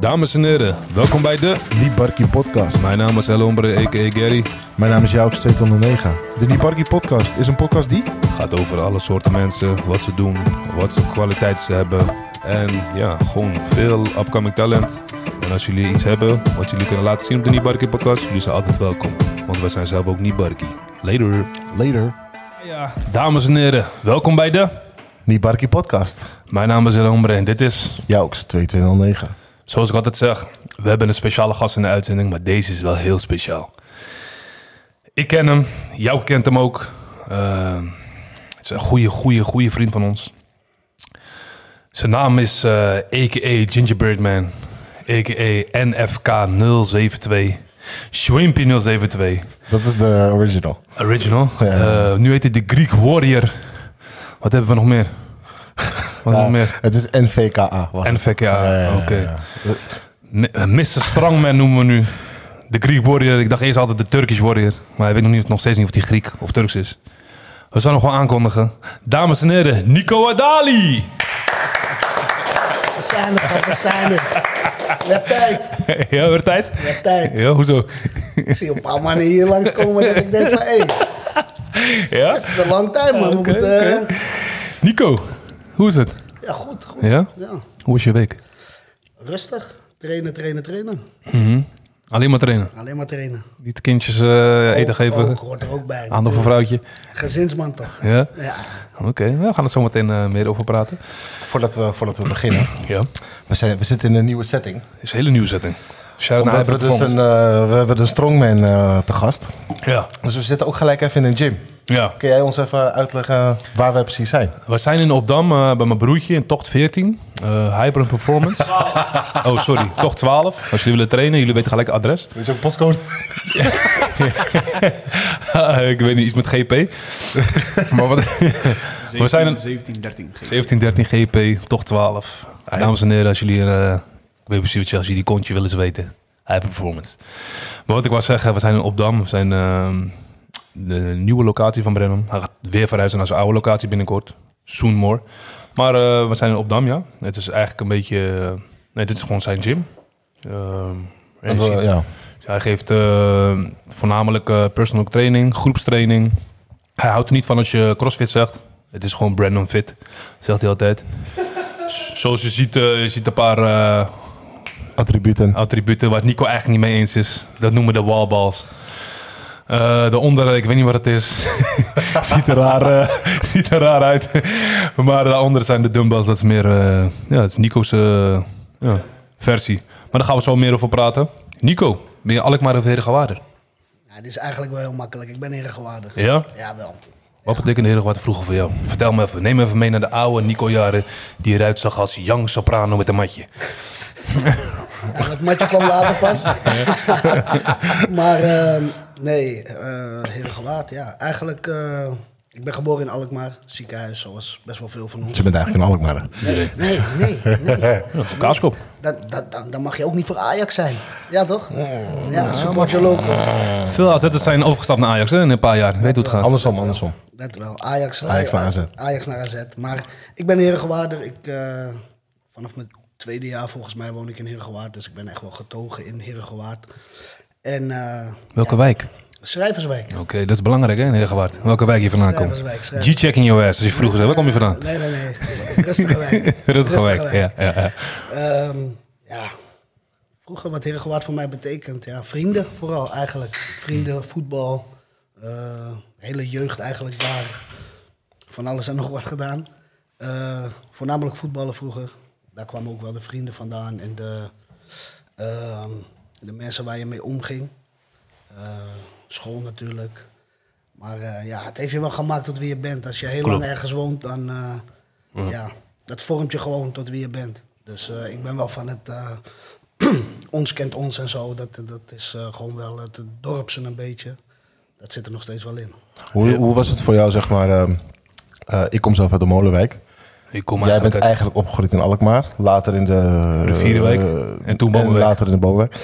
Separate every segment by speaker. Speaker 1: Dames en heren, welkom bij de...
Speaker 2: Nieparkie Podcast.
Speaker 1: Mijn naam is El Hombre, a.k.a. Gary.
Speaker 2: Mijn naam is Jouk 209. De Nieparkie Podcast is een podcast die...
Speaker 1: Het gaat over alle soorten mensen, wat ze doen, wat voor kwaliteit ze hebben. En ja, gewoon veel upcoming talent. En als jullie iets hebben wat jullie kunnen laten zien op de Niebarkie podcast, jullie zijn altijd welkom. Want wij zijn zelf ook Niebarkie. Later.
Speaker 2: Later.
Speaker 1: Ja, dames en heren, welkom bij de...
Speaker 2: Nieparkie Podcast.
Speaker 1: Mijn naam is El Hombre en dit is,
Speaker 2: Jouk 2209.
Speaker 1: zoals ik altijd zeg, we hebben een speciale gast in de uitzending, maar deze is wel heel speciaal. Ik ken hem, jou kent hem ook. Eh, het is een goede, goede, goede vriend van ons. Zijn naam is eh a.k.a. Gingerbread Man, a.k.a. NFK072, Shrimpy072,
Speaker 2: Dat is de original.
Speaker 1: original.
Speaker 2: Ja.
Speaker 1: Eh, nu heet hij de Greek Warrior. Wat hebben we nog meer? Wat
Speaker 2: Ja,
Speaker 1: nog meer?
Speaker 2: Het is NVKA. was het.
Speaker 1: NVKA,
Speaker 2: Ja, ja, ja,
Speaker 1: oké.
Speaker 2: ja.
Speaker 1: Mi- Mr. Strongman noemen we nu. De Greek Warrior. Ik dacht eerst altijd de Turkish Warrior. Maar ik weet nog, niet, nog steeds niet of hij Griek of Turks is. We zullen hem gewoon aankondigen. Dames en heren, Nico Adali.
Speaker 3: We zijn er, we zijn er. Met tijd,
Speaker 1: ja, wordt tijd?
Speaker 3: met tijd.
Speaker 1: Ja, hoezo?
Speaker 3: Ik zie een paar mannen hier langskomen dat ik denk van, hé, hey,
Speaker 1: ja?
Speaker 3: dat is de lang tijd, man. We
Speaker 1: Oké,
Speaker 3: moeten, eh,
Speaker 1: oké. Nico, hoe is het?
Speaker 3: Ja, goed, goed.
Speaker 1: Ja?
Speaker 3: Ja.
Speaker 1: Hoe is je week?
Speaker 3: Rustig, trainen, trainen, trainen.
Speaker 1: Alleen maar trainen.
Speaker 3: Alleen maar trainen.
Speaker 1: Niet kindjes eh, eten
Speaker 3: Ook-
Speaker 1: geven.
Speaker 3: Ook, hoort er ook bij.
Speaker 1: Handen voor
Speaker 3: natuurlijk.
Speaker 1: vrouwtje.
Speaker 3: Gezinsman toch?
Speaker 1: Ja?
Speaker 3: Ja,
Speaker 1: Oké, nou, we gaan er zo meteen eh, meer over praten.
Speaker 2: Voordat we, voordat we beginnen.
Speaker 1: Ja.
Speaker 2: We, zijn, we zitten in een nieuwe setting.
Speaker 1: is een hele nieuwe zetting. Shout-out naar
Speaker 2: Omdat we,
Speaker 1: Hyper
Speaker 2: dus een,
Speaker 1: Performance.
Speaker 2: eh, we hebben een strongman eh, te gast.
Speaker 1: Ja.
Speaker 2: Dus we zitten ook gelijk even in een gym.
Speaker 1: Ja.
Speaker 2: Kun jij ons even uitleggen waar we precies zijn?
Speaker 1: We zijn in Opdam eh, bij mijn broertje in tocht 14. eh Hyper Performance. Oh, sorry. Tocht 12. Als jullie willen trainen, jullie weten gelijk het adres.
Speaker 2: Weet je ook postcode?
Speaker 1: ik weet niet, iets met GP. maar wat... we zijn in
Speaker 4: 17, 13.
Speaker 1: 1713 GP, tocht 12. Dames en heren, als jullie... eh, ik weet precies wat je- als jullie kontje willen ze weten. Hyper Performance. Maar wat ik wou zeggen, we zijn in Opdam. We zijn ehm, de nieuwe locatie van Brennan. Hij gaat weer verhuizen naar zijn oude locatie binnenkort. Soon more. Maar eh, we zijn in Opdam, ja. Het is eigenlijk een beetje... eh, nee, dit is gewoon zijn gym. Ehm, en je ziet-
Speaker 2: ja.
Speaker 1: Dus hij geeft eh, voornamelijk eh, personal training, groepstraining. Hij houdt er niet van als je crossfit zegt. Het is gewoon Brandon Fit, zegt hij altijd. S- Zoals je ziet, eh, je ziet een paar eh,
Speaker 2: Attributen.
Speaker 1: attributen waar Nico eigenlijk niet mee eens is. Dat noemen we de wallballs. Eh daaronder, ik weet niet wat het is. ziet, er raar, eh, ziet er raar uit. maar daaronder zijn de dumbbells. Dat is meer eh, ja, dat is Nico's eh, ja, versie. Maar daar gaan we zo meer over praten. Nico, ben je Alkmaar of Herengewaarder?
Speaker 3: ja dit is eigenlijk wel heel makkelijk. Ik ben ingewaardig.
Speaker 1: Ja?
Speaker 3: Ja, wel.
Speaker 1: Wat betekende Herengewaarder vroeger voor jou? Vertel me even. Neem me even mee naar de oude Nico-jaren die eruit zag als Young Soprano met een matje.
Speaker 3: Ja, dat matje kwam later pas. maar ehm, nee, eh heel gewaard, ja. Eigenlijk, eh, ik ben geboren in Alkmaar, ziekenhuis, zoals best wel veel van ons.
Speaker 2: Ze bent eigenlijk een Alkmaar.
Speaker 3: Nee, nee, nee. nee.
Speaker 1: Ja, kaaskop.
Speaker 3: Dan, dan, dan, dan mag je ook niet voor Ajax zijn. Ja, toch?
Speaker 2: Oh, nou.
Speaker 3: Ja, support your locals.
Speaker 1: Veel AZ'ers zijn overgestapt naar Ajax hè, in een paar jaar. Weet hoe het gaat.
Speaker 2: Andersom, andersom.
Speaker 3: Dat wel. Ajax,
Speaker 2: Ajax naar AZ.
Speaker 3: Ajax naar AZ. Maar ik ben Herengewaarder. Ik, eh, vanaf mijn tweede jaar volgens mij woon ik in Herengewaard. Dus ik ben echt wel getogen in Herengewaard. En eh,
Speaker 1: Welke wijk?
Speaker 3: Schrijverswijk.
Speaker 1: Oké, dat is belangrijk hè, in Herengewaard. Welke wijk je vandaan komt.
Speaker 3: Schrijverswijk, Schrijverswijk.
Speaker 1: G-check in your ass. Als je vroeger zei, waar kom je vandaan?
Speaker 3: Nee, nee, nee. Rustige wijk.
Speaker 1: Rustige wijk. Ja, ja, ja.
Speaker 3: Ehm, ja. Vroeger wat Herengewaard voor mij betekent. Ja, vrienden vooral eigenlijk.
Speaker 1: Hmm.
Speaker 3: Vrienden, voetbal. eh, hele jeugd eigenlijk daar. Van alles en nog wat gedaan. Eh, voornamelijk voetballen vroeger. Daar kwamen ook wel de vrienden vandaan. En de, ehm, de mensen waar je mee omging. Eh, school natuurlijk. Maar eh, ja, het heeft je wel gemaakt tot wie je bent. Als je heel
Speaker 1: Klopt.
Speaker 3: lang ergens woont, dan... eh, ja, dat vormt je gewoon tot wie je bent. Dus eh, ik ben wel van het... eh, ons kent ons en zo. Dat, dat is eh, gewoon wel het dorpsen een beetje. Dat zit er nog steeds wel in.
Speaker 2: Hoe, hoe was het voor jou, zeg maar? ehm, eh, ik kom zelf uit de Molenwijk.
Speaker 1: Ik kom
Speaker 2: Jij bent
Speaker 1: eigenlijk uit-
Speaker 2: eigenlijk opgegroeid in Alkmaar. Later in de...
Speaker 1: Rivierenwijk.
Speaker 2: eh,
Speaker 1: En toen Bomenwijk.
Speaker 2: later in de Bomenwijk.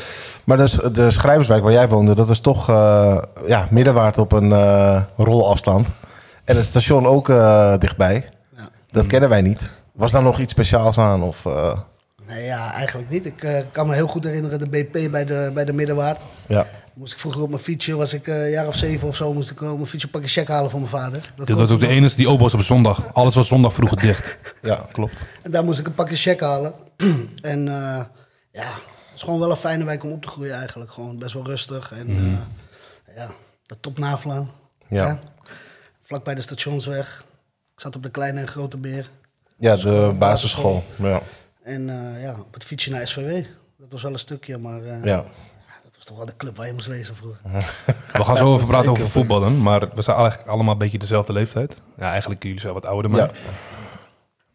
Speaker 2: Maar dus de Schrijverswijk waar jij woonde, dat is toch eh, ja, middenwaard op een eh, rolafstand. En het station ook eh, dichtbij.
Speaker 3: Ja.
Speaker 2: Dat kennen wij niet. Was daar nog iets speciaals aan? Of, eh,
Speaker 3: Nee, ja, eigenlijk niet. Ik eh, kan me heel goed herinneren de BP bij de, bij de Middenwaard.
Speaker 2: Ja.
Speaker 3: Moest ik vroeger op mijn fietsje, was ik eh, een jaar of zeven of zo, moest ik eh, op mijn fietsje een pakje check halen voor mijn vader. Dat
Speaker 1: Dit was
Speaker 3: kostte
Speaker 1: ook de
Speaker 3: nog-
Speaker 1: enige die open was op zondag. Alles was zondag vroeg dicht.
Speaker 2: ja, klopt.
Speaker 3: En daar moest ik een pakje check halen. en eh, ja, het is gewoon wel een fijne wijk om op te groeien eigenlijk. Gewoon best wel rustig. En eh, ja, de top Navlaan.
Speaker 2: Mhm. Ja.
Speaker 3: Vlak bij de stationsweg. Ik zat op de Kleine en Grote Beer.
Speaker 2: Ja, de basisschool. Ja.
Speaker 3: En eh, ja, op het fietsje naar SVW. Dat was wel een stukje, maar eh,
Speaker 2: Ja.
Speaker 3: dat was toch wel de club waar je moest wezen vroeger.
Speaker 1: We gaan zo even praten over voetballen. Maar we zijn eigenlijk allemaal een beetje dezelfde leeftijd. Ja, eigenlijk jullie zijn wat ouder. Maar,
Speaker 2: Ja.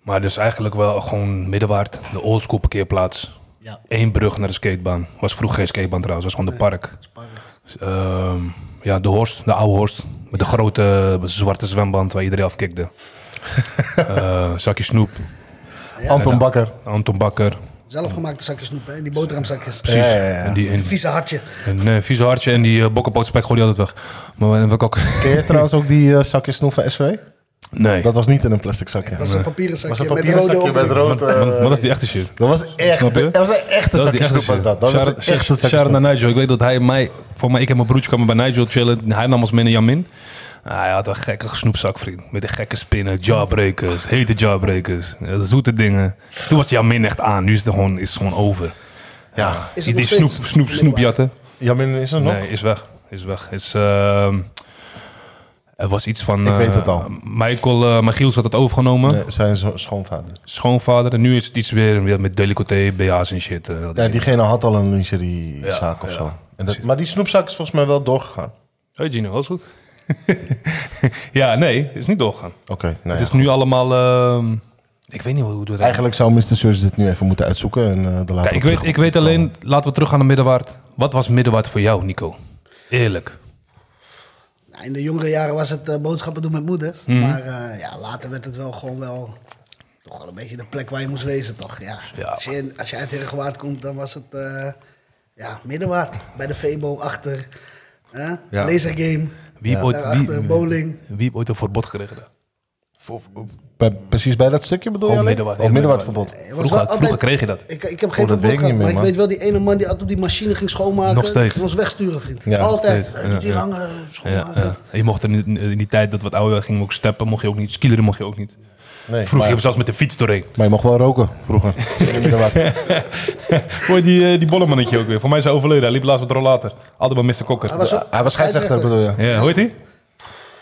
Speaker 1: maar dus eigenlijk wel gewoon middenwaard. De oldschool parkeerplaats.
Speaker 3: Ja,
Speaker 1: Eén brug naar de skatebaan. Was vroeger geen skatebaan trouwens. Was gewoon de park.
Speaker 3: spannend.
Speaker 1: Dus, ehm, ja, de Horst. De oude Horst. Met de grote eh, zwarte zwemband waar iedereen afkikte. Eh, zakje snoep.
Speaker 2: Anton Bakker.
Speaker 1: Anton Bakker.
Speaker 3: Zelfgemaakte zakjes snoep, hè? Die boterhamzakjes.
Speaker 2: Ja, ja, ja.
Speaker 1: En die, en,
Speaker 3: Die vieze hartje.
Speaker 1: en, eh, vieze hartje en die uh, bokkenpootspek gooi die altijd weg. Maar en welke ook...
Speaker 2: Ken je trouwens ook die eh, zakjes snoep van SW?
Speaker 1: Nee.
Speaker 2: Dat was niet in een plastic zakje.
Speaker 3: Dat was een papieren zakje
Speaker 2: was een
Speaker 3: met
Speaker 2: papieren
Speaker 3: rode
Speaker 2: zakje met
Speaker 3: op.
Speaker 1: Maar-
Speaker 2: rood.
Speaker 1: maar- maar
Speaker 2: eh,
Speaker 1: dat is die echte shit.
Speaker 2: Dat was echt.
Speaker 1: Snap je?
Speaker 2: Dat was een echte
Speaker 1: Dat is die
Speaker 2: zakje
Speaker 1: echte
Speaker 2: snoep
Speaker 1: shit.
Speaker 2: was dat. Dat was een echte zakje
Speaker 1: Sharon
Speaker 2: snoep.
Speaker 1: naar Nigel. Ik weet dat hij mij... Voor mij, ik en mijn broertje kwamen bij Nigel chillen. Hij nam ons mee naar Jamin. Ah, hij had een gekke snoepzak, vriend. Met de gekke spinnen, jawbreakers, hete jawbreakers. eh, Zoete dingen. Toen was Jamin echt aan. Nu is het gewoon, is het gewoon over.
Speaker 2: Ja,
Speaker 1: Die
Speaker 3: Is het nog
Speaker 1: die
Speaker 3: steeds?
Speaker 1: snoep, snoep, snoepjatten.
Speaker 2: Jamin is er nog?
Speaker 1: Nee, is weg. Is weg. Is, ehm, er was iets van...
Speaker 2: Ik weet
Speaker 1: eh,
Speaker 2: het al.
Speaker 1: Michael, eh Magiels had het overgenomen.
Speaker 2: Nee, zijn zo- schoonvader.
Speaker 1: Schoonvader. En nu is het iets weer, weer met delicotee, BH's en shit. eh,
Speaker 2: Ja, diegene had al een lingeriezaak
Speaker 1: Ja,
Speaker 2: of
Speaker 1: ja.
Speaker 2: zo. En dat, maar die snoepzak is volgens mij wel doorgegaan.
Speaker 1: Hey Gino, alles goed? ja, nee, is niet doorgegaan.
Speaker 2: Oké, nou
Speaker 1: het
Speaker 2: ja.
Speaker 1: is nu allemaal... ehm, ik weet niet hoe hoe het eigenlijk...
Speaker 2: Eigenlijk zou Mr. Sears dit nu even moeten uitzoeken. En, eh de
Speaker 1: Kijk, ik, weet, ik weet alleen... Laten we terug gaan naar Middenwaard. Wat was Middenwaard voor jou, Nico? Eerlijk.
Speaker 3: Nou, in de jongere jaren was het eh, boodschappen doen met moeders.
Speaker 1: Mhm.
Speaker 3: Maar eh, ja, later werd het wel gewoon wel... Toch wel een beetje de plek waar je moest wezen, toch? Ja.
Speaker 1: Ja,
Speaker 3: als, je, in- als je uit Herengewaard komt, dan was het... eh, ja, middenwaard. Bij de Febo, achter. eh,
Speaker 2: Ja.
Speaker 3: Lasergame.
Speaker 1: Wie heeft ooit... Wie,
Speaker 3: Daarachter, bowling.
Speaker 1: wie heeft ooit een verbod gekregen?
Speaker 2: Bij- precies bij dat stukje bedoel je
Speaker 1: Gewoon
Speaker 2: alleen?
Speaker 1: middenwaard,
Speaker 2: Oh,
Speaker 1: ja,
Speaker 2: middenwaardverbod.
Speaker 3: Eh, was
Speaker 1: Vroeger,
Speaker 3: wel altijd-
Speaker 1: vroeger kreeg je dat.
Speaker 3: Ik, ik heb geen
Speaker 2: Oh, dat
Speaker 3: verbod
Speaker 2: weet ik
Speaker 3: gehad,
Speaker 2: niet meer,
Speaker 3: maar ik
Speaker 2: man.
Speaker 3: weet wel die ene man die altijd op die machine ging schoonmaken.
Speaker 1: Nog steeds.
Speaker 3: Die Ons wegsturen, vriend.
Speaker 2: Ja, nog
Speaker 3: altijd.
Speaker 1: steeds.
Speaker 3: Eh, doet die
Speaker 1: Ja, ja.
Speaker 3: hangen,
Speaker 1: Ja,
Speaker 3: schoonmaken.
Speaker 1: ja. En Je mocht er in, in die tijd dat we wat ouder werden, gingen we ook steppen. Mocht je ook niet... Skileren mocht je ook niet.
Speaker 2: Nee,
Speaker 1: Vroeger
Speaker 2: maar,
Speaker 1: hebben we zelfs met de fiets doorheen.
Speaker 2: maar je mocht wel roken vroeger. In de middenwaard.
Speaker 1: Hoor je die, eh, die bollemannetje ook weer. Voor mij is hij overleden. Hij liep laatst met rollator. Altijd bij Mr.
Speaker 3: Hij
Speaker 1: Kokker.
Speaker 3: was, ook-
Speaker 2: Hij was scheidsrechter bedoel je?
Speaker 1: Ja, hoe heet hij?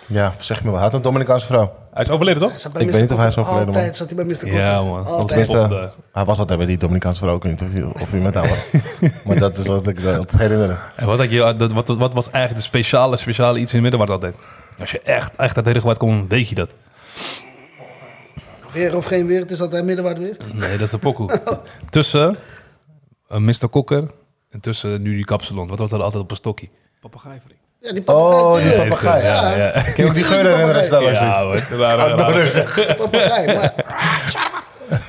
Speaker 2: Ja, zeg me wel. Hij had een Dominicaanse vrouw.
Speaker 1: Hij is overleden, toch?
Speaker 3: Hij zat bij
Speaker 2: Ik
Speaker 3: Mr.
Speaker 2: weet niet of hij is
Speaker 3: Kotter.
Speaker 2: overleden, man.
Speaker 3: Altijd zat hij bij Mr. Kotter.
Speaker 1: Ja, man.
Speaker 3: Altijd.
Speaker 1: Volgens mij-
Speaker 2: Tenminste, hij was altijd bij die Dominicaanse vrouw. Ik weet niet of hij- of hij met haar was. maar dat is wat ik eh, altijd herinner.
Speaker 1: En wat, had je, dat, wat, wat was eigenlijk de speciale, speciale iets in het middenwaard altijd? Als je echt, echt uit Herengewaard komt, weet je dat.
Speaker 3: Weer of geen weer, het is altijd middenwaard weer.
Speaker 1: Nee, dat is de pokoe. tussen eh, Mr. Kokker en tussen nu die kapsalon. Wat was dat altijd op een stokje?
Speaker 4: Papagaaivrij.
Speaker 3: Ja, die papegaai.
Speaker 2: Oh, die
Speaker 1: Ja,
Speaker 2: papegaai.
Speaker 1: ja,
Speaker 2: Ja,
Speaker 1: ja.
Speaker 2: Ik heb ook die geur herinneren. snel, als je-
Speaker 1: Ja, hoor. Daar waren we-
Speaker 3: die papegaai, Maar,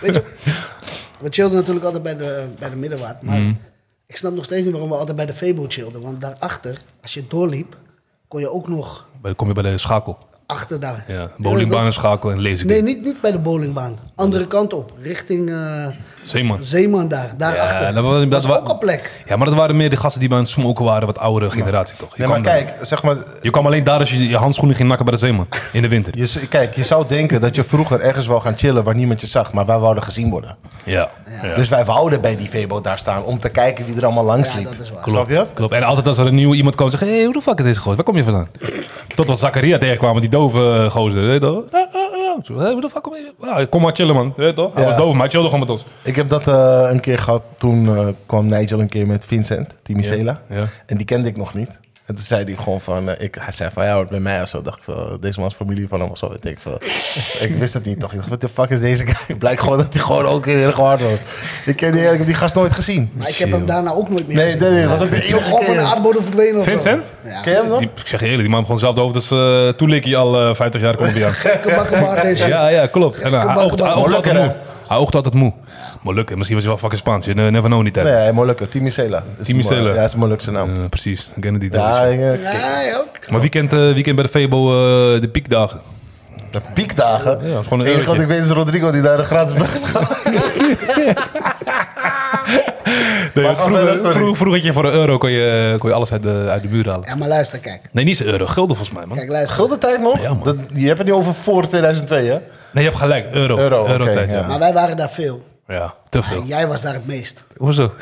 Speaker 3: weet je, we chillden natuurlijk altijd bij de, bij de middenwaard. Maar ik snap nog steeds niet waarom we altijd bij de Febo chillden. Want daarachter, als je doorliep, kon je ook nog
Speaker 1: Dan kom je bij de schakel.
Speaker 3: achter daar.
Speaker 1: Ja, bowlingbaan en schakel en lezen.
Speaker 3: Nee, niet, niet bij de bowlingbaan. Andere kant op, richting eh,
Speaker 1: Zeeman.
Speaker 3: Zeeman daar, daarachter.
Speaker 1: dat was- dat
Speaker 3: dat was
Speaker 1: was-
Speaker 3: ook een plek.
Speaker 1: Ja, maar dat waren meer de gasten die bij het smoken waren, wat oudere generatie toch? Je,
Speaker 2: Nee, maar
Speaker 1: kwam daar-
Speaker 2: kijk, zeg maar,
Speaker 1: je kwam alleen daar als je je handschoenen ging nakken bij de zeeman. In de winter.
Speaker 2: Je, z- kijk, je zou denken dat je vroeger ergens wou gaan chillen waar niemand je zag, maar wij wouden gezien worden.
Speaker 1: Ja.
Speaker 2: Dus wij wouden bij die Vebo daar staan om te kijken wie er allemaal langs
Speaker 3: Ja,
Speaker 2: liep.
Speaker 3: dat is waar.
Speaker 1: Klopt,
Speaker 2: Snap je?
Speaker 1: klopt. En altijd als er een nieuwe iemand kwam, zeggen: Hé, hey, hoe de fuck is deze gozer? Waar kom je vandaan? Tot als Zakaria tegenkwamen, die dove eh, gozer. Weet je toch? Ah, ah, ah. Ik zo, "Hé, hoe de fuck kom je? Ah, kom maar chillen, man. Weet je toch? Hij
Speaker 2: Ja.
Speaker 1: was doof, maar hij chillde gewoon met ons.
Speaker 2: Ik heb dat eh, een keer gehad. Toen eh, kwam Nigel een keer met Vincent, Timicela.
Speaker 1: Ja, ja.
Speaker 2: En die kende ik nog niet. En toen zei hij gewoon van, eh, ik, hij zei van, ja, hoort bij mij of zo. Dacht ik van, eh, deze man is familie van hem of zo, weet ik veel. ik wist het niet toch. Ik dacht, wat de fuck is deze guy? Blijkt gewoon dat hij gewoon ook heel erg hard wordt. Ik ken die, ik heb die gast nooit gezien.
Speaker 3: Maar ik heb hem daarna ook nooit meer
Speaker 2: Nee,
Speaker 3: gezien.
Speaker 2: nee, nee, dat was ook de
Speaker 3: Ik ben
Speaker 2: enige
Speaker 3: gewoon van de
Speaker 2: keer.
Speaker 3: aardbodem verdwenen of zo.
Speaker 1: Vincent?
Speaker 3: Ja,
Speaker 2: Ken je hem nog?
Speaker 1: Die, ik zeg je eerlijk, die man begon zelf de hoofd, dus eh toelikkie al eh, 50 jaar komt hij aan.
Speaker 3: gekke bakkenbaard en shit.
Speaker 1: Ja, ja, klopt. En, eh, hij oogt- hij oogt altijd moe. Hij oogt altijd moe. Maar lukken, misschien was hij wel fucking Spaans. Je ne- never know niet tijd.
Speaker 2: Nee, Molukke, Timicela. Is een-
Speaker 1: Timicela.
Speaker 2: Ja, is een Molukse naam.
Speaker 1: Eh, precies, ik ken die
Speaker 2: Ja,
Speaker 1: toch.
Speaker 2: eh,
Speaker 3: Ja, ja, ook.
Speaker 1: dus, Maar wie kent, eh, wie kent bij de Febo eh, de piekdagen?
Speaker 2: De piekdagen.
Speaker 1: Ja, gewoon een
Speaker 2: Het enige wat
Speaker 1: eurotje.
Speaker 2: ik weet is Rodrigo die daar een gratis bus gaat.
Speaker 1: Nee, want
Speaker 2: oh,
Speaker 1: vroeger,
Speaker 2: nee, sorry.
Speaker 1: vroeger- vroeger had je voor een euro kon je, kon je alles uit de, uit de muur halen.
Speaker 3: Ja, maar luister, kijk.
Speaker 1: Nee, niet eens een euro. Gulden volgens mij, man.
Speaker 3: Kijk, luister.
Speaker 2: Gulden tijd nog?
Speaker 1: Ja, man.
Speaker 2: dat, je hebt het niet over voor 2002, hè?
Speaker 1: Nee, je hebt gelijk. Euro.
Speaker 2: Euro, oké,
Speaker 1: tijd,
Speaker 2: ja.
Speaker 1: ja.
Speaker 3: Maar wij waren daar veel.
Speaker 1: Ja, te veel.
Speaker 3: En jij was daar het meest.
Speaker 1: Hoezo?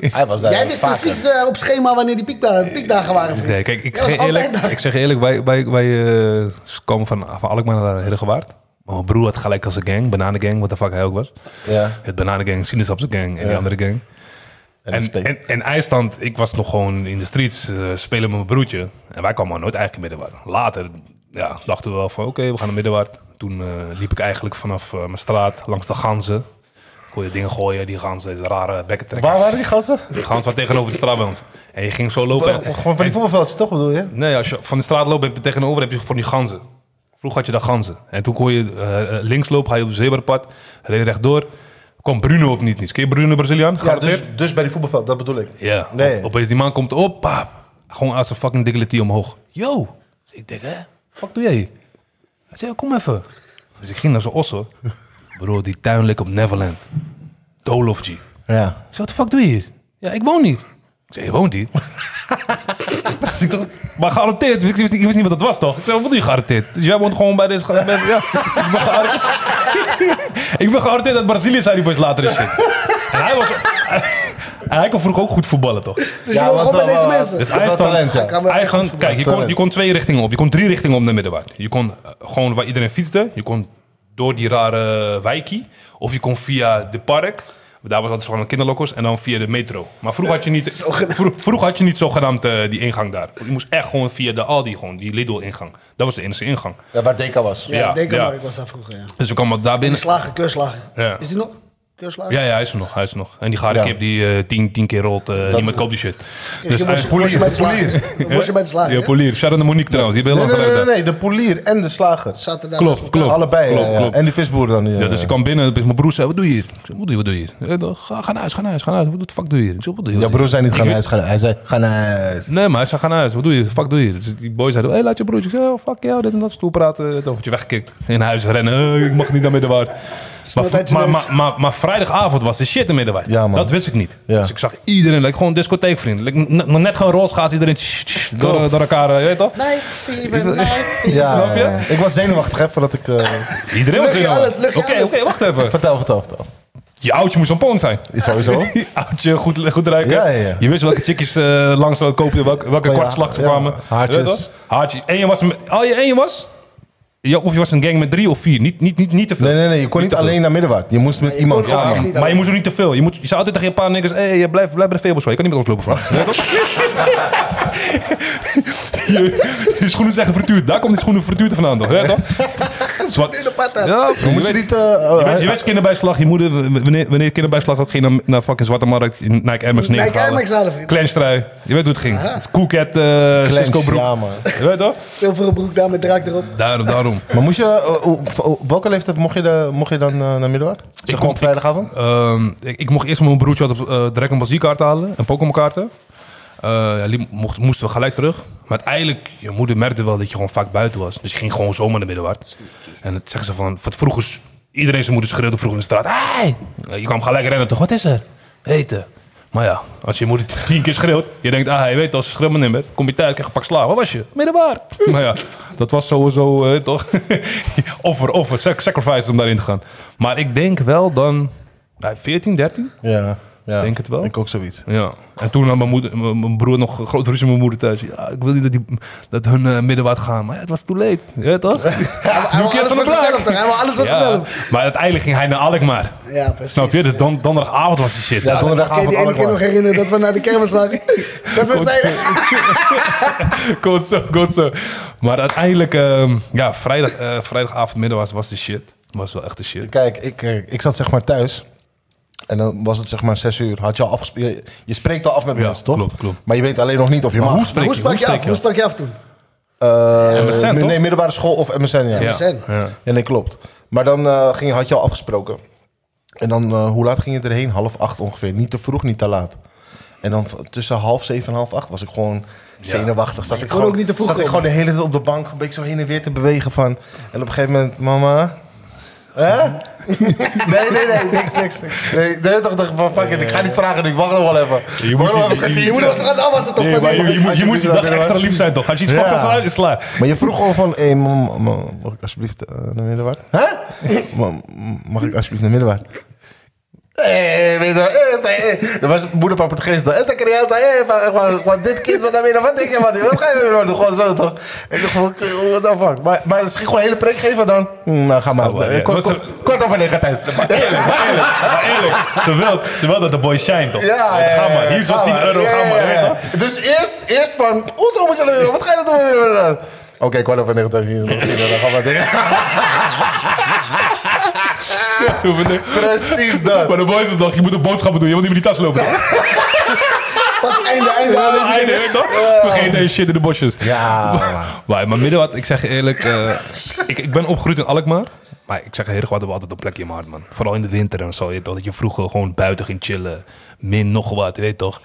Speaker 2: Hij was daar
Speaker 3: Jij
Speaker 2: niet
Speaker 3: wist
Speaker 2: vaker.
Speaker 3: precies eh, op schema wanneer die piekda- piekdagen waren. vriend.
Speaker 1: Eh, Nee, kijk, ik
Speaker 3: Jij was
Speaker 1: zeg, eerlijk,
Speaker 3: altijd daar.
Speaker 1: ik zeg eerlijk, wij, wij, wij eh, komen van, van Alkmaar naar Herengewaard. Maar mijn broer had gelijk als een gang, Bananengang, wat de fuck hij ook was.
Speaker 2: Ja.
Speaker 1: Het Bananengang, Sinaasappelgang en die
Speaker 2: Ja.
Speaker 1: andere gang.
Speaker 2: En,
Speaker 1: En,
Speaker 2: en,
Speaker 1: en, en IJsland, ik was nog gewoon in de streets eh, spelen met mijn broertje. En wij kwamen nooit eigenlijk in Middenwaard. Later ja, dachten we wel van oké, we gaan naar Middenwaard. Toen eh, liep ik eigenlijk vanaf eh, mijn straat langs de ganzen. Kon je dingen gooien, die ganzen, deze rare bekken trekken.
Speaker 2: Waar waren die gasten?
Speaker 1: Die gans was tegenover de straat bij ons. En je ging zo lopen. en-
Speaker 2: Gewoon van die voetbalveldjes, toch bedoel je?
Speaker 1: Nee, als je van de straat loopt heb je tegenover heb je van die ganzen. Vroeger had je daar ganzen. En toen kon je eh, links lopen, ga je op het zebrapad, reed je rechtdoor. Kwam Bruno op niet. Ken je Bruno Braziliaan?
Speaker 2: Ja,
Speaker 1: Gearresteerd?
Speaker 2: dus, dus bij die voetbalveld, dat bedoel ik.
Speaker 1: Ja.
Speaker 2: Nee.
Speaker 1: Op- Opeens die man komt op, paap. Gewoon als een fucking diggity omhoog. Yo. Dus ik denk, hè? Fuck doe jij hier? Hij zei, kom even. Dus ik ging naar zijn osso. Bro, die tuin leek op Neverland. Dolof G. Ik
Speaker 2: Ja.
Speaker 1: zei, wat de fuck doe je hier? Ja, ik woon hier. Ik zei, je woont hier? Dus ik dacht, maar gearresteerd. Ik wist, niet, ik wist niet wat dat was toch? Ik zei, wat doe je gearresteerd? Dus jij woont gewoon bij deze... ge- bij- ja. ik ben gearresteerd. ik ben gearresteerd uit Brazilië, zei die boys later en shit. En hij was... En hij kon vroeger ook goed voetballen, toch?
Speaker 3: Dus je wil
Speaker 2: was
Speaker 3: gewoon bij
Speaker 2: wel,
Speaker 3: deze
Speaker 2: eh,
Speaker 3: mensen.
Speaker 1: Dus
Speaker 2: Dat was
Speaker 1: IJsland,
Speaker 2: talent, ja.
Speaker 3: Kan wel echt
Speaker 1: IJsland-
Speaker 3: goed
Speaker 1: kijk, je kon,
Speaker 2: Talent.
Speaker 1: je kon twee richtingen op. Je kon drie richtingen op naar Middenwaard. Je kon eh, gewoon waar iedereen fietste. Je kon door die rare wijkie. Of je kon via de park. Daar was altijd gewoon kinderlokkers. En dan via de metro. Maar vroeg had je niet, vroeg, vroeg had je niet zogenaamd eh, die ingang daar. Je moest echt gewoon via de Aldi, gewoon, die Lidl-ingang. Dat was de enige ingang.
Speaker 2: Ja, waar Deka was.
Speaker 3: Ja,
Speaker 1: ja,
Speaker 3: denk
Speaker 1: ja.
Speaker 3: maar, ik was daar vroeger, ja.
Speaker 1: Dus we kwamen daar
Speaker 3: Die
Speaker 1: binnen.
Speaker 3: slager, keurslager.
Speaker 1: Ja.
Speaker 3: Is die nog? Keurslager?
Speaker 1: Ja, ja, hij is er nog. Hij is er nog. En die gare
Speaker 2: Ja.
Speaker 1: kip die eh, tien, tien keer rolt. eh, niemand koopt die shit.
Speaker 3: Dus je
Speaker 1: hij-
Speaker 3: moest, moest je bij de slager. Moest je bij de slager,
Speaker 1: Ja,
Speaker 3: hè?
Speaker 1: polier. Shout out naar Monique trouwens. Die hebben
Speaker 2: Nee,
Speaker 1: heel
Speaker 2: nee,
Speaker 1: lang
Speaker 2: nee, nee,
Speaker 1: gewerkt
Speaker 2: nee, de polier en de slager.
Speaker 3: Zaterdag.
Speaker 1: daar. Klopt, klopt.
Speaker 2: Allebei.
Speaker 1: klopt,
Speaker 2: ja, ja.
Speaker 1: klopt.
Speaker 2: En die visboer dan. Ja,
Speaker 1: Ja, dus ik kwam binnen en opeens mijn broer zei, wat doe je hier? Ik zei, wat doe je, wat doe je hier? Hij dacht, Ga, ga naar huis, ga naar huis, ga naar huis. Wat de fuck doe je hier? Ik zei, wat doe je?
Speaker 2: Jouw
Speaker 1: wat doe
Speaker 2: broer
Speaker 1: je?
Speaker 2: zei niet,
Speaker 1: Ik
Speaker 2: ga naar
Speaker 1: weet-
Speaker 2: huis, ga naar huis. Hij zei, ga naar huis.
Speaker 1: Nee, maar hij zei, ga naar huis. Wat doe je? Fuck doe je? Dus die boy zei, hey, laat je broertje. Ik zei, oh, fuck jou, dit en dat. Stoel praten. Dan word je weggekikt. In huis rennen. Eh, ik mag niet naar Middenwaard. Maar,
Speaker 3: uit je
Speaker 1: maar,
Speaker 3: neus.
Speaker 1: maar, maar, maar vrijdagavond was de shit in Middenwaard.
Speaker 2: Ja, man.
Speaker 1: dat wist ik niet.
Speaker 2: Ja.
Speaker 1: Dus ik zag iedereen, like, gewoon discotheekvriend. Like, n- nog net gewoon roze gaat iedereen tss, tss, door, door elkaar. eh, Je weet toch?
Speaker 3: Nee, Steven, nee.
Speaker 2: Ja,
Speaker 1: Snap je?
Speaker 2: ja. Ik was zenuwachtig, hè, voordat ik... eh,
Speaker 1: Iedereen
Speaker 3: Lucht je
Speaker 1: ging, man.
Speaker 3: alles, lucht
Speaker 1: Oké,
Speaker 3: je
Speaker 1: oké,
Speaker 3: alles.
Speaker 1: wacht even.
Speaker 2: vertel, vertel, vertel.
Speaker 1: Je oudje moest een pond zijn.
Speaker 2: Is sowieso.
Speaker 1: Die Oudje, goed, goed ruiken.
Speaker 2: Ja, ja, ja.
Speaker 1: Je wist welke chickies eh, langs zouden kopen, welke, welke
Speaker 2: Ja,
Speaker 1: kwartslag ze
Speaker 2: ja,
Speaker 1: kwamen.
Speaker 2: haartjes.
Speaker 1: Weet je wel? Haartjes. En je was, met- al je en je was, ja, of je was een gang met drie of vier. Niet, niet, niet, niet te veel.
Speaker 2: Nee, nee, nee, je kon niet
Speaker 1: te veel.
Speaker 2: alleen naar Middenwaard. Je moest met
Speaker 3: je
Speaker 2: iemand.
Speaker 3: kon ook
Speaker 2: Ja,
Speaker 1: Ja,
Speaker 3: echt
Speaker 2: man.
Speaker 1: man.
Speaker 3: niet
Speaker 1: maar je
Speaker 3: alleen.
Speaker 1: moest er niet te veel. Je, moet, je zei altijd tegen een paar niggers, hé, hey, blijf, blijf bij de Fabels, je kan niet met ons lopen, vrouw. Weet je toch? je, je schoenen zijn vertuurd, daar komt die schoenen vertuurd vandaan, toch? Weet je toch? Zwart.
Speaker 3: In de patas.
Speaker 1: Ja, je
Speaker 2: Dan moet je
Speaker 1: weet-
Speaker 2: niet... eh,
Speaker 1: je,
Speaker 2: eh,
Speaker 1: weet, je wist kinderbijslag, je moeder, wanneer, wanneer kinderbijslag had, ging je naar, naar fucking Zwarte Markt, in Nike Airmax
Speaker 3: Nike
Speaker 1: neergevouwen.
Speaker 3: Air Max halen, vriend.
Speaker 1: Clanstrui, je weet hoe het ging. Dus Cool Cat, eh,
Speaker 2: Clench,
Speaker 1: Cisco broek.
Speaker 2: Ja, man.
Speaker 1: Je weet toch?
Speaker 3: Zilveren broek daar met draak erop.
Speaker 1: Daarom, daarom.
Speaker 2: Maar moest je, eh, op, op welke leeftijd mocht je, de, mocht je dan eh, naar Middenwaard? Zeg
Speaker 1: kom-
Speaker 2: gewoon op vrijdagavond?
Speaker 1: Ehm, ik, ik mocht eerst met mijn broertje had op, eh direct een baziekaart halen en Pokémon kaarten. Eh, ja, die mocht, moesten we gelijk terug. Maar uiteindelijk, je moeder merkte wel dat je gewoon vaak buiten was. Dus je ging gewoon zomaar naar middenwaard. En dat zeggen ze van, wat vroeger, s- iedereen zijn moeder schreeuwde vroeg in de straat. Hey! Eh, Je kwam gelijk rennen toch, wat is er? Eten. Maar ja, als je moeder t- tien keer schreeuwt, je denkt, ah, je weet als ze schreeuwt maar niet meer. Kom je thuis, krijg je een pak slaag. Waar was je? Middenwaard. Maar ja, dat was sowieso, eh, toch? offer, offer, sac- sacrifice om daarin te gaan. Maar ik denk wel dan, nou, bij 14, 13?
Speaker 2: Ja, ja.
Speaker 1: Denk het wel.
Speaker 2: Ik ook zoiets.
Speaker 1: Ja, en toen had mijn, moeder, mijn mijn broer nog een grote ruzie met mijn moeder thuis. Ja, ik wil niet dat, die, dat hun eh, middenwaard gaan. Maar ja, het was too late. Je weet toch?
Speaker 3: Hij wil
Speaker 1: keer
Speaker 3: alles
Speaker 1: zo'n
Speaker 3: voor
Speaker 1: draak.
Speaker 3: zichzelf. toch? Hij wil alles voor
Speaker 1: Ja,
Speaker 3: zichzelf.
Speaker 1: maar uiteindelijk ging hij naar Alkmaar.
Speaker 3: Ja, precies.
Speaker 1: Snap je? Dus don- donderdagavond was die shit.
Speaker 2: Ja,
Speaker 1: Ja,
Speaker 3: Kan je
Speaker 2: donderdagavond
Speaker 3: die ene keer nog
Speaker 2: allemaal.
Speaker 3: herinneren dat we naar de kermis waren? Dat we zeiden...
Speaker 1: goed zo, goed zo. Maar uiteindelijk, ehm, ja, vrijdag, eh, vrijdagavond midden was, was de shit. Was wel echt de shit.
Speaker 2: Kijk, ik, eh, ik zat zeg maar thuis. En dan was het zeg maar zes uur. Had je al afgespeeld. Je, je spreekt al af met mensen, toch?
Speaker 1: klopt, klopt.
Speaker 2: Maar je weet alleen nog niet of je mag.
Speaker 1: hoe spreek
Speaker 3: Hoe sprak je af? Hoe
Speaker 1: af?
Speaker 3: sprak je af toen?
Speaker 2: Eh,
Speaker 1: MSN,
Speaker 2: mi-
Speaker 1: toch?
Speaker 2: Nee, middelbare school of MSN, ja.
Speaker 1: Ja,
Speaker 2: Ja,
Speaker 3: MSN?
Speaker 1: ja.
Speaker 2: nee, klopt. Maar dan eh, ging, had je al afgesproken. En dan, eh, hoe laat ging je erheen? Half acht ongeveer. Niet te vroeg, niet te laat. En dan v- tussen half zeven en half acht was ik gewoon zenuwachtig. Zat ik
Speaker 3: kon
Speaker 2: gewoon,
Speaker 3: ook niet te vroeg
Speaker 2: zat ik
Speaker 3: komen.
Speaker 2: gewoon de hele tijd op de bank, een beetje zo heen en weer te bewegen van... En op een gegeven moment, mama... Hè? Nee, nee, nee, niks, niks. niks. Nee, nee toch, dacht ik van fuck it, ik ga niet vragen, ik wacht nog wel even.
Speaker 1: Je moet-
Speaker 2: Wacht nog wel een
Speaker 1: je- je-
Speaker 2: kwartiertje.
Speaker 1: je moet
Speaker 3: was het toch
Speaker 1: Nee, maar je, je, moet- je moet die dag extra lief zijn toch? Als je iets
Speaker 2: Ja.
Speaker 1: fuckt als uit, is het klaar.
Speaker 2: Maar je vroeg gewoon van, hé, mam, mam, mag ik alsjeblieft eh, naar middenwaard? Hè? Mam, mag ik alsjeblieft naar middenwaard? Hé, weet je wel, eh, eh, eh. Er was een moeder van Portugees dan. En dan kreeg hij zei, hé, van- eh, van- van dit kind, wat naar middenwaard? Wat denk je, wat, wat ga je naar middenwaard doen? Gewoon zo, toch? Ik dacht, van, what the fuck? Maar, maar misschien gewoon een hele prik geven dan. Hm, nou, ga maar.
Speaker 1: Oh, maar,
Speaker 2: Eh,
Speaker 1: ja.
Speaker 2: kort-
Speaker 1: Wat
Speaker 2: kort-
Speaker 1: ze-
Speaker 2: Kort over negen thuis.
Speaker 1: Maar eerlijk, maar eerlijk. Ze wil, ze wil dat de boys zijn toch?
Speaker 2: Ja, ja,
Speaker 1: Ga
Speaker 2: ja,
Speaker 1: maar, hier is
Speaker 2: ga
Speaker 1: wel 10
Speaker 2: maar.
Speaker 1: euro,
Speaker 2: Ja,
Speaker 1: ga
Speaker 2: ja,
Speaker 1: maar.
Speaker 2: ja.
Speaker 1: weet je wel.
Speaker 2: Dus eerst, eerst van, hoezo moet je naar middenwaard? Wat ga je dat doen? naar middenwaard? Oké, kwart over negen thuis. hier is nog tien euro, ga maar dingen.
Speaker 1: Toen we de-
Speaker 2: Precies dat.
Speaker 1: Maar de boys is nog, je moet de boodschappen doen, je moet niet met die tas lopen.
Speaker 3: Pas einde, einde.
Speaker 1: Ah, einde, weet je toch? Vergeet deze shit in de bosjes.
Speaker 2: Ja.
Speaker 1: Maar, maar middenwaard, ik zeg je eerlijk, eh, ik, ik ben opgegroeid in Alkmaar. Maar ik zeg je eerlijk, we hadden we altijd een plekje in mijn hart, man. Vooral in de winter en zo, je weet toch, dat je vroeger gewoon buiten ging chillen. Min nog wat, je weet toch.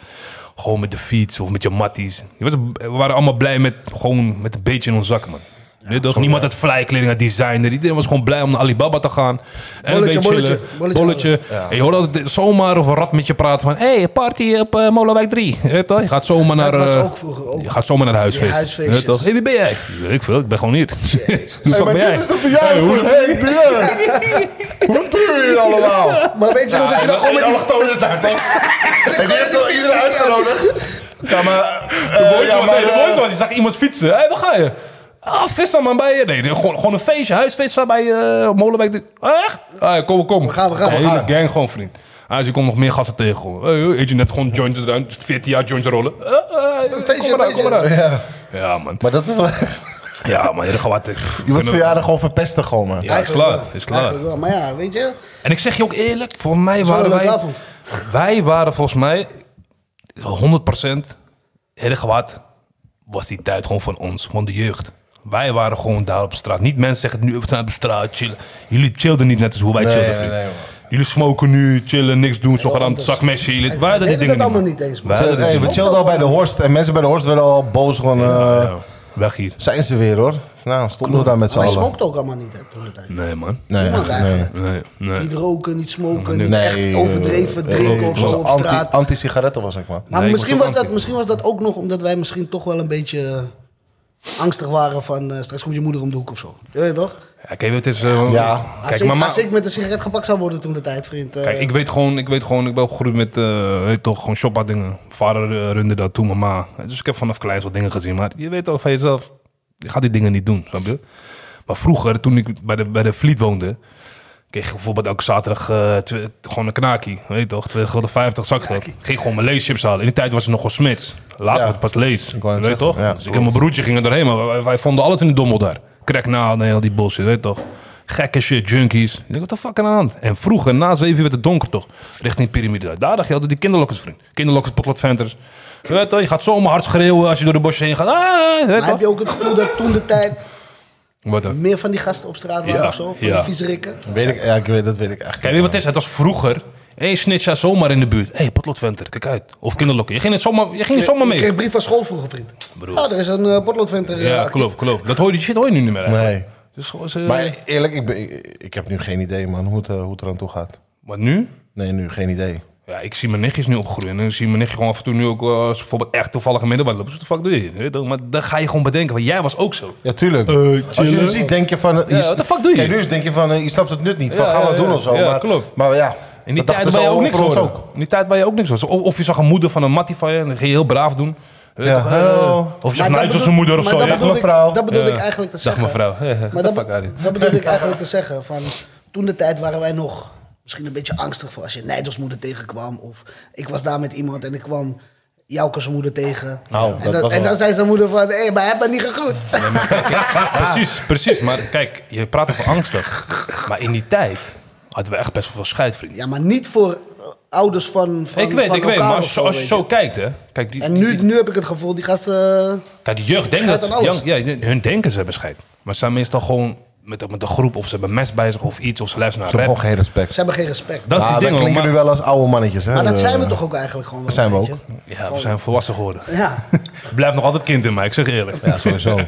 Speaker 1: Gewoon met de fiets of met je matties. Je was, we waren allemaal blij met, gewoon met een beetje in ons zakken, man. Je weet toch? Niemand had fly kleding, had designer. Iedereen was gewoon blij om naar Alibaba te gaan. En
Speaker 3: Bolletje,
Speaker 1: een beetje
Speaker 3: bolletje,
Speaker 1: chillen.
Speaker 3: bolletje,
Speaker 1: bolletje. En je hoorde altijd zomaar of een rat met je praten van... Hé, hey, party op eh, Molenwijk 3. Je weet toch? Je gaat zomaar naar...
Speaker 3: Dat was
Speaker 1: eh,
Speaker 3: ook vroeger ook.
Speaker 1: je gaat zomaar naar de huisfeest.
Speaker 3: Die huisfeestjes.
Speaker 1: Ja, toch? Hé, wie ben jij? Weet Ik veel, ik ben gewoon hier. Hoe
Speaker 2: Hey,
Speaker 1: fuck
Speaker 2: maar
Speaker 1: ben jij?
Speaker 2: dit is de verjaardag
Speaker 1: Hey, hoe-
Speaker 2: van Henk de Jong. Hoe doe je hier allemaal?
Speaker 3: Maar weet je nog dat je dan gewoon met die...
Speaker 2: allochtonen is daar toch? En die heeft toch iedereen uitgenodigd? Ja, maar... eh,
Speaker 1: De mooiste
Speaker 2: ja,
Speaker 1: was,
Speaker 2: maar,
Speaker 1: nee, de
Speaker 2: eh,
Speaker 1: mooiste was, je zag iemand fietsen. Hé, waar ga je? Ah, visser man, bij je. Nee, gewoon, gewoon een feestje, huisfeest waar bij eh Molenwijk. de- Echt? Ah, kom, kom.
Speaker 3: We gaan, we gaan,
Speaker 1: De
Speaker 3: we
Speaker 1: hele
Speaker 3: gaan.
Speaker 1: gang gewoon, vriend. Ah, dus je komt nog meer gasten tegen. gewoon. Hey, eet je net gewoon joint eruit, 14 jaar joints rollen. Eh, eh, kom maar uit, kom maar uit.
Speaker 2: Ja.
Speaker 1: Ja, man.
Speaker 2: Maar dat is wel...
Speaker 1: Ja, man, je gaat wat.
Speaker 2: Die was verjaardag gewoon verpesten gewoon, man.
Speaker 1: Ja, is
Speaker 3: Eigenlijk
Speaker 1: klaar,
Speaker 3: wel,
Speaker 1: is klaar.
Speaker 3: Eigenlijk wel, maar ja, weet je.
Speaker 1: En ik zeg je ook eerlijk, voor mij
Speaker 3: wel
Speaker 1: waren
Speaker 3: een
Speaker 1: wij...
Speaker 3: leuke
Speaker 1: Wij waren volgens mij 100% erg wat was die tijd gewoon van ons, van de jeugd. Wij waren gewoon daar op straat. Niet mensen zeggen nu, we zijn op straat, chillen. Jullie chillden niet net als hoe wij
Speaker 2: Nee,
Speaker 1: chillen,
Speaker 2: nee,
Speaker 1: vriend.
Speaker 2: nee, man.
Speaker 1: Jullie smoken nu, chillen, niks doen, zogenaamd
Speaker 3: anders.
Speaker 1: zakmesje. Jullie,
Speaker 3: En
Speaker 1: wij hadden die
Speaker 3: deden
Speaker 1: dingen
Speaker 3: dat
Speaker 1: niet,
Speaker 3: allemaal
Speaker 1: man.
Speaker 3: niet eens, man.
Speaker 1: Wij hadden
Speaker 2: Eh, Hey,
Speaker 1: die
Speaker 2: we
Speaker 1: dingen
Speaker 2: chillden al bij de Horst en mensen bij de Horst werden al boos van... eh,
Speaker 1: niet. Ja, Weg hier.
Speaker 2: Zijn ze weer, hoor. Nou, stonden we daar met z'n
Speaker 3: Wij
Speaker 2: allen.
Speaker 3: smokten ook allemaal niet hè, toen de tijd.
Speaker 1: Nee, man.
Speaker 2: Nee,
Speaker 3: Niemand
Speaker 2: echt, nee.
Speaker 3: eigenlijk.
Speaker 1: Nee, nee.
Speaker 3: Niet roken, niet smoken, niet
Speaker 2: Nee,
Speaker 3: echt overdreven
Speaker 2: eh,
Speaker 3: drinken
Speaker 2: eh,
Speaker 3: of
Speaker 2: het was
Speaker 3: zo op
Speaker 2: anti-
Speaker 3: straat.
Speaker 2: Anti-sigaretten was ik, man.
Speaker 3: Maar
Speaker 1: Nee, ik
Speaker 3: misschien,
Speaker 1: was ook
Speaker 3: was dat,
Speaker 1: anti.
Speaker 3: misschien was dat ook nog omdat wij misschien toch wel een beetje eh, angstig waren van eh, straks komt je moeder om de hoek of zo. Je weet toch?
Speaker 1: Ja, kijk, het is... eh,
Speaker 2: Ja.
Speaker 3: Als,
Speaker 1: Kijk,
Speaker 3: ik,
Speaker 1: maar-
Speaker 3: als ik met een sigaret gepakt zou worden toen de tijd, vriend. eh,
Speaker 1: Kijk, ik weet gewoon, ik weet gewoon, ik ben opgegroeid met, eh, weet toch, gewoon shoppa dingen. Mijn Vader eh, runde dat toen, mama. Dus ik heb vanaf kleins wat dingen gezien. Maar je weet ook van jezelf, je gaat die dingen niet doen, snap je? Maar vroeger, toen ik bij de, bij de Vliet woonde, kreeg ik bijvoorbeeld elke zaterdag eh, twe- gewoon een knakie. Weet je toch, 2,50 gulden zakgeld. Ging gewoon mijn leeschips halen. In die tijd was het nog wel smits. Later
Speaker 2: Ja.
Speaker 1: was het pas lees.
Speaker 2: Ik wou net
Speaker 1: weet je toch?
Speaker 2: zeggen, ja,
Speaker 1: dus ik en mijn broertje gingen erheen, maar wij, wij vonden alles in de dommel daar. Cracknaald en heel die bullshit, weet je toch? Gekke shit, junkies. Ik denk, wat de fuck aan de hand? En vroeger, na zeven uur werd het donker toch? Richting de piramide. uit. Daar dacht je altijd die kinderlokkers, vriend. Kinderlokkers, potloodventers. Je weet toch? Je gaat zomaar hard schreeuwen als je door de bosjes heen gaat. Ah, weet
Speaker 3: maar heb
Speaker 1: toch?
Speaker 3: je ook het gevoel dat toen de tijd
Speaker 1: Wat dan?
Speaker 3: meer van die gasten op straat waren
Speaker 1: Ja,
Speaker 3: of zo? Van
Speaker 1: ja.
Speaker 3: die vieze rikken?
Speaker 2: Weet ik, ja, ik weet, dat weet ik echt.
Speaker 1: Kijk, weet je wat het is? Het was vroeger. Hé, hey, snitcha zomaar in de buurt. Hé, hey, potloodventer, kijk uit. Of kinderlokken. Je ging, het zomaar, je ging er zomaar
Speaker 3: Ik kreeg
Speaker 1: mee.
Speaker 3: een brief van school vroeger, vriend.
Speaker 1: Broer.
Speaker 3: Oh, er is een eh potloodventer. eh,
Speaker 1: Ja,
Speaker 3: actief.
Speaker 1: klopt, klopt. Dat hoor je, die shit hoor je nu niet meer eigenlijk.
Speaker 2: Nee.
Speaker 1: Dus gewoon ze-
Speaker 2: Maar eerlijk, ik, ben, ik, ik heb nu geen idee, man, hoe het, eh, hoe het eraan toe gaat.
Speaker 1: Wat nu?
Speaker 2: Nee, nu geen idee.
Speaker 1: Ja, ik zie mijn nichtjes nu opgroeien. En ik zie mijn nichtje gewoon af en toe nu ook eh, als bijvoorbeeld echt toevallig in middelbaar lopen. Dus wat de fuck doe je? Weet je wel? Maar dan ga je gewoon bedenken, want jij was ook zo.
Speaker 2: Ja, tuurlijk. Als je
Speaker 1: Eh, chillen.
Speaker 2: het ziet, denk je van... eh,
Speaker 1: Ja, what the fuck doe je?
Speaker 2: Kijk, nu eens denk je van, eh, je snapt het nut niet. Van,
Speaker 1: Ja,
Speaker 2: gaan we
Speaker 1: ja,
Speaker 2: het doen
Speaker 1: ja.
Speaker 2: of zo.
Speaker 1: Ja,
Speaker 2: maar,
Speaker 1: klopt.
Speaker 2: Maar ja.
Speaker 1: In die
Speaker 2: dat
Speaker 1: tijd ben
Speaker 2: dachten
Speaker 1: je
Speaker 2: ze
Speaker 1: ook
Speaker 2: al
Speaker 1: niks
Speaker 2: over
Speaker 1: was.
Speaker 2: ons
Speaker 1: Ook. In die tijd ben je ook niks was. Of, of je zag een moeder van een mattie van je en dan ging je heel braaf doen. Weet je
Speaker 2: Ja,
Speaker 1: toch,
Speaker 2: hallo.
Speaker 1: eh, Of je zag
Speaker 3: Maar
Speaker 1: Nigel
Speaker 3: dat
Speaker 1: zijn
Speaker 3: bedoel-
Speaker 1: moeder of
Speaker 3: maar
Speaker 1: zo.
Speaker 3: Dat
Speaker 1: ja.
Speaker 3: bedoel,
Speaker 2: mevrouw.
Speaker 3: Ik, dat bedoel
Speaker 1: Ja.
Speaker 3: ik eigenlijk te
Speaker 1: Dag
Speaker 3: zeggen.
Speaker 1: mevrouw. Eh, eh, what
Speaker 3: Maar
Speaker 1: the
Speaker 3: dat,
Speaker 1: fuck, Arie?
Speaker 3: dat bedoel ik eigenlijk te zeggen. Van, toen de tijd waren wij nog misschien een beetje angstig voor als je Nijdels moeder tegenkwam. Of ik was daar met iemand en ik kwam Joukes moeder tegen.
Speaker 2: Nou, dat
Speaker 3: en, dan,
Speaker 2: was
Speaker 3: en
Speaker 2: wel-
Speaker 3: dan zei zijn moeder van, hé, maar hij bent niet gegroet.
Speaker 1: Precies, precies. Maar kijk, je praat over angstig. Maar in die tijd hadden we echt best wel veel scheid, vriend.
Speaker 3: ja, maar niet voor eh, ouders van, van
Speaker 1: ik weet,
Speaker 3: van
Speaker 1: ik weet.
Speaker 3: elkaar
Speaker 1: Maar
Speaker 3: of
Speaker 1: als, je- als je
Speaker 3: weet
Speaker 1: zo kijkt, hè. Kijk, die,
Speaker 3: En
Speaker 1: die-
Speaker 3: nu, nu heb ik het gevoel, die gasten... eh,
Speaker 1: Kijk, de jeugd denkt
Speaker 3: Schijt
Speaker 1: dat ze,
Speaker 3: aan alles.
Speaker 1: ja, ja, hun denken ze hebben scheid. Maar ze zijn meestal gewoon met, de- met een groep of ze hebben mes bij zich of iets of ze luisteren
Speaker 2: Ik
Speaker 1: naar
Speaker 2: heb
Speaker 1: rap.
Speaker 2: gewoon geen respect.
Speaker 3: Ze hebben geen respect.
Speaker 1: Dat is
Speaker 2: Ah,
Speaker 1: die
Speaker 2: wij
Speaker 1: ding, hoor,
Speaker 2: klinken
Speaker 1: maar,
Speaker 2: nu wel als oude mannetjes, hè.
Speaker 3: maar dat
Speaker 2: Eh,
Speaker 3: zijn we toch ook eigenlijk gewoon wel.
Speaker 2: zijn we
Speaker 3: weet
Speaker 2: ook.
Speaker 3: je?
Speaker 1: Ja, we zijn volwassen geworden.
Speaker 3: Ja,
Speaker 1: Ik blijf nog altijd kind in mij, ik zeg eerlijk.
Speaker 2: Ja, sowieso.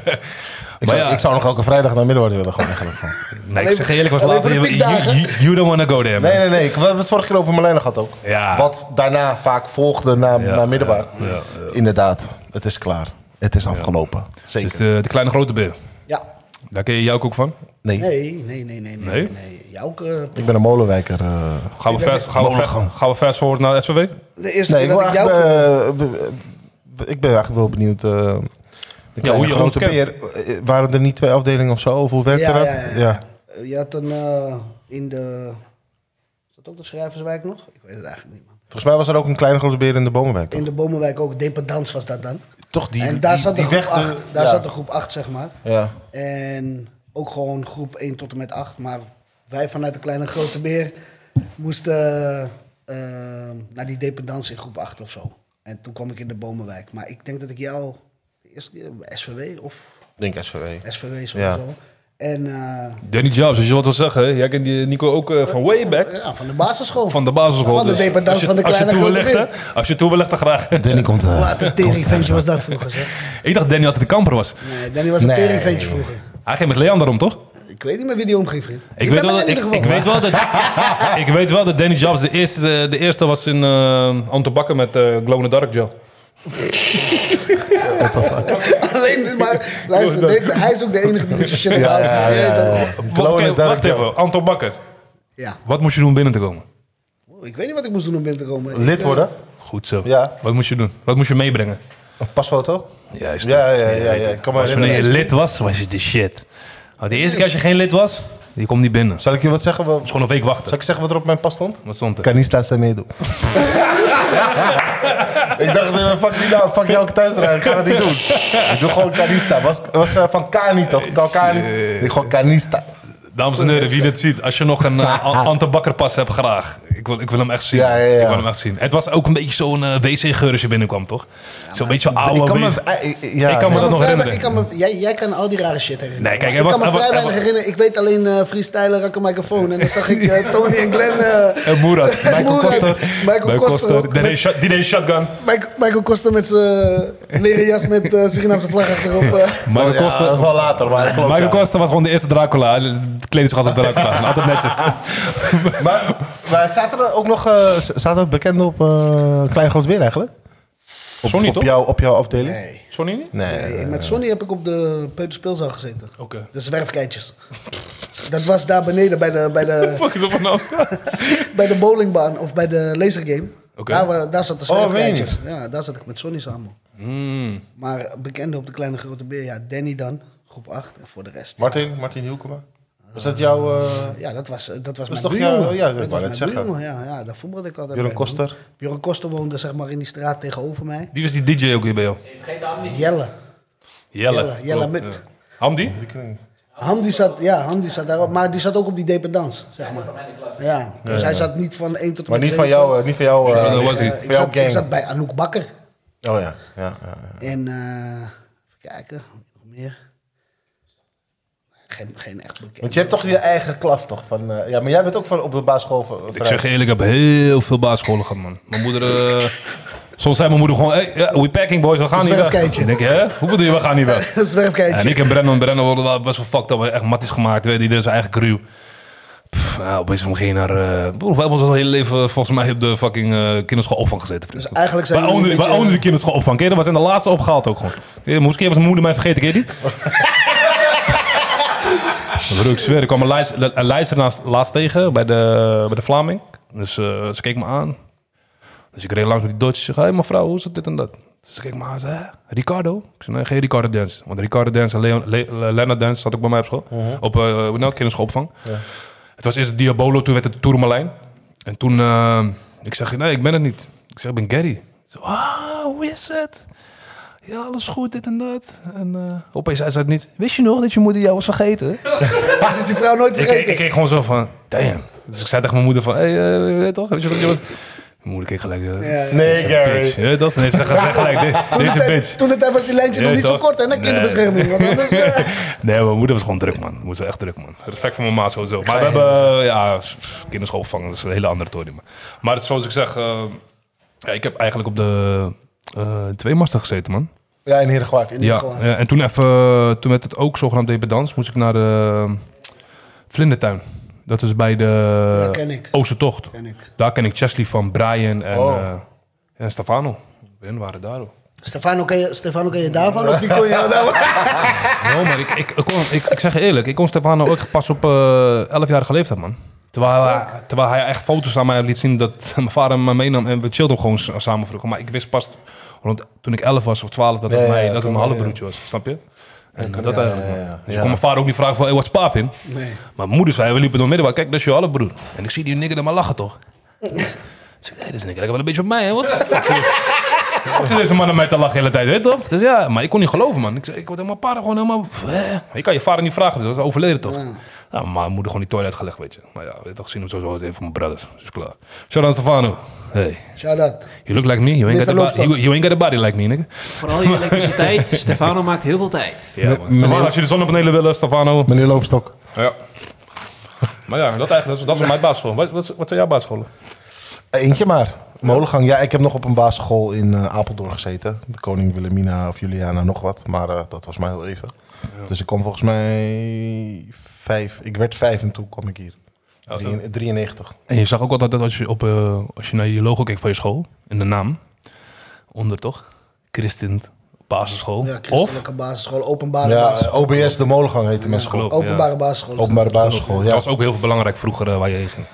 Speaker 2: Ik,
Speaker 1: Maar
Speaker 2: zou,
Speaker 1: ja.
Speaker 2: ik zou nog elke vrijdag naar Middenwoord willen gewoon eigenlijk. gewoon.
Speaker 1: Nee, ik
Speaker 3: Alleen-
Speaker 1: zeg je eerlijk, was
Speaker 3: alleen
Speaker 1: later...
Speaker 3: voor de
Speaker 1: You, you,
Speaker 3: piekdagen.
Speaker 1: you don't wanna go there, man.
Speaker 2: Nee, nee, nee. Ik, we hebben het vorige keer over Marlijn gehad ook.
Speaker 1: Ja.
Speaker 2: Wat daarna vaak volgde na,
Speaker 1: Ja,
Speaker 2: na Middenbaar.
Speaker 1: ja, ja,
Speaker 2: Inderdaad, het is klaar. Het is afgelopen. Zeker.
Speaker 1: Dus eh, de kleine grote beer.
Speaker 3: Ja.
Speaker 1: Daar ken je jou ook van.
Speaker 2: nee.
Speaker 3: Nee, nee, nee, nee. Nee?
Speaker 1: Nee?
Speaker 3: nee. Jou ook, eh,
Speaker 2: ik ben een molenwijker. eh.
Speaker 1: Gaan we,
Speaker 3: Ik ben
Speaker 1: vers, gaan, we ver-
Speaker 2: monogaam.
Speaker 1: gaan we vers forward naar SVW?
Speaker 3: de eerste
Speaker 2: nee, ik, wil
Speaker 3: keer dat ik jou...
Speaker 2: eigenlijk, eh, eh, ik ben eigenlijk wel benieuwd. eh, de kleine
Speaker 1: hoe je ons
Speaker 2: grote beer. Eh, Waren er niet twee afdelingen of zo? Of hoe werkte
Speaker 3: ja,
Speaker 2: dat?
Speaker 3: ja, ja, Eh, Je had een... eh, in de... Is dat ook de Schrijverswijk nog? Ik weet het eigenlijk niet, man.
Speaker 2: Volgens mij was er ook een kleine grote beer in de bomenwijk. toch?
Speaker 3: In de Bomenwijk ook. Dependans was dat dan.
Speaker 2: Toch die,
Speaker 3: en daar,
Speaker 2: die,
Speaker 3: zat, de
Speaker 2: die
Speaker 3: groep
Speaker 2: weg de-
Speaker 3: acht, daar
Speaker 2: ja.
Speaker 3: zat de groep 8, zeg maar.
Speaker 2: Ja.
Speaker 3: En ook gewoon groep 1 tot en met 8. Maar wij vanuit de kleine grote beer moesten eh, naar die dependance in groep 8 of zo. En toen kwam ik in de Bomenwijk. Maar ik denk dat ik jou de eerste keer bij SVW of
Speaker 2: Denk
Speaker 1: E.
Speaker 2: SVW.
Speaker 3: SVW sowieso.
Speaker 2: Ja.
Speaker 3: En eh,
Speaker 1: Danny Jobs, als je wat wil zeggen. hè? Jij kent die Nico ook eh, van way back.
Speaker 3: ja, van de basisschool.
Speaker 1: Van de basisschool.
Speaker 3: Van de
Speaker 1: dus.
Speaker 3: dependance
Speaker 1: Als je-
Speaker 3: van de
Speaker 1: als je
Speaker 3: kleine
Speaker 1: toe
Speaker 3: grote
Speaker 1: wil leggen, Als je toe wil leggen, graag.
Speaker 2: Danny komt eh,
Speaker 3: Wat een teringventje was dat vroeger, zeg.
Speaker 1: Ik dacht Danny altijd de kamper was.
Speaker 3: Nee, Danny was een
Speaker 2: Nee.
Speaker 3: teringventje vroeger.
Speaker 1: Hij ging met Leander om, toch?
Speaker 3: Ik weet niet meer wie die omging, vriend.
Speaker 1: Ik weet,
Speaker 3: Je bent
Speaker 1: wel,
Speaker 3: mij
Speaker 1: dat,
Speaker 3: in
Speaker 1: ik,
Speaker 3: ieder
Speaker 1: ik
Speaker 3: geval.
Speaker 1: weet wel dat, ik weet wel dat Danny Jobs de eerste, de eerste was in eh Anton Bakker met eh Glow in the Dark Job.
Speaker 3: Alleen, maar luister, dit- hij is ook de enige die dit soort shit houdt.
Speaker 2: ja,
Speaker 3: Je weet
Speaker 2: ja,
Speaker 3: toch?
Speaker 2: ja. Glow in the Dark
Speaker 1: Wacht
Speaker 2: Joe.
Speaker 1: even, Anton Bakker.
Speaker 3: Ja.
Speaker 1: Wat moest je doen om binnen te komen?
Speaker 3: Ik weet niet wat ik moest doen om binnen te komen. Ik,
Speaker 2: Lid
Speaker 3: eh,
Speaker 2: worden?
Speaker 1: Goed zo.
Speaker 2: Ja.
Speaker 1: Wat moest je doen? Wat moest je meebrengen?
Speaker 2: Een pasfoto?
Speaker 1: Juist.
Speaker 2: Ja, ja, ja, ja. Ik kan me
Speaker 1: Als wanneer je
Speaker 2: herinneren.
Speaker 1: lid was, was je de shit. Maar de eerste keer als je geen lid was, je komt niet binnen. Het
Speaker 2: Zal ik je wat zeggen? Wel-
Speaker 1: is gewoon een week wachten.
Speaker 2: Zal ik zeggen wat er op mijn pas stond?
Speaker 1: Wat stond er?
Speaker 2: Canista se meedoen. ik dacht, eh, fuck die naam, fuck jou ook thuis rijden. Ik ga dat niet doen. Ik doe gewoon Canista. Was, was eh, van Kani toch? Kalkani.
Speaker 1: Shit.
Speaker 2: Ik gewoon Canista.
Speaker 1: Dames en heren, wie dit ziet, als je nog een eh, An- Anton Bakker pas hebt, graag. Ik wil, ik wil hem echt zien.
Speaker 2: Ja, ja, ja.
Speaker 1: Ik wil hem echt zien. Het was ook een beetje zo'n eh, wc-geur als je binnenkwam, toch? zo'n beetje zo'n oude...
Speaker 2: Ik kan me...
Speaker 1: wc-
Speaker 2: eh, eh, Ja,
Speaker 1: Ik kan me dat
Speaker 3: ik kan me
Speaker 1: nog
Speaker 3: vrij
Speaker 1: herinneren.
Speaker 3: we- ik kan me- jij, jij kan al die rare shit herinneren.
Speaker 1: Nee, kijk,
Speaker 3: Maar
Speaker 1: hij
Speaker 3: ik
Speaker 1: was-
Speaker 3: kan me
Speaker 1: hij
Speaker 3: vrij
Speaker 1: was- hij
Speaker 3: weinig
Speaker 1: was-
Speaker 3: herinneren. Ik weet alleen eh freestyler, rakken microfoon. En dan zag ik eh, Tony en Glenn. eh,
Speaker 1: Eh, Moerad.
Speaker 3: Moerad.
Speaker 1: Michael Koster.
Speaker 3: Michael Koster. ook.
Speaker 1: Danny
Speaker 3: Met-
Speaker 1: Shot- Danny
Speaker 2: Oh,
Speaker 1: Shotgun.
Speaker 3: Michael- Michael Koster met zijn leren jas met eh, Surinaamse vlag achterop. eh.
Speaker 1: Michael
Speaker 2: Ja,
Speaker 1: Koster.
Speaker 2: dat is wel later, maar dat klopt,
Speaker 1: Michael
Speaker 2: ja.
Speaker 1: Koster was gewoon de eerste Dracula. Hij Kleedde zich altijd als Dracula. Maar Altijd netjes.
Speaker 2: Maar, maar zaten er ook nog eh, z- zaten er bekenden op eh, Klein Groot Weer eigenlijk? Op,
Speaker 1: Sonny,
Speaker 2: op
Speaker 1: toch?
Speaker 2: Jouw, op jouw afdeling?
Speaker 3: Nee.
Speaker 1: Sonny niet?
Speaker 2: Nee.
Speaker 3: Nee, met Sonny heb ik op de peuterspeelzaal gezeten.
Speaker 1: Oké.
Speaker 3: De zwerfkeitjes. Dat was daar beneden bij de, bij de,
Speaker 1: Fuck is op nou?
Speaker 3: bij de bowlingbaan of bij de lasergame.
Speaker 1: Oké.
Speaker 3: Daar, wa- daar zat de
Speaker 2: Oh,
Speaker 3: zwerfkeitjes. ja, daar zat ik met Sonny samen.
Speaker 2: Hmm.
Speaker 3: Maar bekende op de kleine grote beer, ja, Danny dan, groep 8 en voor de rest.
Speaker 2: Martin, Martin Hielkema. Was dat jouw... eh,
Speaker 3: Ja, dat was, eh, dat was
Speaker 2: Dat is
Speaker 3: mijn
Speaker 2: toch
Speaker 3: buurjongen.
Speaker 2: jouw- ja, dat wou
Speaker 3: dat was
Speaker 2: ik
Speaker 3: mijn
Speaker 2: zeggen.
Speaker 3: buurjongen, ja, ja. Daar voetbalde ik altijd
Speaker 2: Björn
Speaker 3: bij,
Speaker 2: Koster?
Speaker 3: man. Björn Koster woonde zeg maar in die straat tegenover mij.
Speaker 1: Wie was die DJ ook hier bij jou?
Speaker 3: Jelle.
Speaker 1: Jelle.
Speaker 3: Jelle, Jelle
Speaker 1: Klopt,
Speaker 3: Mut.
Speaker 1: ja. Hamdi?
Speaker 3: Ham die zat, ja, Ham die zat daarop, maar die zat ook op die dependance, zeg maar. Ja, dus hij zat niet van 1 tot en
Speaker 2: Maar
Speaker 3: met
Speaker 2: niet van
Speaker 3: zeven.
Speaker 2: jou, eh, niet van jou. eh,
Speaker 1: Ja, dat was
Speaker 3: Eh,
Speaker 1: hij.
Speaker 2: van
Speaker 3: ik,
Speaker 2: jouw
Speaker 3: zat, ik
Speaker 2: gang.
Speaker 3: zat bij Anouk Bakker.
Speaker 2: Oh ja, ja, ja. ja.
Speaker 3: En eh, even kijken, nog meer. Geen, geen echt bekend.
Speaker 2: Want je hebt toch je eigen klas, toch? Van, eh, ja, maar jij bent ook van, op de basisschool. van- van-
Speaker 1: Ik zeg je eerlijk, ik heb heel veel basisscholen gehad, man. Mijn moeder... eh, soms zei mijn moeder gewoon... Hey, ja, we packing, boys. We gaan niet weg.
Speaker 3: Zwerfkeitje.
Speaker 1: Ik denk, hè? Hoe bedoel je, we gaan niet weg? En
Speaker 3: Zwerfkeitje.
Speaker 1: ik en Brennan, Brennan worden wel best wel fucked up. Echt matties gemaakt, weet je, iedereen zijn eigen crew. Pff, nou, opeens van geen naar... eh broer, wij hebben ons al hele leven eh, volgens mij op de fucking eh, kinderschoolopvang gezeten.
Speaker 3: Dus eigenlijk zijn
Speaker 1: wij
Speaker 3: jullie
Speaker 1: ownen,
Speaker 3: een
Speaker 1: wij
Speaker 3: beetje-
Speaker 1: ownen de kinderschoolopvang. Ken je dat? We zijn de laatste opgehaald ook gewoon. Eh, Hoeveel keer was mijn moeder mij vergeten, ken je die? Broer, ik zweer, ik kwam een lijst, een lijster naast, laatst tegen bij de, bij de Vlaming. Dus eh, ze keek me aan. Dus ik reed langs met die Dodge. Ik zeg, hey, mevrouw, hoe is het dit en dat? Dus ze keek me aan en zei, "Hè, Ricardo? Ik zei, nee, geen Ricardo Dance. Want Ricardo Dance en Leon, Le- Le- Lennart Dance zat ook bij mij op
Speaker 3: Mhm.
Speaker 1: school. Op, eh hoe noem je dat? kinderschoolopvang. Het was eerst het Diabolo, toen werd het Tourmalijn. En toen, eh, ik zeg, nee, ik ben het niet. Ik zeg, ik ben Gary. Ze, ah, hoe is het? Ja, alles goed, dit en dat. En eh opeens zei ze het niet. Wist je nog dat je moeder jou was vergeten?
Speaker 3: Dat is die vrouw nooit
Speaker 1: Ik, ik,
Speaker 3: vergeten.
Speaker 1: ik keek gewoon zo van, damn. Dus ik zei tegen mijn moeder van, hé, hey, eh, weet je toch, weet je wat je was? Mijn moeder keek gelijk, eh,
Speaker 3: Ja, ja.
Speaker 2: Nee,
Speaker 1: bitch.
Speaker 2: Gary.
Speaker 1: Weet je toch? Nee, ze zegt gelijk, dit-
Speaker 3: Toen de
Speaker 1: deze
Speaker 3: tijd-
Speaker 1: bitch.
Speaker 3: Toen de tijd was die lijntje nog
Speaker 1: Ja,
Speaker 3: niet zo
Speaker 1: toch?
Speaker 3: kort, hè? Naar
Speaker 1: Nee.
Speaker 3: kinderbescherming. want anders, eh,
Speaker 1: Nee, mijn moeder was gewoon druk, man. Moeder was echt druk, man. Respect voor mijn ma sowieso. Maar we hebben, eh, ja, kinderschoolopvang, dat is een hele andere toren. Maar het is zoals ik zeg, eh, ja, ik heb eigenlijk op de eh twee master gezeten, man.
Speaker 2: Ja, in Heerdegewaard.
Speaker 3: En
Speaker 1: Ja,
Speaker 3: gewoon-
Speaker 1: ja, en toen even, eh, toen werd het ook zogenaamd dependans, moest ik naar de eh, Vlindertuin. Dat is bij de
Speaker 3: Ja, ken ik.
Speaker 1: Oostertocht.
Speaker 3: ken ik.
Speaker 1: Daar ken ik Chesley van, Brian en,
Speaker 2: Oh.
Speaker 1: eh, en Stefano. Ben waren daar hoor.
Speaker 3: Stefano ken, je, Stefano ken je daarvan? Of die kon je daarvan?
Speaker 1: No, maar ik, ik, ik, kon, ik, ik zeg je eerlijk, ik kon Stefano ook pas op eh 11-jarige leeftijd, man. Terwijl hij, terwijl hij echt foto's aan mij liet zien dat mijn vader me meenam en we chillden gewoon s- samen vroeger. Maar ik wist pas rond, toen ik 11 was of 12 dat het,
Speaker 2: Ja, ja,
Speaker 1: mij,
Speaker 2: ja,
Speaker 1: dat het
Speaker 2: toen-
Speaker 1: mijn
Speaker 2: ja,
Speaker 1: halfbroertje was, snap je? En dat
Speaker 2: ja,
Speaker 1: eigenlijk,
Speaker 2: ja,
Speaker 1: man.
Speaker 2: ja.
Speaker 1: Dus ik
Speaker 2: Ja.
Speaker 1: kon mijn vader ook niet vragen van, hey, wat is paap in?
Speaker 3: Nee.
Speaker 1: Mijn moeder zei, we liepen door middenbaar, kijk, dat is je halfbroer. En ik zie die nigger dan maar lachen, toch? Dus ik, hey, dat is een nigger, wel een beetje op mij, hè? Wat de fuck is dit? Ze deze man aan mij te lachen de hele tijd, weet je toch? Dus ja, maar ik kon niet geloven, man. Ik, zei, ik word helemaal para, gewoon helemaal... hè? Je kan je vader niet vragen, dat is overleden, toch? Ja, maar mijn moeder gewoon die toilet uitgelegd, weet je. Maar ja, weet je toch, zien hem sowieso als een van mijn brothers. Dus klaar. Shout out Stefano. Hey,
Speaker 3: Shout out.
Speaker 1: you look like me, you ain't, got
Speaker 3: Mr.
Speaker 1: a, bo-
Speaker 3: Loopstok.
Speaker 1: you, you ain't got a body like me, nigga.
Speaker 4: Vooral je elektriciteit. Stefano maakt heel veel tijd.
Speaker 1: Ja, man. Stefano, als je de zonnepanelen willen, Stefano.
Speaker 2: Meneer Loopstok.
Speaker 1: Ja. Maar ja, dat eigenlijk, dat is, dat is mijn basisschool. Wat, wat, wat zijn jouw basisscholen?
Speaker 2: Eh, Eentje maar. Molengang. Ja, ik heb nog op een basisschool in eh, Apeldoorn gezeten. De koning Wilhelmina of Juliana, nog wat. Maar eh, dat was maar heel even. Dus ik kwam volgens mij vijf. Ik werd vijf en toen kwam ik hier.
Speaker 1: Oh,
Speaker 2: Drie- 93.
Speaker 1: En je zag ook altijd dat als je, op, eh, als je naar je logo keek van je school, in de naam, onder toch? Christen basisschool.
Speaker 3: Ja,
Speaker 1: of?
Speaker 3: christelijke basisschool, openbare
Speaker 2: Ja,
Speaker 3: basisschool.
Speaker 2: eh, OBS de Molengang heette mijn school.
Speaker 1: Klopt, Ah, ja.
Speaker 3: Openbare basisschool.
Speaker 2: Openbare basisschool,
Speaker 1: Dat
Speaker 2: ja.
Speaker 1: was ook heel belangrijk vroeger eh, waar je heen ging.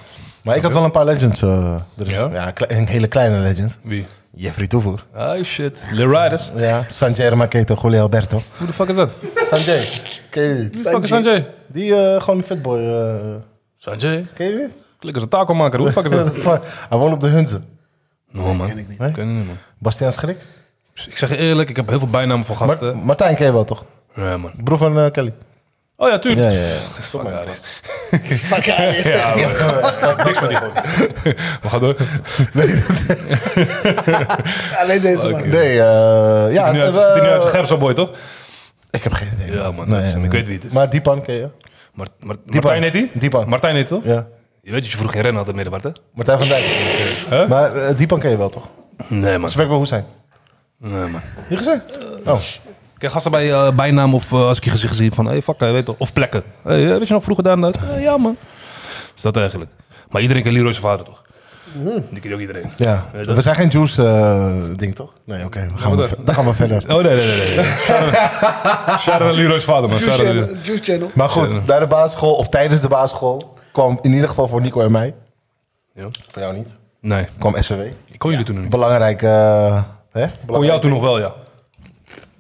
Speaker 2: Maar ik had wel een paar legends. eh, er is-
Speaker 1: Ja?
Speaker 2: ja, kle- een hele kleine legend.
Speaker 1: Wie?
Speaker 2: Jeffrey Toevoer.
Speaker 1: Ah shit. The Riders.
Speaker 2: Ja. Sanjay Ramaketo, Julio Alberto.
Speaker 1: Hoe de fuck is dat?
Speaker 2: Sanjay. Ken je
Speaker 1: Wie
Speaker 2: niet?
Speaker 1: de fuck is Sanjay?
Speaker 2: Die eh, gewoon een fatboy. eh
Speaker 1: Sanjay?
Speaker 2: ken je niet?
Speaker 1: Klik als een takelmaker. Hoe de fuck is dat?
Speaker 2: Hij woont op de Hunze.
Speaker 1: No man.
Speaker 3: ken ik niet.
Speaker 1: Nee? Ken ik niet, man.
Speaker 2: Bastiaan Schrik.
Speaker 1: Ik zeg je eerlijk, ik heb heel veel bijnamen van
Speaker 2: Mar-
Speaker 1: gasten.
Speaker 2: Martijn ken je wel toch?
Speaker 1: Nee man.
Speaker 2: Broer van eh, Kelly.
Speaker 1: Oh ja, tuurlijk.
Speaker 2: Ja, ja, ja.
Speaker 1: Fuck out of
Speaker 3: Fuck ja, dit is echt-
Speaker 1: here. Niks van die gozer. We gaan door.
Speaker 3: Alleen deze man.
Speaker 2: Nee, eh ja.
Speaker 1: Ja, nu
Speaker 2: het
Speaker 1: uit,
Speaker 2: is,
Speaker 1: ziet er nu
Speaker 2: eh,
Speaker 1: uit als een Gerso-boy, toch?
Speaker 2: Ik heb geen idee.
Speaker 1: Ja, man, dat is- ik weet wie het is.
Speaker 2: Maar Diepan ken je?
Speaker 1: Mar- Mar- Martijn heet hij?
Speaker 2: Diepan.
Speaker 1: Martijn heet hij, toch?
Speaker 2: Ja.
Speaker 1: Je weet dat je vroeger geen rennen had in Middenbart, hè?
Speaker 2: Martijn van Dijk. Maar eh, Diepan ken je wel toch?
Speaker 1: Nee, man.
Speaker 2: Ze werkt bij Hoesijn.
Speaker 1: Nee, man.
Speaker 2: Niet gezien? Oh.
Speaker 1: Ik heb gasten bij eh, bijnaam of eh, als ik je gezicht zie van... Hey, fuck, hij weet toch. Of plekken. Hey, eh, weet je nog vroeger daar en dat? Eh, ja, man. Is dat eigenlijk. Maar iedereen kent Leroy zijn vader, toch? Die kent ook iedereen.
Speaker 2: Ja.
Speaker 1: Nee, dat-
Speaker 2: We zijn geen juice eh, ding toch? Nee, oké. we gaan
Speaker 1: maar
Speaker 2: we
Speaker 1: dat-
Speaker 2: ver- dan gaan we verder.
Speaker 1: Oh, nee, nee, nee. nee. Shout-out aan Leroy's vader, man.
Speaker 3: Juice
Speaker 1: Shout-out aan
Speaker 3: Channel.
Speaker 1: Leroy.
Speaker 3: Juice Channel.
Speaker 2: Maar goed,
Speaker 1: Ja.
Speaker 2: naar de basisschool of tijdens de basisschool kwam in ieder geval voor Nico en mij.
Speaker 1: Ja.
Speaker 2: Voor jou niet.
Speaker 1: Nee,
Speaker 2: Kwam SW.
Speaker 1: ik kon jullie toen nog niet.
Speaker 2: Belangrijk. eh hè?
Speaker 1: Kon jou
Speaker 2: Belangrijk.
Speaker 1: toen nog wel, ja.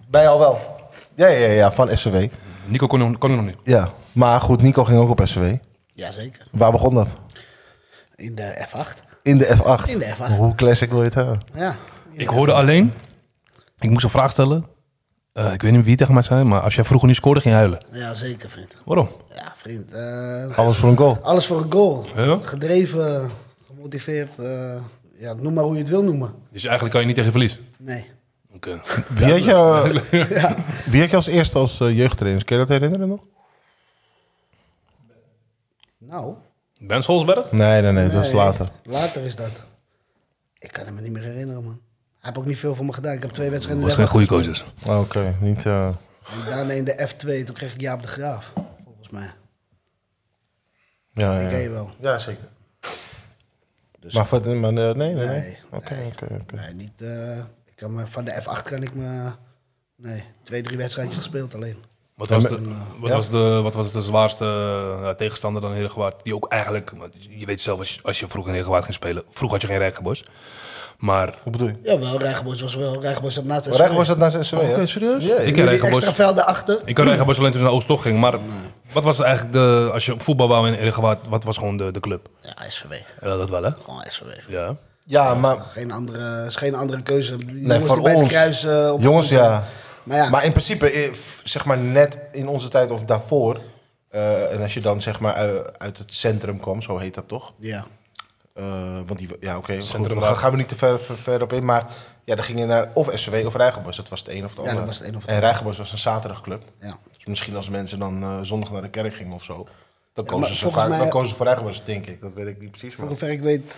Speaker 2: Bij jou wel. Ja, ja, ja, van SW.
Speaker 1: Nico kon, nog- kon ik nog niet.
Speaker 2: Ja. Maar goed, Nico ging ook op SW.
Speaker 3: Jazeker.
Speaker 2: Waar begon dat?
Speaker 3: In de F8.
Speaker 2: In de F8.
Speaker 3: In de F8.
Speaker 2: Hoe classic wil je het hebben?
Speaker 3: Ja.
Speaker 1: Ik hoorde alleen... Ik moest een vraag stellen. Eh, ik weet niet wie het tegen mij zei, maar als jij vroeger niet scoorde, ging je huilen.
Speaker 3: ja, zeker vriend.
Speaker 1: Waarom?
Speaker 3: Ja, vriend. eh,
Speaker 2: Alles voor een goal.
Speaker 3: alles voor een goal.
Speaker 1: Ja?
Speaker 3: Gedreven, gemotiveerd. eh, ja, noem maar hoe je het wil noemen.
Speaker 1: Dus eigenlijk kan je niet tegen verlies.
Speaker 3: Nee.
Speaker 1: Oké.
Speaker 2: Wie had je, wie had je als eerste als eh, jeugdtrainer? Kun je dat herinneren nog?
Speaker 3: Nou.
Speaker 1: Ben Scholsberg?
Speaker 2: Nee, nee, nee. dat is
Speaker 3: nee,
Speaker 2: later.
Speaker 3: Later is dat. Ik kan het me niet meer herinneren, man. Hij heeft ook niet veel voor me gedaan. Ik heb twee wedstrijden
Speaker 1: Was
Speaker 3: in de
Speaker 1: geen goede
Speaker 3: F8
Speaker 1: coaches.
Speaker 2: Oké, niet... eh,
Speaker 3: gespeeld. En daarna in de F2. Toen kreeg ik Jaap de Graaf. Volgens mij.
Speaker 2: ja, ja,
Speaker 3: Ik
Speaker 2: ja.
Speaker 3: ken je wel.
Speaker 2: Ja, zeker. maar voor, de- maar, eh, nee, nee, nee.
Speaker 3: Nee,
Speaker 2: Oké, oké, oké.
Speaker 3: Nee, niet. eh, ik kan me, van de F8 kan ik me. Nee, twee, drie wedstrijdjes gespeeld alleen.
Speaker 1: Wat was,
Speaker 2: Ja,
Speaker 1: de, wat, was de, wat was de zwaarste eh, tegenstander dan Herengewaard? Die ook eigenlijk, want je weet zelf als je, als je vroeg in Herengewaard ging spelen. Vroeg had je geen Rijgenbos. Maar.
Speaker 2: Hoe bedoel je?
Speaker 3: Ja, wel. Rijgenbos was wel. Rijgenbos zat naast de
Speaker 2: Recht was dat naar zijn SW,
Speaker 1: Oké,
Speaker 2: hè?
Speaker 1: serieus?
Speaker 2: Ja,
Speaker 1: ik ken
Speaker 2: ik
Speaker 3: Die extra
Speaker 1: Rijgenbos.
Speaker 3: velden achter.
Speaker 1: Ik ken Rijgenbos alleen toen ze naar Oostog ging. Maar wat was eigenlijk de, als je op voetbal wou in Herengewaard, wat was gewoon de, de club?
Speaker 3: Ja, SVW.
Speaker 1: Ja, dat wel hè?
Speaker 3: Gewoon SVW.
Speaker 1: Ja.
Speaker 2: Ja, maar...
Speaker 3: Geen andere, is geen andere keuze. Die
Speaker 2: voor
Speaker 3: die bij het
Speaker 2: ons.
Speaker 3: kruis, eh, op
Speaker 2: Jongens,
Speaker 3: de grond
Speaker 2: ja.
Speaker 3: zijn. Maar ja,
Speaker 2: Maar in principe, eh, f- zeg maar net in onze tijd of daarvoor... eh, en als je dan zeg maar eh, uit het centrum kwam, zo heet dat toch?
Speaker 3: ja.
Speaker 2: Eh, want die, ja, oké. goed,
Speaker 1: Centrum
Speaker 2: we
Speaker 1: Waal.
Speaker 2: gaan, gaan we niet te ver, ver, ver op in. Maar ja, dan ging je naar of SW of Rijgenbos. Dat was het een of het
Speaker 3: Ja,
Speaker 2: ander.
Speaker 3: dat was het een of het
Speaker 2: en Rijgenbos was een zaterdagclub.
Speaker 3: ja.
Speaker 2: Dus misschien als mensen dan eh, zondag naar de kerk gingen of zo. Dan
Speaker 3: maar
Speaker 2: kozen, ze,
Speaker 3: volgens
Speaker 2: vaak,
Speaker 3: mij-
Speaker 2: dan kozen ze voor Rijgenbos, denk ik. Dat weet ik niet precies.
Speaker 3: Voor
Speaker 2: Maar...
Speaker 3: zover ik weet,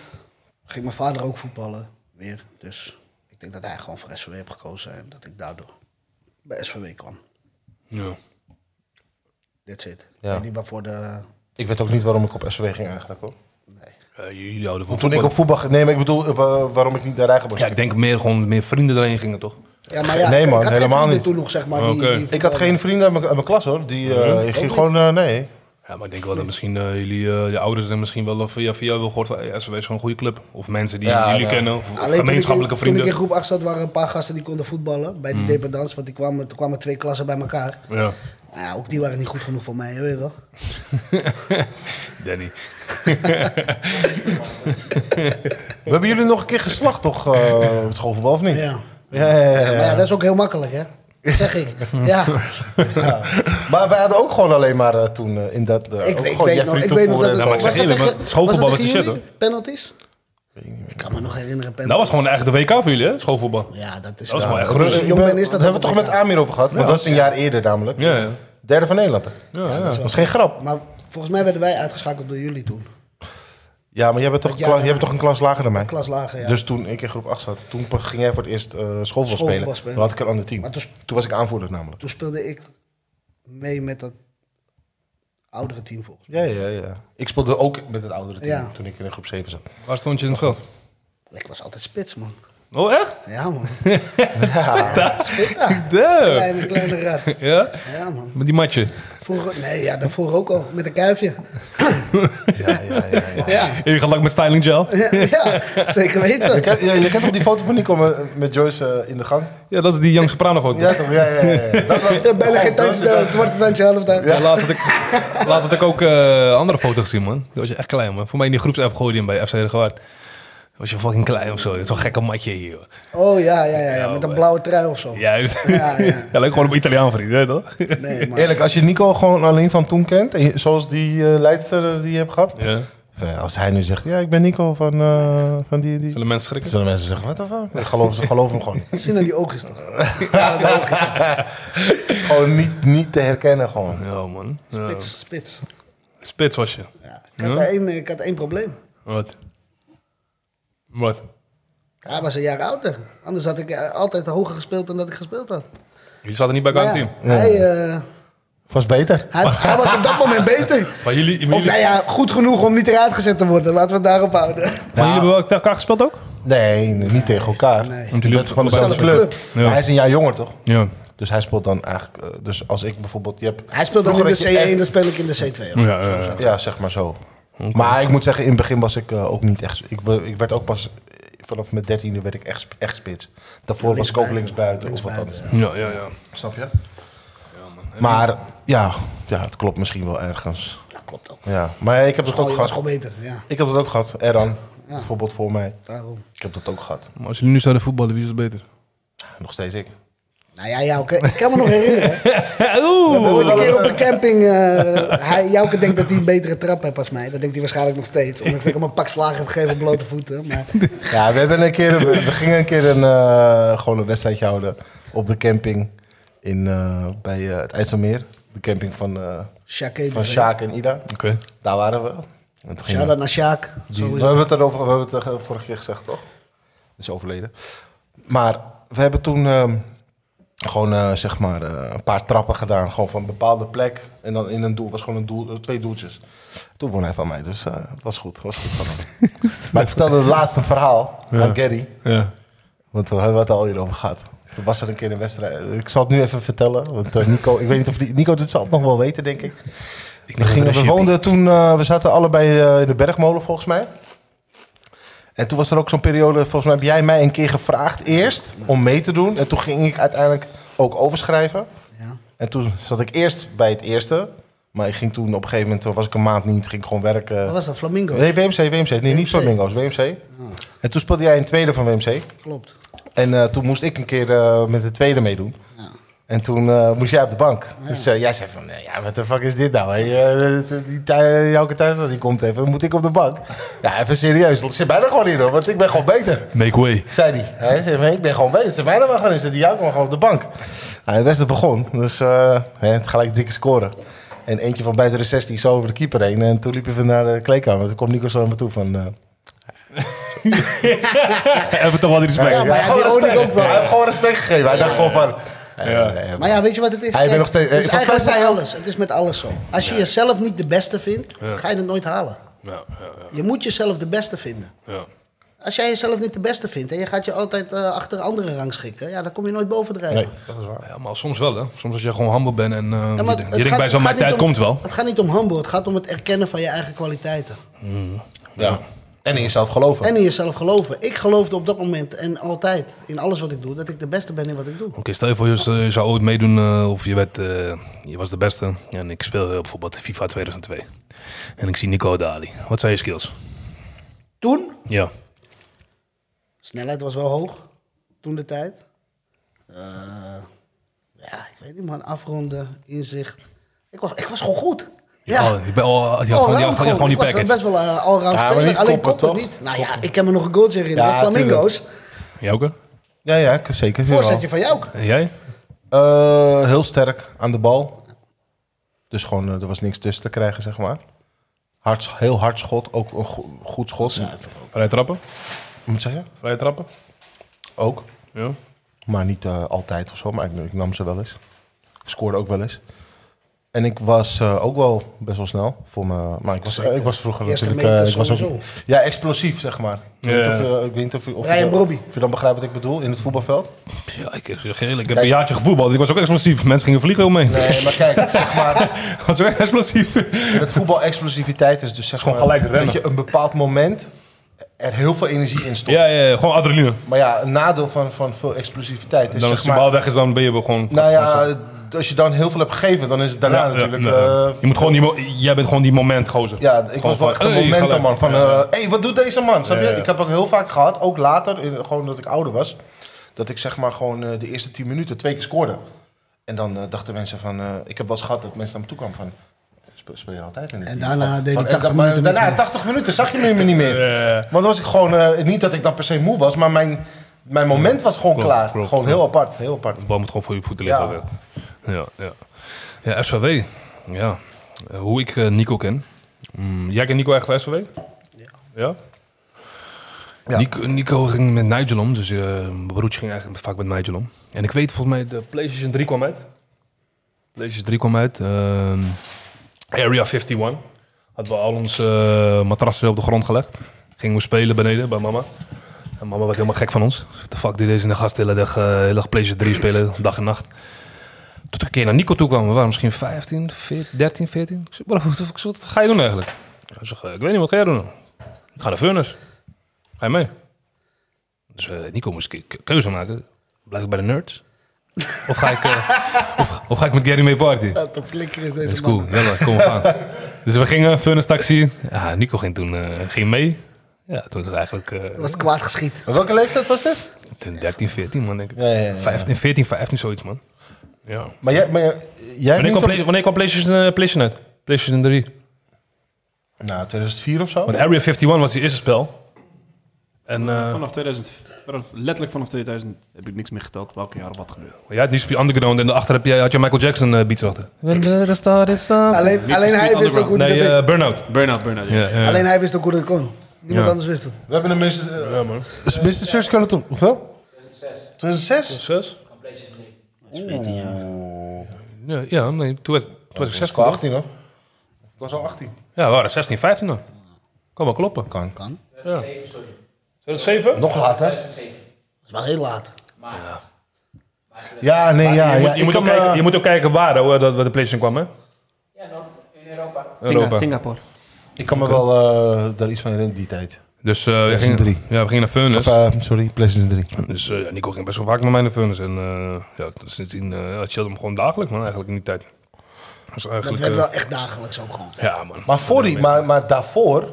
Speaker 3: ging mijn vader ook voetballen weer. Dus ik denk dat hij gewoon voor SVW heeft gekozen en dat ik daardoor. bij SVW kwam.
Speaker 1: Ja.
Speaker 3: That's it.
Speaker 2: Ja.
Speaker 3: Ik weet niet waarvoor de...
Speaker 2: Ik weet ook niet waarom ik op SW ging eigenlijk hoor.
Speaker 3: Nee.
Speaker 1: Eh, jullie houden van
Speaker 2: Toen ik
Speaker 1: voetbal.
Speaker 2: op voetbal ging, nee, maar ik bedoel eh, wa- waarom ik niet naar Rijgenbos
Speaker 1: Ja, ik
Speaker 2: ging.
Speaker 1: denk meer gewoon meer vrienden erheen gingen, toch?
Speaker 3: Ja, maar ja,
Speaker 2: Nee,
Speaker 3: ik-
Speaker 2: man,
Speaker 3: ik had geen
Speaker 2: helemaal
Speaker 3: vrienden
Speaker 2: niet.
Speaker 3: toen nog, zeg maar. Die,
Speaker 1: Oké.
Speaker 3: die
Speaker 2: Ik had geen vrienden uit mijn- uit mijn klas hoor. Die, eh,
Speaker 3: Mhm.
Speaker 2: ik ging gewoon, eh, nee.
Speaker 1: Ja, maar ik denk wel dat misschien eh, jullie, eh, je ouders er misschien wel eh, via via wel gehoord van hey, SW is gewoon een goede club. Of mensen die
Speaker 2: Ja,
Speaker 1: jullie
Speaker 2: ja.
Speaker 1: kennen, of, of
Speaker 3: Alleen toen ik-
Speaker 1: gemeenschappelijke vrienden.
Speaker 3: Toen ik in groep 8 zat, waren een paar gasten die konden voetballen bij die dependance. Want die kwamen, toen kwamen twee klassen bij elkaar.
Speaker 1: Ja,
Speaker 3: Nou ja, ook die waren niet goed genoeg voor mij, je weet toch?
Speaker 1: Danny.
Speaker 2: We hebben jullie nog een keer geslacht toch, eh, op het schoolvoetbal of niet?
Speaker 3: Ja.
Speaker 2: Ja, ja, ja,
Speaker 3: Ja, maar ja,
Speaker 2: ja.
Speaker 3: dat is ook heel makkelijk, hè? Dat zeg ik. Ja,
Speaker 2: Maar wij hadden ook gewoon alleen maar eh, toen eh, in dat... eh, ook
Speaker 3: ik, ik,
Speaker 2: gewoon
Speaker 3: weet,
Speaker 2: Jeffrey eh,
Speaker 3: nog, ik weet nog
Speaker 2: Toevoer
Speaker 3: dat
Speaker 2: en-
Speaker 1: Nou, maar ik zeg
Speaker 3: was dat
Speaker 1: eerlijk,
Speaker 3: tegen-
Speaker 1: want schoolvoetbal
Speaker 3: dat
Speaker 1: was
Speaker 3: tegen
Speaker 1: de shit,
Speaker 3: jullie? Penalties? Ik kan me nog herinneren,
Speaker 1: Dat Nou, was
Speaker 3: penalties.
Speaker 1: gewoon eigenlijk de WK voor jullie, hè? Schoolvoetbal.
Speaker 3: Ja, dat is
Speaker 1: Dat was
Speaker 3: wel-
Speaker 1: wel echt
Speaker 3: als je
Speaker 1: rust.
Speaker 2: Ik
Speaker 3: jong
Speaker 2: ben-
Speaker 3: bent, is
Speaker 2: Daar
Speaker 3: dat
Speaker 2: hebben we
Speaker 3: ook
Speaker 2: toch met
Speaker 3: elkaar.
Speaker 2: Amir over gehad? Want dat is een jaar eerder namelijk.
Speaker 1: Ja, ja.
Speaker 2: Derde van Nederland. hè?
Speaker 1: ja,
Speaker 3: Ja,
Speaker 1: ja.
Speaker 3: dat is
Speaker 2: Dat
Speaker 3: wel-
Speaker 2: is geen grap.
Speaker 3: Maar volgens mij werden wij uitgeschakeld door jullie toen.
Speaker 2: Ja, maar jij bent toch,
Speaker 3: Dat
Speaker 2: een
Speaker 3: jaar
Speaker 2: kla- jij bent
Speaker 3: daarna.
Speaker 2: toch een klas lager dan mij?
Speaker 3: Klas lager, ja.
Speaker 2: Dus toen ik in groep 8 zat, toen pa- ging jij voor het eerst eh schoolvoetbal spelen.
Speaker 3: Schoolvoetbal spelen.
Speaker 2: Dan had ik een ander team.
Speaker 3: Maar
Speaker 2: toen,
Speaker 3: toen-
Speaker 2: was ik aanvoerder namelijk.
Speaker 3: Toen speelde ik mee met dat oudere team volgens
Speaker 2: Ja, ja, ja. Ik speelde ook met het oudere team
Speaker 3: Ja.
Speaker 2: toen ik in groep 7 zat.
Speaker 1: Waar stond je in het veld?
Speaker 3: mij. Ik was altijd spits, man.
Speaker 1: Oh, echt?
Speaker 3: Ja, man.
Speaker 1: Damn.
Speaker 3: Kleine, kleine rat.
Speaker 1: Ja?
Speaker 3: Ja, man.
Speaker 1: Met die matje.
Speaker 3: Vroeger, nee, ja, daarvoor ook al. Met een kuifje.
Speaker 2: Ja, ja, ja. ja.
Speaker 3: Ja,
Speaker 1: Je gaat lang met styling gel.
Speaker 3: ja, ja, zeker
Speaker 2: Je,
Speaker 3: weten.
Speaker 2: kent, ja, je kent toch die foto van Nico met, met Joyce eh, in de gang?
Speaker 1: Ja, dat is die Young Soprano foto.
Speaker 2: Ja, toch? Ja, ja, ja. ja. Dat was-
Speaker 3: Ja, bijna geen
Speaker 2: dat was-
Speaker 3: tandje, eh, zwarte tandje, half tandje.
Speaker 1: Ja, laatst, had ik, laatst had ik ook eh, andere foto's gezien, man. Dat was je echt klein, man. Voor mij in die groepsapp gooide je hem bij FC de Gewaard. was je fucking klein of zo. Dat is wel een gekke matje hier, hoor.
Speaker 3: Oh ja, ja, ja, ja, met
Speaker 1: maar-
Speaker 3: een blauwe trui of zo.
Speaker 1: Juist.
Speaker 3: Ja, ja.
Speaker 1: leuk gewoon op Italiaan vriend, hè, toch?
Speaker 3: Nee, maar
Speaker 2: Eerlijk, als je Nico gewoon alleen van toen kent, en je- zoals die eh, leidster die je hebt gehad.
Speaker 1: Ja.
Speaker 2: Enfin, Als hij nu zegt, ja, ik ben Nico van, eh, van die en die.
Speaker 1: Zullen mensen schrikken?
Speaker 2: Zullen mensen zeggen, wat de fuck? Ik geloof, ze geloven hem gewoon niet.
Speaker 3: zien aan die ogen is toch.
Speaker 2: Gewoon niet, niet te herkennen gewoon.
Speaker 1: Ja, man. Ja.
Speaker 3: Spits, spits.
Speaker 1: Spits was je.
Speaker 3: Ja, ik, had
Speaker 1: Ja?
Speaker 3: één, eh, ik had één probleem.
Speaker 1: Wat? Wat?
Speaker 3: Hij was een jaar ouder. Anders had ik eh, altijd hoger gespeeld dan dat ik gespeeld had.
Speaker 1: Jullie zaten niet bij elkaar
Speaker 3: Maar
Speaker 1: in
Speaker 3: ja,
Speaker 1: het team.
Speaker 3: hij, eh,
Speaker 2: Was beter.
Speaker 3: hij, hij was op dat moment beter.
Speaker 1: Maar jullie, maar
Speaker 3: Of
Speaker 1: jullie,
Speaker 3: nou ja, goed genoeg om niet eruit gezet te worden. Laten we het daarop houden.
Speaker 1: maar jullie hebben wel tegen elkaar gespeeld ook?
Speaker 2: Nee, nee, niet tegen elkaar.
Speaker 3: Nee.
Speaker 1: Want
Speaker 2: Je
Speaker 1: jullie
Speaker 2: bent van dezelfde
Speaker 1: hebben-
Speaker 3: dezelfde
Speaker 2: club.
Speaker 1: Ja.
Speaker 2: Maar hij is een jaar jonger, toch?
Speaker 1: Ja.
Speaker 2: Dus hij speelt dan eigenlijk... eh, dus als ik bijvoorbeeld... Je hebt
Speaker 3: Hij speelde ook in
Speaker 2: Vroeger
Speaker 3: de
Speaker 2: had je echt-
Speaker 3: C1, dan speel ik in de C2. of zo.
Speaker 1: Ja, ja, ja.
Speaker 2: Ja, zeg maar zo. Maar ik moet zeggen, in het begin was ik eh, ook niet echt... Ik, be- ik werd ook pas... eh, Vanaf mijn dertiende werd ik echt, sp- echt spits. Daarvoor was ik ook
Speaker 3: Linksbuiten.
Speaker 2: linksbuiten of wat anders.
Speaker 3: Linksbuiten,
Speaker 1: Ja, ja, ja.
Speaker 2: Snap je? Maar ja, ja, het klopt misschien wel ergens.
Speaker 3: Ja, klopt ook.
Speaker 2: Ja. Maar ik heb dat
Speaker 3: Gewoon,
Speaker 2: ook
Speaker 3: je was
Speaker 2: gehad.
Speaker 3: gewoon beter, ja.
Speaker 2: Ik heb dat ook gehad. Erran, bijvoorbeeld voor mij.
Speaker 3: Daarom.
Speaker 2: Ik heb dat ook gehad.
Speaker 1: Maar als jullie nu zouden voetballen, wie is het beter?
Speaker 2: Nog steeds ik.
Speaker 3: Nou ja, Jouke, ik kan me nog herinneren. hè.
Speaker 1: Oeh!
Speaker 3: Ooit een keer op een camping. eh hij, Jouke denkt dat hij een betere trap heeft als mij. Dat denkt hij waarschijnlijk nog steeds. Ondanks dat ik hem een pak slagen heb gegeven op blote voeten. Maar
Speaker 2: Ja, we, hebben een keer, we, we gingen een keer een, eh, gewoon een wedstrijdje houden op de camping in, eh, bij eh, het IJsselmeer. De camping van, eh
Speaker 3: Sjaak
Speaker 2: van Sjaak en Ida.
Speaker 1: Oké.
Speaker 2: Daar waren we. En toen gingen
Speaker 3: eh, Shout-out naar Sjaak.
Speaker 2: die- we
Speaker 3: Sowieso.
Speaker 2: hebben het erover we hebben het eh, vorige keer gezegd, toch? Is overleden. Maar we hebben toen ehm, gewoon eh, zeg maar eh, een paar trappen gedaan. Gewoon van een bepaalde plek. En dan in een doel. was gewoon een doel, eh, twee doeltjes. Toen won hij van mij. Dus eh, het was goed. het was goed van hem. maar ik vertelde het laatste verhaal aan Gary.
Speaker 1: Ja.
Speaker 2: Want we hebben het al eerder over gehad. Toen was er een keer een wedstrijd. Ik zal het nu even vertellen. Want eh, Nico, ik weet niet of die, Nico dit zal het nog wel weten, denk ik. we,
Speaker 1: denk
Speaker 2: gingen,
Speaker 1: dat er
Speaker 2: we
Speaker 1: een
Speaker 2: woonden toen, eh, we zaten allebei eh, in de bergmolen volgens mij. En toen was er ook zo'n periode, volgens mij heb jij mij een keer gevraagd eerst om mee te doen. En toen ging ik uiteindelijk ook overschrijven.
Speaker 3: Ja.
Speaker 2: En toen zat ik eerst bij het eerste. Maar ik ging toen op een gegeven moment, toen was ik een maand niet, ging ik gewoon werken.
Speaker 3: Oh, Wat was dat? Flamingo?
Speaker 2: Nee, WMC, WMC. Nee, niet
Speaker 3: WMC.
Speaker 2: Flamingo's, WMC. En toen speelde jij een tweede van WMC.
Speaker 3: Klopt.
Speaker 2: En eh, toen moest ik een keer eh, met de tweede meedoen.
Speaker 3: Ja.
Speaker 2: En toen eh, moest jij op de bank. Dus eh, jij zei van, eh, ja, wat de fuck is dit nou? Hey, eh, eh, die thui- Jouke Thuisland die komt even, dan moet ik op de bank. Ja, even serieus, zit mij er gewoon in hoor, want ik ben gewoon beter.
Speaker 1: Make way.
Speaker 2: Zei die. Hij zei van, ik ben gewoon beter, zit mij er maar gewoon in, zit die Jouke maar gewoon op de bank. Nou, het beste begon, dus eh, hè, het gelijk dikke scoren. En eentje van buiten de 16 zo over de keeper heen. En toen liep even naar de kleedkamer. Toen kwam Nico zo naar me toe van... eh,
Speaker 1: Even toch wel die respect.
Speaker 2: ja, maar hij
Speaker 3: maar
Speaker 2: heeft
Speaker 3: ja,
Speaker 2: gewoon
Speaker 3: die
Speaker 2: respect.
Speaker 3: olie ook wel.
Speaker 2: Hij heeft gewoon respect gegeven. Hij dacht gewoon van... Ja.
Speaker 3: Maar ja, weet je wat het is?
Speaker 2: Hij
Speaker 3: Kijk,
Speaker 2: bent nog steeds-
Speaker 3: het is
Speaker 2: eh, volgens mij
Speaker 3: eigenlijk met
Speaker 2: zei hij
Speaker 3: alles. Het is met alles zo. Als je jezelf niet de beste vindt, ga je het nooit halen.
Speaker 5: Ja, ja, ja,
Speaker 3: Je moet jezelf de beste vinden.
Speaker 5: ja.
Speaker 3: Als jij jezelf niet de beste vindt en je gaat je altijd eh, achter anderen rangschikken, ja, dan kom je nooit bovendrijven.
Speaker 2: Nee,
Speaker 3: Ja,
Speaker 2: dat is waar.
Speaker 5: Ja, maar soms wel, hè. Soms als je gewoon humble bent en eh,
Speaker 3: maar
Speaker 5: je, denkt-
Speaker 3: het
Speaker 5: je denkt
Speaker 3: gaat-
Speaker 5: bij zo'n
Speaker 3: het gaat
Speaker 5: mijn tijd
Speaker 3: niet om-
Speaker 5: komt wel.
Speaker 3: Het gaat niet om humble, het gaat om het erkennen van je eigen kwaliteiten.
Speaker 2: Ja. En in jezelf geloven.
Speaker 3: En in jezelf geloven. Ik geloofde op dat moment en altijd in alles wat ik doe, dat ik de beste ben in wat ik doe.
Speaker 5: Oké, stel je voor, je, z- je zou ooit meedoen eh, of je, werd, eh, je was de beste. En ik speel eh, bijvoorbeeld FIFA 2002. En ik zie Nico Dali. Wat zijn je skills?
Speaker 3: Toen,
Speaker 5: Ja.
Speaker 3: snelheid was wel hoog, toen de tijd. Eh, ja, ik weet niet man, afronden, inzicht. Ik was, ik was gewoon goed. Ja.
Speaker 5: Oh, je bent al, je had gewoon, je
Speaker 3: Allround
Speaker 5: had gewoon- je had gewoon die
Speaker 3: Ik was
Speaker 5: package.
Speaker 3: best wel eh allround
Speaker 2: Ja, maar
Speaker 3: speler,
Speaker 2: niet
Speaker 3: alleen
Speaker 2: koppen,
Speaker 3: koppen
Speaker 2: toch?
Speaker 3: niet. Nou ja, ik kan me nog een goaltje herinneren,
Speaker 2: Ja,
Speaker 3: Flamingo's.
Speaker 5: Jij ook, hè?
Speaker 2: Ja, ja, ik- zeker.
Speaker 3: Voorzetje van jou ook.
Speaker 5: En jij?
Speaker 2: Eh, heel sterk aan de bal. Dus gewoon, eh, er was niks tussen te krijgen, zeg maar. Hard, heel hard schot, ook een go- goed schot.
Speaker 3: Zuiver ook.
Speaker 5: Vrije trappen?
Speaker 2: Moet ik zeggen?
Speaker 5: Vrije trappen?
Speaker 2: Ook.
Speaker 5: Ja.
Speaker 2: Maar niet eh, altijd of zo, maar ik, ik nam ze wel eens. Ik scoorde ook wel eens. En ik was eh, ook wel best wel snel voor me. Maar ik was,
Speaker 3: Zeker.
Speaker 2: ik was vroeger
Speaker 3: Eerste
Speaker 2: natuurlijk. eh,
Speaker 3: meter
Speaker 2: ik was ook,
Speaker 3: sowieso.
Speaker 2: ja, explosief zeg maar. Ik weet
Speaker 5: Ja.
Speaker 2: niet of, eh, ik weet niet of, je- of,
Speaker 3: Ryan
Speaker 2: je, dan-
Speaker 3: Brobby.
Speaker 2: of je dan begrijpt wat ik bedoel in het voetbalveld.
Speaker 5: Ja, ik zeg eerlijk, ik heb
Speaker 2: Kijk.
Speaker 5: een jaartje gevoetbald. Ik was ook explosief. Mensen gingen vliegen om me. heen.
Speaker 2: Nee, maar kijk, zeg maar.
Speaker 5: was ook explosief.
Speaker 2: Het voetbal explosiviteit is dus zeg
Speaker 5: Gewoon
Speaker 2: maar,
Speaker 5: gelijk rennen.
Speaker 2: dat je een bepaald moment er heel veel energie in stopt.
Speaker 5: Ja, ja, ja, gewoon adrenaline.
Speaker 2: Maar ja, een nadeel van, van veel explosiviteit is
Speaker 5: Dan als
Speaker 2: zeg
Speaker 5: die
Speaker 2: maar...
Speaker 5: bal weg is, dan ben je gewoon...
Speaker 2: nou
Speaker 5: gewoon-
Speaker 2: ja, als je dan heel veel hebt gegeven, dan is het daarna
Speaker 5: Ja, ja,
Speaker 2: natuurlijk...
Speaker 5: ja.
Speaker 2: eh,
Speaker 5: je moet gewoon die mo- jij bent gewoon die moment gozer.
Speaker 2: ja, ik
Speaker 5: Gewoon
Speaker 2: was wel echt
Speaker 5: van,
Speaker 2: een
Speaker 5: hey,
Speaker 2: momentum
Speaker 5: gelijk.
Speaker 2: man. Van,
Speaker 5: Ja,
Speaker 2: eh,
Speaker 5: ja.
Speaker 2: hey, wat doet deze man? Snap
Speaker 5: Ja,
Speaker 2: je?
Speaker 5: ja.
Speaker 2: Ik heb ook heel vaak gehad, ook later, in, gewoon dat ik ouder was, dat ik zeg maar gewoon eh, de eerste 10 minuten twee keer scoorde. En dan eh, dachten mensen van, eh, ik heb wel eens gehad dat mensen naar me toe kwamen van, "Eh, speel, speel je altijd in dit
Speaker 3: En
Speaker 2: team?
Speaker 3: daarna deed
Speaker 2: Van,
Speaker 3: hij
Speaker 2: en
Speaker 3: 80
Speaker 2: da- maar
Speaker 3: minuten niks
Speaker 2: Daarna
Speaker 3: meer.
Speaker 2: 80 minuten zag je me niet meer.
Speaker 5: Ja.
Speaker 2: Maar dan was ik gewoon, eh, niet dat ik dan per se moe was, maar mijn, mijn moment was gewoon
Speaker 5: Klopt,
Speaker 2: klaar.
Speaker 5: klopt,
Speaker 2: gewoon
Speaker 5: klopt.
Speaker 2: heel apart, heel apart.
Speaker 5: De bal moet gewoon voor je voeten liggen.
Speaker 2: Ja.
Speaker 5: ook, hè. Ja, ja. ja SVW. Ja. Eh, hoe ik eh, Nico ken. Mm, jij kent Nico echt van SVW?
Speaker 3: Ja.
Speaker 5: Ja?
Speaker 2: Ja.
Speaker 5: Nico, Nico ging met Nigel om, dus eh, mijn broertje ging eigenlijk vaak met Nigel om. En ik weet volgens mij, de PlayStation 3 kwam uit. PlayStation 3 kwam uit. ehm, Area 51. Hadden we al onze eh, matrassen op de grond gelegd. Gingen we spelen beneden bij mama. En mama werd helemaal gek van ons. What The fuck, die deze in de gast de hele dag, eh, de hele dag PlayStation 3 spelen, dag en nacht. Toen ik een keer naar Nico toe kwam, we waren misschien 15, 14, 13, 14. Ik zei, bro, wat, wat- wat ga je doen eigenlijk? Hij zegt, eh, ik weet niet, wat ga jij doen? Ik ga naar Furnace. Ga je mee? Dus eh, Nico moest ke- ke- keuze maken. Blijf ik bij de nerds? Of ga ik, eh, of, of ga ik met Gary mee party?
Speaker 3: Wat een flikker is
Speaker 5: Dat
Speaker 3: deze
Speaker 5: is cool.
Speaker 3: man.
Speaker 5: Jelle, kom, we gaan. Dus we gingen, Furnace taxi. Ja, Nico ging toen eh, ging mee. Ja, toen was het eigenlijk eh,
Speaker 3: Dat was kwaad geschiet.
Speaker 2: Maar welke leeftijd was dit?
Speaker 5: toen 13, 14 man denk ik.
Speaker 2: Ja, ja, ja, ja.
Speaker 5: 15, 14, 15 zoiets man. Ja.
Speaker 2: Maar jij, maar jij, jij
Speaker 5: Wanneer,
Speaker 2: niet
Speaker 5: kwam
Speaker 2: op-
Speaker 5: Play- wanneer kwam PlayStation, eh, PlayStation uit? PlayStation 3.
Speaker 2: Nou, 2004 of zo?
Speaker 5: Want Area 51 was die eerste spel. En eh,
Speaker 4: Vanaf 2000, vanaf, letterlijk vanaf 2000 heb ik niks meer geteld welke jaar wat gebeurde.
Speaker 5: jij had die Speed Underground en daarachter heb je, had je Michael Jackson eh, beats achter. When the star is up.
Speaker 3: Alleen, alleen, hij, wist ook hoe
Speaker 5: Nee,
Speaker 3: die dat deed.
Speaker 5: eh, Burnout.
Speaker 4: Burnout, burnout.
Speaker 5: Ja, ja.
Speaker 3: alleen hij wist ook hoe dat kon. Niemand
Speaker 5: Ja.
Speaker 3: anders wist het.
Speaker 2: We hebben een minst... ja, man. Mr. Search kan het op... Hoeveel? 2006. 2006?
Speaker 5: Zes? Ja, ja, nee, toen werd- toen was ik
Speaker 2: Ik was
Speaker 5: 16.
Speaker 2: al
Speaker 5: toch?
Speaker 2: 18, hoor. Ik was al 18.
Speaker 5: Ja, we waren 16, 15 dan. Kan wel kloppen.
Speaker 2: Kan.
Speaker 3: Kan.
Speaker 5: Ja. 2007?
Speaker 2: Nog later?
Speaker 3: Dat is wel heel laat.
Speaker 2: Ja, nee, ja.
Speaker 5: je,
Speaker 2: ja.
Speaker 5: moet, je,
Speaker 2: Ik
Speaker 5: moet
Speaker 2: kan,
Speaker 5: ook kijken,
Speaker 2: eh,
Speaker 5: je moet ook kijken waar, hoe dat, waar de PlayStation kwam, hè?
Speaker 6: Ja, no, in Europa.
Speaker 5: Europa.
Speaker 4: Singapore.
Speaker 2: Ik kan me wel eh, daar iets van herinneren, die tijd.
Speaker 5: Dus eh, we, gingen,
Speaker 2: 2003.
Speaker 5: ja, we gingen naar
Speaker 2: Of,
Speaker 5: Furnace.
Speaker 2: eh, sorry, PlayStation 3.
Speaker 5: Dus eh, ja, Nico ging best wel vaak naar mijn Furnace. En eh ja, sindsdien eh, ja, chillde hem gewoon dagelijks, man, eigenlijk in die tijd. Dus
Speaker 3: Dat
Speaker 5: eigenlijk...
Speaker 3: werd
Speaker 5: eh,
Speaker 3: wel echt dagelijks ook gewoon.
Speaker 5: ja, man.
Speaker 2: Maar, voor die, maar, maar daarvoor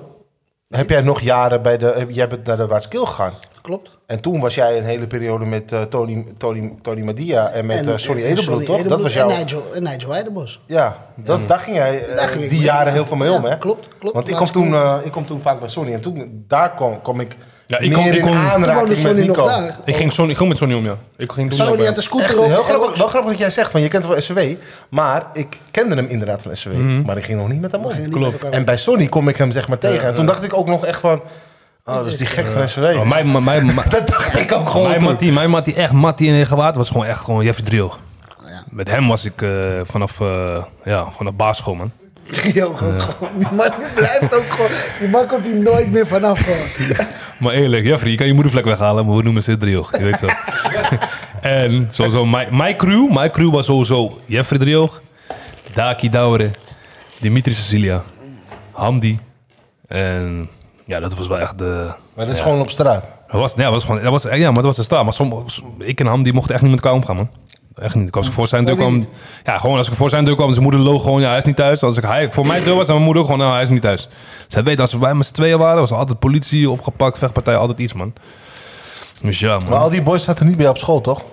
Speaker 2: heb jij nog jaren bij de... heb- Jij bent naar de Waardskill gegaan.
Speaker 3: Klopt.
Speaker 2: En toen was jij een hele periode met eh, Tony, Tony, Tony Madia en met eh, Sonny eh,
Speaker 3: en
Speaker 2: Edelbloed, toch? Dat
Speaker 3: Edelbloed
Speaker 2: was jouw...
Speaker 3: En Nigel, en Nigel Weidenbos.
Speaker 2: Ja, dat, daar ging jij eh,
Speaker 3: Mm. Daar ging ik
Speaker 2: die
Speaker 3: mee.
Speaker 2: jaren heel veel mee
Speaker 3: Ja,
Speaker 2: om, hè?
Speaker 3: klopt, klopt.
Speaker 2: Want ik kwam,
Speaker 3: Laatste
Speaker 2: toen,
Speaker 3: keer.
Speaker 2: eh, ik kwam toen vaak bij Sony en toen, daar kwam, kwam ik
Speaker 5: Ja, ik
Speaker 2: meer
Speaker 5: kon- ik
Speaker 2: in
Speaker 5: kon-
Speaker 3: Toen woonde
Speaker 2: aanraking met
Speaker 3: Sonny nog
Speaker 2: Nico.
Speaker 3: daar.
Speaker 5: Ik ging, Sonny, ik ging met Sonny om, ja. Ik ging doen.
Speaker 3: Sonny
Speaker 2: Echt,
Speaker 3: had de scooter op.
Speaker 2: heel
Speaker 3: en
Speaker 2: grappig,
Speaker 3: ook-
Speaker 2: wel grappig dat jij zegt, van je kent wel SW, maar ik kende hem inderdaad van SW, maar ik ging nog niet met hem
Speaker 3: We gingen
Speaker 2: om.
Speaker 3: niet met
Speaker 5: Klopt.
Speaker 3: elkaar
Speaker 2: En bij Sony kom ik hem zeg maar tegen. En toen dacht ik ook nog echt van, oh, dat is die gek van SW.
Speaker 5: Maar mijn, mijn, mijn,
Speaker 2: dat dacht ik ook gewoon
Speaker 5: mijn
Speaker 2: toen.
Speaker 5: Mattie, mijn Mattie, echt Mattie in eigen water was gewoon echt gewoon Jeffrey Drill.
Speaker 3: Oh, ja.
Speaker 5: Met hem was ik eh, vanaf, eh ja, vanaf basisschool, man.
Speaker 3: Yo, gewoon, gewoon, die man die blijft ook gewoon... Die man komt hier nooit meer vanaf. gewoon.
Speaker 5: Maar eerlijk, Jeffrey, je kan je moedervlek weghalen, maar we noemen ze driehoog. Je weet zo. en sowieso, mijn, mijn crew, mijn crew was sowieso Jeffrey Driehoog, Daki Douwere, Dimitri Cecilia, Hamdi. En ja, dat was wel echt de...
Speaker 2: Maar dat is gewoon op straat.
Speaker 5: Dat was, ja, dat was gewoon, dat was, ja, maar dat was de straat. Maar soms, ik en Hamdi mochten echt niet met elkaar omgaan, man. Echt niet. Ik was voor zijn deur
Speaker 3: Waarom
Speaker 5: kwam... Ja, gewoon als ik voor zijn deur kwam, zijn moeder loog gewoon, ja, hij is niet thuis. Als ik hij, voor mijn deur was, dan mijn moeder ook gewoon, nou, hij is niet thuis. Zij weet, als we bij met z'n tweeën waren, was er altijd politie opgepakt, vechtpartij, altijd iets, man. Dus ja,
Speaker 2: Maar
Speaker 5: man.
Speaker 2: al die boys zaten niet bij jou op school, toch?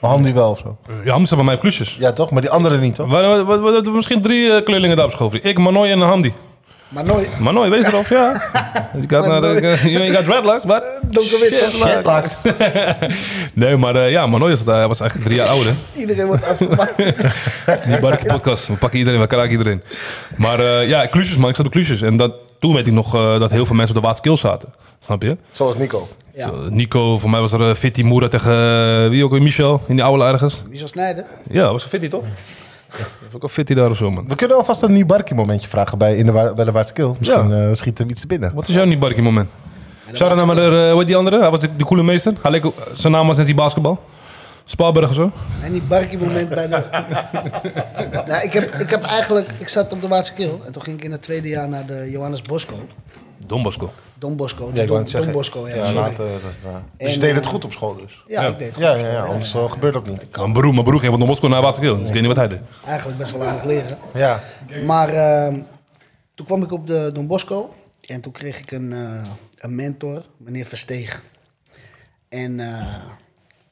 Speaker 2: Maar Hamdi wel of zo.
Speaker 5: Ja, Hamdi zat bij mij op klusjes.
Speaker 2: Ja, toch? Maar die anderen niet, toch?
Speaker 5: Waar- waar- waar- waar- misschien drie eh, kleurlingen daar op school. vriend. Ik, Manoy en Hamdi.
Speaker 3: Maar nooit...
Speaker 5: Manoy, weet je erop? Ja. Je gaat naar de- you know, you got dreadlocks, but...
Speaker 3: Donkerwit, toch?
Speaker 5: Shit,
Speaker 2: Laks.
Speaker 5: Nee, maar eh, ja, Manoy was, daar- was eigenlijk drie jaar ouder.
Speaker 3: Iedereen wordt afgemaakt.
Speaker 5: Die Barkie podcast. We pakken iedereen, we kraken iedereen. Maar eh, ja, klusjes man. Ik zat op klusjes. En dat, toen weet ik nog eh, dat heel veel mensen op de Waterkill zaten. Snap je?
Speaker 2: Zoals Nico.
Speaker 3: Ja.
Speaker 5: Zo, Nico, voor mij was er eh, Fitty Moera tegen eh, wie ook weer, Michel. In die oude ergens.
Speaker 3: Michel Snijder.
Speaker 5: Ja, was er Fitty toch? Dat was ook al Fitty daar of zo man.
Speaker 2: We kunnen alvast een Nibarki momentje vragen bij in de Wa- Wellewaarts Kill. Misschien eh, schiet hem iets te binnen.
Speaker 5: Wat is jouw Nibarkie moment? Shout-out naar maar, eh, hoe heet die andere? Hij was de, de coole meester. Hij leek, ook- zijn naam was net die basketbal. Spalberg of zo.
Speaker 3: En die barkie moment bij de... nou, ik, heb, ik heb eigenlijk... Ik zat op de Waardskil. En toen ging ik in het tweede jaar naar de Johannes Bosco.
Speaker 5: Don Bosco.
Speaker 3: Don Bosco.
Speaker 2: Ja, ik wou
Speaker 3: Don,
Speaker 2: het zeggen.
Speaker 3: Don Bosco, ja.
Speaker 2: Ja,
Speaker 3: sorry.
Speaker 2: later, ja. Dus je
Speaker 3: En,
Speaker 2: deed het
Speaker 3: eh,
Speaker 2: goed op school dus?
Speaker 3: Ja, ik deed het
Speaker 2: Ja,
Speaker 3: goed,
Speaker 2: ja, ja,
Speaker 3: sorry.
Speaker 2: anders eh, gebeurt dat niet.
Speaker 5: Mijn broer, mijn broer ging van Don Bosco naar Waterkill. Dus ik weet niet wat hij deed.
Speaker 3: Eigenlijk best wel aardig leren.
Speaker 2: Ja.
Speaker 3: Maar ehm, toen kwam ik op de Don Bosco. En toen kreeg ik een, eh, een mentor, meneer Versteeg. En eh,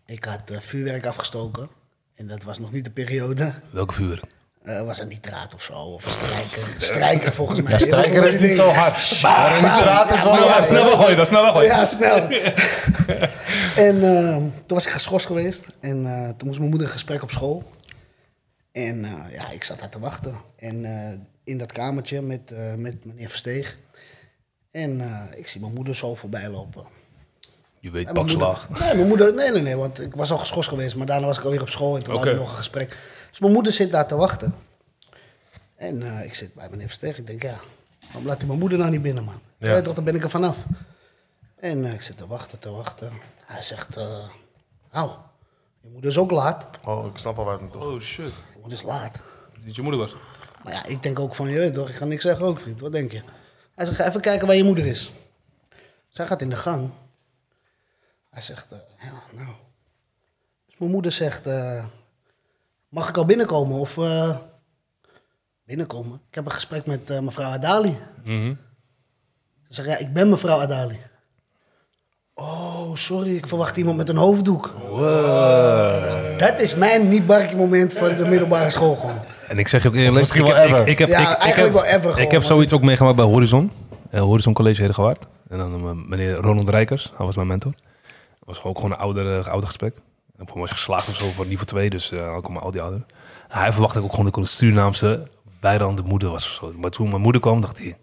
Speaker 3: ik had eh, vuurwerk afgestoken. En dat was nog niet de periode.
Speaker 5: Welke vuur?
Speaker 3: Eh, was een nitraat of zo? Of een strijker? Strijker volgens mij.
Speaker 2: Ja, strijker is niet zo hard. Maar een nitraat is wel
Speaker 5: Snel,
Speaker 2: hard.
Speaker 5: snel weggooien, dan snel weggooien.
Speaker 3: Ja, snel. en eh, toen was ik geschorst geweest. En eh, toen moest mijn moeder een gesprek op school. En eh, ja, ik zat daar te wachten. En eh, in dat kamertje met, eh, met meneer Versteeg. En eh, ik zie mijn moeder zo voorbij lopen.
Speaker 5: Je weet,
Speaker 3: En mijn
Speaker 5: pak slaag.
Speaker 3: moeder- Nee, mijn moeder, nee, nee, nee, want ik was al geschorst geweest, maar daarna was ik alweer op school en toen hadden we
Speaker 5: Oké.
Speaker 3: nog een gesprek. Dus mijn moeder zit daar te wachten. En eh, ik zit bij meneer Versteeg, ik denk, ja, waarom laat hij mijn moeder nou niet binnen, man?
Speaker 2: Ja.
Speaker 3: Ja. toch, dan ben ik er vanaf. En eh, ik zit te wachten, te wachten. Hij zegt, eh nou, je moeder is ook laat.
Speaker 2: Oh, ik snap al waar het naartoe
Speaker 5: Oh shit.
Speaker 3: Je moeder is laat.
Speaker 5: Niet je moeder was.
Speaker 3: Maar ja, ik denk ook van, je weet toch, ik ga niks zeggen ook, vriend. Wat denk je? Hij zegt, ga even kijken waar je moeder is. Zij gaat in de gang. Hij zegt, eh, ja, nou... Dus mijn moeder zegt, eh, mag ik al binnenkomen of... eh, binnenkomen? Ik heb een gesprek met eh, mevrouw Adali. Ze zegt, ja, ik ben mevrouw Adali. Oh, sorry, ik verwacht iemand met een hoofddoek. Ja, dat is mijn niet-barkie moment van de middelbare school gewoon.
Speaker 5: En ik zeg je ook eerlijk,
Speaker 2: Misschien
Speaker 5: ik
Speaker 2: wel
Speaker 5: heb, ik,
Speaker 2: ever.
Speaker 5: ik heb,
Speaker 3: Ja,
Speaker 5: ik, ik
Speaker 3: eigenlijk
Speaker 5: heb,
Speaker 3: wel ever gewoon,
Speaker 5: ik heb
Speaker 3: want-
Speaker 5: zoiets ook meegemaakt bij Horizon. Eh, Horizon College Herengewaard. En dan eh, meneer Ronald Rijkers, hij was mijn mentor. Het was ook gewoon een ouder, eh, ouder gesprek. En voor mij was ik geslaagd of zo voor niveau 2, dus eh ook maar al die ouder. Hij verwachtte ook gewoon dat ik een Surinaamse bijrande moeder was of zo. Maar toen mijn moeder kwam, dacht hij,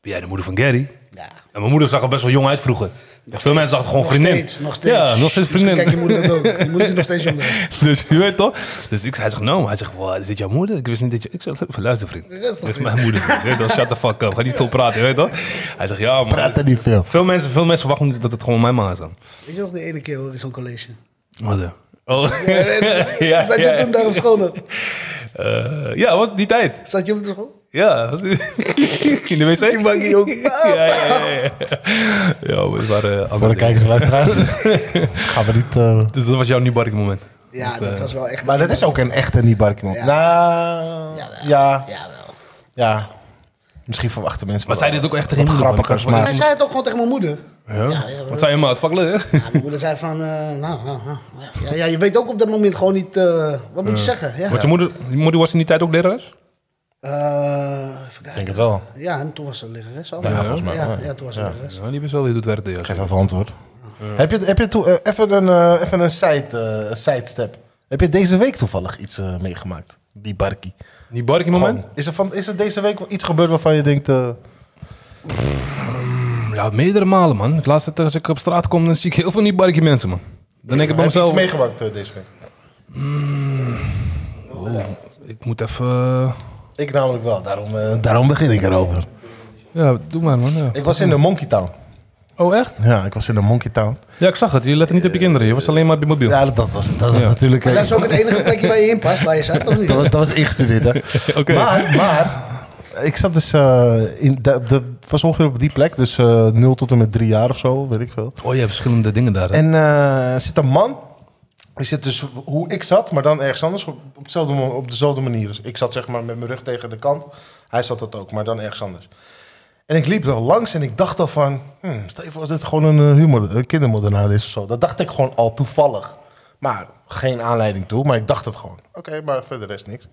Speaker 5: ben jij de moeder van Gary?
Speaker 3: Ja.
Speaker 5: En mijn moeder zag er best wel jong uit vroeger. En veel mensen dachten gewoon
Speaker 3: Nog
Speaker 5: vriendin.
Speaker 3: steeds, nog steeds.
Speaker 5: Ja, nog steeds
Speaker 3: Misschien
Speaker 5: vriendin.
Speaker 3: Kijk, je moeder dat ook. Je moeder zit nog steeds jong.
Speaker 5: Dus je weet toch? Dus ik, hij zegt, nou, hij zegt, wow, is dit jouw moeder? Ik wist niet dat je... Ik zeg, luister vriend,
Speaker 3: Rustig,
Speaker 5: dit is
Speaker 3: vriend.
Speaker 5: mijn moeder. vriend. Je weet toch? Shut the fuck up, ga niet veel praten, je weet toch? Hij zegt, ja man.
Speaker 2: niet veel.
Speaker 5: Veel mensen, veel mensen verwachten dat het gewoon mijn ma is dan.
Speaker 3: Weet je nog de ene keer hoor, in zo'n college?
Speaker 5: Wat dan? Oh,
Speaker 3: Ja, weet je,
Speaker 5: Ja,
Speaker 3: zat je
Speaker 5: ja.
Speaker 3: toen daar op school nog?
Speaker 5: eh, ja, was die tijd.
Speaker 3: Zat je op de school?
Speaker 5: Ja, was die... in de wc.
Speaker 3: Die baggie ook.
Speaker 5: Ja, ja, ja. Ja, ja maar het waren eh, andere
Speaker 2: Voor de
Speaker 5: dingen.
Speaker 2: kijkers en luisteraars. Gaan we niet... eh,
Speaker 5: Dus dat was jouw nieuwbark moment.
Speaker 3: Ja, dat was wel echt...
Speaker 2: Maar dat is ook een echte Nibarki man.
Speaker 3: Ja.
Speaker 2: Nou,
Speaker 3: Jawel.
Speaker 2: ja,
Speaker 3: Jawel.
Speaker 2: ja. Misschien verwachten mensen
Speaker 5: Maar
Speaker 2: wel
Speaker 5: zij dit ook echt tegen
Speaker 2: wat
Speaker 5: je moeder?
Speaker 2: grappigers,
Speaker 5: Want-
Speaker 2: maar...
Speaker 3: Hij zei het ook gewoon tegen mijn moeder.
Speaker 5: Ja?
Speaker 3: Ja, ja,
Speaker 5: Wat zei je maar, het vak leuk.
Speaker 3: Ja, mijn moeder zei van, eh, nou, nou, nou, ja, ja, je weet ook op dat moment gewoon niet, eh, wat moet je zeggen? Ja.
Speaker 5: Want je moeder, je moeder was in die tijd ook lerares?
Speaker 3: Eh, even
Speaker 2: Ik denk
Speaker 3: kijken.
Speaker 2: het wel.
Speaker 3: Ja, en toen was ze lerares al.
Speaker 2: Ja, volgens mij
Speaker 3: Ja,
Speaker 2: wel, ja.
Speaker 3: ja, toen was ze
Speaker 2: Ja.
Speaker 3: lerares.
Speaker 5: Ja, die best wel weer doet werk. Ja.
Speaker 2: Geef even antwoord. Heb je, heb je toe, eh, even een, eh, even een side, eh, sidestep. Heb je deze week toevallig iets eh, meegemaakt? Die barkie.
Speaker 5: Die barkie moment?
Speaker 2: Is er, van, is er deze week wel iets gebeurd waarvan je denkt... eh,
Speaker 5: Ja, meerdere malen, man. Het laatste tijd als ik op straat kom, dan zie ik heel veel niet barkie mensen, man. Dan denk ik bij
Speaker 2: heb je iets
Speaker 5: mezelf...
Speaker 2: meegemaakt eh, deze week?
Speaker 1: oeh, ik moet even... eh,
Speaker 2: Ik namelijk wel, daarom, eh, daarom begin ik erover.
Speaker 1: ja, doe maar man. ja.
Speaker 2: Ik was in de Monkey Town.
Speaker 1: Oh, echt?
Speaker 2: Ja, ik was in de Monkey Town.
Speaker 1: Ja, ik zag het. Je lette niet
Speaker 3: Eh,
Speaker 1: op je kinderen. Je was alleen maar op je mobiel.
Speaker 2: Ja, dat, dat was, dat was natuurlijk...
Speaker 3: Maar
Speaker 2: eh,
Speaker 3: dat is ook het enige plekje waar je in past, waar je zat, of niet?
Speaker 2: dat, was, dat was ingestudeerd, hè.
Speaker 1: Oké.
Speaker 2: Maar, maar... Ik zat dus... eh in, de, de, was ongeveer op die plek. Dus eh 0 tot en met 3 jaar of zo, weet ik veel.
Speaker 1: Oh, je hebt verschillende dingen daar. hè?
Speaker 2: En eh, zit een man. Die zit dus hoe ik zat, maar dan ergens anders. Op, op, hetzelfde mo- op dezelfde manier. Dus ik zat zeg maar met mijn rug tegen de kant. Hij zat dat ook, maar dan ergens anders. En ik liep er langs en ik dacht al van... Hmm, stel je voor dat dit gewoon een, eh, humor, een kindermoordenaar is of zo. Dat dacht ik gewoon al toevallig. Maar geen aanleiding toe, maar ik dacht het gewoon. Oké, maar verder is niks.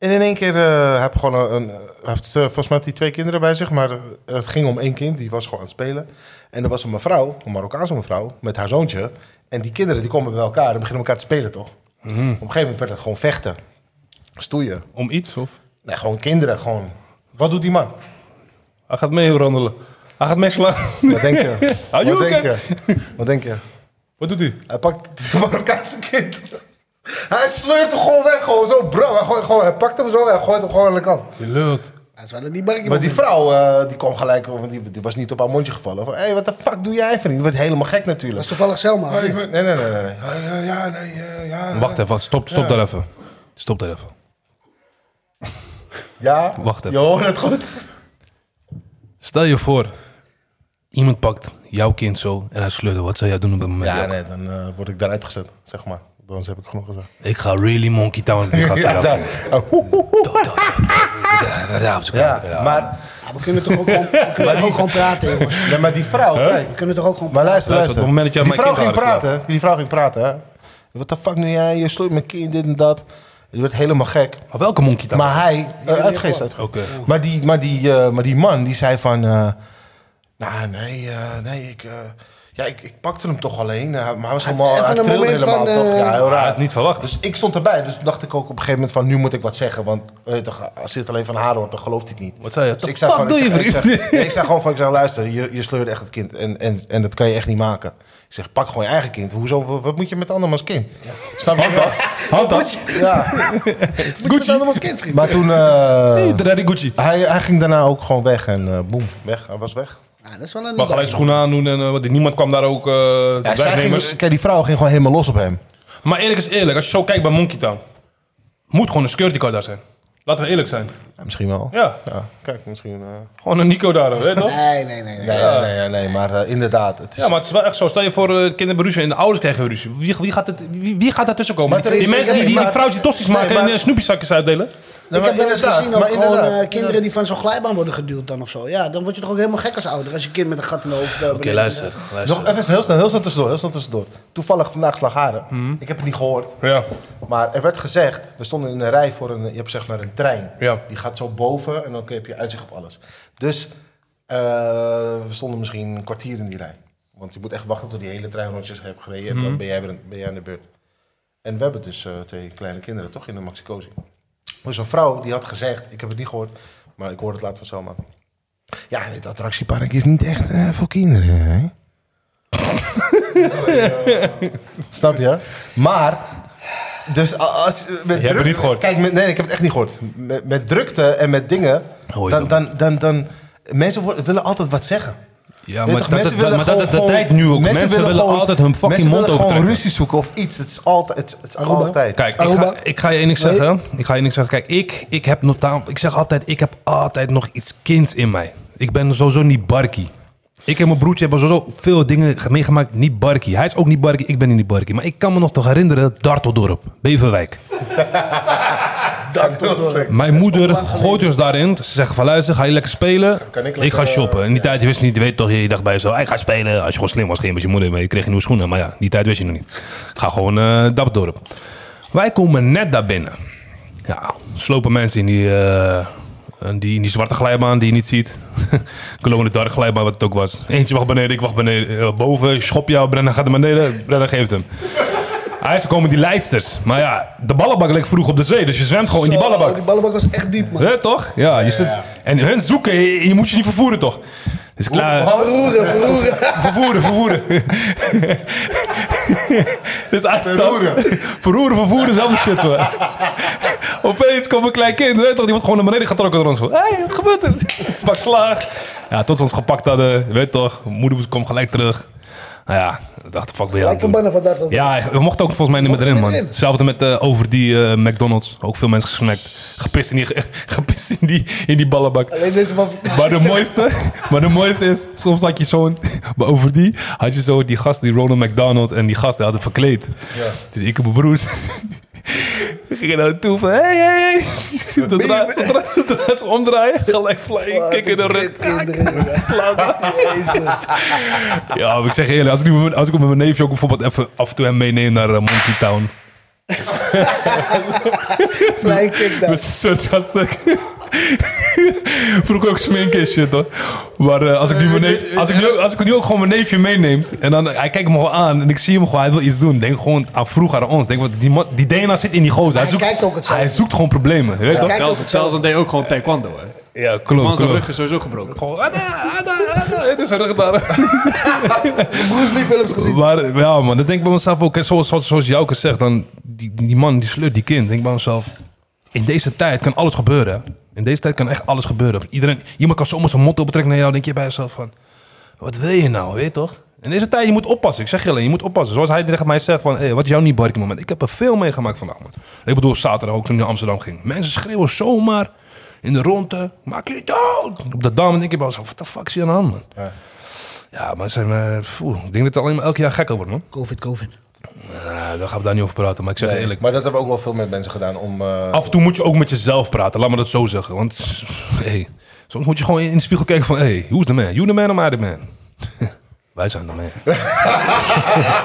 Speaker 2: En in één keer eh heb gewoon een, een- hij heeft eh, volgens mij had hij twee kinderen bij zich, maar eh, het ging om één kind, die was gewoon aan het spelen. En er was een mevrouw, een Marokkaanse mevrouw, met haar zoontje. En die kinderen die komen bij elkaar en beginnen elkaar te spelen, toch?
Speaker 1: Mhm.
Speaker 2: Op een gegeven moment werd het gewoon vechten. Stoeien.
Speaker 1: Om iets, of?
Speaker 2: Nee, gewoon kinderen, gewoon. Wat doet die man?
Speaker 1: Hij gaat mee randelen. Hij gaat meeslaan.
Speaker 2: Wat denk je?
Speaker 1: Are you
Speaker 2: Wat denk
Speaker 1: okay?
Speaker 2: je? Wat denk je?
Speaker 1: Wat doet hij?
Speaker 2: Hij pakt het Marokkaanse kind. Hij sleurt hem gewoon weg, gewoon zo bro. Hij, gooit, gewoon, hij pakt hem zo en gooit hem gewoon aan de kant.
Speaker 1: Je lult.
Speaker 3: Dat is wel een die barkje.
Speaker 2: Maar die vrouw, eh, die kwam gelijk, want die, die was niet op haar mondje gevallen. Van, hé, hey, wat de fuck doe jij, vriend? Die werd helemaal gek
Speaker 3: Dat
Speaker 2: natuurlijk.
Speaker 3: is toevallig Selma.
Speaker 2: Oh, ik ben- Nee, nee, nee, nee. nee. Ja, ja, ja, nee, eh, ja.
Speaker 1: Wacht even. Stop, stop daar even. Stop daar even.
Speaker 2: Ja,
Speaker 1: Wacht even.
Speaker 2: Je hoort het goed.
Speaker 1: Stel je voor, iemand pakt jouw kind zo en hij sleurt hem. Wat zou jij doen op dat moment?
Speaker 2: Ja,
Speaker 1: Jack?
Speaker 2: nee, dan eh, word ik daaruit gezet, zeg maar. Dan heb ik genoeg gezegd.
Speaker 1: Ik ga really Monkey Town op die gasten
Speaker 2: Ja, daar.
Speaker 1: afvuren.
Speaker 2: Oh, hoe, hoe, hoe.
Speaker 1: Ja, ja, op z'n kant,
Speaker 2: ja,
Speaker 1: ja.
Speaker 2: maar,
Speaker 3: Ja, we kunnen toch ook gewoon, we kunnen toch ook gewoon praten, jongens.
Speaker 2: nee, maar die vrouw, kijk.
Speaker 3: We kunnen toch ook gewoon
Speaker 2: Maar
Speaker 3: praten.
Speaker 2: luister,
Speaker 1: Luister, op het moment dat
Speaker 2: luister.
Speaker 1: jij
Speaker 2: die
Speaker 1: mijn
Speaker 2: vrouw
Speaker 1: kind
Speaker 2: ging
Speaker 1: aardig
Speaker 2: praten, hè? die vrouw ging praten, hè. Wat de fuck nu jij? Je sleurt mijn kind, dit en dat. Die werd helemaal gek.
Speaker 1: Maar welke Monkey Town?
Speaker 2: Maar hij, eh, uitgeest, uitgeest.
Speaker 1: Oké.
Speaker 2: Maar die, maar, die, eh, maar die man die zei van. eh, nou, nee, eh, nee, ik. eh, ja, ik, ik pakte hem toch alleen. eh, maar hij was helemaal.
Speaker 3: even
Speaker 2: Hij
Speaker 3: een
Speaker 2: trilde
Speaker 3: moment
Speaker 2: helemaal
Speaker 3: van,
Speaker 2: toch.
Speaker 3: eh,
Speaker 2: ja, heel
Speaker 1: Hij
Speaker 2: raar.
Speaker 1: had het niet verwacht. Dus
Speaker 2: Dus ik stond erbij. Dus toen dacht ik ook op een gegeven moment van. Nu moet ik wat zeggen. Want weet je toch, als je het alleen van haar hoort, dan gelooft hij het niet.
Speaker 1: wat zei je?
Speaker 2: Dus
Speaker 1: ik fuck
Speaker 2: van,
Speaker 1: doe je
Speaker 2: zeg-
Speaker 1: vriend?
Speaker 2: Ik zeg, nee, ik zeg gewoon van, ik zeg, luister, je, je sleurt echt het kind en, en, en dat kan je echt niet maken. Ik zeg, pak gewoon je eigen kind. Hoezo, wat, wat moet je met andermans kind? Snap je? dat?
Speaker 1: Handtas.
Speaker 2: Ja.
Speaker 3: Gucci. Dat was kind, vriend.
Speaker 2: Maar toen, eh,
Speaker 1: Hey, Daddy Gucci.
Speaker 2: hij, hij ging daarna ook gewoon weg en eh boem, weg. Hij was weg.
Speaker 3: Nou, dat is wel een
Speaker 1: Maar gelijk schoenen aandoen en eh, want niemand kwam daar ook. eh, de
Speaker 2: Ja, zij
Speaker 1: werknemers.
Speaker 2: ging, dus- kijk, die vrouw ging gewoon helemaal los op hem.
Speaker 1: Maar eerlijk is eerlijk, als je zo kijkt bij Monkey Town, moet gewoon een security guard daar zijn. Laten we eerlijk zijn.
Speaker 2: Ja, misschien wel.
Speaker 1: Ja,
Speaker 2: Ja, kijk, misschien... eh,
Speaker 1: gewoon een Nico daar, weet je toch?
Speaker 3: Nee, nee, nee. nee.
Speaker 2: nee, nee, nee, nee, maar eh, inderdaad. Het is,
Speaker 1: Ja, maar het is wel echt zo. Stel je voor, eh, kinderen beruzen en de ouders krijgen ruzie. Wie, wie, gaat, het, wie, wie gaat daartussen komen?
Speaker 2: Maar
Speaker 1: Die,
Speaker 2: er is-
Speaker 1: die mensen die, die
Speaker 2: maar-
Speaker 1: een vrouwtje tossies
Speaker 2: Nee,
Speaker 1: maken en
Speaker 2: maar-
Speaker 1: eh, snoepjeszakjes uitdelen.
Speaker 2: Nee,
Speaker 3: ik
Speaker 2: maar
Speaker 3: heb wel eens
Speaker 2: inderdaad,
Speaker 3: gezien ook
Speaker 2: maar
Speaker 3: gewoon eh,
Speaker 2: inderdaad.
Speaker 3: kinderen die van zo'n glijbaan worden geduwd dan of zo. Ja, dan word je toch ook helemaal gek als ouder als je kind met een gat in de hoofd. eh,
Speaker 1: Oké,
Speaker 3: beneden-
Speaker 1: luister,
Speaker 2: Nog even heel snel, heel snel tussendoor, heel snel tussendoor. Toevallig vandaag slagharen. Ik heb het niet gehoord.
Speaker 1: Ja,
Speaker 2: Maar er werd gezegd, we stonden in een rij voor een, je hebt zeg maar een trein.
Speaker 1: Ja.
Speaker 2: Die gaat zo boven en dan heb je uitzicht op alles. Dus eh, we stonden misschien een kwartier in die rij. Want je moet echt wachten tot die hele trein rondjes hebt gereden. En dan ben jij, weer- ben jij aan de beurt. En we hebben dus eh, twee kleine kinderen, toch? In de Maxicosi. Dus een vrouw die had gezegd, ik heb het niet gehoord, maar ik hoorde het later van Selma. Ja, dit attractiepark is niet echt eh, voor kinderen, hè? Snap je? Maar, dus a- als... Met
Speaker 1: hebt het niet gehoord.
Speaker 2: Kijk, met- nee, ik heb het echt niet gehoord. Met, met drukte en met dingen,
Speaker 1: Hoor je
Speaker 2: dan,
Speaker 1: het
Speaker 2: dan, dan, dan... Mensen worden- willen altijd wat zeggen.
Speaker 1: ja
Speaker 2: Weet
Speaker 1: maar, dat,
Speaker 2: toch,
Speaker 1: dat,
Speaker 2: mensen willen
Speaker 1: maar dat is de
Speaker 2: gewoon-
Speaker 1: tijd nu ook. Mensen, willen,
Speaker 2: gewoon-
Speaker 1: altijd hun fucking
Speaker 2: mensen
Speaker 1: mond
Speaker 2: willen gewoon
Speaker 1: overtrekken.
Speaker 2: ruzie zoeken of iets. Het is altijd, het, het is
Speaker 3: Aruba.
Speaker 2: altijd.
Speaker 1: Kijk, ik ga,
Speaker 3: Aruba.
Speaker 1: ik ga je één ding zeggen. Ik ga je één ding zeggen. Kijk, ik, ik heb notaal, ik zeg altijd, ik heb altijd nog iets kinds in mij. Ik ben sowieso niet barkie. Ik en mijn broertje hebben sowieso veel dingen ge- meegemaakt, niet barkie. Hij is ook niet barkie, ik ben niet barkie. Maar ik kan me nog toch herinneren, Darteldorp, Beverwijk.
Speaker 3: Dat tot door.
Speaker 1: Mijn moeder gooit ons daarin. Ze zeggen van luister, ga je lekker spelen?
Speaker 2: Kan ik
Speaker 1: ik,
Speaker 2: lekker, eh,
Speaker 1: ga shoppen. In die tijd je wist niet, je weet toch, je dacht bij jezelf, ik ga spelen. Als je gewoon slim was, ging je met je moeder mee, je kreeg je nieuwe schoenen. Maar ja, die tijd wist je nog niet. Ik ga gewoon eh Dapdorp. Wij komen net daar binnen. Ja, slopen mensen in die, eh, in die, in die zwarte glijbaan die je niet ziet. Kolonne dark glijbaan, wat het ook was. Eentje wacht beneden, ik wacht beneden, eh, boven. Schop jou, Brenna gaat naar beneden, Brenna geeft hem. Hij is komen die lijsters. Maar ja, de ballenbak ligt vroeg op de zee, dus je zwemt gewoon in die ballenbak.
Speaker 3: Oh, die ballenbak was echt diep, man.
Speaker 1: Hè, toch? Ja, je zit... En hun zoeken, je, je moet je niet vervoeren, toch? Dus klaar,
Speaker 3: Verroeren, verroeren.
Speaker 1: vervoeren, vervoeren. Dus uitstappen. Verroeren, vervoeren, zelfde shit. man. Opeens komt een klein kind, weet je toch, die wordt gewoon naar beneden getrokken door ons. Hé, hey, wat gebeurt er? Pak slaag. Ja, tot ze ons gepakt hadden, weet je toch, moeder komt gelijk terug. Nou ja, ik dacht, fuck ben je aan
Speaker 3: Lijkt
Speaker 1: het
Speaker 3: van
Speaker 1: doen?
Speaker 3: bannen van dat.
Speaker 1: Ja, we mochten ook volgens mij niet meer
Speaker 3: Mochten
Speaker 1: erin,
Speaker 3: niet
Speaker 1: man.
Speaker 3: erin.
Speaker 1: Hetzelfde met eh, over die eh, McDonald's. Ook veel mensen gesnackt. Gepist in die, gepist in die, in die ballenbak.
Speaker 3: Alleen deze man.
Speaker 1: Maar de mooiste, maar de mooiste is, soms had je zo'n, maar over die had je zo die gast, die Ronald McDonald en die gast, die hadden verkleed. Dus ik en mijn broers we gingen naar toe van, hey, hey, hey. Zodra, zodra, zodra ze omdraaien, gelijk flying, kick in de rug.
Speaker 3: Kinderen, ja.
Speaker 1: Slaan.
Speaker 3: Jezus.
Speaker 1: Ja, maar ik zeg je eerlijk, als ik, nu met mijn- als ik met mijn neefje ook bijvoorbeeld even af en toe hem meeneem naar eh, Monkey Town.
Speaker 3: Flying kickdown.
Speaker 1: Met zijn soort gasten. Vroeger ook sminken en shit hoor. Maar eh, als, ik nu mijn neef, als, ik nu, als ik nu ook gewoon mijn neefje meeneem. En dan, hij kijkt me gewoon aan en ik zie hem gewoon, hij wil iets doen. Denk gewoon aan vroeger aan ons. Denk, wat, die, ma- die DNA zit in die gozer. Hij,
Speaker 3: Hij
Speaker 1: zoekt,
Speaker 3: kijkt ook hetzelfde.
Speaker 1: hij zoekt gewoon problemen. Weet je toch?
Speaker 3: Kijk of
Speaker 4: Telsen
Speaker 3: het
Speaker 4: Telsen deed ook gewoon taekwondo, hè.
Speaker 1: Ja,
Speaker 4: Man,
Speaker 1: klopt.
Speaker 4: zijn rug
Speaker 1: klopt.
Speaker 4: is sowieso gebroken.
Speaker 1: Gewoon, ada, ada, ada. Het is een rug daar.
Speaker 3: Bruce Lee films gezien.
Speaker 1: Maar ja, man, dat denk ik bij mezelf ook. En Zoals, zoals, zoals Jouke zegt, dan die, die man, die slut, die kind. Denk ik bij mezelf, in deze tijd kan alles gebeuren. hè. In deze tijd kan echt alles gebeuren. Iedereen, iemand kan zomaar zijn mond optrekken naar jou. Denk je bij jezelf van, wat wil je nou, weet je toch? In deze tijd, je moet oppassen. Ik zeg je alleen, je moet oppassen. Zoals hij tegen mij zegt van, hey, wat is jouw niet barkie moment? Ik heb er veel meegemaakt vandaag, man. Ik bedoel, zaterdag ook toen ik naar Amsterdam ging. Mensen schreeuwen zomaar in de ronde. Maak je niet dood! Op de dam en ik heb wel zo, wat de fuck is hier aan de hand, man? Ja, maar ze zijn, eh, foe, ik denk dat het alleen maar elk jaar gekker wordt, man.
Speaker 3: Covid, Covid.
Speaker 1: Nou, daar gaan we daar niet over praten, maar ik zeg je eerlijk.
Speaker 2: Maar dat hebben we ook wel veel met mensen gedaan om... eh,
Speaker 3: Oh.
Speaker 1: Af en toe moet je ook met jezelf praten, laat me dat zo zeggen. Want hey, soms moet je gewoon in de spiegel kijken van... Hey, who's the man? You the man or I the man? Wij zijn de man.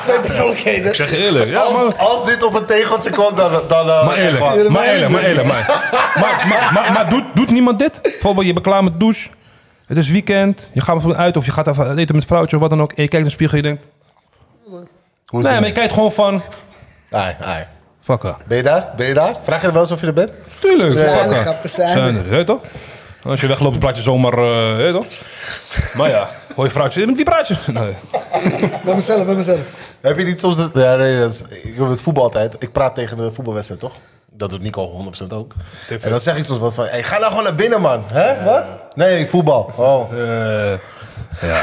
Speaker 3: Twee persoonlijkheden.
Speaker 1: Ik zeg je eerlijk. Ja, maar,
Speaker 2: als, als dit op een tegeltje komt, dan... dan eh,
Speaker 1: maar eerlijk.
Speaker 2: echt
Speaker 1: Maar
Speaker 2: waar.
Speaker 1: eerlijk, maar eerlijk. Maar, eerlijk, maar, maar, maar, maar, maar doet, doet niemand dit? Bijvoorbeeld, je bent klaar met de douche. Het is weekend. Je gaat even uit of je gaat even eten met vrouwtje of wat dan ook. En je kijkt in de spiegel en je denkt...
Speaker 2: Hoe is
Speaker 1: Nee,
Speaker 2: het?
Speaker 1: maar je kijkt gewoon van...
Speaker 2: Ai, ai.
Speaker 1: Fuck her.
Speaker 2: Ben je daar? Ben je daar? Vraag je wel eens of je er bent?
Speaker 1: Tuurlijk. fuck her.
Speaker 3: grappig, zijn er.
Speaker 1: Zijn er, weet je toch? Als je wegloopt, praat je zomaar, eh, weet je
Speaker 3: Oh.
Speaker 1: toch? Maar ja, Nou hoor je vrouwtje, met wie praat je? Nee.
Speaker 3: Bij mezelf, bij mezelf.
Speaker 2: Heb je niet soms... Dat, ja, nee, dat is, ik heb het voetbal altijd. Ik praat tegen de voetbalwedstrijd, toch? Dat doet Nico 100% ook. En dan zeg ik soms wat van... Hey, ga nou gewoon naar binnen, man. Hè? Wat? Nee, voetbal. Oh.
Speaker 1: ja,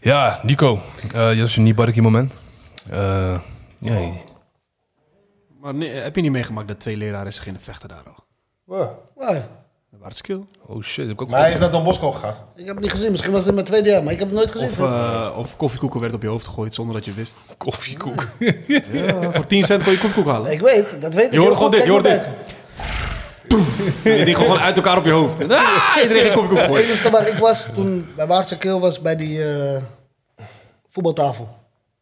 Speaker 1: ja, Nico, eh je is een niet moment. Eh nee.
Speaker 4: Maar nee, heb je niet meegemaakt dat twee leraren zich gingen vechten daar al?
Speaker 3: Maar,
Speaker 4: Dat waren skill.
Speaker 1: Oh shit, heb ik ook
Speaker 2: Maar hij is naar Don Bosco gegaan.
Speaker 3: ik heb het niet gezien. Misschien was dit mijn tweede jaar, maar ik heb het nooit gezien.
Speaker 4: Of, eh, of koffiekoeken werd op je hoofd gegooid zonder dat je het wist.
Speaker 1: koffiekoek.
Speaker 4: Voor 10 cent kon je koffiekoeken halen.
Speaker 3: ik weet, dat weet ik.
Speaker 4: Je hoorde gewoon dit, je
Speaker 3: hoor
Speaker 4: hoorde dit. Die ging gewoon uit elkaar op je hoofd. Ah, iedereen ging koffiekoeken
Speaker 3: Het
Speaker 4: gooien.
Speaker 3: enige waar ik was toen bij Waardse Keel was bij die eh, voetbaltafel.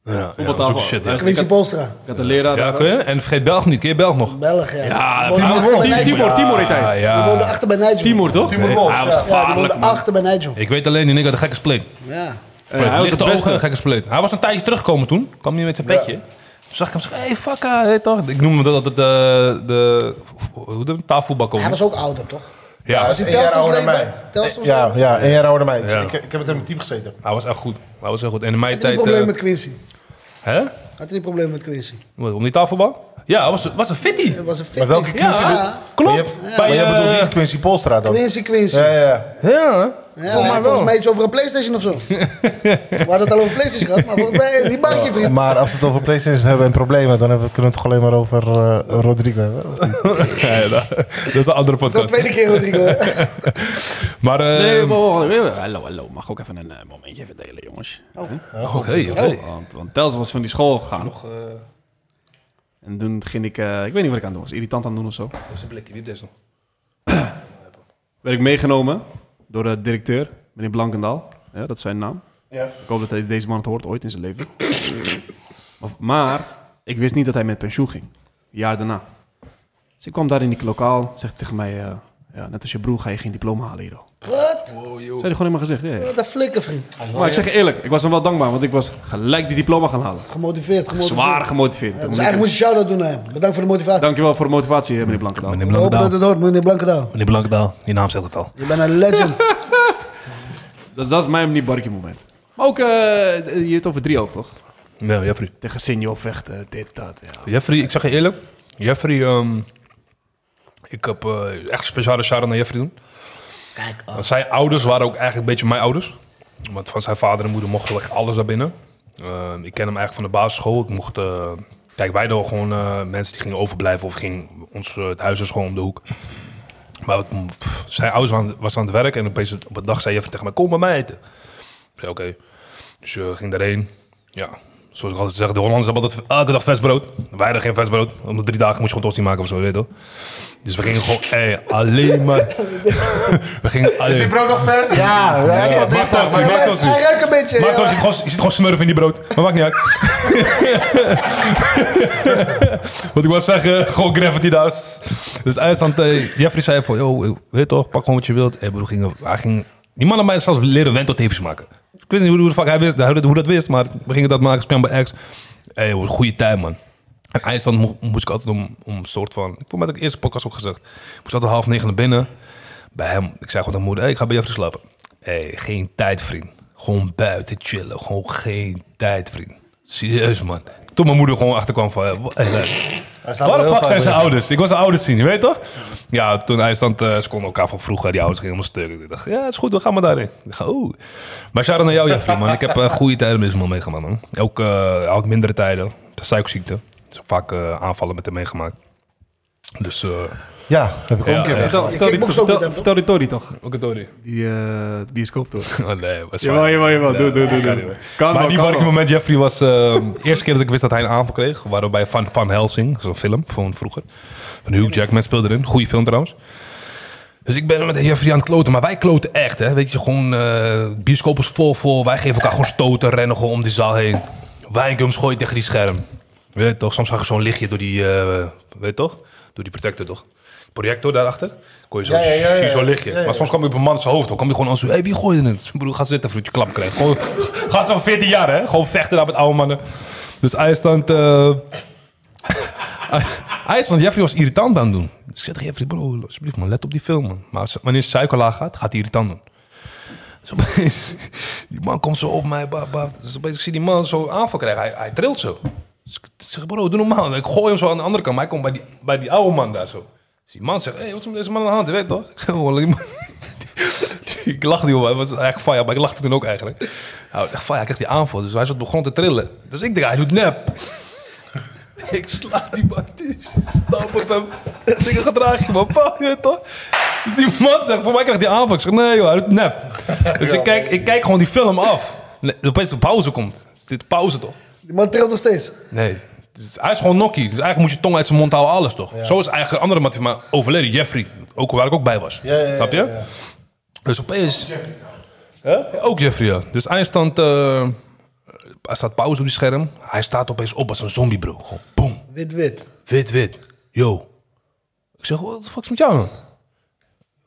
Speaker 1: Ja, zoek shit, ja.
Speaker 3: Quincy Polstra,
Speaker 4: Ik had een leraar.
Speaker 1: Ja,
Speaker 4: daar-
Speaker 1: kun je? En vergeet Belg niet, ken je Belg nog?
Speaker 3: Belg. Ja,
Speaker 1: Ja,
Speaker 3: die woonde,
Speaker 1: Timor,
Speaker 3: achter bij Nigel.
Speaker 4: Timor, Timor, Timor heet
Speaker 1: Ja,
Speaker 4: hij.
Speaker 3: Die woonde
Speaker 1: ja.
Speaker 3: achter bij Nigel.
Speaker 4: Timor, toch?
Speaker 2: Timor
Speaker 1: Nee,
Speaker 2: Wolf,
Speaker 1: hij was
Speaker 2: ja.
Speaker 3: Ja, die woonde
Speaker 1: gevaarlijk, man.
Speaker 3: achter bij Nigel.
Speaker 1: Ik weet alleen, die nigger had een gekke split.
Speaker 3: Ja.
Speaker 4: Eh, hij was het
Speaker 1: Lichte ogen en
Speaker 4: beste.
Speaker 1: een gekke split. Hij was een tijdje teruggekomen toen. Kwam hij met zijn petje. Toen zag ik hem zeggen, hey, fuck, hè, hey, toch? Ik noem hem dat altijd de, de, hoe de tafelvoetbalcoach.
Speaker 3: Hij was ook ouder, toch?
Speaker 1: Ja,
Speaker 2: Hij is
Speaker 3: die
Speaker 2: een jaar
Speaker 3: Telsoms
Speaker 2: ouder dan mij.
Speaker 3: leven? Telsoms
Speaker 2: Ja,
Speaker 3: leven?
Speaker 2: ja, een jaar ouder dan mij.
Speaker 1: Ja.
Speaker 2: Ik, ik, ik heb met hem in het team gezeten.
Speaker 1: hij was echt goed. Hij was heel goed. En in mijn
Speaker 3: Had hij
Speaker 1: tijd...
Speaker 3: niet probleem
Speaker 1: eh,
Speaker 3: met Quincy?
Speaker 1: Hè?
Speaker 3: Had hij niet probleem met Quincy?
Speaker 1: Wat, om die tafelbal? Ja, hij was, was een fitty.
Speaker 3: Er was een fit.
Speaker 2: Maar welke Quincy?
Speaker 1: Ja.
Speaker 2: bedoel- Maar
Speaker 1: Klopt.
Speaker 2: je, maar jij
Speaker 1: eh,
Speaker 2: bedoelt niet Quincy Polstra dan?
Speaker 3: Quincy, Quincy.
Speaker 2: Ja, ja.
Speaker 1: Ja.
Speaker 3: Ja, volgens mij iets over een PlayStation of zo. We hadden het al over PlayStation gehad, maar volgens mij die bankje
Speaker 2: ja.
Speaker 3: vriend.
Speaker 2: Maar als we het over PlayStation hebben en problemen, dan hebben we, kunnen we het toch alleen maar over eh, Rodrigo hebben. of niet?
Speaker 1: Ja, dat, dat is een andere
Speaker 3: Dat eh,
Speaker 1: podcast.
Speaker 3: is de tweede keer, Rodrigo.
Speaker 1: Maar, eh
Speaker 4: Nee, maar wacht even. Hallo, hallo. Mag ook even een eh, momentje even delen, jongens.
Speaker 1: oké, oké.
Speaker 4: Oh, Want, want Tels was van die school gegaan. En toen ging ik, eh, ik weet niet wat ik aan het doen was, irritant aan het doen of zo. Werd ik meegenomen door de directeur, meneer Blankendaal. Ja, dat is zijn naam. Ik hoop dat hij deze man het hoort ooit in zijn leven. Of- maar ik wist niet dat hij met pensioen ging. Een jaar daarna. Dus ik kwam daar in die lokaal, zegt hij tegen mij... eh, ja, net als je broer ga je geen diploma halen hier al.
Speaker 3: Wat?
Speaker 4: Zei hij gewoon in mijn gezicht. ja, ja.
Speaker 3: Wat een flikker, vriend.
Speaker 4: Maar ik zeg je eerlijk, ik was hem wel dankbaar, want ik was gelijk die diploma gaan halen.
Speaker 3: Gemotiveerd, gemotiveerd.
Speaker 4: Zwaar gemotiveerd.
Speaker 3: Ja, dus eigenlijk moet je shout-out doen naar hem. Bedankt voor de motivatie.
Speaker 4: Dankjewel voor de motivatie, eh, meneer Blankendaal.
Speaker 1: Meneer
Speaker 3: We hopen dat
Speaker 1: Blankendaal.
Speaker 3: het hoort, meneer Blankendaal.
Speaker 1: Meneer Blankendaal, die naam zegt het al.
Speaker 3: Je bent een legend.
Speaker 4: Dat, dat is mijn niet barkie moment. Maar ook, eh, je hebt het over driehoog, toch?
Speaker 5: Ja, Jeffrey.
Speaker 4: Tegen Sinjo vechten, dit, dat. Ja.
Speaker 5: Jeffrey, ik zeg je eerlijk. Jeffrey, ehm, ik heb eh, echt een speciale shout-out naar Jeffrey doen.
Speaker 3: Kijk, ah,
Speaker 5: Want zijn ouders waren ook eigenlijk een beetje mijn ouders. Want van zijn vader en moeder mocht wel echt alles daarbinnen. binnen. Ehm, ik ken hem eigenlijk van de basisschool. Ik mocht, eh, kijk, wij hadden gewoon eh, mensen die gingen overblijven of gingen. Ons, eh, het huis is gewoon om de hoek. Maar wat- pff, zijn ouders waren, was aan het werk en opeens op een dag zei Jeffrey tegen mij: Kom bij mij eten. Ik zei: Oké. Dus je ging daarheen. Ja, zoals ik altijd zeg, de Hollanders hebben altijd elke dag vers brood. Wij hadden geen vers brood. Om de drie dagen moest je gewoon tosti maken of zo, je weet toch? Dus we gingen gewoon hey, alleen maar. we gingen alleen
Speaker 2: brood nog vers? Ja, ja, ja,
Speaker 5: maakt
Speaker 2: dinsdag,
Speaker 5: ons
Speaker 2: maar
Speaker 5: niet, maakt
Speaker 2: hij-
Speaker 5: ons
Speaker 2: Hij
Speaker 5: niet.
Speaker 2: ruikt een beetje.
Speaker 5: maar
Speaker 2: ja.
Speaker 5: trouwens, je, zit gewoon, je zit gewoon smurf in die brood. Maar maakt niet uit. Wat ik wil zeggen, gewoon gravity daar. Dus eindstand, eh, Jeffrey zei van, yo, weet je toch, pak gewoon wat je wilt. Hey, broer, ging, hij ging, die man had mij zelfs leren wenteltevens maken. Ik wist niet hoe, hoe de fuck hij wist, hoe, dat- hoe dat wist, maar we gingen dat maken. Scramble X. Hey, joh, goede tijd, man. En eindstand mo- moest ik altijd om, om een soort van... Ik vond met de eerste podcast ook gezegd. Ik moest altijd half negen naar binnen bij hem. Ik zei gewoon aan moeder, hey, ik ga bij Jeffrey slapen. hey, geen tijd, vriend. Gewoon buiten chillen. Gewoon geen tijd, vriend. Serieus, man. Toen mijn moeder gewoon achterkwam van... Hey, wa- hey,
Speaker 2: Hij staat
Speaker 5: Waar de
Speaker 2: wel
Speaker 5: fuck
Speaker 2: heel
Speaker 5: zijn zijn
Speaker 2: vaak
Speaker 5: ouders? Ik wil zijn ouders zien, je weet toch? Ja, toen hij stond, eh, ze konden elkaar van vroeger, die ouders gingen helemaal stuk. Ik dacht, ja, is goed, we gaan maar daarin. Ik dacht, oh. Maar shout naar jou, Jeffrey, man. Ik heb eh, goede tijden met hem meegemaakt, man. Ook eh had mindere tijden, de suikerziekte. Dus vaak eh, aanvallen met hem meegemaakt. Dus, eh
Speaker 2: weer. Ja, heb ik ook een
Speaker 5: Ja,
Speaker 2: keer. gedaan.
Speaker 5: ja.
Speaker 4: Vertel, vertel, die,
Speaker 3: kickbox ook met hem, toch?
Speaker 4: vertel, vertel die Tory toch?
Speaker 5: ook het Tony.
Speaker 4: Die, eh die is toch?
Speaker 5: Oh, nee, was
Speaker 4: Jawel, jawel, jawel. Doe, doe, doe. doe. Kan
Speaker 5: Maar
Speaker 4: wel,
Speaker 5: die
Speaker 4: kan
Speaker 5: markmoment
Speaker 4: wel.
Speaker 5: moment, Jeffrey, was eh, de eerste keer dat ik wist dat hij een aanval kreeg. Waren we bij Van, Van Helsing, zo'n film van vroeger. Van Hugh Jackman speelde erin. Goeie film trouwens. Dus ik ben met Jeffrey aan het kloten, maar wij kloten echt. Hè? Weet je, gewoon eh bioscoop is vol vol. Wij geven elkaar gewoon stoten, rennen gewoon om die zaal heen. Wijngums gooien tegen die scherm. Weet je toch, soms zag je zo'n lichtje door die, eh, weet je toch? Door die protector toch? Projector daarachter. Kon je zo,
Speaker 2: Ja, ja, ja, ja,
Speaker 5: zie je zo'n
Speaker 2: ja.
Speaker 5: lichtje.
Speaker 2: Ja, ja.
Speaker 5: Maar soms kwam je op een man zijn hoofd. Dan kwam je gewoon als, hé, hey, wie gooide het? Broer, ga zitten voordat je klap krijgt. Gewoon, gaat zo'n 14 jaar, hè? Gewoon vechten daar met oude mannen. Dus IJsland... eh IJsland, Jeffrey was irritant aan het doen. Dus ik zeg tegen Jeffrey, bro, alsjeblieft man, let op die film. Man. Maar als- wanneer suiker laag gaat, gaat hij irritant doen. Dus opeens, die man komt zo op mij. Bah, bah. Dus opeens, ik zie die man zo aanval krijgen. Hij, hij trilt zo. Dus ik ik zeg, bro, doe normaal. Ik gooi hem zo aan de andere kant. Maar hij komt bij die, bij die oude man daar zo. Dus die man zegt, hé, hey, wat is met deze man aan de hand? Je weet toch? Ik zeg, oh, die man. ik lachte niet om, hij was eigenlijk fire, maar ik lachte toen ook eigenlijk. Nou, ik dacht, fire, hij kreeg die aanval, dus hij zat begon te trillen. Dus ik denk, hij doet nep. ik sla die man, die stap op hem. Ik denk, gedraag je man, pa, je weet toch? Dus die man zegt, voor mij krijgt die aanval. Ik zeg, nee joh, hij doet nep. Dus ik kijk, ik kijk gewoon die film af. Nee, opeens de pauze komt. Er Zit pauze toch?
Speaker 3: die man trilt nog steeds.
Speaker 5: Nee. Dus hij is gewoon nokkie. Dus eigenlijk moet je tong uit zijn mond houden, alles toch? Zo is eigenlijk een andere man maar overleden. Jeffrey, ook, waar ik ook bij was.
Speaker 2: ja, ja,
Speaker 5: Snap je?
Speaker 2: ja, ja.
Speaker 5: Dus opeens... Hè? Ook Jeffrey, ja. Dus eindstand... eh hij staat pauze op die scherm. Hij staat opeens op als een zombie, bro. Gewoon boom.
Speaker 3: Wit-wit.
Speaker 5: Wit, wit. Yo. Ik zeg, wat de fuck is met jou dan?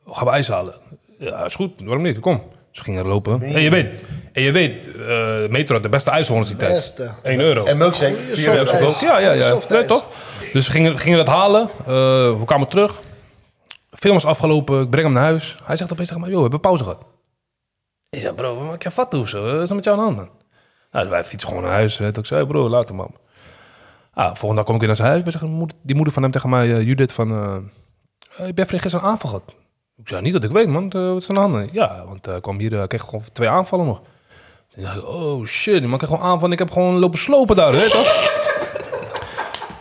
Speaker 5: Oh, Gaan we ijs halen? Ja, is goed. Waarom niet? Kom. Ze gingen lopen. En je weet, en je weet eh, Metro had de beste ijshorns die tijd.
Speaker 3: Beste.
Speaker 5: 1 euro.
Speaker 2: En milkshake. vier
Speaker 3: soft
Speaker 5: Ja,
Speaker 2: euro.
Speaker 5: dat
Speaker 3: ijs.
Speaker 5: ook. Ja, ja, ja.
Speaker 3: Soft
Speaker 5: Nee,
Speaker 3: ijs.
Speaker 5: toch? Dus we gingen, gingen dat halen. Eh, we kwamen terug. Film was afgelopen. Ik breng hem naar huis. Hij zegt opeens tegen mij, joh, we hebben pauze gehad. Ik zeg, bro, wat maak je vat of zo? Wat is er met jou aan de hand? man?" Nou, wij fietsen gewoon naar huis. Weet je. ik zei, hey, bro, later man. Ah, volgende dag kom ik weer naar zijn huis. Ik zeg, "Moeder- die moeder van hem tegen mij, eh, Judith, van... eh, eh, ik ben gisteren een aanval gehad. Ik zei, niet dat ik weet, man. Eh, wat is er aan de hand? Ja, want eh, ik kwam hier, eh, kreeg gewoon twee aanvallen nog. Toen dacht ik, oh shit, die man kreeg gewoon aanvallen. Ik heb gewoon lopen slopen daar, weet je toch?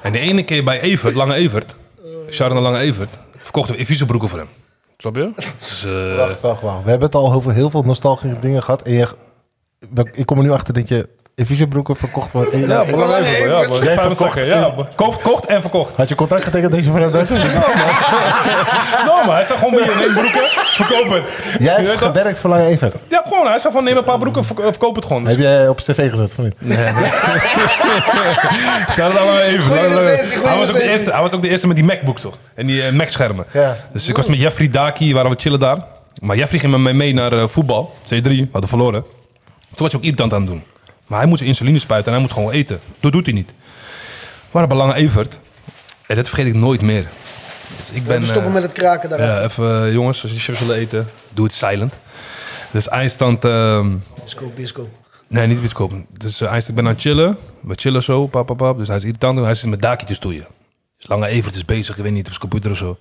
Speaker 5: En de ene keer bij Evert, Lange Evert, Sharon de Lange Evert, verkochten we Evieze broeken voor hem. Snap je? Dus, eh,
Speaker 2: Wacht, wacht, wacht. We hebben het al over heel veel nostalgische dingen gehad. En je, we- ik kom er nu achter dat je Evisebroeken verkocht wordt. En je-
Speaker 5: ja, Lange Evert. Ja, man.
Speaker 2: Jij
Speaker 5: Ik wou het
Speaker 2: verkocht.
Speaker 5: zeggen, ja, man. Koop- Verkocht en verkocht.
Speaker 2: Had je contract getekend deze van hem?
Speaker 5: Nou, maar hij zei gewoon bij je, neem broeken, verkoop het.
Speaker 2: Jij
Speaker 5: Je weet
Speaker 2: hebt
Speaker 5: toch?
Speaker 2: gewerkt voor Lange Evert.
Speaker 5: Ja, gewoon. Hij zei van neem een paar broeken, verk- eh, verkoop het gewoon. Dus
Speaker 2: Heb jij op cv gezet of niet?
Speaker 5: Shout out aan Lange Evert.
Speaker 3: Goeie
Speaker 5: Lange- Lange-
Speaker 3: recensie, goeie
Speaker 5: Hij was ook de
Speaker 3: recensie.
Speaker 5: eerste- Hij was ook de eerste met die MacBook toch? En die eh, Mac-schermen.
Speaker 2: Ja.
Speaker 5: Dus ik was met Jeffrey Daki, waren we chillen daar. Maar Jeffrey ging met mij mee naar eh, voetbal. C3, we hadden verloren. Toen was hij ook irritant aan het doen. Maar hij moet zijn insuline spuiten en hij moet gewoon eten. Dat doet hij niet. We waren bij Lange Evert. En dat vergeet ik nooit meer. Dus ik ben,
Speaker 3: Even stoppen
Speaker 5: eh,
Speaker 3: met het kraken daar.
Speaker 5: ja, even eh, jongens, als je chips willen eten, doe het silent. Dus eindstand... ehm,
Speaker 3: Biscoop, biscoop.
Speaker 5: Nee, niet wiskopen. Dus eh, hij is, ik ben aan het chillen. We chillen zo, pap, pap, pap. Dus hij is irritant en hij zit met Daki te stoeien. Dus lange eventjes bezig, ik weet niet, op zijn computer of zo.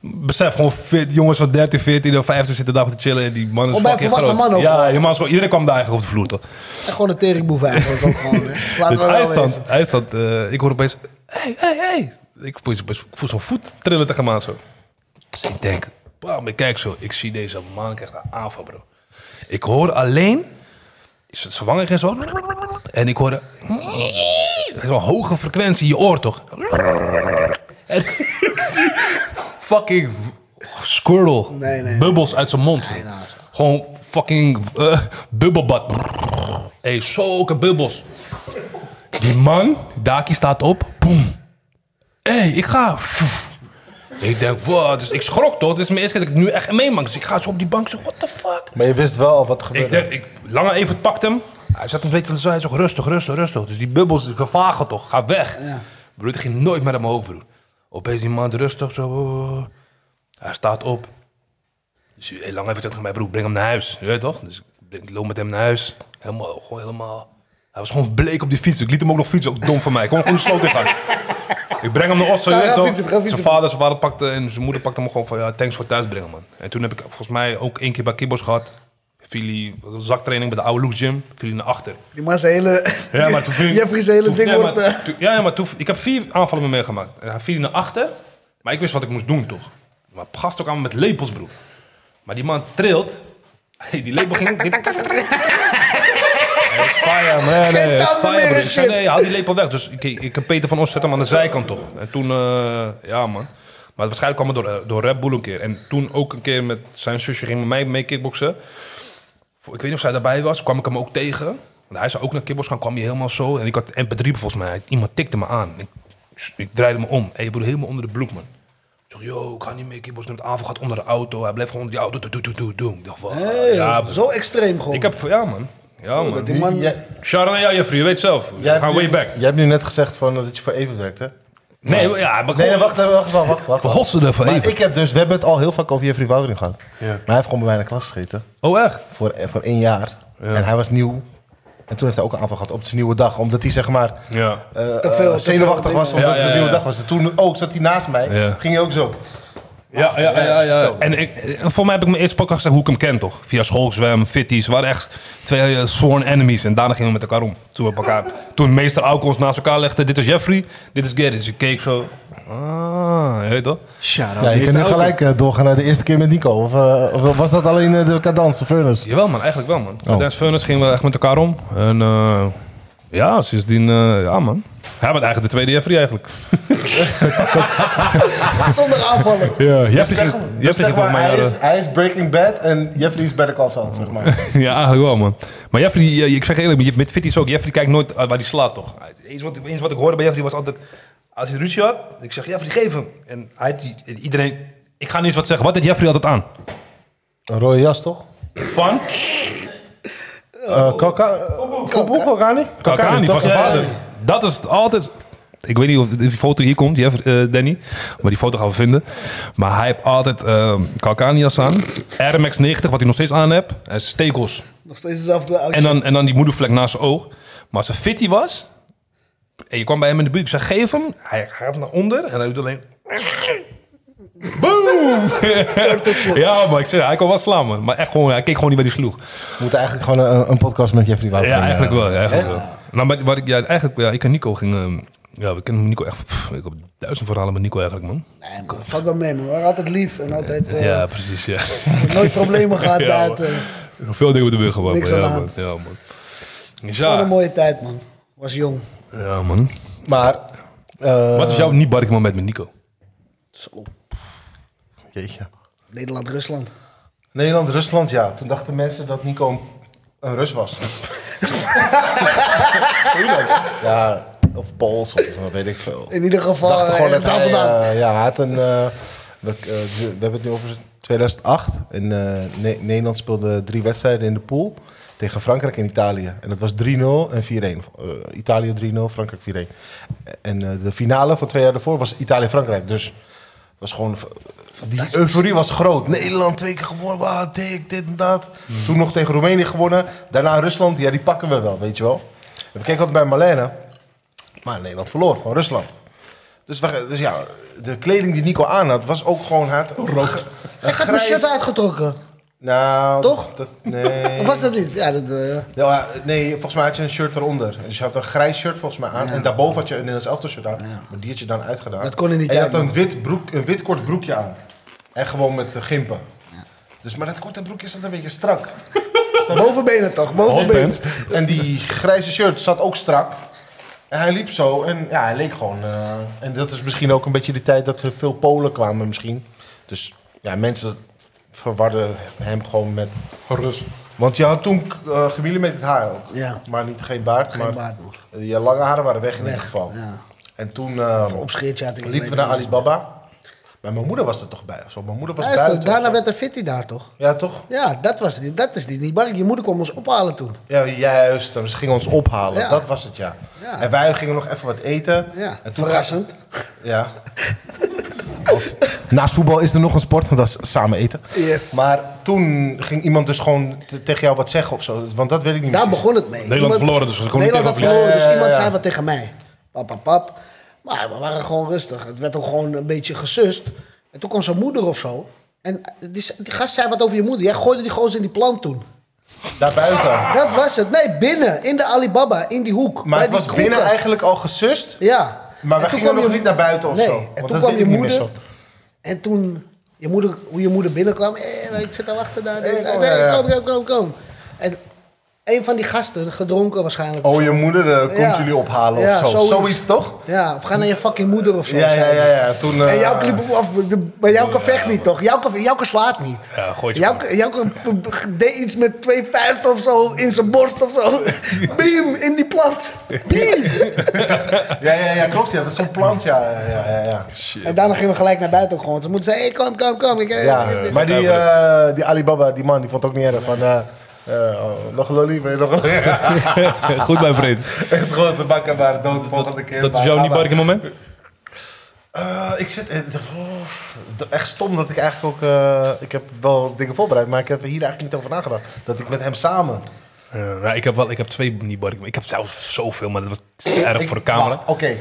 Speaker 5: Besef, gewoon fit, jongens van 13, 14 of 15 zitten daar te chillen. En die man is
Speaker 3: Gewoon bij
Speaker 5: fucking
Speaker 3: volwassen
Speaker 5: groot.
Speaker 3: mannen ook
Speaker 5: Ja,
Speaker 3: gewoon.
Speaker 5: je man is gewoon- iedereen kwam daar eigenlijk op de vloer, toch?
Speaker 3: En gewoon een teringboef eigenlijk ook gewoon. Hè. Laten we
Speaker 5: Dus
Speaker 3: wel
Speaker 5: hij
Speaker 3: wezen.
Speaker 5: stond, hij stond eh, ik hoor opeens, hey, hey, hey. Ik voel, ik voel zo'n voet trillen tegen me zo. Dus ik denk, bam, ik kijk zo. Ik zie deze man krijgt een aanval, bro. Ik hoor alleen, is het zwanger en zo. En ik hoor zo'n hoge frequentie in je oor, toch? En ik zie fucking squirrel,
Speaker 3: Nee, nee.
Speaker 5: bubbels uit zijn mond.
Speaker 3: nou, zo.
Speaker 5: Gewoon fucking eh, bubbelbad. hey, zulke bubbels. Die man, Daki staat op. Boom. Hé, hey, ik ga. Ik denk, wat? Dus ik schrok toch? Dit is mijn eerste keer dat ik het nu echt meemaak. Dus ik ga zo op die bank zo, what the fuck?
Speaker 2: Maar je wist wel al wat er
Speaker 5: Ik
Speaker 2: gebeurde.
Speaker 5: denk, ik, Lange even pakt hem. Hij zat een beetje aan de zijde, zo rustig, rustig, rustig. Dus die bubbels die vervagen toch, ga weg. Broer, het ging nooit meer aan mijn hoofd, broer. Opeens die man rustig, zo. oh, Hij staat op. Dus hey, Lange even zegt tegen mij, broer, breng hem naar huis. Je weet toch? Dus ik, ik loop met hem naar huis. Helemaal, gewoon helemaal... Hij was gewoon bleek op die fiets. Ik liet hem ook nog fietsen, ook dom van mij. Ik kon gewoon de sloot in gaan. Ik breng hem naar Osso, je
Speaker 3: Ja,
Speaker 5: weet
Speaker 3: ja,
Speaker 5: toch?
Speaker 3: fietsen, ga fietsen.
Speaker 5: Zijn vader, zijn vader pakte en zijn moeder pakte hem gewoon van ja, thanks voor thuisbrengen man. En toen heb ik volgens mij ook één keer bij Kibos gehad. Viel hij, dat was een zaktraining bij de oude Loek Gym, viel hij naar achter.
Speaker 3: Die man zijn hele...
Speaker 5: Ja, maar toen viel
Speaker 3: Jeffrey's hele
Speaker 5: toen-
Speaker 3: ding
Speaker 5: ja, maar
Speaker 3: wordt... eh,
Speaker 5: toen- ja, ja, maar toen, ik heb vier aanvallen met meegemaakt. En hij viel naar achter, maar ik wist wat ik moest doen toch. Maar gast ook aan me met lepels broer. Maar die man trilt. Die lepel ging... dit- dat is fire, man. Nee,
Speaker 3: Geen
Speaker 5: nee, dat is
Speaker 3: tanden
Speaker 5: fire,
Speaker 3: meer
Speaker 5: broer.
Speaker 3: en
Speaker 5: Ik zei,
Speaker 3: shit.
Speaker 5: nee, haal die lepel weg. Dus ik, ik heb Peter van Os zet hem aan de zijkant toch. En toen, eh, ja man. Maar waarschijnlijk kwam het door, eh, door Red Bull een keer. En toen ook een keer met zijn zusje ging met mij mee kickboksen. Ik weet niet of zij daarbij was. Kwam ik hem ook tegen. Want hij zou ook naar kickboksen gaan. Kwam hij helemaal zo. En ik had MP3 volgens mij. Iemand tikte me aan. Ik, ik draaide me om. En je broer helemaal onder de bloek, man. Ik zeg, yo, ik ga niet mee kickboksen. De avond gaat onder de auto. Hij blijft gewoon onder die auto. Doe, doe, doe, doe, doe. Ik dacht, wat?
Speaker 3: hey,
Speaker 5: ja, broer.
Speaker 3: zo extreem gewoon.
Speaker 5: Ik heb, ja man. Ja, man.
Speaker 3: Dat die man...
Speaker 2: Jij-
Speaker 5: Shout out naar jou, Jeffrey. Je weet zelf. We
Speaker 2: jij hebt
Speaker 5: gaan
Speaker 2: nu-
Speaker 5: way back.
Speaker 2: Jij hebt nu net gezegd van, eh, dat je voor even werkte.
Speaker 5: Nee, we- ja, maar
Speaker 2: Nee, nee,
Speaker 5: gewoon-
Speaker 2: wacht, even, wacht, wacht, wacht, wacht.
Speaker 5: We hosselen ervan
Speaker 2: Maar
Speaker 5: even.
Speaker 2: ik heb dus, we hebben het al heel vaak over Jeffrey Woudering gehad. Maar hij heeft gewoon bij mij in de klas gezeten.
Speaker 5: Oh, echt?
Speaker 2: Voor, eh, voor één jaar. En hij was nieuw. En toen heeft hij ook een aanval gehad op zijn nieuwe dag. Omdat hij zeg maar
Speaker 5: Ja.
Speaker 2: eh,
Speaker 3: Te veel,
Speaker 2: eh,
Speaker 3: te
Speaker 2: zenuwachtig
Speaker 3: veel
Speaker 2: was.
Speaker 3: dingen.
Speaker 2: Omdat het
Speaker 5: Ja, ja,
Speaker 2: een nieuwe
Speaker 5: ja.
Speaker 2: dag was. En toen ook zat hij naast mij.
Speaker 5: Ja.
Speaker 2: Ging hij ook zo.
Speaker 5: Ja, ja, ja. ja,
Speaker 2: ja, zo.
Speaker 5: En ik, en voor mij heb ik mijn eerste podcast gezegd hoe ik hem ken, toch? Via schoolzwem, fitties. We waren echt twee eh, sworn enemies. En daarna gingen we met elkaar om. Toen we op elkaar... Toen meester Auke ons naast elkaar legde. Dit is Jeffrey, dit is Gary. Dus ik keek zo... Ah, je weet toch?
Speaker 7: Shout-out.
Speaker 2: Ja, je
Speaker 7: Meester
Speaker 2: kan nu
Speaker 7: Auken.
Speaker 2: gelijk eh, doorgaan naar de eerste keer met Nico. Of, eh, of was dat alleen eh, de cadans, de furnace?
Speaker 5: Jawel man, eigenlijk wel man.
Speaker 2: Oh.
Speaker 5: Met Dance Furnace gingen we echt met elkaar om. En eh, ja, sindsdien... eh, ja man. Hij bent eigenlijk de tweede Jeffrey eigenlijk.
Speaker 3: Zonder aanvallen.
Speaker 5: Ja, Jeffrey
Speaker 2: Dus Zeg,
Speaker 5: ging, Jeffrey ging
Speaker 2: zeg
Speaker 5: toch
Speaker 2: maar,
Speaker 5: mijn...
Speaker 2: hij,
Speaker 5: eh,
Speaker 2: is, hij is Breaking Bad en Jeffrey is Better Call Saul, zeg maar.
Speaker 5: Ja, eigenlijk wel, man. Maar Jeffrey, eh, ik zeg eerlijk, met Fitties ook. Jeffrey kijkt nooit eh, waar hij slaat, toch? Eens wat, eens wat ik hoorde bij Jeffrey was altijd... Als hij ruzie had, ik zeg, Jeffrey, geef hem. En hij, had die- iedereen... Ik ga nu eens wat zeggen. Wat had Jeffrey altijd aan?
Speaker 2: Een rode jas, toch?
Speaker 5: Van?
Speaker 2: Eh Koka... Koboek, Kokani?
Speaker 5: Kalkani,
Speaker 2: toch?
Speaker 5: van zijn
Speaker 2: Ja, ja,
Speaker 5: vader.
Speaker 2: ja.
Speaker 5: Dat is het altijd... Ik weet niet of die foto hier komt, Jeff, eh, Danny. Maar die foto gaan we vinden. Maar hij heeft altijd ehm Kalkanias aan. Air Max 90, wat hij nog steeds aan heeft. En stekels.
Speaker 3: Nog steeds dezelfde
Speaker 5: En
Speaker 3: oudje.
Speaker 5: dan, en dan die moedervlek naast zijn oog. Maar als hij fitty was... En je kwam bij hem in de buurt. Ik zei, geef hem. Hij gaat naar onder. En hij doet alleen... Boom! ja, maar ik zeg, hij kon wel slaan, man. Maar echt gewoon, hij keek gewoon niet bij die sloeg.
Speaker 2: We moeten eigenlijk gewoon een, een podcast met Jeffrey Wouter.
Speaker 5: Ja, eigenlijk wel. Ja, eigenlijk wel. Nou, maar wat ik, ja, eigenlijk, ja, ik en Nico ging... ehm, ja, we kennen Nico echt... pff, ik heb duizend verhalen met Nico eigenlijk, man.
Speaker 3: Nee, man, valt wel mee, man. We waren altijd lief en altijd... eh,
Speaker 5: ja, precies, ja.
Speaker 3: Nooit problemen gehad
Speaker 5: Ja,
Speaker 3: daar.
Speaker 5: man.
Speaker 3: eh.
Speaker 5: Veel dingen met de gewoon.
Speaker 3: Niks
Speaker 5: ja,
Speaker 3: aan de
Speaker 5: man.
Speaker 3: hand.
Speaker 5: Ja, man. Dus
Speaker 3: Wat een
Speaker 5: Ja,
Speaker 3: mooie tijd, man. Was jong.
Speaker 5: ja, man.
Speaker 2: Maar... eh,
Speaker 5: Wat is jouw niet-bark moment met Nico?
Speaker 3: Zo.
Speaker 2: Jeetje.
Speaker 3: Nederland-Rusland.
Speaker 2: Nederland, Rusland, ja. Toen dachten mensen dat Nico een, een Rus was. Hoe dat? Ja, of Pools of zo, weet ik veel.
Speaker 3: In ieder
Speaker 2: Ze
Speaker 3: geval,
Speaker 2: dachten
Speaker 3: eh,
Speaker 2: gewoon dat
Speaker 3: ergens daar
Speaker 2: hij,
Speaker 3: vandaan.
Speaker 2: eh, ja, hij had een... eh, we, eh, we hebben het nu over 2008. En eh, Ne- Nederland speelde drie wedstrijden in de pool. Tegen Frankrijk en Italië. En dat was 3-0 en 4-1. Eh, Italië 3-0, Frankrijk 4-1. En eh, de finale van twee jaar daarvoor was Italië-Frankrijk. Dus het was gewoon v- Die euforie was groot. Nederland twee keer gewonnen, wat dik, dit en dat.
Speaker 3: Hmm.
Speaker 2: Toen nog tegen Roemenië gewonnen. Daarna Rusland, ja, die pakken we wel, weet je wel. En we keken altijd bij Marlene. Maar Nederland verloor van Rusland. Dus, we- dus ja, de kleding die Nico aan had, was ook gewoon haar. Rood.
Speaker 3: Ik had mijn shirt uitgetrokken.
Speaker 2: Nou,
Speaker 3: Toch?
Speaker 2: dat- nee.
Speaker 3: Of was dat niet? Ja, dat... eh,
Speaker 2: Ja, nee, volgens mij had je een shirt eronder. Dus je had een grijs shirt volgens mij aan. En daarboven had je een Nederlands elftal shirt aan. Maar die had je dan uitgedaan.
Speaker 3: Dat kon er niet
Speaker 2: En je
Speaker 3: uit,
Speaker 2: had een
Speaker 3: man.
Speaker 2: wit, broek, een wit kort broekje aan. En gewoon met eh, gimpen. Dus, maar dat korte broekje zat een beetje strak.
Speaker 3: bovenbenen toch? Bovenbenen.
Speaker 2: En die grijze shirt zat ook strak. En hij liep zo en ja, hij leek gewoon... eh, en dat is misschien ook een beetje de tijd dat er veel Polen kwamen misschien. Dus ja, mensen verwarden hem gewoon met...
Speaker 1: Gerust.
Speaker 2: Want je had toen eh gemillimeterd haar ook.
Speaker 3: Ja.
Speaker 2: Maar niet geen baard,
Speaker 3: Geen
Speaker 2: maar
Speaker 3: baard nog.
Speaker 2: eh, je lange haren waren weg in ieder
Speaker 3: Weg.
Speaker 2: geval.
Speaker 3: Ja.
Speaker 2: En toen eh,
Speaker 3: Of opscheertje had ik. ik
Speaker 2: liepen
Speaker 3: weet
Speaker 2: we naar
Speaker 3: het niet.
Speaker 2: Alibaba. Maar mijn moeder was er toch bij of zo. Mijn moeder was
Speaker 3: Luister,
Speaker 2: buiten.
Speaker 3: daarna
Speaker 2: of zo.
Speaker 3: werd er fitty daar toch?
Speaker 2: Ja, toch?
Speaker 3: Ja, dat was het. Dat is die niet bang. Je moeder kwam ons ophalen toen.
Speaker 2: Ja, juist. Ze gingen ons ophalen.
Speaker 3: Ja.
Speaker 2: Dat was het, ja.
Speaker 3: Ja.
Speaker 2: En wij gingen nog even wat eten.
Speaker 3: Ja,
Speaker 2: En toen-
Speaker 3: verrassend.
Speaker 2: Ja. Naast voetbal is er nog een sport, want dat is samen eten.
Speaker 3: Yes.
Speaker 2: Maar toen ging iemand dus gewoon te- tegen jou wat zeggen of zo. Want dat weet ik niet
Speaker 3: Daar
Speaker 2: meer.
Speaker 3: begon het mee.
Speaker 1: Nederland verloren, dus we konden
Speaker 3: Nederland
Speaker 1: niet
Speaker 3: had
Speaker 1: tegen
Speaker 3: verloren, dus
Speaker 2: Ja, ja,
Speaker 3: iemand
Speaker 2: ja.
Speaker 3: zei wat tegen mij. Pap, pap, pap. Maar we waren gewoon rustig. Het werd ook gewoon een beetje gesust. En toen kwam zijn moeder of zo. En die, die gast zei wat over je moeder. Jij gooide die gozer in die plant toen.
Speaker 2: Daarbuiten.
Speaker 3: Dat was het. Nee, binnen. In de Alibaba. In die hoek. bij
Speaker 2: Maar het
Speaker 3: die
Speaker 2: was binnen
Speaker 3: koelkast.
Speaker 2: eigenlijk al gesust.
Speaker 3: Ja.
Speaker 2: Maar we
Speaker 3: toen
Speaker 2: gingen
Speaker 3: kwam
Speaker 2: nog
Speaker 3: je-
Speaker 2: niet naar buiten of
Speaker 3: nee.
Speaker 2: zo.
Speaker 3: En
Speaker 2: Want
Speaker 3: toen
Speaker 2: dat
Speaker 3: kwam
Speaker 2: weet
Speaker 3: je
Speaker 2: ik niet meer
Speaker 3: moeder.
Speaker 2: zo.
Speaker 3: En toen, je moeder, hoe je moeder binnenkwam. Hé, ik zit te wachten daar.
Speaker 2: Hey,
Speaker 3: Nee,
Speaker 2: kom,
Speaker 3: nee,
Speaker 2: ja, ja.
Speaker 3: kom, kom, kom, kom. En een van die gasten, gedronken waarschijnlijk.
Speaker 2: Oh, je moeder eh, komt
Speaker 3: Ja.
Speaker 2: jullie ophalen
Speaker 3: Ja,
Speaker 2: of zo.
Speaker 3: zoiets.
Speaker 2: Zoiets, toch?
Speaker 3: Ja, of ga naar je fucking moeder of zo.
Speaker 2: Ja, ja, ja. ja. Toen, eh,
Speaker 3: En Jouke liep hem af, maar Jouke vecht niet, toch? Jouke, Jouke slaat niet.
Speaker 1: Ja, gooit je
Speaker 3: Jouke, Jouke deed iets met twee vuisten of zo in zijn borst of zo. Beam, in die plant. Beam.
Speaker 2: ja, ja, ja, klopt. Ja. Dat is zo'n plant, ja. ja, ja, ja, ja.
Speaker 3: En daarna gingen we gelijk naar buiten ook gewoon. Ze moeten zeggen, hey, kom, kom, kom. Ik, eh,
Speaker 2: Ja,
Speaker 3: dit-
Speaker 2: maar die, eh, die Alibaba, die man, die vond het ook niet erg. Van, eh, eh, oh, nog een lolly, wil je nog een
Speaker 1: Goed, mijn vriend.
Speaker 2: Echt gewoon te bakken, maar dood de volgende keer.
Speaker 1: Dat is
Speaker 2: Maar
Speaker 1: jouw
Speaker 2: ga
Speaker 1: niet
Speaker 2: maar.
Speaker 1: barke moment?
Speaker 2: Eh, ik zit... eh, oh, echt stom dat ik eigenlijk ook... eh, ik heb wel dingen voorbereid, maar ik heb er hier eigenlijk niet over nagedacht. Dat ik met hem samen...
Speaker 1: Eh, nou, ik, heb wel, ik heb twee niet barke Ik heb zelf zoveel, maar dat was te erg
Speaker 2: Ik-
Speaker 1: voor de camera.
Speaker 2: wacht, Oké.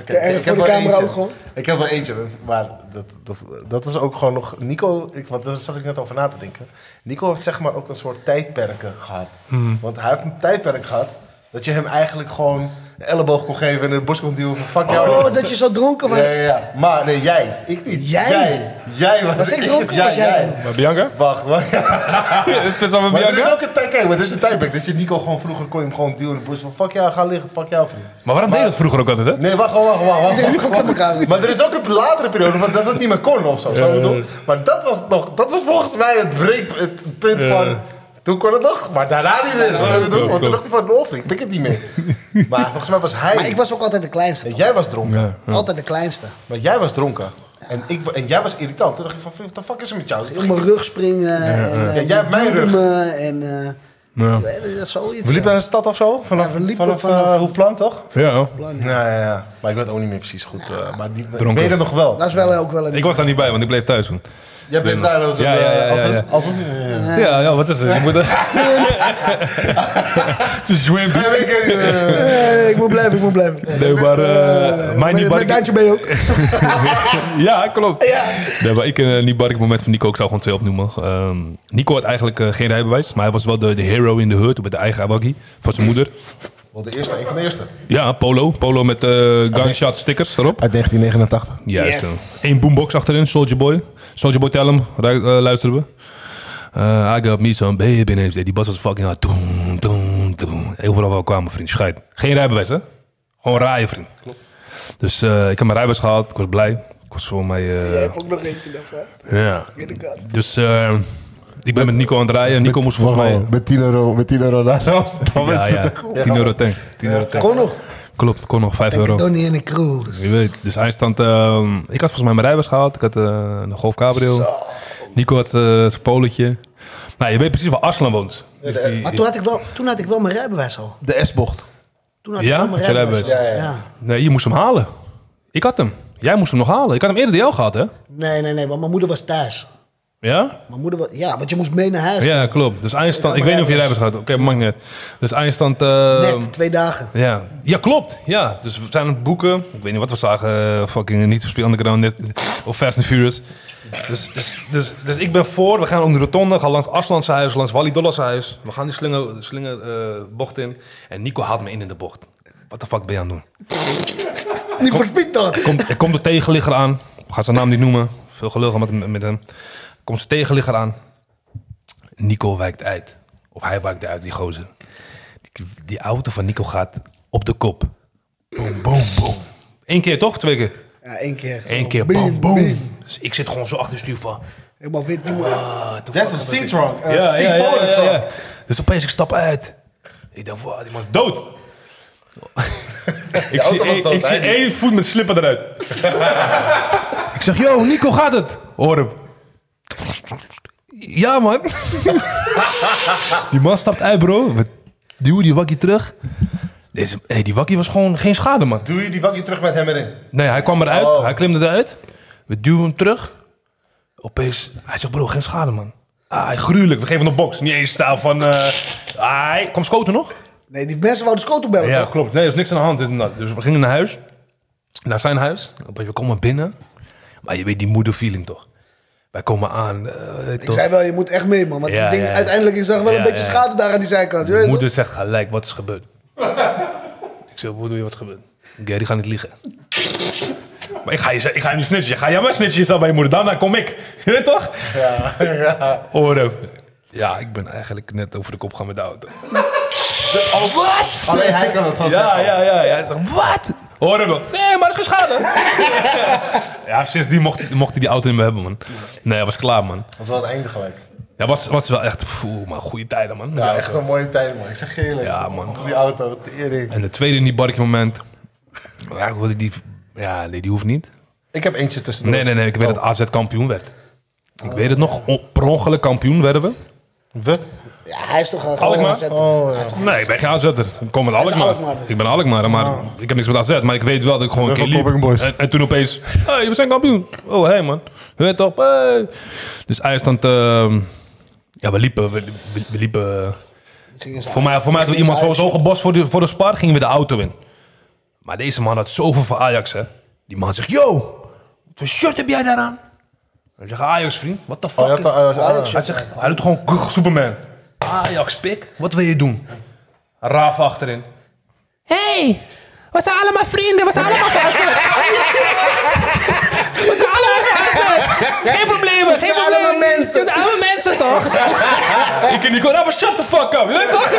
Speaker 2: Oké, ik
Speaker 3: erg voor
Speaker 2: heb
Speaker 3: de
Speaker 2: wel
Speaker 3: camera
Speaker 2: eentje.
Speaker 3: ook gewoon.
Speaker 2: Ik heb wel eentje, maar dat, dat, dat is ook gewoon nog... Nico, ik, want daar zat ik net over na te denken. Nico heeft zeg maar ook een soort tijdperken gehad.
Speaker 1: Hmm.
Speaker 2: Want hij heeft een tijdperk gehad dat je hem eigenlijk gewoon een elleboog kon geven en in het bos kon duwen van fuck jou.
Speaker 3: Oh, dat je zo dronken was.
Speaker 2: Ja, ja, ja. Maar nee, jij. Ik niet.
Speaker 3: Jij?
Speaker 2: Jij, Jij was,
Speaker 3: Was ik dronken of
Speaker 2: Ja,
Speaker 3: was jij dronken?
Speaker 1: Maar Bianca?
Speaker 2: Wacht, wacht.
Speaker 1: Ja, dit is met
Speaker 2: Maar er is
Speaker 1: Bianca?
Speaker 2: ook een tijd, kijk, maar er is een tijdperk dat je Nico gewoon vroeger kon je hem gewoon duwen in het bos van fuck jou, ga liggen, fuck jou vriend.
Speaker 1: Maar waarom deed je dat vroeger ook altijd, hè?
Speaker 2: Nee, wacht, wacht, wacht. wacht, wacht,
Speaker 3: Komt
Speaker 2: wacht.
Speaker 3: aan elkaar.
Speaker 2: Maar er is ook een latere periode van dat het niet meer kon of zo. snap je wat ik bedoel? Maar dat was, nog, dat was volgens mij het, breek, het punt van... Toen kon het nog, maar daarna niet meer. snap je wat ik bedoel?
Speaker 1: klopt,
Speaker 2: Want toen
Speaker 1: klopt.
Speaker 2: dacht hij van, Dolfrink, ik pik het niet meer. Maar volgens mij was hij...
Speaker 3: Maar ik was ook altijd de kleinste.
Speaker 2: En jij was dronken.
Speaker 1: Ja, ja.
Speaker 3: Altijd de kleinste.
Speaker 2: Maar jij was dronken. En, ik, en jij was irritant. Toen dacht ik van, what the fuck is er met jou?
Speaker 3: Op mijn rug springen. En, eh,
Speaker 2: Ja, jij hebt mijn rug.
Speaker 3: duwen En, eh,
Speaker 1: Ja.
Speaker 3: eh, zoiets.
Speaker 2: We liepen
Speaker 3: ja.
Speaker 2: naar de stad of zo? Vanaf,
Speaker 3: Ja, we liepen
Speaker 2: vanaf, eh,
Speaker 3: vanaf-
Speaker 2: Hoefplan, toch?
Speaker 1: Ja.
Speaker 2: Ja, ja, ja. Maar ik weet ook niet meer precies goed. eh, maar die, ik
Speaker 1: Dronken.
Speaker 2: weet het nog wel.
Speaker 3: Dat is wel ook wel een...
Speaker 1: Ik was daar niet bij, want ik bleef thuis toen.
Speaker 2: Jij bent daar als een...
Speaker 1: Ja, ja, ja,
Speaker 2: eh, als
Speaker 1: ja,
Speaker 2: een-
Speaker 1: ja.
Speaker 2: Als een eh,
Speaker 1: Ja, ja, wat is het? Je moet dat... Het is een
Speaker 2: Ja, weet ik niet, eh,
Speaker 3: Eh, ik moet blijven, ik moet blijven.
Speaker 1: Nee, maar... eh, mijn
Speaker 3: Met,
Speaker 1: niet
Speaker 3: met
Speaker 1: barke...
Speaker 3: Duitje ben je ook.
Speaker 1: Ja, klopt.
Speaker 3: Ja.
Speaker 1: Nee, maar ik eh, niet barke moment van Nico. Ik zou gewoon twee opnoemen. Ehm, Nico had eigenlijk eh, geen rijbewijs. Maar hij was wel de, de hero in de hut. Met de eigen abaggie van zijn moeder.
Speaker 2: Wel de eerste, een van de eerste.
Speaker 1: Ja, polo. Polo met eh, gunshot stickers erop.
Speaker 2: Uit 1989.
Speaker 1: Juist. eh. Eén boombox achterin, Soldier Boy. Soldier Boy Tell 'em, ru- eh, luisteren we. Eh, I got me some baby names. Die bas was fucking hard. Doem, doem, doem. Overal wel kwamen, vriend. Scheid. Geen rijbewijs, hè? Gewoon rijden, vriend. Klopt. Dus eh, ik heb mijn rijbewijs gehaald. Ik was blij. Ik was voor mij... eh,
Speaker 3: Ik heb ook nog eentje daarvan.
Speaker 1: ja.
Speaker 3: Binnenkant.
Speaker 1: Dus eh, ik ben met Nico aan het rijden. Nico moest volgens mij...
Speaker 2: Met 10 euro, met 10 euro naar Amsterdam.
Speaker 1: Ja, ja. 10 euro tank. 10 euro tank.
Speaker 3: Kon nog.
Speaker 1: Klopt, kon nog 5 euro.
Speaker 3: Donnie en de crew.
Speaker 1: Je weet, dus hij stond... ehm, ik had volgens mij mijn rijbewijs gehaald. Ik had eh, een Golf Cabrio. Nico had eh, zijn poletje. Nou, je weet precies waar Arslan woont. Dus die,
Speaker 3: eh, Maar toen had, ik wel, toen had ik wel mijn rijbewijs al.
Speaker 2: De S-bocht.
Speaker 3: Toen had ik
Speaker 1: Ja?
Speaker 3: wel mijn
Speaker 1: Had je
Speaker 3: rijbewijs al.
Speaker 1: rijbewijs?
Speaker 3: Ja,
Speaker 2: Ja, ja.
Speaker 1: nee, je moest hem halen. Ik had hem.
Speaker 5: Jij moest hem nog halen. Ik had hem eerder dan jou gehad, hè?
Speaker 3: Nee, nee, nee, want mijn moeder was thuis.
Speaker 5: Ja?
Speaker 3: Mijn moeder was, ja, want je moest mee naar huis.
Speaker 5: Ja, klopt. Dus eindstand...
Speaker 3: Ik
Speaker 5: Ik
Speaker 3: had
Speaker 5: weet niet of je
Speaker 3: maar
Speaker 5: rijbewijs
Speaker 3: rijbewijs.
Speaker 5: gehad. Oké, mag niet. Dus eindstand... eh,
Speaker 3: Net, twee dagen.
Speaker 5: Ja. ja, klopt. Ja, dus we zijn aan het boeken. Ik weet niet wat we zagen. eh, fucking niet voor Underground net, of Fast and Furious. Dus, dus, dus, dus ik ben voor. We gaan om de rotonde. Gaan langs Aslandse huis, langs Wally Dollars huis. We gaan die slinger, slinger eh, bocht in. En Nico haalt me in in de bocht. Wat de fuck ben je aan het doen?
Speaker 3: Niet voor speed dan.
Speaker 5: Komt, er komt de tegenligger aan. We gaan zijn naam niet noemen. Veel gelul met, met hem. Komt zijn tegenligger aan. Nico wijkt uit. Of hij wijkt uit, die gozer. Die, die auto van Nico gaat op de kop. Boom, boom, boom. Eén keer toch? Twee keer?
Speaker 3: Ja, één keer.
Speaker 5: Eén keer, boom, boom. Dus ik zit gewoon zo achter de stuur van...
Speaker 3: Helemaal wit nieuw. eh.
Speaker 5: ah, de
Speaker 2: That's
Speaker 5: fuck
Speaker 2: a
Speaker 5: gebeurt dit?
Speaker 2: C-trunk. Uh,
Speaker 5: Ja, ja, ja,
Speaker 2: C-folded
Speaker 5: ja,
Speaker 2: trunk.
Speaker 5: ja. Dus opeens ik stap uit. Ik dacht, wow, die man is dood.
Speaker 2: auto
Speaker 5: ik zie,
Speaker 2: was
Speaker 5: één-
Speaker 2: dood,
Speaker 5: ik zie
Speaker 2: eigenlijk.
Speaker 5: één voet met slipper eruit. ik zeg, yo, Nico, gaat het? Hoor hem. Ja, man. die man stapt uit, bro. We duwen die wakkie terug. Deze, hey, die wakkie was gewoon geen schade, man.
Speaker 2: Doe je die wakje terug met hem erin?
Speaker 5: Nee, hij kwam eruit.
Speaker 2: Oh.
Speaker 5: Hij klimde eruit. We duwen hem terug. Opeens, hij zegt, bro, geen schade, man. Ah, gruwelijk. We geven hem een box. Niet eens stijl van... eh ai, kom schoten nog?
Speaker 3: Nee, die mensen wouden schotelbellen.
Speaker 5: Ja,
Speaker 3: toch?
Speaker 5: klopt. Nee, er is niks aan de hand. dit en dat. Dus we gingen naar huis. Naar zijn huis. Opeens, we komen binnen. Maar je weet die moederfeeling toch? Wij komen aan. eh,
Speaker 3: Ik
Speaker 5: toch?
Speaker 3: zei wel, je moet echt mee, man. Want
Speaker 5: Ja,
Speaker 3: die dingen,
Speaker 5: ja, ja.
Speaker 3: uiteindelijk, ik zag wel
Speaker 5: Ja,
Speaker 3: een beetje
Speaker 5: ja.
Speaker 3: schade daar aan die zijkant. Je weet
Speaker 5: Mijn
Speaker 3: toch?
Speaker 5: moeder zegt gelijk, wat is gebeurd? ik zeg, wat doe je, wat is gebeurd? Gary gaat niet liegen. maar ik ga, je, ik ga je nu snitchen. Ik Ga jij maar snitchen, je staat bij je moeder. Daarna kom ik. Je weet toch? Ja. ja. Ja, ik ben eigenlijk net over de kop gaan met de auto. oh, wat?
Speaker 2: Alleen hij kan het zo
Speaker 5: Ja,
Speaker 2: zeggen.
Speaker 5: Ah, ja, ja. ja. Hij zegt, wat? Hoor wel. Nee, maar het is geen schade. ja, sindsdien mocht, mocht hij die auto niet meer hebben, man. Nee, hij was klaar, man.
Speaker 2: Dat was wel het einde gelijk.
Speaker 5: Ja, was, was wel echt, poeh, maar goede tijden, man.
Speaker 2: Ja, echt een mooie tijd, man. Ik zeg je eerlijk.
Speaker 5: Ja, man.
Speaker 2: Die auto, tering.
Speaker 5: En de tweede in die barkie moment. Ja, ik wilde die. Ja, nee, die hoeft niet.
Speaker 2: Ik heb eentje tussendoor.
Speaker 5: Nee, nee, nee. Ik weet
Speaker 3: Oh.
Speaker 5: dat AZ kampioen werd. Ik weet het nog. on- Per ongeluk kampioen werden we.
Speaker 2: We?
Speaker 3: Ja, hij is toch eh, gewoon
Speaker 5: Alkmaar?
Speaker 3: aan het zetten.
Speaker 2: Oh,
Speaker 3: Hij is toch-
Speaker 5: Nee, ik ben geen AZ'er. Ik kom met Alkmaar.
Speaker 3: Alkmaar. dus. Ah.
Speaker 5: Ik ben Alkmaar, maar ik heb niks met AZ. Maar ik weet wel dat ik gewoon een
Speaker 2: We
Speaker 5: keer
Speaker 2: hebben
Speaker 5: liep.
Speaker 2: Kopping Boys.
Speaker 5: En, en toen opeens, hey, we zijn kampioen. Oh, hey man. Je weet toch, hey. Dus eindstand, ehm ja, we liepen, we, we- we liepen... eh,
Speaker 3: Gingen ze
Speaker 5: Voor mij, voor mij had iemand zo, zo gebost voor de, voor de spar, gingen we de auto in. Maar deze man had zoveel voor Ajax, hè. Die man zegt, yo, wat voor shirt heb jij daaraan? Hij zegt, Ajax, vriend, what the fuck?
Speaker 2: Oh, je had de- oh, je had de Ajax
Speaker 5: hij, zegt, hij doet gewoon "Kuch, Superman. Ajax, pik, wat wil je doen? Raaf achterin.
Speaker 8: Hey, we zijn allemaal vrienden, we zijn allemaal gasten. We zijn allemaal gasten. Geen problemen, geen
Speaker 3: zijn allemaal
Speaker 8: problemen.
Speaker 3: mensen.
Speaker 8: We zijn allemaal mensen toch?
Speaker 5: Ik en Nico, nou, shut the fuck up. Leuk toch?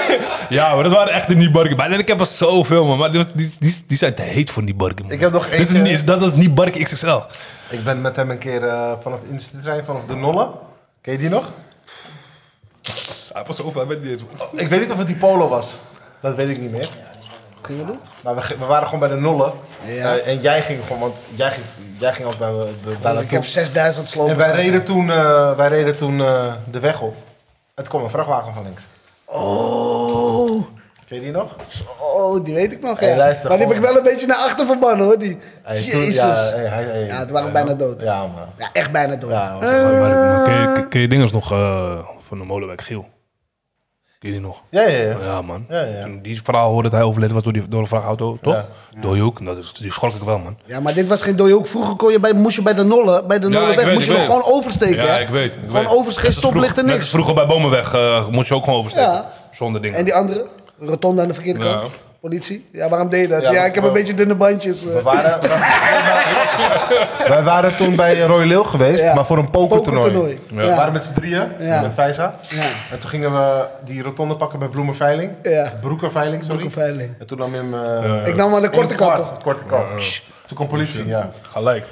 Speaker 5: ja, maar dat waren echt de Niebarken. Maar ik heb er zoveel, man. Maar die, die, die, die zijn te heet voor Niebarken, man.
Speaker 2: Ik heb nog
Speaker 5: Dit is
Speaker 2: eentje.
Speaker 5: niet- Dat is Niebarken XXL.
Speaker 2: Ik ben met hem een keer eh, vanaf de industrietrein, vanaf de Nolle. Ken je die nog?
Speaker 5: Hij was zoveel, hij weet niet eens.
Speaker 2: Ik weet niet of het die Polo was. Dat weet ik niet meer.
Speaker 3: Gingen we doen?
Speaker 2: Maar we, ge- we waren gewoon bij de Nolle.
Speaker 3: Ja.
Speaker 2: Eh, en jij ging gewoon, want jij ging, jij ging ook naar de, de, daar
Speaker 3: Nou, Ik heb
Speaker 2: naartoe.
Speaker 3: 6000 slopers.
Speaker 2: En wij reden toen, eh, wij reden toen eh, de weg op. Het kwam een vrachtwagen van links.
Speaker 3: Oh,
Speaker 2: Ken je die nog?
Speaker 3: oh, die weet ik nog.
Speaker 2: Hey,
Speaker 3: ja.
Speaker 2: luister,
Speaker 3: maar die heb ik
Speaker 2: gewoon.
Speaker 3: wel een beetje naar achter verbannen, hoor. Die.
Speaker 2: Hey, toen-
Speaker 3: Jezus.
Speaker 2: ja,
Speaker 3: Ja,
Speaker 2: hey, hij- hey.
Speaker 3: het Eh. waren bijna dood. Ja.
Speaker 2: Ja, man.
Speaker 3: echt bijna dood.
Speaker 2: Ja,
Speaker 3: Ja,
Speaker 2: dat was echt
Speaker 5: Maar- maar Ken je, ken je dinges nog eh, van de Molenwijk Giel? Ken je die nog?
Speaker 2: Ja, ja, ja.
Speaker 5: Ja, man.
Speaker 2: Ja, ja.
Speaker 5: Toen die verhaal hoorde dat hij overleden was door, die, door een vrachtauto, toch? Door je hoek. Dat is, die schrok ik wel, man.
Speaker 3: maar dit was geen dode hoek. Vroeger kon je bij, moest je bij de Nolle, bij de
Speaker 5: Ja,
Speaker 3: Nolle
Speaker 5: ik
Speaker 3: weg,
Speaker 5: weet,
Speaker 3: moest je
Speaker 5: ik
Speaker 3: nog
Speaker 5: weet.
Speaker 3: gewoon oversteken.
Speaker 5: ja,
Speaker 3: hè?
Speaker 5: ik weet. Ik
Speaker 3: gewoon
Speaker 5: weet.
Speaker 3: oversteken,
Speaker 5: Net als vroeg-
Speaker 3: stoplichten,
Speaker 5: net
Speaker 3: niks.
Speaker 5: als vroeger bij Bomenweg eh moet je ook gewoon oversteken.
Speaker 3: Ja.
Speaker 5: Zonder dingen.
Speaker 3: En die andere? Rotonde aan de verkeerde
Speaker 5: Ja.
Speaker 3: kant? Politie? Ja, waarom deed je dat?
Speaker 2: Ja,
Speaker 3: Ja,
Speaker 2: dat-
Speaker 3: ik heb een beetje dunne bandjes. eh.
Speaker 2: We waren, we- wij waren toen bij Roy Leeuw geweest,
Speaker 3: Ja.
Speaker 2: maar voor een pokertoernooi.
Speaker 3: Pokertoernooi. Ja.
Speaker 2: We waren met z'n drieën,
Speaker 3: Ja.
Speaker 2: met Vijza.
Speaker 3: Ja.
Speaker 2: En toen gingen we die rotonde pakken bij Bloemenveiling.
Speaker 3: Ja.
Speaker 2: Broekerveiling, sorry.
Speaker 3: Broekerveiling.
Speaker 2: En toen nam je hem... eh,
Speaker 3: Ik nam maar de korte kant, toch?
Speaker 2: Korte kant. Pssst. Toen kwam politie, ja.
Speaker 5: Gelijk.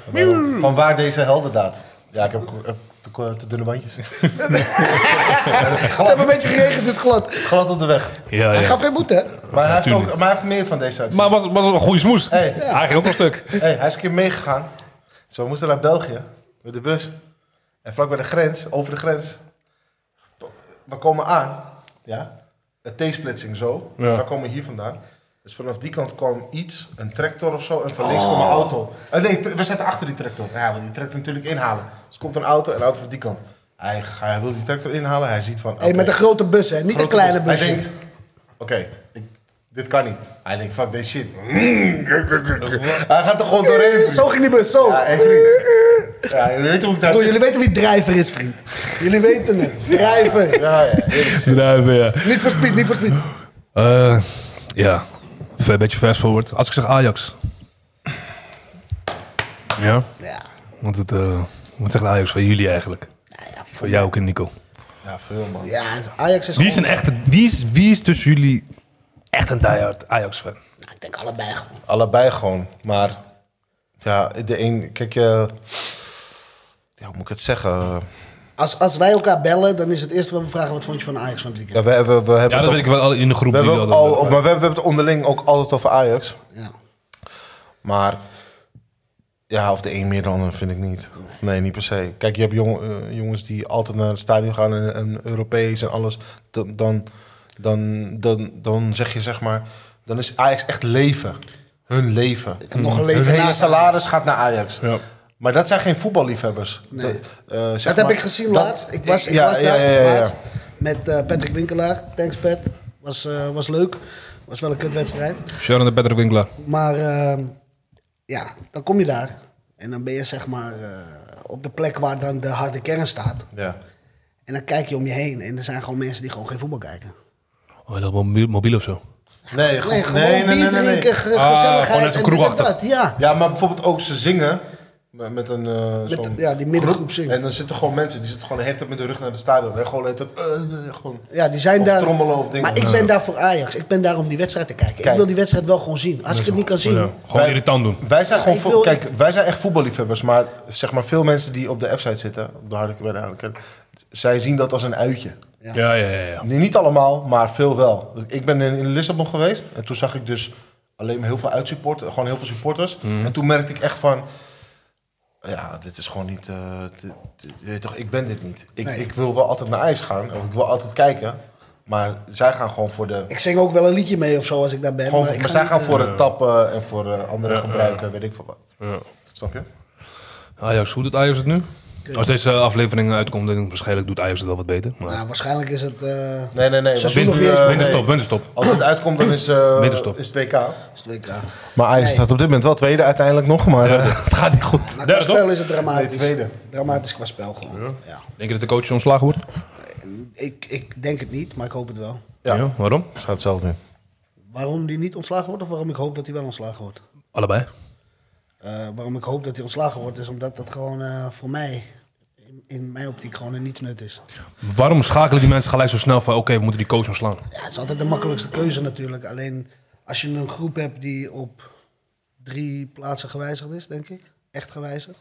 Speaker 2: Van waar deze heldendaad? Ja, ik heb ko- eh, te, ko- te dunne bandjes.
Speaker 3: Het heeft een beetje geregend, het is glad.
Speaker 2: Glad op de weg.
Speaker 5: Ja,
Speaker 3: Hij
Speaker 5: ja.
Speaker 3: gaf geen boete, hè?
Speaker 2: Maar hij, heeft
Speaker 5: tuurlijk.
Speaker 2: ook, maar hij heeft meer van deze actie.
Speaker 5: Maar was, was wel een goede smoes.
Speaker 2: Hey.
Speaker 5: Hij ging ook een stuk.
Speaker 2: Hey, hij is een keer meegegaan. Zo, we moesten naar België met de bus. En vlak bij de grens, over de grens. We komen aan, ja. Een T-splitsing zo.
Speaker 5: Ja.
Speaker 2: We komen hier vandaan. Dus vanaf die kant kwam iets, een tractor of zo, en van links kwam een auto. Eh, nee, t- we zaten achter die tractor. Ja, want die tractor natuurlijk inhalen. Dus komt een auto en een auto van die kant. Hij, hij wil die tractor inhalen, hij ziet van...
Speaker 3: Hey, met een
Speaker 2: oké,
Speaker 3: grote bus, hè? Niet een
Speaker 2: grote
Speaker 3: kleine
Speaker 2: bus.
Speaker 3: bus.
Speaker 2: Hij denkt, oké, ik- dit kan niet. Hij denkt, fuck this shit. hij gaat er gewoon doorheen.
Speaker 3: Zo ging die bus, zo.
Speaker 2: Ja, echt niet. Ja, je weet hoe ik daar
Speaker 3: Broer,
Speaker 2: zit.
Speaker 3: jullie weten wie drijver is, vriend. Jullie weten het. Drijver.
Speaker 2: Ja, ja, eerlijk.
Speaker 1: Bedrijven, ja.
Speaker 3: Niet voor speed, niet voor speed.
Speaker 1: Eh, ja, Even een beetje fast forward. Als ik zeg Ajax. Ja?
Speaker 3: Ja,
Speaker 1: Want het, eh, wat zegt Ajax van jullie eigenlijk?
Speaker 3: ja,
Speaker 1: Voor jou ook en Nico.
Speaker 2: ja, veel man.
Speaker 3: ja Ajax is
Speaker 1: Wie is, een
Speaker 3: gewoon-
Speaker 1: echte, wie, is, wie is tussen jullie echt een diehard Ajax-fan?
Speaker 3: Nou, ik denk allebei gewoon.
Speaker 2: Allebei gewoon. Maar ja, de een, kijk, eh, ja, hoe moet ik het zeggen?
Speaker 3: Als, als wij elkaar bellen, dan is het eerste wat we vragen... wat vond je van Ajax van het
Speaker 2: Ja,
Speaker 3: weekend?
Speaker 2: we, hebben we hebben
Speaker 1: Ja, dat
Speaker 2: het
Speaker 1: weet ik wel in de groep. eh,
Speaker 2: We hebben
Speaker 1: die
Speaker 2: ook
Speaker 1: dat-
Speaker 2: al, maar we hebben we hebben het onderling ook altijd over Ajax.
Speaker 3: Ja.
Speaker 2: Maar ja, of de een meer dan de ander vind ik niet. Nee, niet per se. Kijk, je hebt jong, eh, jongens die altijd naar het stadion gaan en, en Europees en alles. Dan, dan, dan, dan, dan zeg je zeg maar, dan is Ajax echt leven. Hun leven.
Speaker 3: heb nog een leven
Speaker 2: Hun hele
Speaker 3: naast
Speaker 2: salaris gaat naar Ajax.
Speaker 1: Ja.
Speaker 2: Maar dat zijn geen voetballiefhebbers.
Speaker 3: Nee.
Speaker 2: eh, zeg
Speaker 3: Dat
Speaker 2: maar,
Speaker 3: heb ik gezien
Speaker 2: dat-
Speaker 3: laatst. Ik was, ik
Speaker 2: ja,
Speaker 3: was
Speaker 2: ja,
Speaker 3: daar
Speaker 2: ja, ja, ja.
Speaker 3: laatst met eh, Patrick Winkelaar. Thanks, Pat. Was, eh, was leuk. Was wel een kutwedstrijd.
Speaker 1: Sharon de Patrick Winkelaar.
Speaker 3: Maar ehm, ja, dan kom je daar. En dan ben je zeg maar eh, op de plek waar dan de harde kern staat.
Speaker 2: Ja.
Speaker 3: En dan kijk je om je heen. En er zijn gewoon mensen die gewoon geen voetbal kijken.
Speaker 1: Oh, dat mobiel, mobiel of zo.
Speaker 2: Nee,
Speaker 3: Nee,
Speaker 2: goed.
Speaker 3: gewoon nee, bier drinken, ge-
Speaker 1: Ah,
Speaker 3: gezelligheid.
Speaker 1: gewoon net zo
Speaker 3: en dit en
Speaker 1: kroegachtig.
Speaker 3: dat, Ja.
Speaker 2: Ja, maar bijvoorbeeld ook ze zingen met met een eh,
Speaker 3: Met-
Speaker 2: zo'n
Speaker 3: ja, die middengroep zingt.
Speaker 2: En dan zitten gewoon mensen, die zitten gewoon de hele tijd met de rug naar de stadion. En gewoon de hele tijd, eh, eh, gewoon...
Speaker 3: Ja, die zijn
Speaker 2: Of
Speaker 3: daar.
Speaker 2: trommelen of dingen.
Speaker 3: Maar ik ben daar voor Ajax. Ik ben daar om die wedstrijd te kijken. Ik
Speaker 2: Kijk.
Speaker 3: wil die wedstrijd wel gewoon zien. Als ik het niet kan zien.
Speaker 1: Ja, gewoon
Speaker 2: Wij-
Speaker 1: irritant doen.
Speaker 2: Wij zijn
Speaker 3: Ja,
Speaker 2: gewoon,
Speaker 3: ik
Speaker 2: vo-
Speaker 3: wil-
Speaker 2: kijk, wij zijn echt voetballiefhebbers, maar zeg maar veel mensen die op de F-site zitten, op de harde bij de harde kern, zij zien dat als een uitje.
Speaker 3: Ja.
Speaker 1: Ja, ja, ja. ja.
Speaker 2: Nee, Niet allemaal, maar veel wel. Ik ben in, in Lissabon geweest en toen zag ik dus alleen maar heel veel uitsupporters, gewoon heel veel supporters.
Speaker 1: Mhm.
Speaker 2: En toen merkte ik echt van, ja, dit is gewoon niet, eh, dit- dit- je weet toch, ik ben dit niet. Ik,
Speaker 3: Nee.
Speaker 2: ik wil wel altijd naar ijs gaan, of ik wil altijd kijken, maar zij gaan gewoon voor de...
Speaker 3: Ik zing ook wel een liedje mee of zo als ik daar ben.
Speaker 2: Gewoon,
Speaker 3: maar
Speaker 2: maar
Speaker 3: ik
Speaker 2: zij
Speaker 3: niet,
Speaker 2: gaan
Speaker 3: eh,
Speaker 2: voor het tappen en voor eh, andere gebruiken, weet ik veel wat.
Speaker 1: Ja.
Speaker 2: Snap je?
Speaker 1: Ajax, hoe doet Ajax het nu? Als deze aflevering uitkomt, denk ik waarschijnlijk doet Ajax het wel wat beter. Maar...
Speaker 3: Nou, waarschijnlijk is het. eh,
Speaker 2: Nee, nee, nee. want
Speaker 3: Seizoen
Speaker 2: nu,
Speaker 3: nog niet eens
Speaker 2: eh,
Speaker 1: winterstop,
Speaker 2: nee.
Speaker 1: winterstop.
Speaker 2: Als het uitkomt, dan is, eh
Speaker 1: Winterstop.
Speaker 2: is 2K.
Speaker 3: is het WK.
Speaker 2: Maar Ajax
Speaker 3: Nee.
Speaker 2: staat op dit moment wel tweede uiteindelijk nog, maar eh, het gaat niet goed.
Speaker 3: Maar qua
Speaker 1: Ja, toch?
Speaker 3: spel is het dramatisch.
Speaker 2: Nee, tweede.
Speaker 3: Dramatisch qua spel gewoon. Ja.
Speaker 1: Denk je dat de coach ontslagen wordt?
Speaker 3: Ik, ik denk het niet, maar ik hoop het wel.
Speaker 2: Ja.
Speaker 1: Waarom?
Speaker 2: Het staat hetzelfde in.
Speaker 3: Waarom die niet ontslagen wordt of waarom ik hoop dat hij wel ontslagen wordt?
Speaker 1: Allebei.
Speaker 3: Eh, waarom ik hoop dat hij ontslagen wordt is omdat dat gewoon eh, voor mij, in, in mijn optiek, gewoon een niets nut is.
Speaker 1: Waarom schakelen die mensen gelijk zo snel van, oké, we moeten die coach ontslaan?
Speaker 3: Ja, het is altijd de makkelijkste keuze natuurlijk. Alleen als je een groep hebt die op drie plaatsen gewijzigd is, denk ik. Echt gewijzigd.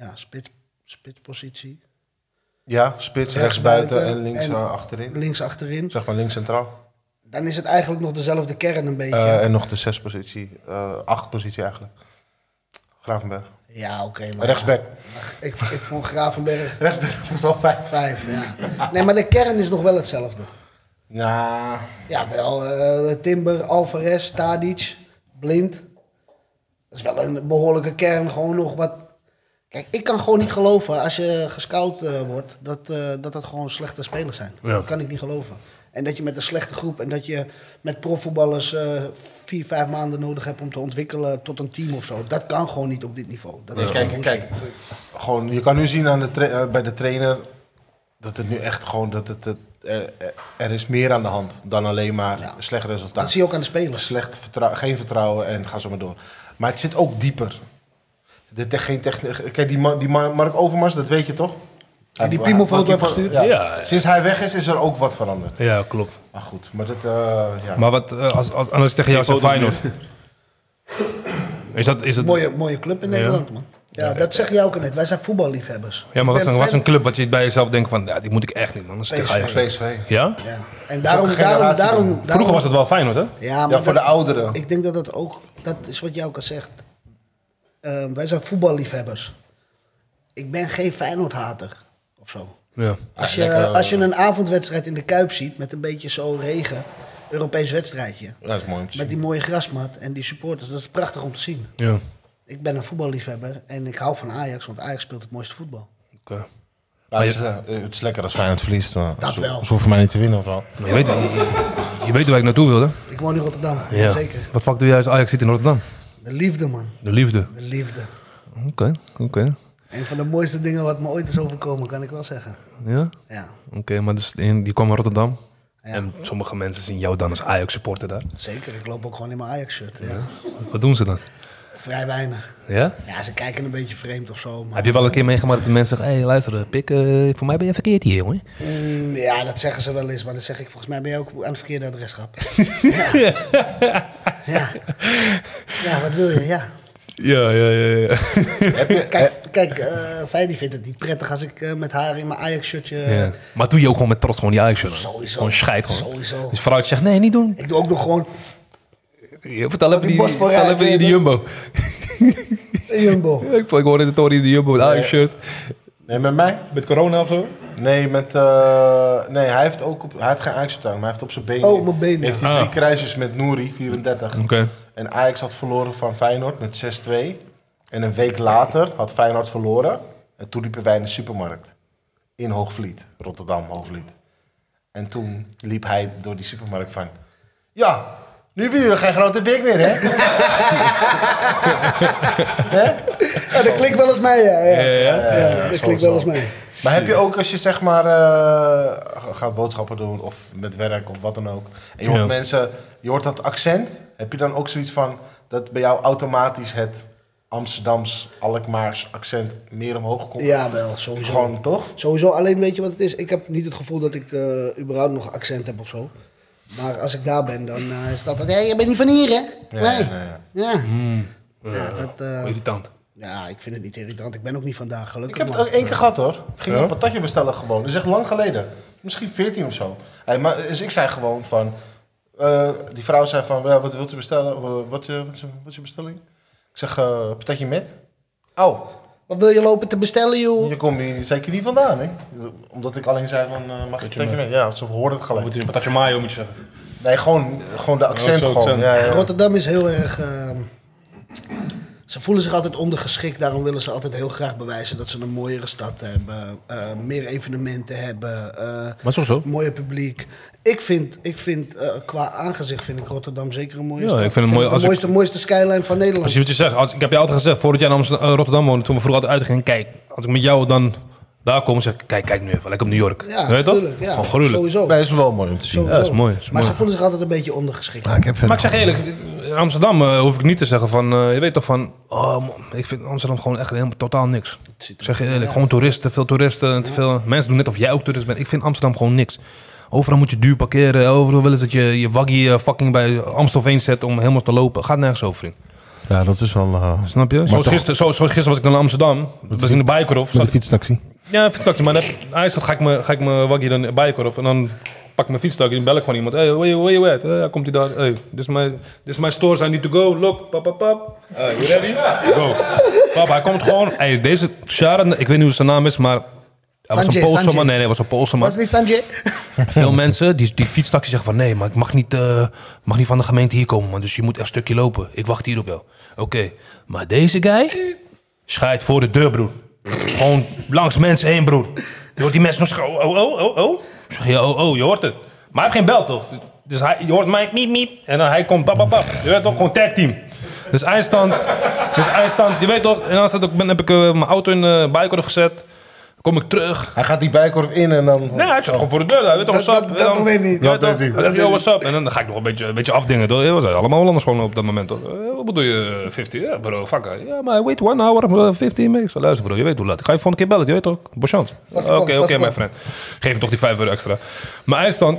Speaker 3: Ja, spits, spitspositie.
Speaker 2: Ja, spits, rechtsbuiten en links eh, achterin.
Speaker 3: Links achterin.
Speaker 2: Zeg maar links centraal.
Speaker 3: Dan is het eigenlijk nog dezelfde kern een beetje.
Speaker 2: Eh, En nog de zes positie, eh acht positie eigenlijk. Gravenberg.
Speaker 3: ja, oké. maar
Speaker 2: Rechtsback.
Speaker 3: Ik, ik vond Gravenberg
Speaker 2: Rechtsback was al vijf.
Speaker 3: vijf, ja. Nee, maar de kern is nog wel hetzelfde.
Speaker 2: Ja,
Speaker 3: Ja, wel. eh, Timber, Alvarez, Tadic, Blind. Dat is wel een behoorlijke kern. Gewoon nog wat... Kijk, ik kan gewoon niet geloven als je gescout eh, wordt... Dat, eh, dat dat gewoon slechte spelers zijn.
Speaker 1: Ja.
Speaker 3: Dat kan ik niet geloven. En dat je met een slechte groep... en dat je met profvoetballers eh, vier, vijf maanden nodig hebt... om te ontwikkelen tot een team of zo. Dat kan gewoon niet op dit niveau. Dat is
Speaker 2: Dus kijk,
Speaker 3: gewoon
Speaker 2: kijk.
Speaker 3: bullshit.
Speaker 2: Gewoon, je kan nu zien aan de tra- eh, bij de trainer dat het nu echt gewoon, dat het, het, eh, eh, er is meer aan de hand dan alleen maar
Speaker 3: Ja.
Speaker 2: slecht resultaat.
Speaker 3: Dat zie je ook aan de spelers.
Speaker 2: Slecht vertrouwen, geen vertrouwen en ga zo maar door. Maar het zit ook dieper. De te- geen techni- Kijk, die, Ma- die Ma- Mark Overmars, dat weet je toch?
Speaker 3: Ja, die
Speaker 2: Hij-
Speaker 3: Pimo
Speaker 2: hij-
Speaker 3: foto
Speaker 2: wat die
Speaker 3: heeft
Speaker 2: voor-
Speaker 3: gestuurd.
Speaker 2: ja.
Speaker 1: Ja, ja.
Speaker 2: Sinds hij weg is, is er ook wat veranderd.
Speaker 1: Ja, klopt.
Speaker 2: Maar goed, maar dat... eh, ja.
Speaker 1: Maar wat, eh, als, als, als ik tegen jou zeg
Speaker 4: foto's
Speaker 1: Feyenoord. Is dat, is dat,
Speaker 3: Mooie, mooie club in Nederland,
Speaker 1: Ja.
Speaker 3: man. Ja, dat zeg jij ook net. Wij zijn voetballiefhebbers.
Speaker 1: ja, maar
Speaker 3: Ik
Speaker 1: wat is,
Speaker 3: ben
Speaker 1: een, wat is
Speaker 3: fan-
Speaker 1: een club wat je bij jezelf denkt van, ja, die moet ik echt niet, man. Dat is tegen
Speaker 3: PSV.
Speaker 1: Ajax.
Speaker 2: PSV.
Speaker 1: Ja?
Speaker 3: Ja. En daarom,
Speaker 2: ook een
Speaker 3: daarom, daarom,
Speaker 2: generatie
Speaker 3: daarom...
Speaker 1: Vroeger was het wel Feyenoord, hè?
Speaker 3: Ja, maar
Speaker 2: Ja, voor
Speaker 3: dat-
Speaker 2: de ouderen.
Speaker 3: Ik denk dat dat ook... Dat is wat jij ook al zegt. Ehm, wij zijn voetballiefhebbers. Ik ben geen Feyenoord-hater. Of zo.
Speaker 1: Ja.
Speaker 3: Als
Speaker 2: Ja,
Speaker 3: je,
Speaker 2: lekker,
Speaker 3: als je een avondwedstrijd in de Kuip ziet met een beetje zo regen... Europees wedstrijdje.
Speaker 2: Dat is mooi om te
Speaker 3: Met
Speaker 2: zien.
Speaker 3: die mooie grasmat en die supporters. Dat is prachtig om te zien.
Speaker 5: Ja.
Speaker 3: Ik ben een voetballiefhebber en ik hou van Ajax, want Ajax speelt het mooiste voetbal.
Speaker 5: Oké.
Speaker 2: Ja, het, is, eh, het is lekker als Feyenoord verliest. maar
Speaker 3: Dat
Speaker 2: ze-
Speaker 3: wel.
Speaker 2: Ze hoeven mij niet te winnen of wel.
Speaker 5: Maar Je, weet, je, je weet waar ik naartoe wilde.
Speaker 3: Ik woon in Rotterdam,
Speaker 5: Ja.
Speaker 3: zeker.
Speaker 5: Wat vak doe jij als Ajax zit in Rotterdam?
Speaker 3: De liefde, man.
Speaker 5: De liefde.
Speaker 3: De liefde.
Speaker 5: Oké, oké.
Speaker 3: Een van de mooiste dingen wat me ooit is overkomen, kan ik wel zeggen.
Speaker 5: Ja?
Speaker 3: Ja,
Speaker 5: Oké, maar dus in, die kwam in Rotterdam.
Speaker 3: Ja.
Speaker 5: En sommige mensen zien jou dan als Ajax-supporter daar.
Speaker 3: zeker. Ik loop ook gewoon in mijn Ajax-shirt. Ja.
Speaker 5: Wat doen ze dan?
Speaker 3: Vrij weinig.
Speaker 5: Ja?
Speaker 3: Ja, ze kijken een beetje vreemd of zo. Maar...
Speaker 5: Heb je wel een keer meegemaakt dat de mensen zeggen... Hé, hey, luister, eh, pik, eh, voor mij ben je verkeerd hier, jongen.
Speaker 3: Mm, ja, dat zeggen ze wel eens, maar dan zeg ik volgens mij ben je ook aan het verkeerde adres gehad. ja. ja. Ja, wat wil je? Ja.
Speaker 5: Ja, ja, ja. ja.
Speaker 3: Kijk, kijk eh Feyenoord vindt het niet prettig als ik eh, met haar in mijn Ajax-shirtje...
Speaker 5: Ja. Maar doe je ook gewoon met trots gewoon die Ajax-shirt aan.
Speaker 3: Sowieso.
Speaker 5: Gewoon scheid gewoon.
Speaker 3: Sowieso.
Speaker 5: Dus vrouwtje zegt, nee, niet doen.
Speaker 3: Ik doe ook nog gewoon
Speaker 5: Ja, vertel even
Speaker 3: die
Speaker 5: die,
Speaker 3: borst vooruit,
Speaker 5: vertel
Speaker 3: weet
Speaker 5: even die, die
Speaker 3: je.
Speaker 5: Jumbo.
Speaker 3: een jumbo.
Speaker 5: Ik, vond- ik hoorde het hoorde die Jumbo met Ajax-shirt.
Speaker 2: Nee, met mij?
Speaker 5: Met corona of zo?
Speaker 2: Nee, met, eh, nee hij, heeft ook op, hij heeft geen Ajax-shirt aan, maar hij heeft op zijn been.
Speaker 3: Oh, mijn been, ja.
Speaker 2: Heeft hij
Speaker 5: Ah.
Speaker 2: drie kruisjes met Nouri, 34.
Speaker 5: Oké.
Speaker 2: En Ajax had verloren van Feyenoord met 6-2. En een week later had Feyenoord verloren. En toen liepen wij in de supermarkt. In Hoogvliet, Rotterdam, Hoogvliet. En toen liep hij door die supermarkt van... Ja, nu hebben jullie geen grote bek meer, hè?
Speaker 3: Ja, dat klinkt wel eens mee, ja. ja. Ja,
Speaker 2: ja,
Speaker 3: dat
Speaker 2: zo,
Speaker 3: klinkt wel
Speaker 2: zo.
Speaker 3: eens mee.
Speaker 2: Maar heb je ook als je zeg maar eh, gaat boodschappen doen of met werk of wat dan ook. En je hoort
Speaker 5: Ja.
Speaker 2: mensen, je hoort dat accent. Heb je dan ook zoiets van dat bij jou automatisch het Amsterdams, Alkmaars accent meer omhoog komt?
Speaker 3: Ja, wel, sowieso.
Speaker 2: Gewoon toch?
Speaker 3: Sowieso, alleen weet je wat het is? Ik heb niet het gevoel dat ik eh, überhaupt nog accent heb of zo. Maar als ik daar ben, dan eh, is dat... Hé, hey, je bent niet van hier, hè?
Speaker 2: Ja,
Speaker 3: nee.
Speaker 2: ja, ja.
Speaker 3: Ja. Ja, dat, eh,
Speaker 5: Irritant.
Speaker 3: ja, ik vind het niet irritant. Ik ben ook niet vandaag
Speaker 2: Ik
Speaker 3: gelukkig.
Speaker 2: heb het
Speaker 3: man.
Speaker 2: ook één keer gehad hoor. Ik ging
Speaker 5: Ja?
Speaker 2: een patatje bestellen gewoon. Dat is echt lang geleden. Misschien 14 of zo. Hey, maar, dus ik zei gewoon van... eh, die vrouw zei van, "Ja, wat wilt u bestellen? Of, eh, Wat, eh, wat, is, wat is je bestelling? Ik zeg, eh patatje met. Oh,
Speaker 3: Wat wil je lopen te bestellen, joh?
Speaker 2: Je komt hier zeker niet vandaan, hè? Omdat ik alleen zei van, eh, mag je een patatje mee? Ja, ze hoorden het gelijk.
Speaker 5: je een patatje mayo, moet je zeggen.
Speaker 2: Nee, gewoon, gewoon de accent
Speaker 5: zo
Speaker 2: gewoon.
Speaker 5: accent.
Speaker 2: Ja, ja.
Speaker 3: Rotterdam is heel erg... ehm, ze voelen zich altijd ondergeschikt. Daarom willen ze altijd heel graag bewijzen dat ze een mooiere stad hebben. eh, meer evenementen hebben. eh,
Speaker 5: Maar zo zo.
Speaker 3: Mooie publiek. Ik vind, ik vind eh, qua aangezicht vind ik Rotterdam zeker een mooie
Speaker 5: Ja,
Speaker 3: stad.
Speaker 5: ik vind het mooi
Speaker 3: het
Speaker 5: als
Speaker 3: de
Speaker 5: ik-
Speaker 3: mooiste, mooiste skyline van Nederland.
Speaker 5: Precies wat je zegt. Als, ik heb je altijd gezegd, voordat jij in Amsterdam, eh, Rotterdam woonde, toen we vroeger altijd uitgingen. Kijk, als ik met jou dan daar kom, zeg ik, kijk, kijk nu even. Lekker op New York.
Speaker 3: Ja,
Speaker 5: Weet je toch?
Speaker 3: gruwelijk, ja.
Speaker 5: Gewoon gruwelijk.
Speaker 3: Sowieso.
Speaker 2: Nee, is wel mooi om te zien.
Speaker 3: Sowieso.
Speaker 5: Ja, dat is mooi, dat is
Speaker 3: maar
Speaker 5: mooi.
Speaker 3: ze voelen zich altijd een beetje ondergeschikt.
Speaker 2: ik heb
Speaker 5: Maar ik zeg eerlijk, in Amsterdam eh, hoef ik niet te zeggen van, eh, je weet toch van, oh, man, ik vind Amsterdam gewoon echt helemaal totaal niks. Ik zeg je eerlijk, gewoon toeristen, te veel toeristen, en te veel mensen doen net of jij ook toerist bent. Ik vind Amsterdam gewoon niks. Overal moet je duur parkeren, overal willen ze dat je je waggie eh, fucking bij Amstelveen zet om helemaal te lopen. Gaat nergens over in.
Speaker 2: Ja, dat is wel...
Speaker 5: Snap je? Zoals
Speaker 2: toch-
Speaker 5: gisteren, zo, zoals gisteren was ik dan in Amsterdam, dat was in de Bijenkorf. Zat-
Speaker 2: fietstaxi.
Speaker 5: Ja, fietstaxi, maar dan heb- hij is dat, ga ik me- ga ik mijn waggie dan in de Bijenkorf en dan pak ik mijn fietstaxi en bel ik gewoon iemand. Hey, where you, where you at? Eh, dan komt hij daar. Hey, this is my, this is my stores, I need to go. Look, pap, pap, pap. Eh, you ready? Go. Pap, hij komt gewoon. Hey, deze Sharon, ik weet niet hoe zijn naam is, maar... Hij was
Speaker 3: Sanjay,
Speaker 5: een Poolse
Speaker 3: Sanjay.
Speaker 5: man. Nee, nee, hij was een Poolse man.
Speaker 3: Was het niet Sanjay?
Speaker 5: Veel mensen, die, die fietstaxi zeggen van... Nee, maar ik mag niet, eh, mag niet van de gemeente hier komen, man. Dus je moet echt een stukje lopen. Ik wacht hier op jou. Oké, maar deze guy... Schijt voor de deur, broer. Gewoon langs mensen heen, broer. Je hoort die mensen nog zeggen... Oh, oh, oh, oh. Ik zeg je, oh, oh, je hoort het. Maar hij heeft geen bel, toch? Dus hij, je hoort mij, miep, miep. En dan hij komt, pap, pap, pap. Je weet toch, gewoon tag team. Dus eindstand, dus eindstand. Je weet toch, en als ik ben, heb ik eh, mijn auto in de bijkorf gezet. Dan kom ik terug.
Speaker 2: Hij gaat die bijkorf in en dan...
Speaker 5: Nee, hij zat gewoon voor de deur. Hij weet toch,
Speaker 3: Dat-
Speaker 5: what's up?
Speaker 3: dat- dat
Speaker 5: En dan-
Speaker 3: doe ik niet.
Speaker 5: Ja,
Speaker 2: Dat
Speaker 5: toch?
Speaker 2: doe ik niet.
Speaker 5: Hij zegt, yo, what's up? En dan ga ik nog een beetje, een beetje afdingen. Toch? We zijn allemaal Hollanders gewoon op dat moment. Toch? Eh, Wat bedoel je, eh, 50? Ja, bro, fuck. eh. Ja, maar wait one hour, eh, 15 minutes. Luister, bro, je weet hoe laat. Ik ga je volgende keer bellen, je weet toch? Bochans.
Speaker 3: Vaste
Speaker 5: Oké,
Speaker 3: klant,
Speaker 5: oké,
Speaker 3: vaste
Speaker 5: mijn
Speaker 3: klant.
Speaker 5: friend. Geef hem toch die 5 euro extra. Maar hij stond,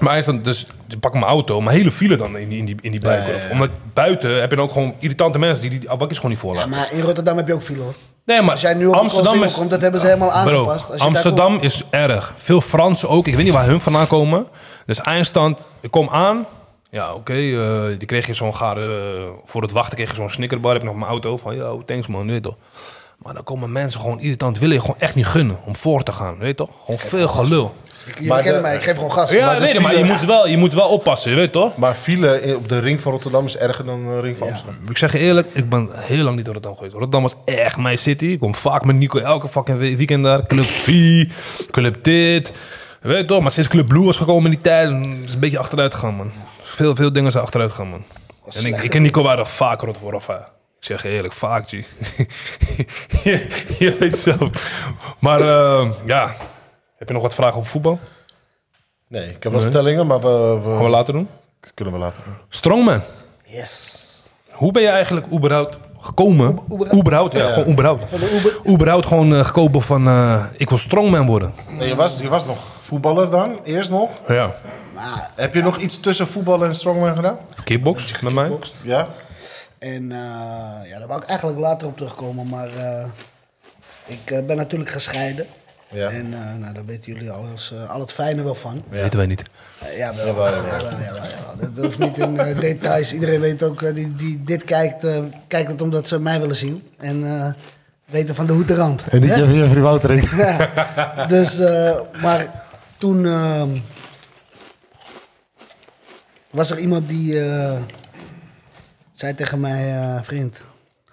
Speaker 5: maar hij stond dus, ik pak mijn auto, maar hele file dan in die, in die, in die bijkorf. Omdat buiten heb je dan ook gewoon irritante mensen die die, die bakjes gewoon niet
Speaker 3: Ja,
Speaker 5: voorlaten.
Speaker 3: maar in Rotterdam heb je ook file hoor.
Speaker 5: Nee, maar
Speaker 3: Als jij nu op Amsterdam
Speaker 5: is-
Speaker 3: komt, dat hebben ze helemaal
Speaker 5: Bro,
Speaker 3: aangepast. Als je daar
Speaker 5: Amsterdam is erg. Veel Fransen ook. Ik weet niet waar hun vandaan komen. Dus eindstand, ik kom aan. Ja, oké. eh, die kreeg je zo'n gare... eh, voor het wachten kreeg je zo'n snickerbar. Heb ik nog mijn auto van... Yo, thanks man, weet je toch. Maar dan komen mensen gewoon irritant. Willen je gewoon echt niet gunnen om voor te gaan, weet je toch? Gewoon veel gelul.
Speaker 3: Jullie
Speaker 2: Maar
Speaker 3: kennen
Speaker 2: de-
Speaker 3: mij, ik geef gewoon gas.
Speaker 5: Ja,
Speaker 2: de
Speaker 5: weet je, maar je
Speaker 2: file-
Speaker 5: moet, wel, je moet wel oppassen, je weet toch?
Speaker 2: Maar file in- op de ring van Rotterdam is erger dan de ring van
Speaker 3: Ja.
Speaker 2: Amsterdam.
Speaker 5: Ik zeg je eerlijk, ik ben heel lang niet door Rotterdam geweest. Rotterdam was echt mijn city. Ik kom vaak met Nico elke fucking we- weekend daar. Club V, club dit. Weet je toch, maar sinds Club Blue was gekomen in die tijd, mm, is een beetje achteruit gegaan, man. Veel, veel dingen zijn achteruit gegaan, man. En ik,
Speaker 3: slecht,
Speaker 5: ik en Nico waren vaak Rotterdam. Ik zeg je eerlijk, vaak, G. je, je weet zelf. Maar eh, ja, heb je nog wat vragen over voetbal?
Speaker 2: Nee, ik heb wel stellingen, maar we, we-
Speaker 5: Gaan we later doen?
Speaker 2: kunnen we later. doen.
Speaker 5: Strongman,
Speaker 3: Yes.
Speaker 5: hoe ben je eigenlijk überhaupt gekomen?
Speaker 3: Oeber-
Speaker 5: Überhaupt, ja, gewoon überhaupt. überhaupt gewoon eh, gekomen van eh, ik wil strongman worden.
Speaker 2: Nee, je, was, je was nog voetballer dan, eerst nog.
Speaker 5: Ja.
Speaker 3: Maar
Speaker 2: Heb je nog iets tussen voetbal en strongman gedaan?
Speaker 5: Kickbox met mij.
Speaker 3: kickbokst.
Speaker 2: Ja?
Speaker 3: En eh, ja, daar wou ik eigenlijk later op terugkomen, maar eh, ik eh, ben natuurlijk gescheiden.
Speaker 2: Ja.
Speaker 3: En eh, nou, daar weten jullie alles, eh, al het fijne wel van.
Speaker 5: Weten wij niet.
Speaker 3: Eh, jawel, jawel, jawel, jawel. Dat hoeft niet in eh, details. Iedereen weet ook, eh, die, die dit kijkt, eh, kijkt het omdat ze mij willen zien. En eh, weten van de hoed de rand.
Speaker 2: En niet
Speaker 3: Ja?
Speaker 2: je Jeffrey Woutering.
Speaker 3: Ja. Dus, eh, maar toen ehm, was er iemand die eh, zei tegen mij, eh, vriend,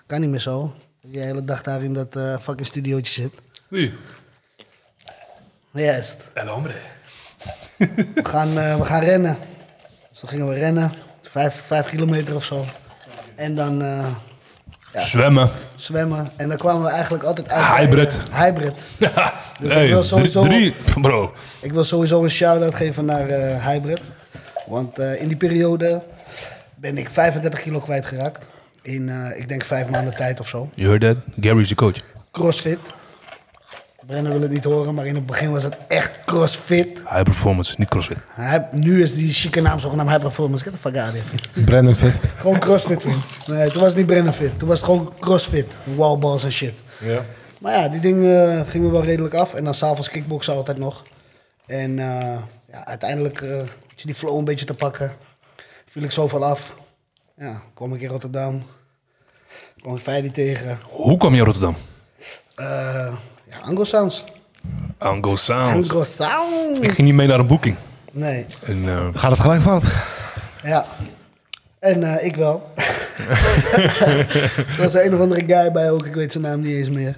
Speaker 3: kan niet meer zo. Dat je de hele dag daar in dat eh, fucking studiootje zit.
Speaker 5: Wie?
Speaker 3: Juist.
Speaker 5: El hombre.
Speaker 3: We gaan, eh, we gaan rennen. Dus toen gingen we rennen. Vijf, vijf kilometer of zo. En dan eh,
Speaker 5: Zwemmen.
Speaker 3: zwemmen. En dan kwamen we eigenlijk altijd uit.
Speaker 5: Hybrid.
Speaker 3: bij, eh, hybrid. Dus ik
Speaker 5: Hey,
Speaker 3: wil
Speaker 5: drie-
Speaker 3: sowieso-
Speaker 5: Drie, bro.
Speaker 3: Ik wil sowieso een shout-out geven naar eh, Hybrid. Want eh, in die periode ben ik 35 kilo kwijtgeraakt. In, eh, ik denk, vijf maanden tijd of zo.
Speaker 5: You heard that? Gary is je coach.
Speaker 3: Crossfit. Brennan wil het niet horen, maar in het begin was het echt crossfit.
Speaker 5: High performance, niet crossfit.
Speaker 3: Hij, nu is die chique naam zogenaamd high performance. Get the fuck out of here.
Speaker 2: Brandon Fit.
Speaker 3: Gewoon crossfit, vriend. Nee, toen was het niet Brennan fit. Toen was het gewoon crossfit. Wallballs en shit.
Speaker 2: Ja.
Speaker 3: Maar ja, die dingen eh, gingen wel redelijk af. En dan s'avonds kickboksen altijd nog. En eh, ja, uiteindelijk, eh had je die flow een beetje te pakken, viel ik zoveel af. Ja, kwam ik in Rotterdam. Kwam ik Feidi tegen.
Speaker 5: Hoe kwam je in Rotterdam?
Speaker 3: Eh ja, Anglo Sounds.
Speaker 5: Ango Sounds.
Speaker 3: Anglo Sounds.
Speaker 5: Ik ging niet mee naar een boeking.
Speaker 3: Nee,
Speaker 5: En, eh,
Speaker 2: Gaat het gelijk fout?
Speaker 3: ja. En eh, ik wel. er was een of andere guy bij ook, ik weet zijn naam niet eens meer.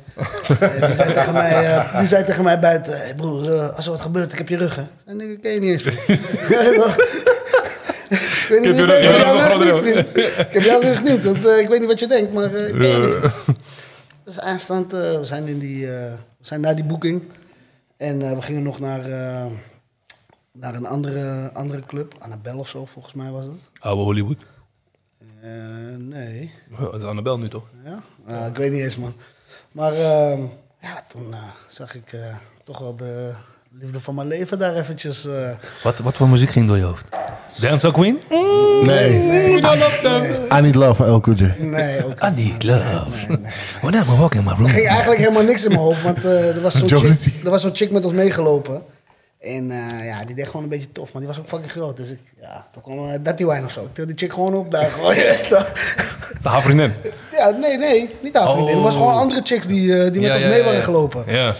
Speaker 3: En die, zei tegen mij, eh, die zei tegen mij buiten, hey broer, eh, als er wat gebeurt, ik heb je rug, hè. En ik ken je niet eens meer. Ik weet niet wie je
Speaker 5: je rug-
Speaker 3: bent,
Speaker 5: je
Speaker 3: ik heb
Speaker 5: rug
Speaker 3: jouw rug
Speaker 5: wel
Speaker 3: niet, vriend. Ik heb jouw rug niet, want eh, ik weet niet wat je denkt, maar eh, ik ken je niet. Dus aanstaand, eh, we, zijn in die, eh, we zijn naar die boeking. En eh, we gingen nog naar, eh, naar een andere, andere club, Annabel of zo, volgens mij was dat.
Speaker 5: oude Hollywood.
Speaker 3: Eh, nee.
Speaker 5: Ja, Dat is Annabel nu toch?
Speaker 3: Ja? Ah, ik weet niet eens, man. Maar ehm, ja, toen eh, zag ik eh, toch wel de liefde van mijn leven daar eventjes. eh,
Speaker 5: Wat, wat voor muziek ging door je hoofd? Dancehall Queen?
Speaker 2: Nee.
Speaker 5: Oeh, dan op dan.
Speaker 2: I need love van El Cool J.
Speaker 3: nee, ook.
Speaker 5: I need love. When I'm walking my room.
Speaker 3: Er ging eigenlijk helemaal niks in mijn hoofd, want eh, er was zo'n
Speaker 2: Jolly.
Speaker 3: chick, er was zo'n chick met ons meegelopen. En eh, ja, die deed gewoon een beetje tof, maar die was ook fucking groot. Dus ik, ja, toen kwam eh, Datty Wine of zo. Ik tilde die chick gewoon op daar. Gewoon, ja, is dat-
Speaker 5: Dat is haar vriendin.
Speaker 3: ja, nee, nee, niet haar vriendin. Het was gewoon andere chicks die, eh, die met
Speaker 5: Oh. Ja,
Speaker 3: ons
Speaker 5: ja,
Speaker 3: mee
Speaker 5: ja,
Speaker 3: waren
Speaker 5: ja.
Speaker 3: gelopen.
Speaker 5: Ja.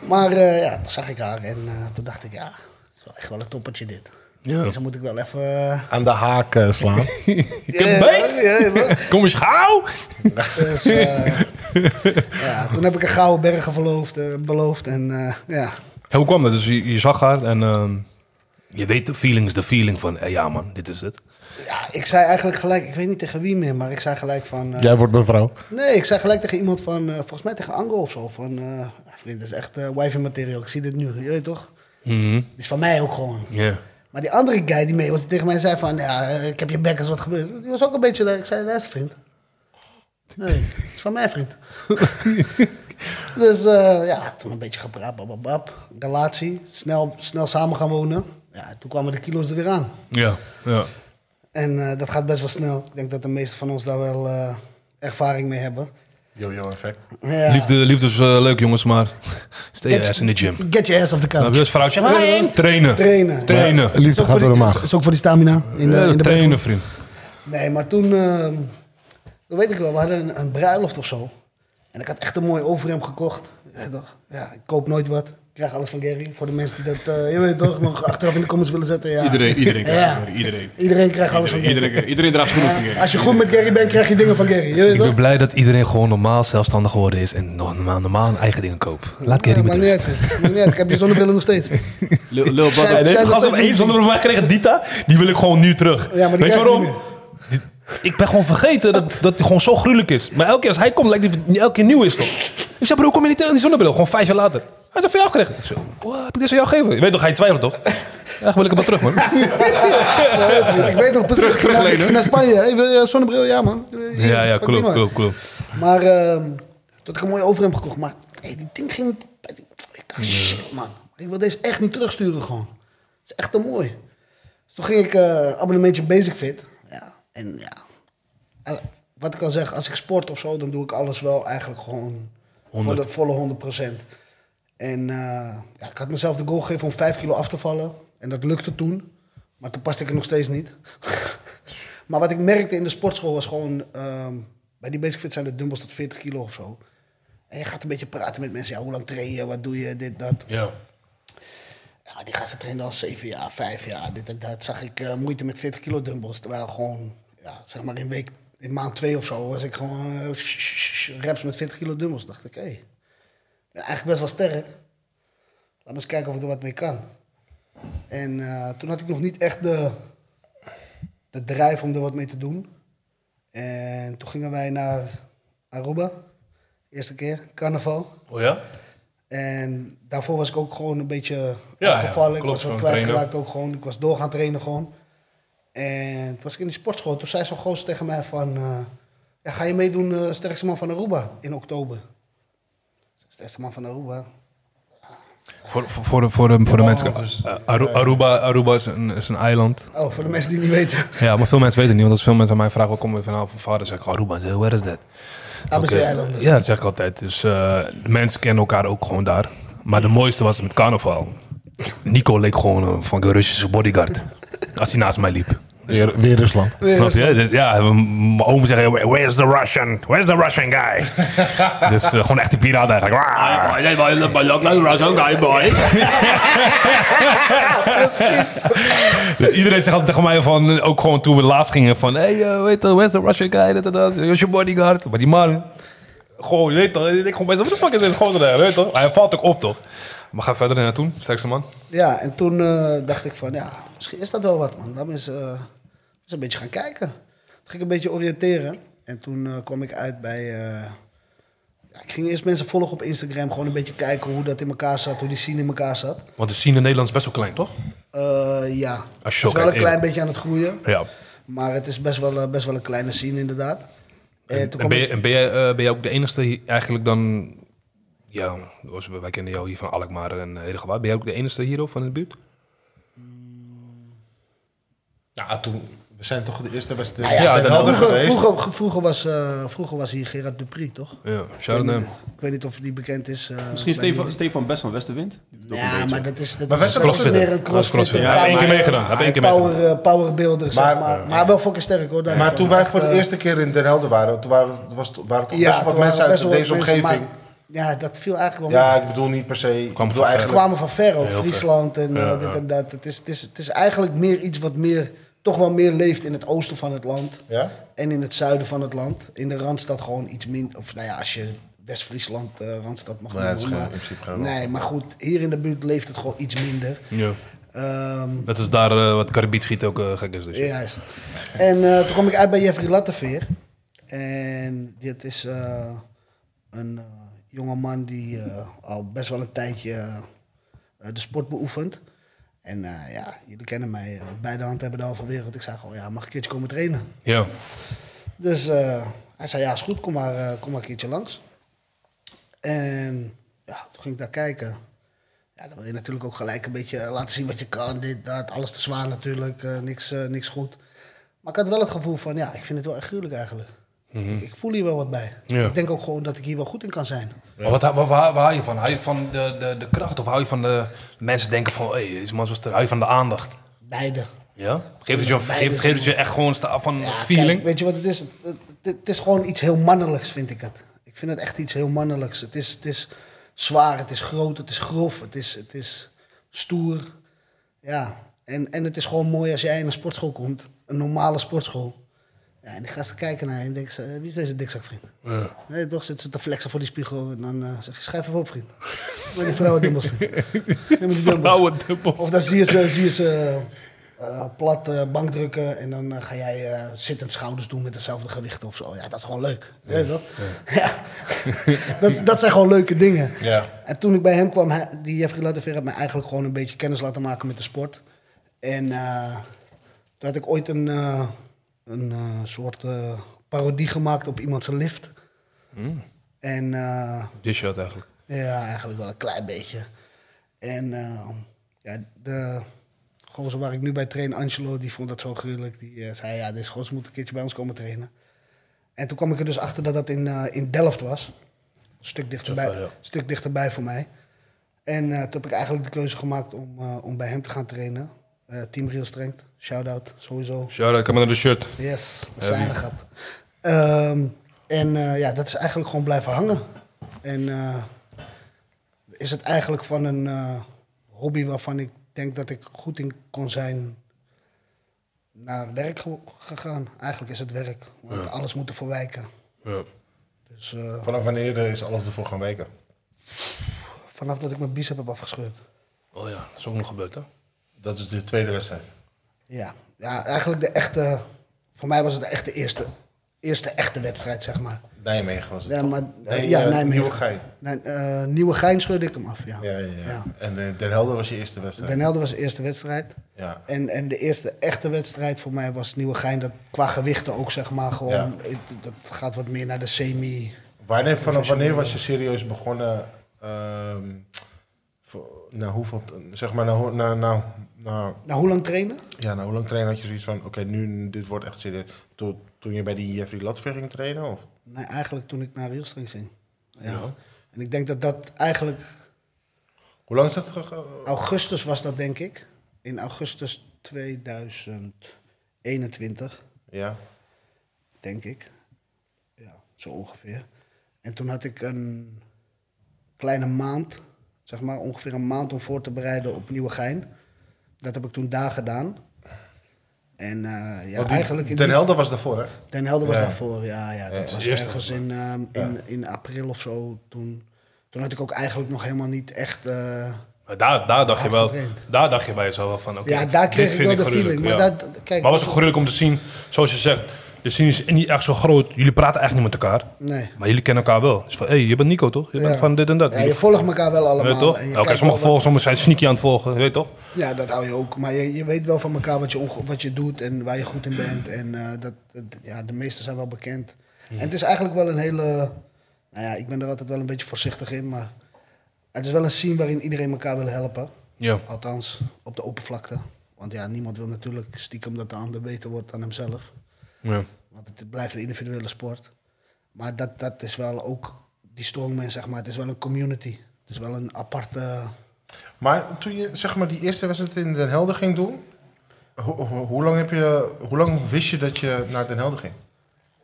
Speaker 3: Maar eh, ja, toen zag ik haar en eh, toen dacht ik, ja, het is wel echt wel een toppertje dit.
Speaker 5: Ja.
Speaker 3: Dus dan moet ik wel even... eh,
Speaker 2: Aan de haak eh, slaan.
Speaker 5: Ik heb beet.
Speaker 3: ja, ja,
Speaker 5: Kom eens gauw.
Speaker 3: dus, eh, ja, toen heb ik een gouden bergen verloofd, eh, beloofd en eh, ja.
Speaker 5: Ja, hoe kwam dat? Dus je, je zag haar en ehm, je weet, de feeling is de feeling van, eh, ja man, dit is het.
Speaker 3: ja, ik zei eigenlijk gelijk, ik weet niet tegen wie meer, maar ik zei gelijk van... eh,
Speaker 2: Jij wordt mevrouw.
Speaker 3: Nee, ik zei gelijk tegen iemand van, eh, volgens mij tegen Ango of zo, van... eh, vriend, dit is echt eh wifi materiaal, ik zie dit nu, je weet toch?
Speaker 5: Mhm.
Speaker 3: Dit is van mij ook gewoon.
Speaker 5: Ja.
Speaker 3: Maar die andere guy die mee was, die tegen mij zei van, ja, eh, ik heb je bek als wat gebeurt. Die was ook een beetje, daar. ik zei, luister vriend. Nee, het is van mij vriend. dus eh, ja, toen een beetje gepraat, bababab. Relatie, snel, snel samen gaan wonen. Ja, toen kwamen de kilo's er weer aan.
Speaker 5: Ja. ja.
Speaker 3: En eh, dat gaat best wel snel. Ik denk dat de meesten van ons daar wel eh, ervaring mee hebben.
Speaker 2: Yo-yo effect.
Speaker 3: Ja.
Speaker 5: Liefde, liefde is eh, leuk jongens, maar stay
Speaker 3: Get-
Speaker 5: your ass in the gym.
Speaker 3: Get your ass off the
Speaker 5: Nou,
Speaker 3: couch.
Speaker 5: dus vrouwtje, maar heen. trainen.
Speaker 3: Trainen.
Speaker 5: Trainen.
Speaker 3: Is
Speaker 2: Liefde
Speaker 3: ook voor
Speaker 2: gaat door de
Speaker 3: die-
Speaker 2: maag.
Speaker 3: Is ook voor die stamina. In de,
Speaker 5: Ja,
Speaker 3: in de
Speaker 5: trainen, vriend.
Speaker 3: Nee, maar toen, ehm, dat weet ik wel, we hadden een, een bruiloft of zo. En ik had echt een mooi overhemd gekocht. Ja, toch? ja, ik koop nooit wat. krijg alles van Gary. Voor de mensen die dat eh, je weet toch, nog achteraf in de comments willen zetten. Ja.
Speaker 4: Iedereen, iedereen, krijgt
Speaker 3: Ja.
Speaker 4: het, iedereen.
Speaker 3: Iedereen krijgt alles
Speaker 4: Iedereen,
Speaker 3: van Gary.
Speaker 4: iedereen, iedereen draagt schoenen van
Speaker 3: Ja,
Speaker 4: Gary.
Speaker 3: Als je goed met Gary bent, krijg je dingen van Gary. Je weet
Speaker 5: Ik ben
Speaker 3: toch?
Speaker 5: blij dat iedereen gewoon normaal zelfstandig geworden is en nog normaal, normaal een eigen dingen koopt. Laat
Speaker 3: Ja,
Speaker 5: Gary met
Speaker 3: maakt niet
Speaker 5: rust.
Speaker 3: uit. Maakt niet uit. Ik heb je zonnebrillen nog steeds.
Speaker 4: Lil Lil Bubba-
Speaker 3: Zij-
Speaker 5: En deze
Speaker 3: Zijn
Speaker 5: gast
Speaker 3: dat
Speaker 5: heeft
Speaker 3: ook
Speaker 5: één
Speaker 3: niet-
Speaker 5: zonder mij gekregen, Dita. Die wil ik gewoon nu terug.
Speaker 3: Ja, maar die
Speaker 5: Weet je
Speaker 3: krijg je
Speaker 5: waarom?
Speaker 3: niet
Speaker 5: Die- Ik ben gewoon vergeten dat, dat hij gewoon zo gruwelijk is. Maar elke keer als hij komt, lijkt hij dat hij elke keer nieuw is toch? Ik zei, bro, hoe kom je niet tegen die zonnebril? Gewoon vijf jaar later. Hij zei, van jou gekregen. Ik zei, "Wow, heb ik deze aan jou gegeven? Je weet toch, hij twijfelt toch? Ja, wil ik hem maar terug, man.
Speaker 3: Ik weet nog precies. ik ging naar- ik ging naar Spanje. Hey, wil je zonnebril? Ja, man. Hier,
Speaker 5: Ja,
Speaker 3: pak
Speaker 5: ja,
Speaker 3: die
Speaker 5: klopt,
Speaker 3: maar.
Speaker 5: klopt, klopt.
Speaker 3: Maar ehm dat ik een mooie overhemd gekocht. Maar hey, die ding ging... Ik dacht, shit man. Ik wil deze echt niet terugsturen gewoon. Het is echt te mooi. Dus toen ging ik eh abonnementje Basic Fit. Ja, en ja. Eh, wat ik al zeg, als ik sport of zo, dan doe ik alles wel eigenlijk gewoon voor de volle 100%. En eh, ja, ik had mezelf de goal gegeven om 5 kilo af te vallen. En dat lukte toen. Maar toen paste ik er nog steeds niet. maar wat ik merkte in de sportschool was gewoon... ehm, bij die basic fit zijn de dumbbells tot 40 kilo of zo. En je gaat een beetje praten met mensen. Ja, hoe lang train je? Wat doe je? Dit, dat.
Speaker 5: Ja.
Speaker 3: Ja, die gasten trainen al zeven jaar, vijf jaar, dit en dat. Zag ik eh, moeite met 40 kilo dumbbells. Terwijl gewoon, ja, zeg maar in week, in maand twee of zo, was ik gewoon eh, sh- sh- sh- reps met 40 kilo dumbbells. Dacht ik, hé, ik ben eigenlijk best wel sterk. Laat me eens kijken of ik er wat mee kan. En eh, toen had ik nog niet echt de, de drijf om er wat mee te doen. En toen gingen wij naar Aruba. Eerste keer, carnaval.
Speaker 5: Oh ja?
Speaker 3: En daarvoor was ik ook gewoon een beetje
Speaker 5: ja,
Speaker 3: afgevallen. ik
Speaker 5: klopt,
Speaker 3: was wat
Speaker 5: gewoon
Speaker 3: kwijtgeraakt ook gewoon. Ik was door gaan trainen gewoon. En toen was ik in die sportschool. Toen zei zo'n gozer tegen mij van... eh, ja, ga je meedoen eh, Sterkste Man van Aruba in oktober? Sterkste Man van Aruba?
Speaker 5: Voor, voor, voor, de- voor de, voor de mensen. Eh, Aru- Aruba, Aruba is, een, is een eiland.
Speaker 3: Oh, voor de mensen die het niet weten.
Speaker 5: Ja, maar veel mensen weten het niet. Want als veel mensen aan mij vragen, waar kom je vanaf? Van vader zeg ik, Aruba, Ik zeg, where is that?
Speaker 3: ABC-eilanden.
Speaker 5: Ja, dat zeg ik altijd. Dus eh, de mensen kennen elkaar ook gewoon daar. Maar de mooiste was met carnaval. Nico leek gewoon eh, van een Russische bodyguard. Als hij naast mij liep.
Speaker 2: Weer, weer Rusland.
Speaker 5: Snap je? Dus ja, m- mijn oom zegt, where's the Russian? Where's the Russian guy? dus eh, gewoon echt de piraat eigenlijk. Waar?
Speaker 3: Precies.
Speaker 5: Dus iedereen zegt altijd tegen mij van, eh, ook gewoon toen we laatst gingen van, hey, eh, weet je, where's the Russian guy? Dat, en dat, who's your bodyguard? Maar die man, gewoon, je weet toch, ik denk gewoon bij zo'n what the fuck is deze gozer daar, weet je toch? Hij valt ook op, toch? Maar ga verder naartoe, sterkste man.
Speaker 3: Ja, en toen eh, dacht ik van, ja, misschien is dat wel wat, man. Laten we eens, eh, eens een beetje gaan kijken. Toen ging ik een beetje oriënteren. En toen eh, kwam ik uit bij... eh, ja, ik ging eerst mensen volgen op Instagram. Gewoon een beetje kijken hoe dat in elkaar zat. Hoe die scene in elkaar zat.
Speaker 5: Want de scene in Nederland is best wel klein, toch?
Speaker 3: Eh, ja,
Speaker 5: Als je
Speaker 3: het is
Speaker 5: zo
Speaker 3: wel een
Speaker 5: kijkt,
Speaker 3: klein
Speaker 5: eerlijk.
Speaker 3: beetje aan het groeien.
Speaker 5: Ja.
Speaker 3: Maar het is best wel, eh, best wel een kleine scene, inderdaad. En, toen
Speaker 5: En
Speaker 3: kwam
Speaker 5: ben,
Speaker 3: ik-
Speaker 5: je, en ben, jij, eh, ben jij ook de enigste hier eigenlijk dan... Ja, zoals we- wij kennen jou hier van Alkmaar en eh, Hedegewaard. Ben jij ook de enigste hier ook van in de buurt?
Speaker 2: Ja, toen... We zijn toch de eerste beste...
Speaker 5: ja,
Speaker 2: ja,
Speaker 5: dat-
Speaker 2: helder
Speaker 3: vroeger,
Speaker 2: geweest.
Speaker 3: vroeger, vroeger, was, eh, vroeger was hier Gerard Dupri, toch?
Speaker 5: Ja,
Speaker 3: Ik
Speaker 5: shout-out
Speaker 3: weet
Speaker 5: naar
Speaker 3: niet-
Speaker 5: hem.
Speaker 3: ik weet niet of die bekend is. eh,
Speaker 4: Misschien
Speaker 3: bij
Speaker 4: Stefan, Stefan Best van Westerwind?
Speaker 3: Ja, maar dat is, dat
Speaker 2: Maar
Speaker 3: is
Speaker 2: Westerlo
Speaker 3: ook
Speaker 5: crossfitter.
Speaker 3: weer een
Speaker 5: Dat is
Speaker 3: crossfit.
Speaker 5: crossfitter. Ja, hij heeft één keer meegedaan. Hij heeft één keer meegedaan.
Speaker 3: power, eh, powerbuilder, zeg
Speaker 2: Maar-
Speaker 3: maar, maar, wel fucking sterk hoor. daarvan.
Speaker 2: Maar toen wij
Speaker 3: Echt,
Speaker 2: voor de
Speaker 3: eh,
Speaker 2: eerste keer in Den Helder waren, toen waren, was, waren toch best
Speaker 3: toen
Speaker 2: wat
Speaker 3: waren
Speaker 2: mensen uit
Speaker 3: best wel wat
Speaker 2: deze
Speaker 3: mensen,
Speaker 2: omgeving.
Speaker 3: maar- ja, dat viel eigenlijk wel
Speaker 2: Ja,
Speaker 3: mee.
Speaker 2: ik bedoel niet per se. Ik
Speaker 5: Kwam
Speaker 2: bedoel
Speaker 5: van
Speaker 3: Ze
Speaker 5: ver.
Speaker 2: eigenlijk.
Speaker 3: kwamen van ver ook,
Speaker 5: Heel ver.
Speaker 3: Friesland en eh,
Speaker 5: Ja,
Speaker 3: dit
Speaker 5: ja.
Speaker 3: en dat. Het is, het, is, het is eigenlijk meer iets wat meer, toch wel meer leeft in het oosten van het land.
Speaker 2: Ja?
Speaker 3: En in het zuiden van het land. In de Randstad gewoon iets minder. Of nou ja, als je West-Friesland, eh, Randstad mag
Speaker 2: Nee, het is
Speaker 3: noemen,
Speaker 2: geen-
Speaker 3: maar-
Speaker 2: in principe geen
Speaker 3: nee, maar goed, hier in de buurt leeft het gewoon iets minder.
Speaker 5: Ja.
Speaker 3: Ehm,
Speaker 5: Dat is daar eh, wat Caribiet schiet ook eh, gek is. Dus.
Speaker 3: Juist. En eh, toen kwam ik uit bij Jeffrey Latteveer. En dit is eh, een eh, jongeman die eh, al best wel een tijdje eh, de sport beoefent. En eh, ja, jullie kennen mij. eh, bij de hand hebben de halve wereld. Ik zei gewoon, ja, mag ik een keertje komen trainen?
Speaker 5: Ja.
Speaker 3: Dus eh, hij zei, ja, is goed, kom maar, eh, kom maar een keertje langs. En ja, toen ging ik daar kijken. Ja, dan wil je natuurlijk ook gelijk een beetje eh, laten zien wat je kan. Dit, dat, alles te zwaar natuurlijk, eh, niks, eh, niks goed. Maar ik had wel het gevoel van, ja, ik vind het wel echt gruwelijk eigenlijk. ik, ik voel hier wel wat bij.
Speaker 5: Ja.
Speaker 3: Ik denk ook gewoon dat ik hier wel goed in kan zijn.
Speaker 5: Maar wat, wat, waar, waar hou je van? Hou je van de, de, de kracht of hou je van de mensen denken van, hé, hey, is man zo sterk? Hou je van de aandacht?
Speaker 3: Beide.
Speaker 5: Ja? Geeft het je, een-
Speaker 3: Beide zijn-
Speaker 5: geeft, geeft het je echt gewoon sta- van
Speaker 3: dus Ja,
Speaker 5: feeling?
Speaker 3: kijk, weet je wat het is? Het, het- het is gewoon iets heel mannelijks, vind ik het. Ik vind het echt iets heel mannelijks. Het is, het is zwaar, het is groot, het is grof, het is, het is stoer. Ja, en, en het is gewoon mooi als jij in een sportschool komt, een normale sportschool. Ja, en die gasten kijken naar je en denken ze, eh, wie is deze dikzakvriend? Nee, toch zitten ze te flexen voor die spiegel en dan eh, zeg je, schrijf even op, vriend. Maar die vrouwen dubbels, vriend. Geef me die dumbbells.
Speaker 5: Nou,
Speaker 3: Of dan zie je ze, zie je ze eh, plat eh, bankdrukken en dan eh, ga jij eh, zittend schouders doen met dezelfde gewichten of zo. Ja, dat is gewoon leuk. Ja, toch? Ja. dat, dat zijn gewoon leuke dingen.
Speaker 2: Ja.
Speaker 3: En toen ik bij hem kwam, hij- die Jeffrey Lattever had mij eigenlijk gewoon een beetje kennis laten maken met de sport. En eh, toen had ik ooit een, eh, een eh, soort eh, parodie gemaakt op iemand zijn lift. Mm. En eh,
Speaker 1: Dit shot eigenlijk.
Speaker 3: ja, eigenlijk wel een klein beetje. En eh, ja, de gozer waar ik nu bij train, Angelo, die vond dat zo gruwelijk. Die eh, zei, ja, deze gozer moet een keertje bij ons komen trainen. En toen kwam ik er dus achter dat dat in, eh, in Delft was. Een stuk dichterbij,
Speaker 1: ver, ja.
Speaker 3: een stuk dichterbij voor mij. En eh, toen heb ik eigenlijk de keuze gemaakt om, eh, om bij hem te gaan trainen. Eh, Team Real Strength, shout-out sowieso.
Speaker 1: Shout-out, kom maar naar de shirt.
Speaker 3: Yes, dat is een aardige grap. Ehm, en eh, ja, dat is eigenlijk gewoon blijven hangen. En eh, is het eigenlijk van een eh, hobby waarvan ik denk dat ik goed in kon zijn naar werk ge- gegaan. Eigenlijk is het werk, want alles moet ervoor wijken.
Speaker 1: Ja.
Speaker 3: Dus eh,
Speaker 2: Vanaf wanneer eh, is alles ervoor gaan weken?
Speaker 3: vanaf dat ik mijn bicep heb afgescheurd.
Speaker 1: Oh ja, dat is ook nog gebeurd, hè?
Speaker 2: Dat is de tweede wedstrijd.
Speaker 3: Ja, ja eigenlijk de echte, voor mij was het de echte eerste, eerste echte wedstrijd, zeg maar.
Speaker 2: Nijmegen was het.
Speaker 3: Ja,
Speaker 2: toch?
Speaker 3: maar,
Speaker 2: Nee,
Speaker 3: ja,
Speaker 2: eh,
Speaker 3: Nijmegen.
Speaker 2: Nieuwegein.
Speaker 3: Nee, eh, Nieuwegein scheurde ik hem af, ja.
Speaker 2: Ja, ja, ja.
Speaker 3: Ja.
Speaker 2: En eh, Den Helder was je eerste wedstrijd.
Speaker 3: Den Helder was de eerste wedstrijd.
Speaker 2: Ja.
Speaker 3: En, en de eerste echte wedstrijd voor mij was Nieuwegein. Dat qua gewichten ook, zeg maar, gewoon... ik- Dat gaat wat meer naar de semi.
Speaker 2: Wanneer, vanaf wanneer was je serieus begonnen? ehm voor- na hoeveel, zeg maar, na, hoe- na, na, na,
Speaker 3: Nou, hoe lang trainen?
Speaker 2: ja, na hoe lang trainen had je zoiets van, oké, nu, dit wordt echt serieus. Toen, toen je bij die Jeffrey Latver ging trainen? Of?
Speaker 3: Nee, eigenlijk toen ik naar Rielstring ging. Ja. En ik denk dat dat eigenlijk...
Speaker 2: Hoe lang is dat gegaan?
Speaker 3: Augustus was dat, denk ik. In augustus 2021.
Speaker 2: Ja.
Speaker 3: denk ik. Ja, zo ongeveer. En toen had ik een kleine maand, zeg maar ongeveer een maand om voor te bereiden op Nieuwegein. Dat heb ik toen daar gedaan. En eh, ja,
Speaker 2: Want die-
Speaker 3: eigenlijk... in
Speaker 2: Den
Speaker 3: die-
Speaker 2: Helder was daarvoor, hè?
Speaker 3: Den Helder was
Speaker 2: Ja.
Speaker 3: daarvoor, ja. ja dat was
Speaker 1: eerste
Speaker 3: ergens in, ehm, in, in april of zo. Toen, toen had ik ook eigenlijk nog helemaal niet echt... eh,
Speaker 1: Maar daar, daar, dacht je wel,
Speaker 3: Getraind.
Speaker 1: daar dacht je bij jezelf wel van, oké,
Speaker 3: Ja, daar kreeg
Speaker 1: dit
Speaker 3: ik
Speaker 1: vind
Speaker 3: wel de
Speaker 1: gruwelijk,
Speaker 3: feeling, maar dat- kijk-
Speaker 1: maar was het gruwelijk om te zien, zoals je zegt, de scene is niet echt zo groot. Jullie praten echt niet met elkaar,
Speaker 3: nee.
Speaker 1: maar jullie kennen elkaar wel. Dus van, hé, hey, je bent Nico toch? Je bent
Speaker 3: Ja.
Speaker 1: van dit en dat.
Speaker 3: Ja,
Speaker 1: Jullie-
Speaker 3: je volgt elkaar wel allemaal.
Speaker 1: Weet toch?
Speaker 3: en je
Speaker 1: Oké,
Speaker 3: kijkt wel
Speaker 1: sommige
Speaker 3: wat-
Speaker 1: volgen, sommigen zijn sneaky aan het volgen, weet toch?
Speaker 3: Ja, dat hou je ook. Maar je, je weet wel van elkaar wat je, onge- wat je doet en waar je goed in bent. En eh, dat, dat- ja, de meesten zijn wel bekend. En het is eigenlijk wel een hele... Nou ja, ik ben er altijd wel een beetje voorzichtig in, maar... Het is wel een scene waarin iedereen elkaar wil helpen.
Speaker 1: Ja.
Speaker 3: Althans, op de oppervlakte. Want ja, niemand wil natuurlijk stiekem dat de ander beter wordt dan hemzelf.
Speaker 1: ja.
Speaker 3: Want het blijft een individuele sport. Maar dat, dat is wel ook... Die strongman, zeg maar, het is wel een community. Het is wel een aparte...
Speaker 2: Maar toen je zeg maar, die eerste wedstrijd in Den Helder ging doen, ho- ho- hoe, lang heb je, hoe lang wist je dat je naar Den Helder ging?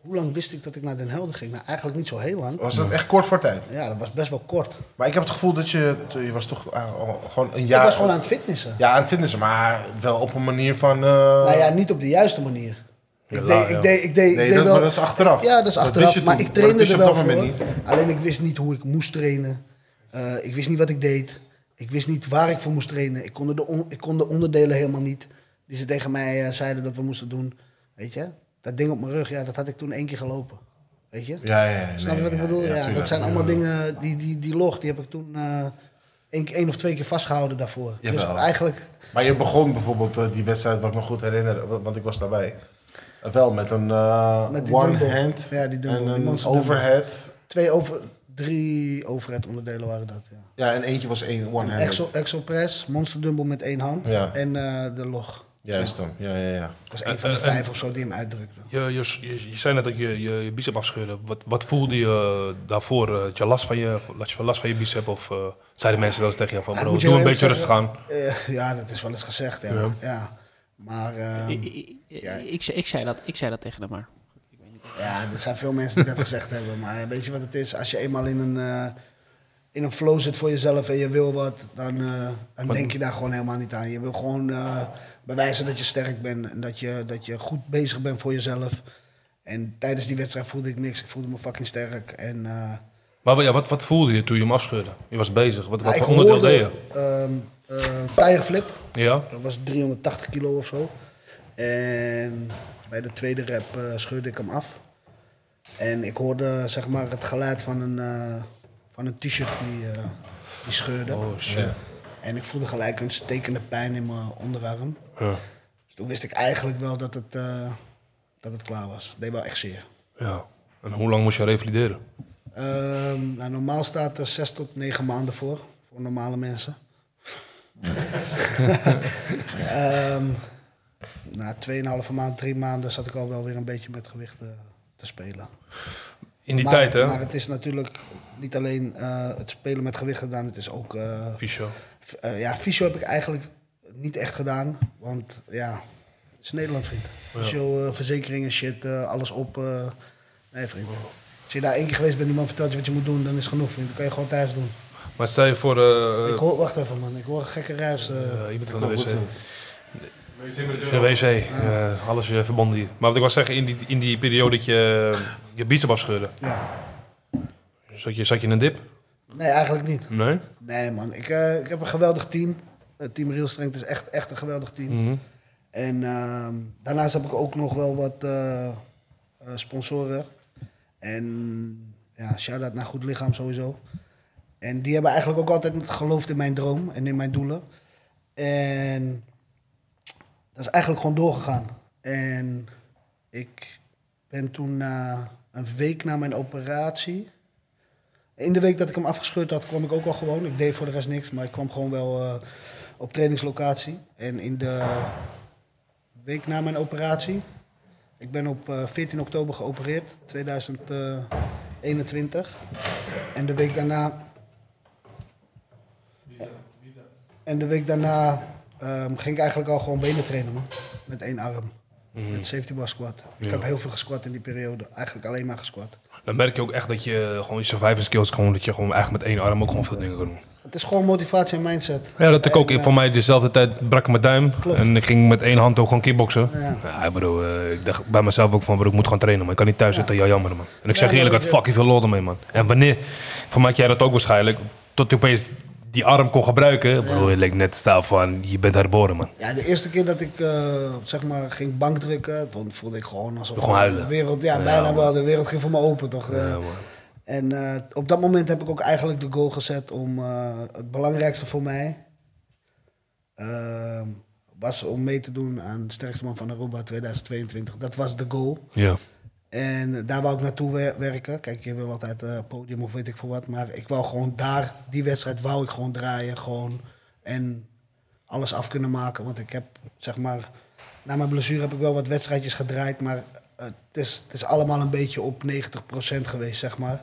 Speaker 3: Hoe lang wist ik dat ik naar Den Helder ging? Nou, eigenlijk niet zo heel lang.
Speaker 2: Was dat echt kort voor tijd?
Speaker 3: Ja, dat was best wel kort.
Speaker 2: Maar ik heb het gevoel dat je, je was toch ah, al- gewoon een jaar...
Speaker 3: ik was gewoon aan het fitnessen.
Speaker 2: eh, Ja, aan het fitnessen, maar wel op een manier van... eh,
Speaker 3: Nou ja, niet op de juiste manier. Ik
Speaker 1: la-
Speaker 3: deed,
Speaker 1: ja.
Speaker 3: ik deed, ik deed,
Speaker 2: nou,
Speaker 3: ik
Speaker 2: Nee,
Speaker 3: deed
Speaker 2: dat-
Speaker 3: wel-
Speaker 2: maar dat is achteraf.
Speaker 3: Ik- ja, dat is
Speaker 2: Dat
Speaker 3: achteraf.
Speaker 2: wist je
Speaker 3: maar
Speaker 2: toen,
Speaker 3: ik
Speaker 2: maar dat
Speaker 3: trainde
Speaker 2: wist
Speaker 3: er
Speaker 2: je op
Speaker 3: wel
Speaker 2: dat
Speaker 3: voor.
Speaker 2: moment
Speaker 3: Alleen ik wist niet hoe ik moest trainen. Eh, ik wist niet wat ik deed. Ik wist niet waar ik voor moest trainen. Ik kon de, on- ik kon de onderdelen helemaal niet. Die ze tegen mij eh, zeiden dat we moesten doen. Weet je, dat ding op mijn rug, ja, dat had ik toen één keer gelopen. Weet je?
Speaker 2: Ja, ja, ja.
Speaker 3: Snap je
Speaker 2: nee,
Speaker 3: wat ik
Speaker 2: ja,
Speaker 3: bedoel? Ja,
Speaker 2: tuurlijk.
Speaker 3: dat zijn allemaal
Speaker 2: Ja.
Speaker 3: dingen, die, die, die log, die heb ik toen eh, één één of twee keer vastgehouden daarvoor. dus
Speaker 2: Jawel.
Speaker 3: eigenlijk,
Speaker 2: Maar je begon bijvoorbeeld eh, die wedstrijd, wat ik me goed herinner, wa- want ik was daarbij. eh, Wel met een eh,
Speaker 3: Met die
Speaker 2: one
Speaker 3: dumbbell.
Speaker 2: hand
Speaker 3: Ja, die dumbbell,
Speaker 2: en
Speaker 3: die
Speaker 2: een
Speaker 3: monster dumbbell.
Speaker 2: overhead.
Speaker 3: twee over, drie overhead onderdelen waren dat. Ja.
Speaker 2: Ja, en eentje was één one hand.
Speaker 3: Axel, Axel press, monster dumbbell met één hand
Speaker 2: Ja.
Speaker 3: en eh, de log.
Speaker 2: Juist dan, ja, ja, ja.
Speaker 3: Dat was één van de
Speaker 1: Eh, eh,
Speaker 3: vijf of zo die hem uitdrukte.
Speaker 1: Je, je, je, je zei net dat je je, je bicep afscheurde. Wat, wat voelde je eh, daarvoor? Eh, Had je last van je, had je last van je bicep? Of eh, zeiden mensen wel eens tegen je van,
Speaker 3: Ja, ik
Speaker 1: bro,
Speaker 3: moet je
Speaker 1: doe een
Speaker 3: wel
Speaker 1: beetje
Speaker 3: eerlijk
Speaker 1: rustig aan.
Speaker 3: Eh, ja, dat is wel eens gezegd, ja. ja. Maar eh,
Speaker 8: Ik, ik, ik, ik zei dat, ik zei dat tegen hem maar.
Speaker 3: ja, er zijn veel mensen die dat gezegd hebben. Maar weet je wat het is? Als je eenmaal in een, eh, in een flow zit voor jezelf en je wil wat, dan, eh, dan denk je daar gewoon helemaal niet aan. Je wil gewoon eh, bewijzen dat je sterk bent en dat je, dat je goed bezig bent voor jezelf. En tijdens die wedstrijd voelde ik niks. Ik voelde me fucking sterk. En eh,
Speaker 1: Maar ja, wat, wat voelde je toen je hem afscheurde? Je was bezig. Wat, wat
Speaker 3: ik
Speaker 1: voor onderdeel
Speaker 3: hoorde,
Speaker 1: deed je?
Speaker 3: ehm, eh, tijgerflip.
Speaker 1: Ja?
Speaker 3: Dat was 380 kilo of zo. En bij de tweede rep eh, scheurde ik hem af. En ik hoorde zeg maar, het geluid van een, eh, van een t-shirt die, eh, die scheurde.
Speaker 1: Oh shit.
Speaker 3: En ik voelde gelijk een stekende pijn in mijn onderarm.
Speaker 1: Ja.
Speaker 3: Dus toen wist ik eigenlijk wel dat het, eh, dat het klaar was. Het deed wel echt zeer.
Speaker 1: Ja. En hoe lang moest je revalideren?
Speaker 3: Ehm, nou, normaal staat er zes tot negen maanden voor, voor normale mensen. Ehm na 2,5 maand, drie maanden zat ik al wel weer een beetje met gewichten te spelen.
Speaker 1: In die
Speaker 3: maar,
Speaker 1: tijd, hè?
Speaker 3: Maar het is natuurlijk niet alleen eh, het spelen met gewichten gedaan, het is ook eh,
Speaker 1: Fysio.
Speaker 3: F- eh, ja, fysio heb ik eigenlijk niet echt gedaan. Want ja, het is Nederland, vriend. Fysio, eh, verzekeringen, shit, eh, alles op. eh, nee, vriend. Als je daar één keer geweest bent en iemand vertelt je wat je moet doen, dan is het genoeg, vriend. Dan kan je gewoon thuis doen.
Speaker 1: Maar stel je voor... eh,
Speaker 3: ik hoor, wacht even, man. Ik hoor een gekke ruis. eh.
Speaker 1: eh, je bent aan de wc. De wc. eh, alles eh, verbonden hier. Maar wat ik wil zeggen, in die, in die periode dat je eh, je bicep afscheurde,
Speaker 3: ja.
Speaker 1: zat je, zat je in een dip?
Speaker 3: Nee, eigenlijk niet.
Speaker 1: Nee?
Speaker 3: Nee, man. Ik, eh, ik heb een geweldig team. Het team Real Strength is echt, echt een geweldig team.
Speaker 1: Mhm.
Speaker 3: En ehm, daarnaast heb ik ook nog wel wat eh, eh, sponsoren. En ja, shout-out naar Goed Lichaam sowieso. En die hebben eigenlijk ook altijd geloofd in mijn droom en in mijn doelen. En dat is eigenlijk gewoon doorgegaan. En ik ben toen na een week na mijn operatie... In de week dat ik hem afgescheurd had, kwam ik ook al gewoon. Ik deed voor de rest niks, maar ik kwam gewoon wel eh, op trainingslocatie. En in de week na mijn operatie. Ik ben op eh, 14 oktober geopereerd, 2021. En de week daarna. En de week daarna ehm, ging ik eigenlijk al gewoon benen trainen, man. Met één arm. Met safety bar squat. Ik
Speaker 1: Ja.
Speaker 3: heb heel veel gesquat in die periode. Eigenlijk alleen maar gesquat.
Speaker 1: Dan merk je ook echt dat je eh, gewoon je survival skills, gewoon, dat je gewoon eigenlijk met één arm ook gewoon veel dingen kan doen.
Speaker 3: Het is gewoon motivatie en mindset.
Speaker 1: Ja, dat ik ook.
Speaker 3: En, eh,
Speaker 1: Voor mij dezelfde tijd brak ik mijn duim.
Speaker 3: Klopt.
Speaker 1: En ik ging met één hand ook gewoon kickboksen.
Speaker 3: Ja.
Speaker 1: Ja. ik bedoel, eh, ik dacht bij mezelf ook van, bro, ik moet gewoon trainen, man. Ik kan niet thuis zitten, ja, jammer, man. En ik zeg
Speaker 3: maar
Speaker 1: eerlijk,
Speaker 3: dat
Speaker 1: het
Speaker 3: is-
Speaker 1: fucking veel lol ermee, man. En wanneer, voor mij had jij dat ook waarschijnlijk, tot je opeens die arm kon gebruiken. Bro, het leek net staal van, je bent herboren, man.
Speaker 3: Ja, de eerste keer dat ik eh, zeg maar ging bankdrukken, dan voelde ik gewoon alsof
Speaker 1: Gewoon huilen.
Speaker 3: de wereld, ja,
Speaker 1: Ja,
Speaker 3: bijna
Speaker 1: man.
Speaker 3: wel, de wereld ging voor me open toch. eh.
Speaker 1: Ja, man.
Speaker 3: en eh, op dat moment heb ik ook eigenlijk de goal gezet om eh, het belangrijkste voor mij eh, was om mee te doen aan de sterkste man van Aruba 2022. Dat was de goal.
Speaker 1: Ja.
Speaker 3: En daar wou ik naartoe wer- werken. Kijk, je wil altijd eh, podium of weet ik veel wat. Maar ik wou gewoon daar, die wedstrijd wou ik gewoon draaien. Gewoon, en alles af kunnen maken. Want ik heb, zeg maar, na mijn blessure heb ik wel wat wedstrijdjes gedraaid. Maar eh, het, is, het is allemaal een beetje op 90% geweest, zeg maar.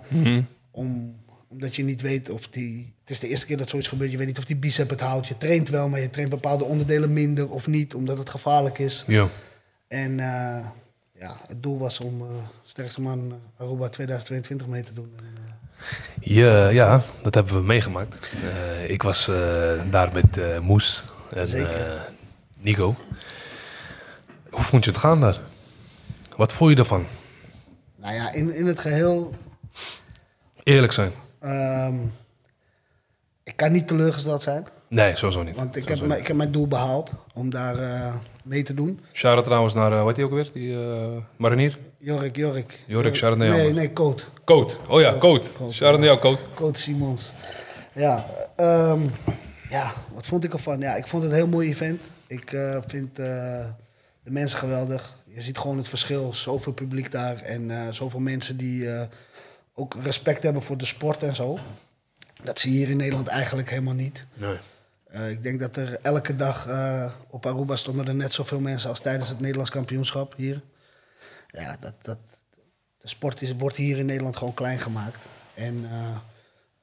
Speaker 3: Om, omdat je niet weet of die... Het is de eerste keer dat zoiets gebeurt. Je weet niet of die bicep het houdt. Je traint wel, maar je traint bepaalde onderdelen minder of niet. Omdat het gevaarlijk is.
Speaker 1: Ja.
Speaker 3: En eh, ja, het doel was om eh, sterkste man eh, Aruba 2022 mee te doen. En, eh,
Speaker 1: Ja, ja, dat hebben we meegemaakt. Eh, ik was eh, daar met eh, Moes en
Speaker 3: Zeker.
Speaker 1: eh, Nico. Hoe vond je het gaan daar? Wat voel je ervan?
Speaker 3: nou ja, in, in het geheel,
Speaker 1: Eerlijk zijn.
Speaker 3: ehm, ik kan niet teleurgesteld zijn.
Speaker 1: Nee, sowieso niet.
Speaker 3: Want ik heb,
Speaker 1: Sowieso
Speaker 3: mijn-
Speaker 1: niet.
Speaker 3: ik heb mijn doel behaald om daar eh, mee te doen.
Speaker 1: Shout-out trouwens naar, eh, hoe heet die ook weer? Die eh, marinier?
Speaker 3: Jorik, Jorik.
Speaker 1: Jorik, shout-out naar jou,
Speaker 3: Nee,
Speaker 1: man.
Speaker 3: nee, Coat.
Speaker 1: Coat. Oh ja, Coat.
Speaker 3: Coat,
Speaker 1: Shout-out naar jou, Coat.
Speaker 3: Coach Simons. Ja, ehm, ja, wat vond ik ervan? Ja, ik vond het een heel mooi event. Ik eh, vind eh, de mensen geweldig. Je ziet gewoon het verschil. Zoveel publiek daar en eh, zoveel mensen die eh, ook respect hebben voor de sport en zo. Dat zie je hier in Nederland eigenlijk helemaal niet.
Speaker 1: Nee.
Speaker 3: Eh, ik denk dat er elke dag eh, op Aruba stonden er net zoveel mensen als tijdens het Nederlands kampioenschap hier. Ja, dat, dat, de sport is, wordt hier in Nederland gewoon klein gemaakt. En eh,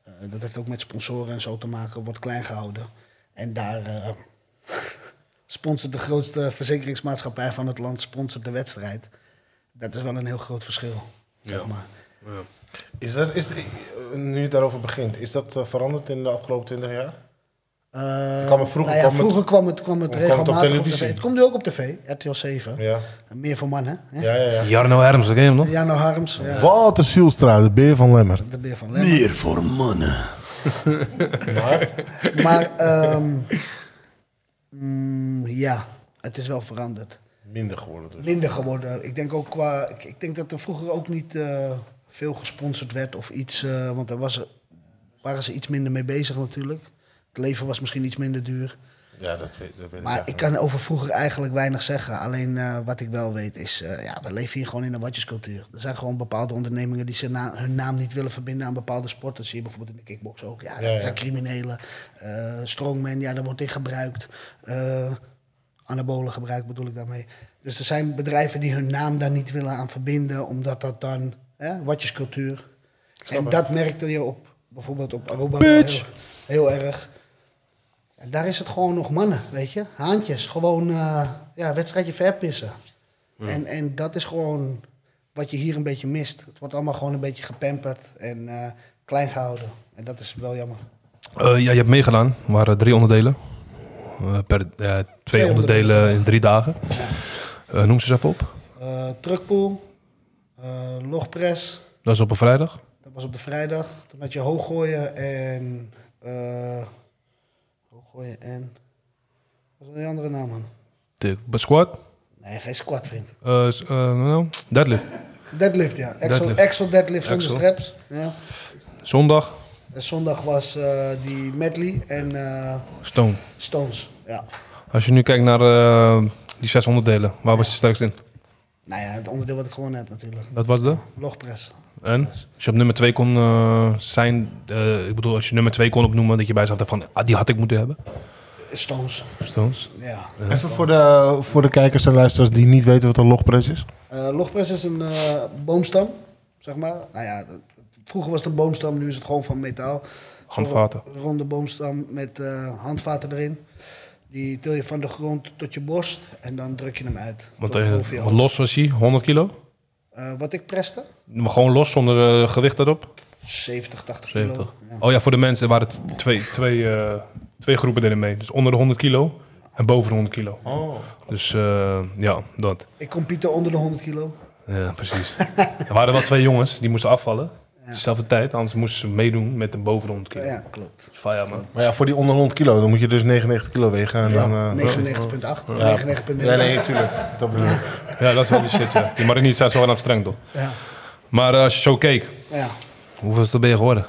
Speaker 3: eh, dat heeft ook met sponsoren en zo te maken, wordt klein gehouden. En daar eh, sponsort de grootste verzekeringsmaatschappij van het land sponsort de wedstrijd. Dat is wel een heel groot verschil. Zeg maar.
Speaker 2: Is er, is, eh, nu je daarover begint, is dat eh, veranderd in de afgelopen 20 jaar?
Speaker 3: Eh,
Speaker 2: Ik kan me vroeger
Speaker 3: nou ja,
Speaker 2: kwam het-
Speaker 3: vroeger kwam het, kwam het
Speaker 2: kwam het op
Speaker 3: regelmatig op, tv.
Speaker 2: televisie?
Speaker 3: Het komt nu ook op tv, RTL 7.
Speaker 2: Ja,
Speaker 3: En Meer voor mannen. Hè?
Speaker 2: ja, ja. ja.
Speaker 1: Jarno Herms, dat ken je hem nog?
Speaker 3: Jano Harms. Ja,
Speaker 2: Walter Sielstra, de beer van Lemmer.
Speaker 3: de beer van Lemmer.
Speaker 4: voor mannen.
Speaker 3: Maar ehm, mm, ja, het is wel veranderd.
Speaker 2: Minder geworden dus.
Speaker 3: Minder geworden. Ik denk ook qua. Ik, ik denk dat er vroeger ook niet eh, veel gesponsord werd of iets. eh, want daar was, waren ze iets minder mee bezig natuurlijk. Het leven was misschien iets minder duur.
Speaker 2: Ja, dat weet, dat weet
Speaker 3: Maar
Speaker 2: echt
Speaker 3: ik
Speaker 2: niet.
Speaker 3: kan over vroeger eigenlijk weinig zeggen. Alleen eh, wat ik wel weet is, eh, ja, we leven hier gewoon in een watjescultuur. Er zijn gewoon bepaalde ondernemingen die ze na- hun naam niet willen verbinden aan bepaalde sporten. Dat zie je bijvoorbeeld in de kickbox ook. Ja, dat
Speaker 2: Ja, ja.
Speaker 3: zijn criminelen. Eh, strongman, ja, daar wordt in gebruikt. Eh anabolen gebruikt bedoel ik daarmee. Dus er zijn bedrijven die hun naam daar niet willen aan verbinden, omdat dat dan, hè, watjescultuur. En dat merkte je op, bijvoorbeeld op Aruba wel heel, heel erg. En daar is het gewoon nog mannen, weet je. Haantjes, gewoon eh, ja, wedstrijdje verpissen. En, en dat is gewoon wat je hier een beetje mist. Het wordt allemaal gewoon een beetje gepamperd en eh, klein gehouden. En dat is wel jammer.
Speaker 1: Eh, ja, je hebt meegedaan. Er waren drie onderdelen. Eh, per, eh, twee,
Speaker 3: Twee
Speaker 1: onderdelen
Speaker 3: onderdelen.
Speaker 1: in drie dagen. Eh, noem ze eens even op.
Speaker 3: Eh truckpool, eh, logpress,
Speaker 1: Dat is op een vrijdag.
Speaker 3: dat was op de vrijdag. Toen had je hooggooien en... eh hooggooien en... Wat was die andere naam, man?
Speaker 1: De squat.
Speaker 3: Nee, geen squat, vriend.
Speaker 1: eh, s- eh, nou, deadlift.
Speaker 3: Deadlift, ja. Axel
Speaker 1: Deadlift.
Speaker 3: deadlift, Axel deadlift zonder
Speaker 1: Axel.
Speaker 3: straps. Ja.
Speaker 1: Zondag.
Speaker 3: En zondag was eh, die medley en eh,
Speaker 1: Stone.
Speaker 3: stones. Ja.
Speaker 1: Als je nu kijkt naar eh, die zes onderdelen. Waar was je sterkst in?
Speaker 3: Nou ja, het onderdeel wat ik gewonnen heb natuurlijk.
Speaker 1: Dat was de?
Speaker 3: Logpress.
Speaker 1: En? Als je op nummer 2 kon eh, zijn, eh, ik bedoel, als je nummer 2 kon opnoemen, dat je bij jezelf dacht van, ah, die had ik moeten hebben.
Speaker 3: Stones.
Speaker 1: Stones.
Speaker 3: Ja.
Speaker 2: Even voor de, voor de kijkers en luisteraars die niet weten wat een logpress is.
Speaker 3: Eh, logpress is een eh, boomstam, zeg maar. Nou ja, dat- vroeger was het een boomstam, nu is het gewoon van metaal. Zo'n
Speaker 1: Handvaten.
Speaker 3: ro- ronde boomstam met eh, handvaten erin. Die til je van de grond tot je borst en dan druk je hem uit.
Speaker 1: Want
Speaker 3: Tot
Speaker 1: eh,
Speaker 3: boven je
Speaker 1: want
Speaker 3: hoofd.
Speaker 1: los was hij, 100 kilo.
Speaker 3: Eh, wat ik preste?
Speaker 1: Maar gewoon los, zonder eh, gewicht erop.
Speaker 3: 70, 80 kilo.
Speaker 1: 70.
Speaker 3: Ja.
Speaker 1: Oh ja, voor de mensen waren het twee, twee, eh, twee groepen deden mee. Dus onder de 100 kilo en boven de 100 kilo.
Speaker 3: Oh.
Speaker 1: Dus eh, ja, dat.
Speaker 3: Ik compete onder de 100 kilo.
Speaker 1: Ja, precies. er waren wel twee jongens, die moesten afvallen. Dezelfde tijd, anders moesten ze meedoen met de boven de 100 kilo.
Speaker 3: Ja, klopt.
Speaker 1: Dus van, ja, man.
Speaker 2: Maar ja, voor die onder 100 kilo, dan moet je dus 99 kilo wegen. En dan, eh,
Speaker 3: 99,8.
Speaker 2: ja.
Speaker 3: 99,9.
Speaker 2: Nee, nee, tuurlijk. Dat bedoel ik.
Speaker 1: Ja, dat is wel die shit, ja. Die Marinier staat zo aan streng, toch?
Speaker 3: Ja.
Speaker 1: Maar eh, als je zo keek,
Speaker 3: ja.
Speaker 1: hoeveelste ben je geworden?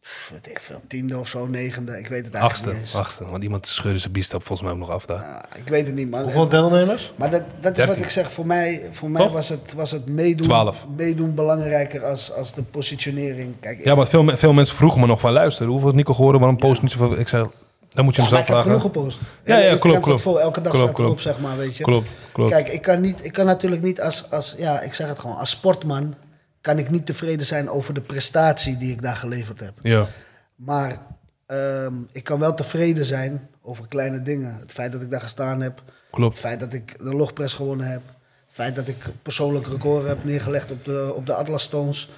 Speaker 3: Pff, weet ik veel. Tiende of zo, negende. Ik weet het eigenlijk
Speaker 1: Achtste,
Speaker 3: niet eens.
Speaker 1: achtste. Want iemand scheurde zijn biestap volgens mij ook nog af daar.
Speaker 3: Ja, ik weet het niet, man.
Speaker 2: Hoeveel deelnemers?
Speaker 3: Maar dat, dat is wat
Speaker 1: Dertien.
Speaker 3: ik zeg. Voor mij, voor mij
Speaker 1: Toch?
Speaker 3: was het, was het meedoen,
Speaker 1: Twaalf.
Speaker 3: meedoen belangrijker als, als de positionering. Kijk, ik-
Speaker 1: Ja, want veel, me- veel mensen vroegen me nog van, luister, hoeveel heeft Nico geworden? Waarom post niet zoveel? Ik zei, dan moet je
Speaker 3: Ja,
Speaker 1: hem
Speaker 3: maar
Speaker 1: zelf
Speaker 3: ik heb
Speaker 1: vragen.
Speaker 3: genoeg gepost.
Speaker 1: Ja,
Speaker 3: En
Speaker 1: ja,
Speaker 3: Instagram
Speaker 1: klopt,
Speaker 3: staat
Speaker 1: klopt.
Speaker 3: Vol. Elke dag
Speaker 1: Klopt,
Speaker 3: staat erop,
Speaker 1: klopt.
Speaker 3: zeg maar, weet je.
Speaker 1: Klopt, klopt.
Speaker 3: Kijk, ik kan, niet, ik kan natuurlijk niet als, als, ja, ik zeg het gewoon, als sportman kan ik niet tevreden zijn over de prestatie die ik daar geleverd heb.
Speaker 1: Ja,
Speaker 3: Maar ehm, ik kan wel tevreden zijn over kleine dingen. Het feit dat ik daar gestaan heb. Het
Speaker 1: klopt.
Speaker 3: feit dat ik de logpress gewonnen heb. Het feit dat ik persoonlijk record heb neergelegd op de, op de Atlas Stones.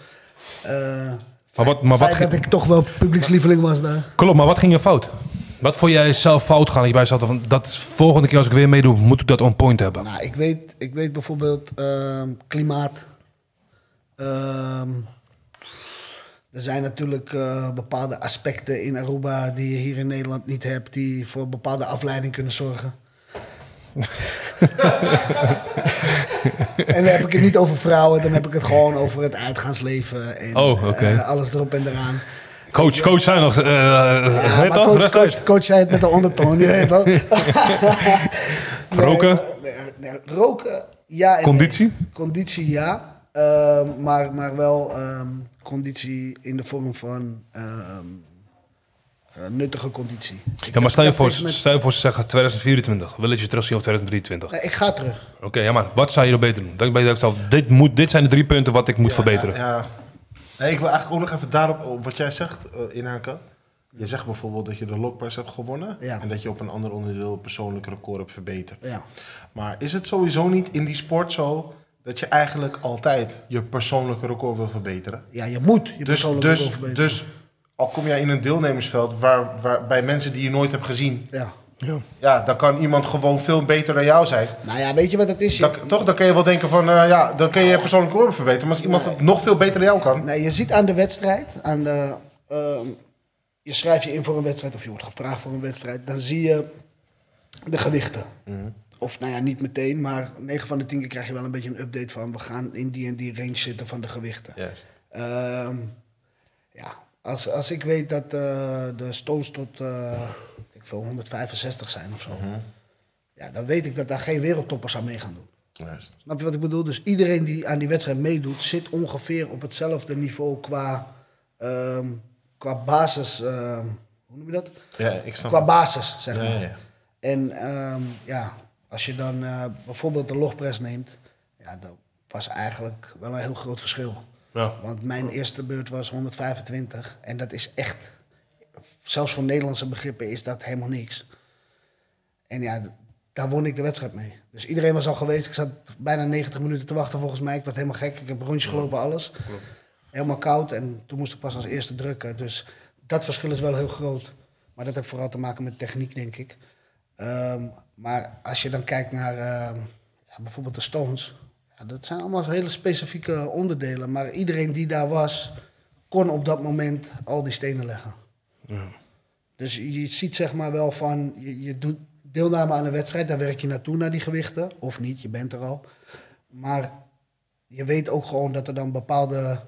Speaker 3: Eh,
Speaker 1: Maar wat, maar,
Speaker 3: het
Speaker 1: wat
Speaker 3: feit
Speaker 1: ging,
Speaker 3: dat ik toch wel publiekslieveling was daar.
Speaker 1: klopt, maar wat ging er fout? Wat vond jij zelf fout gaan? Dat je bij jezelf dacht van, dat is volgende keer als ik weer meedoe, moet ik dat on point hebben.
Speaker 3: Nou, ik weet, ik weet bijvoorbeeld ehm, klimaat. Ehm, er zijn natuurlijk eh, bepaalde aspecten in Aruba die je hier in Nederland niet hebt, die voor bepaalde afleiding kunnen zorgen. en dan heb ik het niet over vrouwen, dan heb ik het gewoon over het uitgaansleven en
Speaker 1: Oh, oké.
Speaker 3: eh, alles erop en eraan.
Speaker 1: Coach, coach zijn nog, eh
Speaker 3: Ja,
Speaker 1: weet
Speaker 3: maar
Speaker 1: toch?
Speaker 3: coach,
Speaker 1: Rest
Speaker 3: coach,
Speaker 1: uit.
Speaker 3: coach zei het met de ondertoon. je weet toch? Nee,
Speaker 1: Roken?
Speaker 3: nee, nee, roken, ja. en nee.
Speaker 1: Conditie?
Speaker 3: Conditie, ja. Ehm, maar, maar wel ehm, conditie in de vorm van ehm, eh, nuttige conditie.
Speaker 1: Ja,
Speaker 3: Ik heb-
Speaker 1: maar stel
Speaker 3: ik
Speaker 1: je,
Speaker 3: heb
Speaker 1: voor,
Speaker 3: tegen mensen-
Speaker 1: stel je voor ze zeggen 2024, wil je je terugzien of 2023?
Speaker 3: Nee, ik ga terug.
Speaker 1: Oké, ja, maar wat zou je er beter doen? Dan ben je zelf, dit, moet, dit zijn de drie punten wat ik moet verbeteren.
Speaker 2: Ja, ja. Nee, ik wil eigenlijk ook nog even daarop, op wat jij zegt, eh, inhaken. Je zegt bijvoorbeeld dat je de lockpress hebt gewonnen.
Speaker 3: Ja.
Speaker 2: En dat je op een ander onderdeel persoonlijk record hebt verbeterd.
Speaker 3: Ja.
Speaker 2: Maar is het sowieso niet in die sport zo dat je eigenlijk altijd je persoonlijke record wil verbeteren.
Speaker 3: Ja, je moet je
Speaker 2: Dus,
Speaker 3: persoonlijke
Speaker 2: dus,
Speaker 3: record verbeteren.
Speaker 2: dus al kom jij in een deelnemersveld waar, waar, bij mensen die je nooit hebt gezien,
Speaker 3: Ja.
Speaker 2: ja, dan kan iemand gewoon veel beter dan jou zijn.
Speaker 3: Nou ja, weet je wat het is? Je-
Speaker 2: Dan, toch, dan kun je wel denken van, eh, ja, dan kun je je persoonlijke record verbeteren. Maar als iemand het nog veel beter dan jou kan,
Speaker 3: Nee, je ziet aan de wedstrijd, aan de, ehm, je schrijft je in voor een wedstrijd of je wordt gevraagd voor een wedstrijd, dan zie je de gewichten. Of nou ja, niet meteen, maar 9 van de 10 keer krijg je wel een beetje een update van we gaan in die en die range zitten van de gewichten.
Speaker 2: Juist.
Speaker 3: Ehm, ja, als, als ik weet dat eh, de stones tot eh, weet ik veel, 165 zijn of zo, ja, dan weet ik dat daar geen wereldtoppers aan mee gaan doen.
Speaker 2: Juist.
Speaker 3: Snap je wat ik bedoel? Dus iedereen die aan die wedstrijd meedoet, zit ongeveer op hetzelfde niveau qua, ehm, qua basis. ehm, hoe noem je dat?
Speaker 2: Ja, ik snap
Speaker 3: Qua
Speaker 2: het.
Speaker 3: basis, zeg
Speaker 2: Ja,
Speaker 3: maar.
Speaker 2: ja, ja.
Speaker 3: En ehm, ja, als je dan eh, bijvoorbeeld de logpress neemt, ja, dat was eigenlijk wel een heel groot verschil.
Speaker 1: Ja.
Speaker 3: Want mijn eerste beurt was 125 en dat is echt, zelfs voor Nederlandse begrippen is dat helemaal niks. En ja, d- daar won ik de wedstrijd mee. Dus iedereen was al geweest. Ik zat bijna 90 minuten te wachten volgens mij. Ik werd helemaal gek. Ik heb rondjes gelopen, alles. Helemaal koud en toen moest ik pas als eerste drukken. Dus dat verschil is wel heel groot. Maar dat heeft vooral te maken met techniek, denk ik. Ehm, maar als je dan kijkt naar ehm, ja, bijvoorbeeld de Stones. Ja, dat zijn allemaal hele specifieke onderdelen. Maar iedereen die daar was, kon op dat moment al die stenen leggen. Dus je ziet zeg maar wel van, je, je doet deelname aan een wedstrijd, daar werk je naartoe naar die gewichten. Of niet, je bent er al. Maar je weet ook gewoon dat er dan bepaalde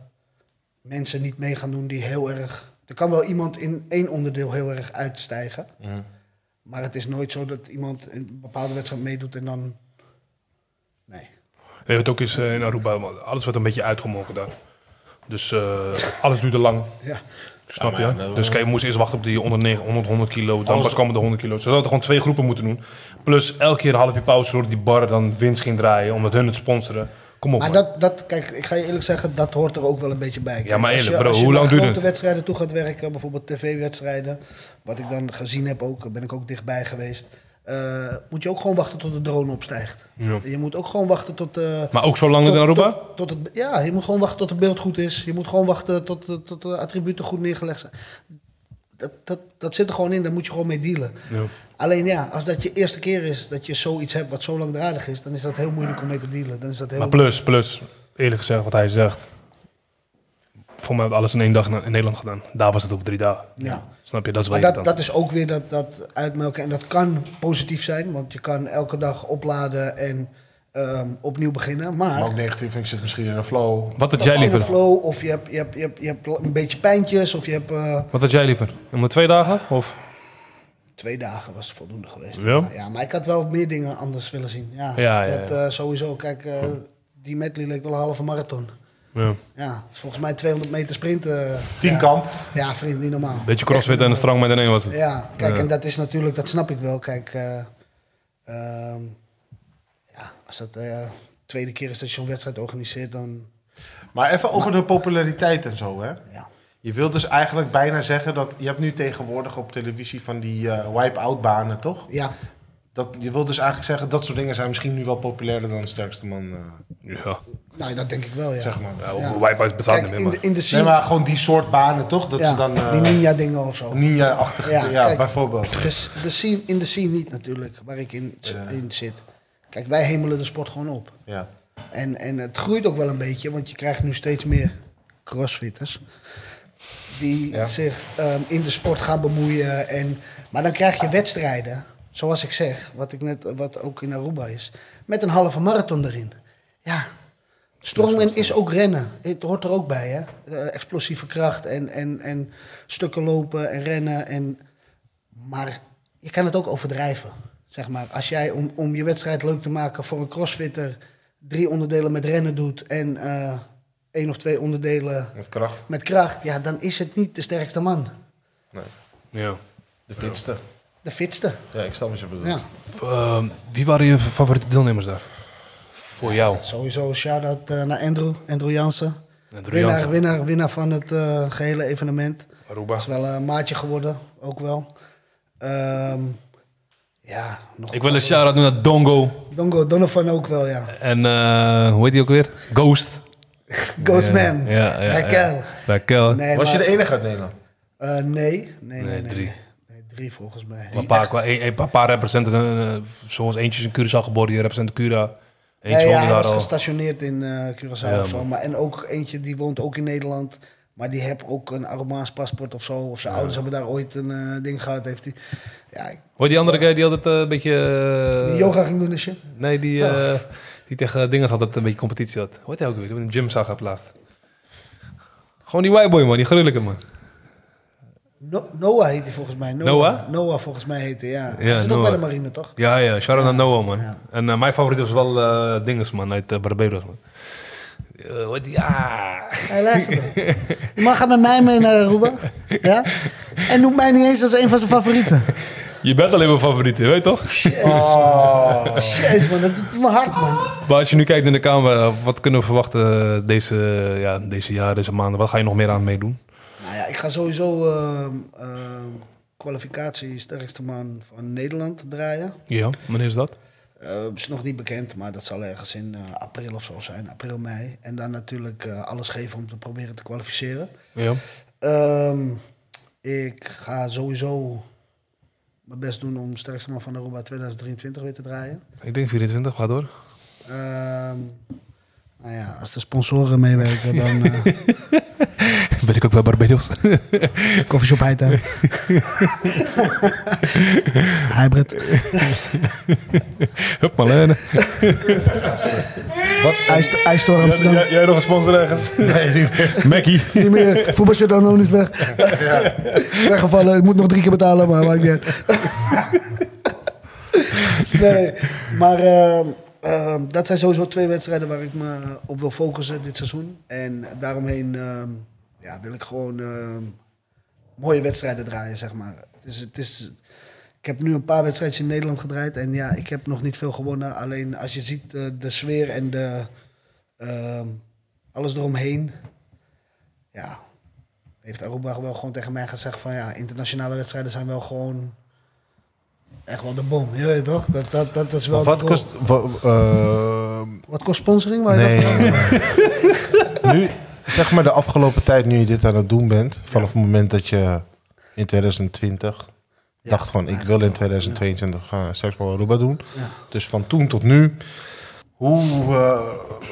Speaker 3: mensen niet mee gaan doen die heel erg... Er kan wel iemand in één onderdeel heel erg uitstijgen. Maar het is nooit zo dat iemand een bepaalde wedstrijd meedoet en dan... Nee.
Speaker 5: We hebben het ook eens eh, in Aruba, want alles wordt een beetje uitgemolken daar. Dus eh, alles duurde lang,
Speaker 3: Ja.
Speaker 5: snap
Speaker 2: maar ja,
Speaker 5: je?
Speaker 2: dat-
Speaker 5: dus kijk, je moest eerst wachten op die onder 9, 100, 100 kilo. Dan
Speaker 2: Alles-
Speaker 5: pas kwamen de 100 kilo. Ze hadden gewoon twee groepen moeten doen. Plus elke keer een half uur pauze, zodat die bar dan winst ging draaien, omdat hun het sponsoren. Kom op,
Speaker 3: Maar
Speaker 5: man.
Speaker 3: dat, dat, kijk, ik ga je eerlijk zeggen, dat hoort er ook wel een beetje bij. Kijk,
Speaker 5: maar
Speaker 3: als
Speaker 5: eerlijk,
Speaker 3: je-
Speaker 5: bro,
Speaker 3: als je
Speaker 5: hoe
Speaker 3: naar
Speaker 5: lang duurt
Speaker 3: grote
Speaker 5: het?
Speaker 3: wedstrijden toe gaat werken, bijvoorbeeld tv-wedstrijden, wat ik dan gezien heb ook, daar ben ik ook dichtbij geweest. eh, moet je ook gewoon wachten tot de drone opstijgt. Je moet ook gewoon wachten tot... eh,
Speaker 1: Maar ook zo lang
Speaker 3: tot,
Speaker 1: dan Aruba?
Speaker 3: Tot, tot het, ja, je moet gewoon wachten tot het beeld goed is. Je moet gewoon wachten tot, tot, tot de attributen goed neergelegd zijn. Dat, dat, dat zit er gewoon in, daar moet je gewoon mee dealen. Alleen ja, als dat je eerste keer is dat je zoiets hebt wat zo langdradig is, dan is dat heel moeilijk om mee te dealen. Dan is dat heel
Speaker 5: Maar plus, plus, eerlijk gezegd, wat hij zegt. Voor mij hebben we alles in één dag na- in Nederland gedaan. Daar was het over drie dagen.
Speaker 3: Ja.
Speaker 5: Snap je? Dat is wel
Speaker 3: Maar
Speaker 5: je
Speaker 3: dat,
Speaker 5: dan.
Speaker 3: dat is ook weer dat, dat uitmelken. En dat kan positief zijn, want je kan elke dag opladen en ehm, opnieuw beginnen. Maar,
Speaker 2: Maar ook negatief, ik zit misschien in een flow.
Speaker 1: Wat had jij
Speaker 3: in de
Speaker 1: liever?
Speaker 3: flow, of je hebt, je, hebt, je, hebt, je hebt een beetje pijntjes, of je hebt eh,
Speaker 1: Wat had jij liever? Onder twee dagen? Of?
Speaker 3: twee dagen was voldoende geweest.
Speaker 1: Ja?
Speaker 3: Ja, maar ik had wel meer dingen anders willen zien. Ja,
Speaker 1: Ja, ja,
Speaker 3: dat
Speaker 1: ja.
Speaker 3: eh, sowieso. Kijk, eh, die medley leek wel een halve marathon.
Speaker 1: Ja.
Speaker 3: Ja, het is volgens mij 200 meter sprinten. eh,
Speaker 2: Tien kamp.
Speaker 3: Ja, vriend, niet normaal.
Speaker 1: Beetje crossfit en een strong met een was het.
Speaker 3: Ja, kijk,
Speaker 1: Ja.
Speaker 3: en dat is natuurlijk, dat snap ik wel. Kijk, eh, ehm, ja, als dat de tweede keer is dat je zo'n wedstrijd organiseert, dan
Speaker 2: Maar even over de populariteit en zo, hè.
Speaker 3: ja.
Speaker 2: Je wilt dus eigenlijk bijna zeggen dat... Je hebt nu tegenwoordig op televisie van die eh wipe-out banen, toch?
Speaker 3: Ja,
Speaker 2: Dat, je wilt dus eigenlijk zeggen dat soort dingen zijn misschien nu wel populairder dan de sterkste man. eh,
Speaker 5: Ja,
Speaker 3: nou, dat denk ik wel, ja.
Speaker 2: zeg maar.
Speaker 3: Ja.
Speaker 5: Wipeout bestaat
Speaker 3: Kijk,
Speaker 5: niet meer,
Speaker 3: in de,
Speaker 5: maar...
Speaker 3: in de
Speaker 2: Nee,
Speaker 3: scene,
Speaker 2: maar gewoon die soort banen toch? Dat
Speaker 3: ja,
Speaker 2: ze dan
Speaker 3: die
Speaker 2: eh
Speaker 3: ninja dingen of zo.
Speaker 2: ninja-achtig. Ja,
Speaker 3: Ja, kijk.
Speaker 2: bijvoorbeeld.
Speaker 3: De, s- de scene, in de scene niet natuurlijk, waar ik in, in zit. Kijk, wij hemelen de sport gewoon op.
Speaker 2: Ja.
Speaker 3: En, en het groeit ook wel een beetje, want je krijgt nu steeds meer crossfitters. Die
Speaker 2: Ja.
Speaker 3: zich ehm, in de sport gaan bemoeien. En, maar dan krijg je wedstrijden, zoals ik zeg, wat, ik net, wat ook in Aruba is, met een halve marathon erin. Ja, strongman is ook rennen. Het hoort er ook bij, hè? Eh, explosieve kracht en, en, en stukken lopen en rennen. En, maar je kan het ook overdrijven. Zeg maar, als jij om, om je wedstrijd leuk te maken voor een crossfitter drie onderdelen met rennen doet en eh, één of twee onderdelen
Speaker 2: Met kracht.
Speaker 3: met kracht, ja, dan is het niet de sterkste man.
Speaker 5: Ja.
Speaker 2: De fitste.
Speaker 3: De fitste.
Speaker 2: Ja, ik snap wat je bedoelt.
Speaker 3: Ja,
Speaker 1: Ehm, wie waren je favoriete deelnemers daar? Voor jou.
Speaker 3: sowieso een shout-out eh, naar Andrew, Andrew Jansen.
Speaker 1: Andrew
Speaker 3: winnaar,
Speaker 1: Jansen.
Speaker 3: winnaar, winnaar van het eh, gehele evenement.
Speaker 5: Aruba.
Speaker 3: Is wel een maatje geworden, ook wel. Ehm, Ja, nog
Speaker 1: Ik wil een shout-out doen naar Dongo.
Speaker 3: Dongo Donovan ook wel, ja.
Speaker 1: En eh, hoe heet die ook weer? Ghost.
Speaker 3: Ghostman.
Speaker 1: Ja, ja, ja.
Speaker 3: Raquel.
Speaker 1: Raquel.
Speaker 3: Nee,
Speaker 2: Was je
Speaker 3: maar-
Speaker 2: de enige uit Nederland?
Speaker 3: eh, nee, nee, nee, nee,
Speaker 1: drie.
Speaker 3: nee. Nee, drie volgens mij.
Speaker 1: Een paar, qua- een, een paar representen, eh, zoals eentje is in Curaçao geboren, die represent Cura. Eentje
Speaker 3: Nee, ja,
Speaker 1: woonde
Speaker 3: hij
Speaker 1: daar
Speaker 3: was
Speaker 1: al.
Speaker 3: gestationeerd in eh Curaçao
Speaker 1: Ja,
Speaker 3: of zo.
Speaker 1: man.
Speaker 3: Maar, en ook eentje die woont ook in Nederland. Maar die heeft ook een Arumaans paspoort of zo. Of zijn ouders hebben daar ooit een eh, ding gehad. Heeft die, ja, ik-
Speaker 1: Hoor je die andere guy die altijd eh, een beetje... eh,
Speaker 3: die yoga ging doen en shit.
Speaker 1: Nee, die, eh, die tegen dingen altijd een beetje competitie had. Hoe heet hij ook weer? Die we in de gym zag op laatst. Gewoon die whiteboy man, die gruwelijke man.
Speaker 3: No- Noah heet hij volgens mij. Noah?
Speaker 1: Noah?
Speaker 3: volgens mij heet hij, ja.
Speaker 1: Ja,
Speaker 3: hij zit ook bij
Speaker 1: Noah.
Speaker 3: de marine, toch?
Speaker 1: Ja, ja, shout-out naar Noah man.
Speaker 3: Ja.
Speaker 1: En eh, mijn favoriet was wel eh Dinges man, uit eh, Barbados man. Eh, hoe heet die? Ah.
Speaker 3: Hij luistert wel. Die man gaat met mij mee naar Aruba. Ja? En noemt mij niet eens als een van zijn favorieten.
Speaker 1: Je bent alleen mijn favoriet, je weet toch? Oh.
Speaker 3: Jezus man, dat doet me hard man.
Speaker 1: Maar als je nu kijkt in de camera, wat kunnen we verwachten eh, deze, ja, deze jaar, deze maanden? Wat ga je nog meer aan meedoen?
Speaker 3: Nou ja, ik ga sowieso ehm, ehm, kwalificatie sterkste man van Nederland draaien.
Speaker 1: Ja, wanneer is dat?
Speaker 3: Eh, is nog niet bekend, maar dat zal ergens in eh, april of zo zijn. April, mei. En dan natuurlijk eh, alles geven om te proberen te kwalificeren.
Speaker 1: Ja.
Speaker 3: Ehm, ik ga sowieso mijn best doen om sterkste man van Aruba 2023 weer te draaien.
Speaker 1: Ik denk 24, ga door.
Speaker 3: Ehm, nou ja, als de sponsoren meewerken, dan eh
Speaker 1: Ben ik ook bij Barbados?
Speaker 3: koffieshop Hightown. Hybrid.
Speaker 1: Hup, Marlene.
Speaker 3: IJs- IJstor
Speaker 5: Jij,
Speaker 3: Amsterdam.
Speaker 5: jij- jij nog een sponsor ergens? Nee, Mackie.
Speaker 3: Niet meer. Voetbalshirt Anon is weg. Weggevallen. Ik moet nog drie keer betalen, maar maakt niet uit. Dus nee, maar ehm, ehm, dat zijn sowieso twee wedstrijden waar ik me op wil focussen dit seizoen. En daaromheen ehm, ja, wil ik gewoon ehm, mooie wedstrijden draaien, zeg maar. Het is, het is, ik heb nu een paar wedstrijdjes in Nederland gedraaid en ja, ik heb nog niet veel gewonnen. Alleen als je ziet eh, de sfeer en de, ehm, alles eromheen, ja, heeft Aruba wel gewoon tegen mij gezegd van ja, internationale wedstrijden zijn wel gewoon echt wel de bom. Je weet toch? Dat, dat, dat is wel
Speaker 2: Maar wat
Speaker 3: de goal.
Speaker 2: kost... wa- eh,
Speaker 3: wat kost sponsoring? Waar je dat
Speaker 2: nee.
Speaker 3: vandaan haalt?
Speaker 2: nu, zeg maar de afgelopen tijd, nu je dit aan het doen bent, vanaf het moment dat je in 2020
Speaker 3: Ja,
Speaker 2: dacht van, ik wil in eh, 2022 gaan straks wel Aruba doen.
Speaker 3: Ja.
Speaker 2: Dus van toen tot nu, hoe, eh,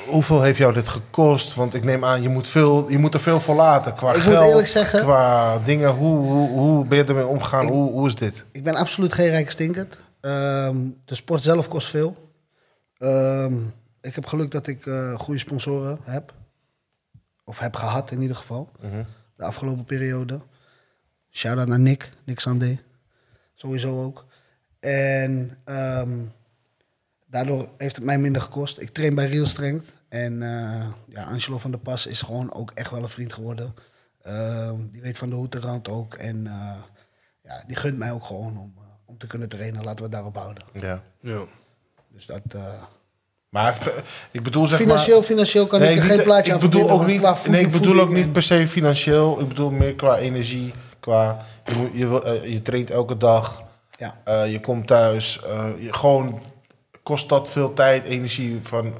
Speaker 2: hoeveel heeft jou dit gekost? Want ik neem aan, je moet, veel, je moet er veel voor laten qua
Speaker 3: Ik moet
Speaker 2: geld,
Speaker 3: eerlijk zeggen-
Speaker 2: qua dingen. Hoe, hoe, hoe ben je ermee omgegaan?
Speaker 3: Ik-
Speaker 2: hoe, hoe is dit?
Speaker 3: Ik ben absoluut geen rijke stinkert. Ehm, de sport zelf kost veel. Ehm, ik heb geluk dat ik eh, goede sponsoren heb. Of heb gehad in ieder geval. De afgelopen periode. Shout-out naar Nick. Nick Sandé. Sowieso ook. En ehm, daardoor heeft het mij minder gekost. Ik train bij Real Strength. En eh, ja, Angelo van der Pas is gewoon ook echt wel een vriend geworden. Ehm, die weet van de hoed en rand ook. En eh, ja, die gunt mij ook gewoon om, eh, om te kunnen trainen. Laten we het daarop houden.
Speaker 2: Ja.
Speaker 1: Ja.
Speaker 3: Dus dat, eh,
Speaker 2: Maar eh, ik bedoel zeg maar...
Speaker 3: financieel, financieel kan ik er
Speaker 2: niet-
Speaker 3: geen plaatje
Speaker 2: ik bedoel
Speaker 3: aan verdienen,
Speaker 2: ook
Speaker 3: maar
Speaker 2: niet,
Speaker 3: qua
Speaker 2: Nee, ik
Speaker 3: voeding-
Speaker 2: bedoel ook
Speaker 3: voeding
Speaker 2: niet per se financieel. Ik bedoel meer qua energie. Qua, je, moet- je, wil- eh, je traint elke dag.
Speaker 3: en- Ja,
Speaker 2: eh, je komt thuis. eh, je, gewoon, kost dat veel tijd, energie? Van,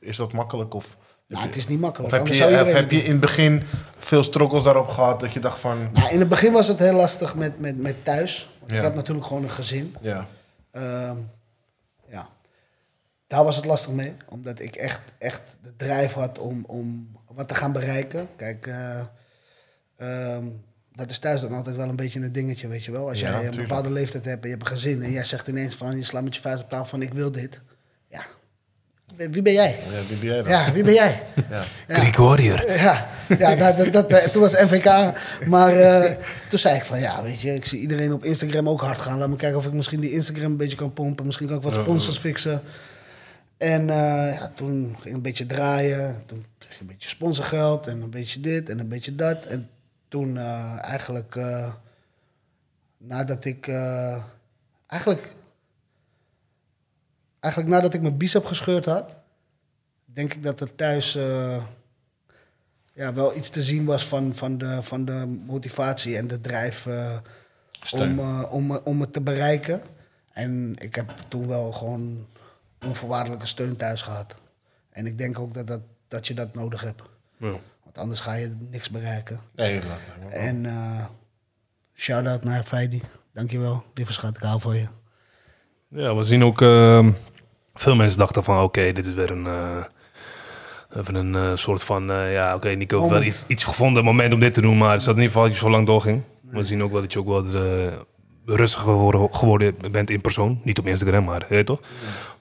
Speaker 2: is dat makkelijk? Of,
Speaker 3: nou, het is niet makkelijk.
Speaker 2: of heb,
Speaker 3: anders
Speaker 2: je,
Speaker 3: zou
Speaker 2: of
Speaker 3: iedereen
Speaker 2: heb je
Speaker 3: het
Speaker 2: in het begin veel struggles daarop gehad? Dat je dacht van...
Speaker 3: doen. Nou, in het begin was het heel lastig met, met, met thuis. Want
Speaker 2: Ja.
Speaker 3: Ik had natuurlijk gewoon een gezin.
Speaker 2: Ja,
Speaker 3: Ehm, ja. Daar was het lastig mee, omdat ik echt, echt de drijf had om, om wat te gaan bereiken. Kijk, eh, ehm, dat is thuis dan altijd wel een beetje een dingetje, weet je wel. Als
Speaker 2: Ja,
Speaker 3: jij een
Speaker 2: tuurlijk.
Speaker 3: bepaalde leeftijd hebt en je hebt een gezin en jij zegt ineens van, je slaat met je vuist op tafel van ik wil dit. Ja, wie wie ben jij?
Speaker 2: ja wie ben jij dan?
Speaker 3: Ja, wie ben jij?
Speaker 2: Ja.
Speaker 3: Ja.
Speaker 1: Warrior.
Speaker 3: Ja, ja dat, dat, dat, eh, toen was MVK. Maar eh, toen zei ik van ja, weet je, ik zie iedereen op Instagram ook hard gaan. Laat me kijken of ik misschien die Instagram een beetje kan pompen. Misschien kan ik wat sponsors fixen. En eh, ja, toen ging ik een beetje draaien. Toen kreeg ik een beetje sponsorgeld en een beetje dit en een beetje dat. En toen eh, eigenlijk, eh, nadat ik, eh, eigenlijk, eigenlijk nadat ik mijn bicep gescheurd had, denk ik dat er thuis eh, ja, wel iets te zien was van, van, de, van de motivatie en de drijf eh, om,
Speaker 2: Steun.
Speaker 3: eh, om, om het te bereiken. En ik heb toen wel gewoon onvoorwaardelijke steun thuis gehad. En ik denk ook dat, dat, dat je dat nodig hebt. Want anders ga je niks bereiken.
Speaker 2: Nee, dat lijkt me wel.
Speaker 3: En eh shout-out naar Feidi. Dankjewel. Lieve schat, ik hou van je.
Speaker 1: Ja, we zien ook... ehm, veel mensen dachten van, oké, dit is weer een... eh, even een eh, soort van... eh, ja, oké, Nico heeft wel
Speaker 3: Moment.
Speaker 1: iets, iets gevonden, een moment om dit te doen. Maar het is dat in ieder geval dat je zo lang doorging. We zien ook wel dat je ook wel eh, rustiger geworden, geworden bent in persoon. Niet op Instagram, maar... Weet je toch?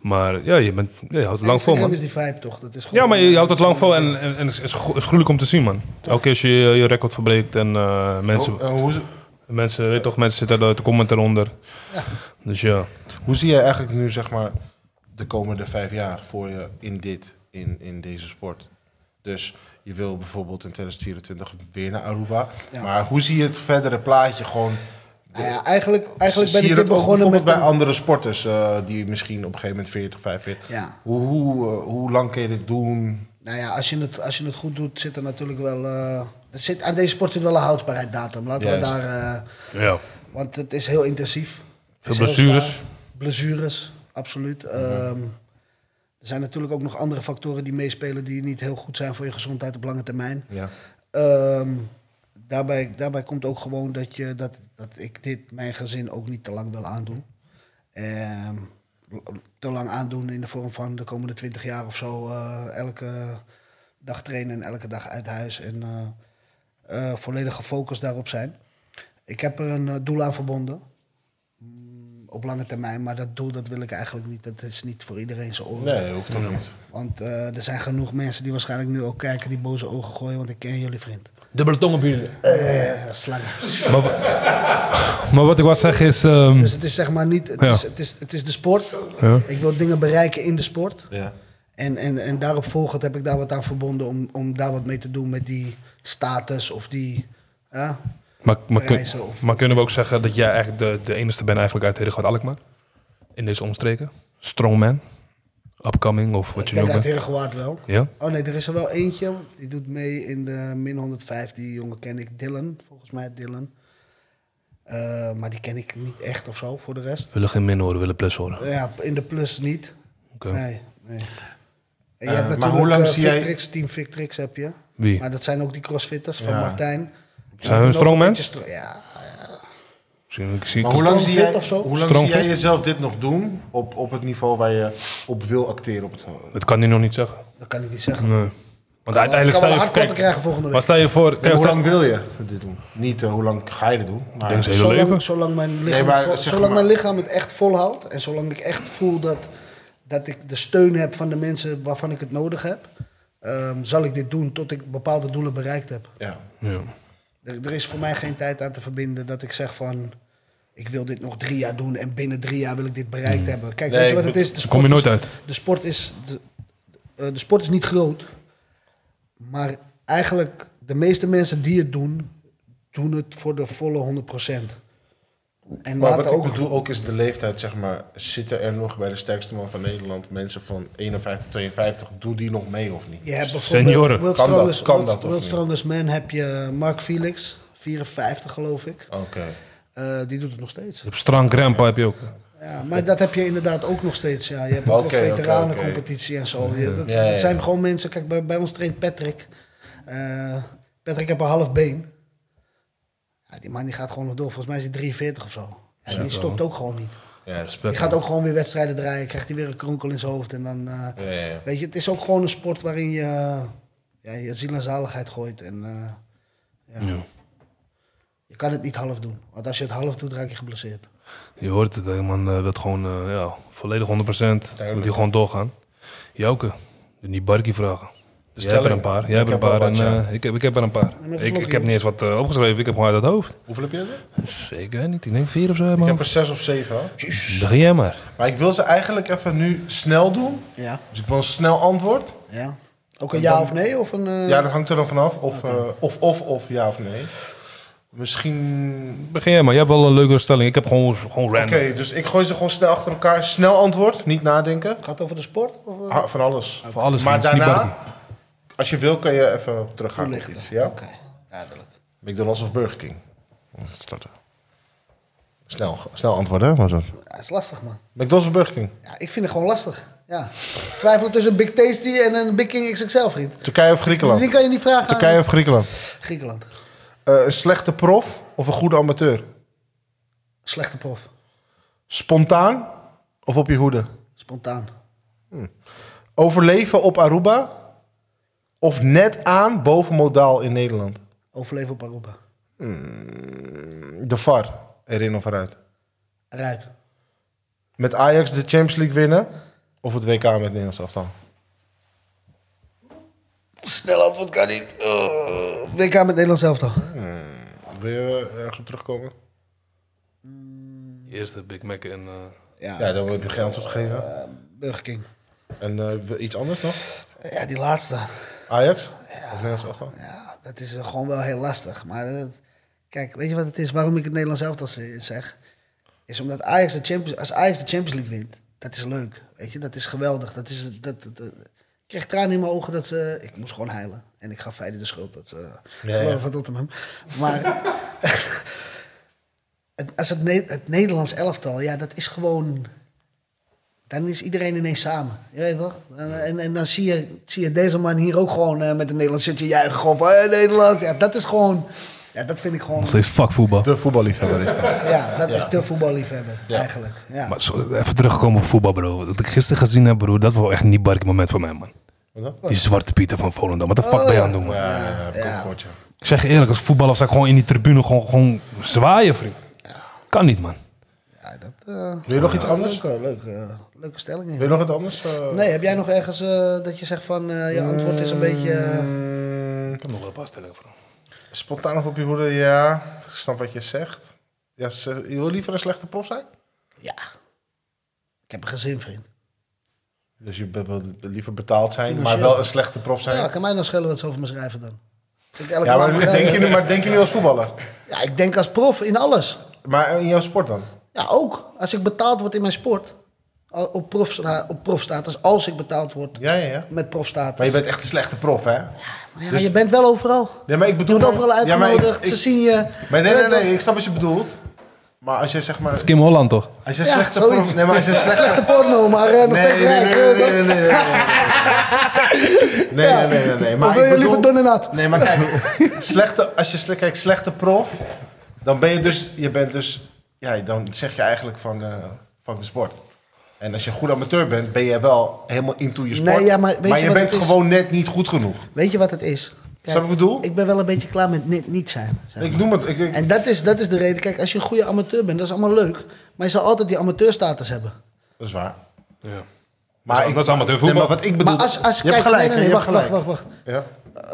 Speaker 1: Maar ja, je bent ja, je houdt het lang vol,
Speaker 3: Instagram
Speaker 1: man.
Speaker 3: is die vibe toch? Dat is gewoon,
Speaker 1: Ja, maar je houdt het lang vol en, en, en het is gro- het is gruwelijk om te zien, man. Elke keer als je je je record verbreekt en eh, mensen,
Speaker 2: Hoe, eh, hoe,
Speaker 1: mensen, weet toch, mensen zitten daar te commenten eronder. Dus ja.
Speaker 2: hoe zie je eigenlijk nu, zeg maar, de komende vijf jaar voor je in dit, in, in deze sport? Dus je wil bijvoorbeeld in 2024 weer naar Aruba.
Speaker 3: Ja.
Speaker 2: Maar hoe zie je het verdere plaatje gewoon?
Speaker 3: Nou ja, eigenlijk, eigenlijk ben
Speaker 2: zie
Speaker 3: ik
Speaker 2: je
Speaker 3: dit
Speaker 2: dat ook
Speaker 3: begonnen met...
Speaker 2: bijvoorbeeld bij
Speaker 3: een-
Speaker 2: andere sporters eh, die misschien op een gegeven moment 40, 45.
Speaker 3: Ja.
Speaker 2: Hoe, hoe, eh, hoe lang kun je dit doen?
Speaker 3: Nou ja, als je, het, als je het goed doet, zit er natuurlijk wel... eh, er zit, aan deze sport zit wel een houdbaarheidsdatum. Laten we
Speaker 2: Juist.
Speaker 3: daar... eh,
Speaker 1: ja.
Speaker 3: want het is heel intensief. Het is
Speaker 1: Veel
Speaker 3: heel
Speaker 1: blessures.
Speaker 3: zwaar. Blessures, absoluut. Ehm, er zijn natuurlijk ook nog andere factoren die meespelen... die niet heel goed zijn voor je gezondheid op lange termijn.
Speaker 2: Ja.
Speaker 3: Ehm, daarbij, daarbij komt ook gewoon dat, je, dat, dat ik dit mijn gezin ook niet te lang wil aandoen. Ehm, te lang aandoen in de vorm van de komende twintig jaar of zo. eh, elke dag trainen en elke dag uit huis. En eh, eh, volledig gefocust daarop zijn. Ik heb er een eh, doel aan verbonden. Mm, Op lange termijn, maar dat doel dat wil ik eigenlijk niet. Dat is niet voor iedereen zijn oren.
Speaker 2: Nee, hoeft ook niet.
Speaker 3: Want eh, er zijn genoeg mensen die waarschijnlijk nu ook kijken, die boze ogen gooien, want ik ken jullie vriend.
Speaker 5: Dubbele tong op jullie.
Speaker 3: Eh, slangen.
Speaker 1: Maar, wa- maar wat ik wou zeggen is... ehm,
Speaker 3: Dus het is zeg maar niet, het,
Speaker 1: Ja.
Speaker 3: is, het, is, het is de sport.
Speaker 1: Ja.
Speaker 3: Ik wil dingen bereiken in de sport.
Speaker 2: Ja.
Speaker 3: En, en, en daarop volgend heb ik daar wat aan verbonden om, om daar wat mee te doen met die status of die. ja.
Speaker 1: maar, maar, kun-
Speaker 3: Reizen of-
Speaker 1: maar kunnen we ook zeggen dat jij eigenlijk de, de enige bent eigenlijk uit Hedegaard Alkmaar? In deze omstreken? Strongman? Upcoming of wat
Speaker 3: ik
Speaker 1: je nu ook
Speaker 3: denk uit
Speaker 1: bent?
Speaker 3: Herengewaard wel.
Speaker 1: Ja?
Speaker 3: Oh nee, er is er wel eentje. Die doet mee in de min 105. Die jongen ken ik, Dylan, volgens mij Dylan. Eh, maar die ken ik niet echt of zo voor de rest.
Speaker 1: We willen geen min horen, we willen plus horen.
Speaker 3: Ja, in de plus niet.
Speaker 1: Oké.
Speaker 3: Nee, nee.
Speaker 2: Eh,
Speaker 3: En je hebt
Speaker 2: maar
Speaker 3: natuurlijk maar
Speaker 2: hoe lang zie jij-
Speaker 3: Team Victrix heb je.
Speaker 1: Wie?
Speaker 3: Maar dat zijn ook die crossfitters van
Speaker 2: Ja.
Speaker 3: Martijn.
Speaker 1: Zijn hun
Speaker 3: Ook
Speaker 1: strongman?
Speaker 3: beetje stro- ja,
Speaker 1: Misschien- ik zie-
Speaker 2: Maar hoe lang, zie jij,
Speaker 3: Strongfit of zo?
Speaker 2: hoe lang zie
Speaker 1: Strongfit?
Speaker 2: jij jezelf dit nog doen op, op het niveau waar je op wil acteren? Op het,
Speaker 1: Dat kan hij nog niet zeggen.
Speaker 3: dat kan ik niet zeggen.
Speaker 1: Nee. Want uiteindelijk sta
Speaker 3: kan wel
Speaker 1: je...
Speaker 3: hardkoppen
Speaker 1: kijk,
Speaker 3: krijgen volgende
Speaker 1: Maar
Speaker 3: week.
Speaker 1: sta je voor...
Speaker 2: Nee,
Speaker 1: Kijk,
Speaker 2: hoe
Speaker 1: sta-
Speaker 2: lang wil je dit doen? Niet eh, hoe lang ga je dit doen? Maar,
Speaker 1: denk ze- hele
Speaker 3: Zolang,
Speaker 1: leven?
Speaker 3: zolang, mijn lichaam,
Speaker 2: Nee, maar
Speaker 3: het vol-
Speaker 2: zeg
Speaker 3: zolang
Speaker 2: maar-
Speaker 3: mijn lichaam het echt volhoudt en zolang ik echt voel dat, dat ik de steun heb van de mensen waarvan ik het nodig heb, ehm, zal ik dit doen tot ik bepaalde doelen bereikt heb.
Speaker 2: ja.
Speaker 1: Ja.
Speaker 3: Er, er is voor mij geen tijd aan te verbinden dat ik zeg van... ik wil dit nog drie jaar doen en binnen drie jaar wil ik dit bereikt
Speaker 1: Hmm.
Speaker 3: hebben. Kijk,
Speaker 2: Nee,
Speaker 3: weet je wat
Speaker 2: ik
Speaker 3: het
Speaker 2: bedo-
Speaker 3: is? De sport
Speaker 1: kom je nooit
Speaker 3: is,
Speaker 1: uit.
Speaker 3: De sport is, de, eh, de sport is niet groot. Maar eigenlijk, de meeste mensen die het doen... doen het voor de volle 100%. En
Speaker 2: Maar
Speaker 3: laten
Speaker 2: wat ik
Speaker 3: ook...
Speaker 2: bedoel ook is de leeftijd, zeg maar. Zitten er nog bij de sterkste man van Nederland mensen van 51, 52? Doen die nog mee of niet?
Speaker 3: Je hebt
Speaker 1: Senioren.
Speaker 3: bijvoorbeeld World
Speaker 2: Kan dat?
Speaker 3: Strongest-
Speaker 2: Kan
Speaker 3: World-
Speaker 2: dat of
Speaker 3: World
Speaker 2: niet?
Speaker 3: Strongest Man heb je Mark Felix, 54 geloof ik.
Speaker 2: Oké.
Speaker 3: Eh, die doet het nog steeds.
Speaker 1: Op Strang Grandpa heb je ook.
Speaker 3: Ja, maar dat heb je inderdaad ook nog steeds. Ja. Je hebt ook
Speaker 2: Oké,
Speaker 3: een
Speaker 2: oké,
Speaker 3: veteranencompetitie en zo. Je- dat,
Speaker 2: Ja, ja, ja.
Speaker 3: dat zijn gewoon mensen. Kijk, bij, bij ons traint Patrick. Eh, Patrick heeft een half been. Ja, die man die gaat gewoon nog door. Volgens mij is hij 43 of zo. Ja, die stopt ook gewoon niet.
Speaker 2: Juist.
Speaker 3: Die gaat ook gewoon weer wedstrijden draaien. Krijgt hij weer een kronkel in zijn hoofd. En dan, eh,
Speaker 2: Ja, ja, ja.
Speaker 3: Weet je, het is ook gewoon een sport waarin je eh, ja, je ziel en zaligheid gooit. En, eh, ja. Je kan het niet half doen. Want als je het half doet, raak je geblesseerd.
Speaker 1: Je hoort het, hè, man eh, wil gewoon eh, ja, volledig 100%. Moet hij gewoon doorgaan. Jouke, niet Barkie vragen. Dus Jij hebt er
Speaker 2: stelling.
Speaker 1: een paar. Jij
Speaker 2: Ik
Speaker 1: hebt er een
Speaker 2: heb
Speaker 1: paar.
Speaker 2: wel
Speaker 1: En,
Speaker 2: wat, ja.
Speaker 1: eh, ik, heb, ik heb er een paar.
Speaker 3: maar even
Speaker 1: Ik, ik
Speaker 3: slokken,
Speaker 1: heb niet eens wat eh, opgeschreven. Ik heb gewoon uit het hoofd.
Speaker 2: Hoeveel heb je er?
Speaker 1: Zeker niet. Ik denk vier of zo,
Speaker 2: Ik
Speaker 1: man.
Speaker 2: heb er zes of zeven. hoor.
Speaker 1: Dan ga jij maar.
Speaker 2: Maar ik wil ze eigenlijk even nu snel doen.
Speaker 3: Ja.
Speaker 2: Dus ik wil een snel antwoord.
Speaker 3: Ja. Ook een ja of nee? Of een, eh,
Speaker 2: Ja, dat hangt er dan vanaf. Of, eh, of, of, of ja of nee. Misschien.
Speaker 1: Begin jij maar. Je hebt wel een leuke stelling. Ik heb gewoon, gewoon random.
Speaker 2: Oké, dus ik gooi ze gewoon snel achter elkaar. Snel antwoord, niet nadenken.
Speaker 3: Gaat het over de sport? Of, eh?
Speaker 2: Ah, van alles.
Speaker 1: Voor alles.
Speaker 2: Maar
Speaker 1: vriend. Het is niet
Speaker 2: daarna,
Speaker 1: Barkie.
Speaker 2: als je wil, kan je even teruggaan. met
Speaker 3: Toelichten.
Speaker 2: iets, Ja?
Speaker 3: Oké, duidelijk.
Speaker 2: McDonald's of Burger King? Laten we starten. Snel, snel antwoorden, was dat.
Speaker 3: Ja, is lastig, man.
Speaker 2: McDonald's of Burger King?
Speaker 3: Ja, ik vind het gewoon lastig. Ja. Twijfelen tussen een Big Tasty en een Big King XXL, vriend.
Speaker 2: Turkije of
Speaker 3: Die
Speaker 2: Griekenland?
Speaker 3: kan je niet vragen aan-
Speaker 2: Turkije of Griekenland?
Speaker 3: Griekenland.
Speaker 2: Eh, een slechte prof of een goede amateur?
Speaker 3: Slechte prof.
Speaker 2: Spontaan of op je hoede?
Speaker 3: Spontaan.
Speaker 2: Overleven op Aruba of net aan boven modaal in Nederland?
Speaker 3: Overleven op Aruba.
Speaker 2: De VAR, erin of eruit?
Speaker 3: Eruit.
Speaker 2: Met Ajax de Champions League winnen of het WK met Nederlands elftal?
Speaker 3: Snel antwoord kan niet. WK met Nederland zelf toch?
Speaker 2: Wil je eh, ergens op terugkomen?
Speaker 1: Eerst de Big Mac en... eh,
Speaker 3: Ja,
Speaker 2: Ja, dan heb je geen antwoord gegeven.
Speaker 3: Burger King.
Speaker 2: En eh, iets anders nog?
Speaker 3: Ja, die laatste.
Speaker 2: Ajax of Nederlands elftal?
Speaker 3: Ja, dat is eh, gewoon wel heel lastig. Maar eh, kijk, weet je wat het is? Waarom ik het Nederlands elftal ze- zeg? Is omdat Ajax de Champions, als Ajax de Champions League wint, dat is leuk. Weet je, dat is geweldig. Dat is, dat, dat, dat- ik kreeg tranen in mijn ogen dat ze... Ik moest gewoon heilen. En ik gaf Feyenoord de schuld. Dat ze
Speaker 2: Ja,
Speaker 3: verloren
Speaker 2: ja.
Speaker 3: van Tottenham. Maar het, als het, Ne- het Nederlands elftal, ja, dat is gewoon... Dan is iedereen ineens samen. Je weet toch? En, en, en dan zie je, zie je deze man hier ook gewoon eh, met een Nederlands shirtje juichen. Gewoon van, hey, Nederland. Ja, dat is gewoon... Ja, dat vind ik gewoon...
Speaker 1: Nog steeds fuck voetbal.
Speaker 2: De voetballiefhebber is dat.
Speaker 3: Ja, dat is de voetballiefhebber eigenlijk. Ja.
Speaker 1: Maar zo- even terugkomen op voetbal, bro. Wat ik gisteren gezien heb, bro, dat was wel echt niet bark moment voor mij, man.
Speaker 2: Wat
Speaker 1: Die zwarte Pieter van Volendam. Wat de fuck ben je aan het doen, man?
Speaker 2: Ja, ja, ja,
Speaker 3: ja.
Speaker 2: kort, ja.
Speaker 1: Ik zeg je eerlijk, als voetballer zou ik gewoon in die tribune gewoon, gewoon zwaaien, vriend. Kan niet, man.
Speaker 3: Ja, dat, eh,
Speaker 2: Wil je nog iets anders?
Speaker 3: leuke, leuke, eh, leuke stelling.
Speaker 2: Wil
Speaker 3: ja.
Speaker 2: je nog wat anders? eh?
Speaker 3: Nee, heb jij nog ergens eh, dat je zegt van eh, je antwoord is een beetje... eh,
Speaker 2: Mm,
Speaker 1: Ik heb nog wel een paar stellingen voor.
Speaker 2: Spontaan of op je hoede, ja. Ik snap wat je zegt. Ja, ze- je wil liever een slechte prof zijn?
Speaker 3: ja, ik heb een gezin, vriend.
Speaker 2: Dus je be- be- liever betaald zijn, maar
Speaker 3: Financieel.
Speaker 2: wel een slechte prof zijn?
Speaker 3: Ja, kan mij dan schelen wat ze over me schrijven dan? Vind ik elke
Speaker 2: Ja,
Speaker 3: man
Speaker 2: maar
Speaker 3: begrijpen.
Speaker 2: denk, je nu, maar denk je nu als voetballer?
Speaker 3: Ja, ik denk als prof in alles.
Speaker 2: Maar in jouw sport dan?
Speaker 3: Ja, ook. Als ik betaald word in mijn sport, al- op, prof, op profstatus, als ik betaald word
Speaker 2: Ja, ja, ja.
Speaker 3: met profstatus.
Speaker 2: Maar je bent echt een slechte prof, hè?
Speaker 3: Ja, je bent wel overal.
Speaker 2: Nee, maar ik
Speaker 3: Je
Speaker 2: bedoel...
Speaker 3: wordt overal
Speaker 2: Ja, maar ik-
Speaker 3: uitgenodigd,
Speaker 2: ik-
Speaker 3: ze zien je.
Speaker 2: Maar nee,
Speaker 3: Je
Speaker 2: nee,
Speaker 3: weet
Speaker 2: nee, ik snap wat je bedoelt. Maar als je zeg maar...
Speaker 1: Kim Holland, toch?
Speaker 2: Als je
Speaker 3: Ja,
Speaker 2: slechte
Speaker 3: zoiets.
Speaker 2: prof... Nee, maar als je
Speaker 3: toch?
Speaker 2: slechte...
Speaker 3: Slechte porno, maar eh, nog
Speaker 2: Nee,
Speaker 3: steeds
Speaker 2: nee,
Speaker 3: rijk.
Speaker 2: nee,
Speaker 3: eh,
Speaker 2: nee, nee, nee, nee, nee, nee. Nee, nee, nee, nee, nee. Maar
Speaker 3: Of wil
Speaker 2: ik
Speaker 3: je
Speaker 2: bedoel-
Speaker 3: liever dun en nat?
Speaker 2: Nee, maar kijk, slechte, als je sle- kijk, slechte prof, dan ben je dus, je bent dus, ja, dan zeg je eigenlijk van, eh fuck de sport. En als je een goed amateur bent, ben je wel helemaal into je sport.
Speaker 3: Nee, ja, maar weet je
Speaker 2: je
Speaker 3: wat
Speaker 2: bent
Speaker 3: het is?
Speaker 2: gewoon net niet goed genoeg.
Speaker 3: Weet je wat het is?
Speaker 2: Snap je wat ik bedoel?
Speaker 3: Ik ben wel een beetje klaar met niet, niet zijn. zeg maar.
Speaker 2: Ik noem het, ik, ik-
Speaker 3: En dat is, dat is de reden. Kijk, als je een goede amateur bent, dat is allemaal leuk. Maar je zal altijd die amateurstatus hebben.
Speaker 2: dat is waar.
Speaker 1: Ja.
Speaker 2: Maar
Speaker 1: Dat is-
Speaker 2: ik-
Speaker 1: dat is amateur
Speaker 2: Nee, maar
Speaker 1: voetbal.
Speaker 2: wat ik bedoel,
Speaker 3: maar als, als
Speaker 2: je hebt
Speaker 3: kijk,
Speaker 2: gelijk,
Speaker 3: nee,
Speaker 2: hè,
Speaker 3: nee,
Speaker 2: je
Speaker 3: nee,
Speaker 2: hebt
Speaker 3: wacht, wacht,
Speaker 2: gelijk.
Speaker 3: wacht, wacht.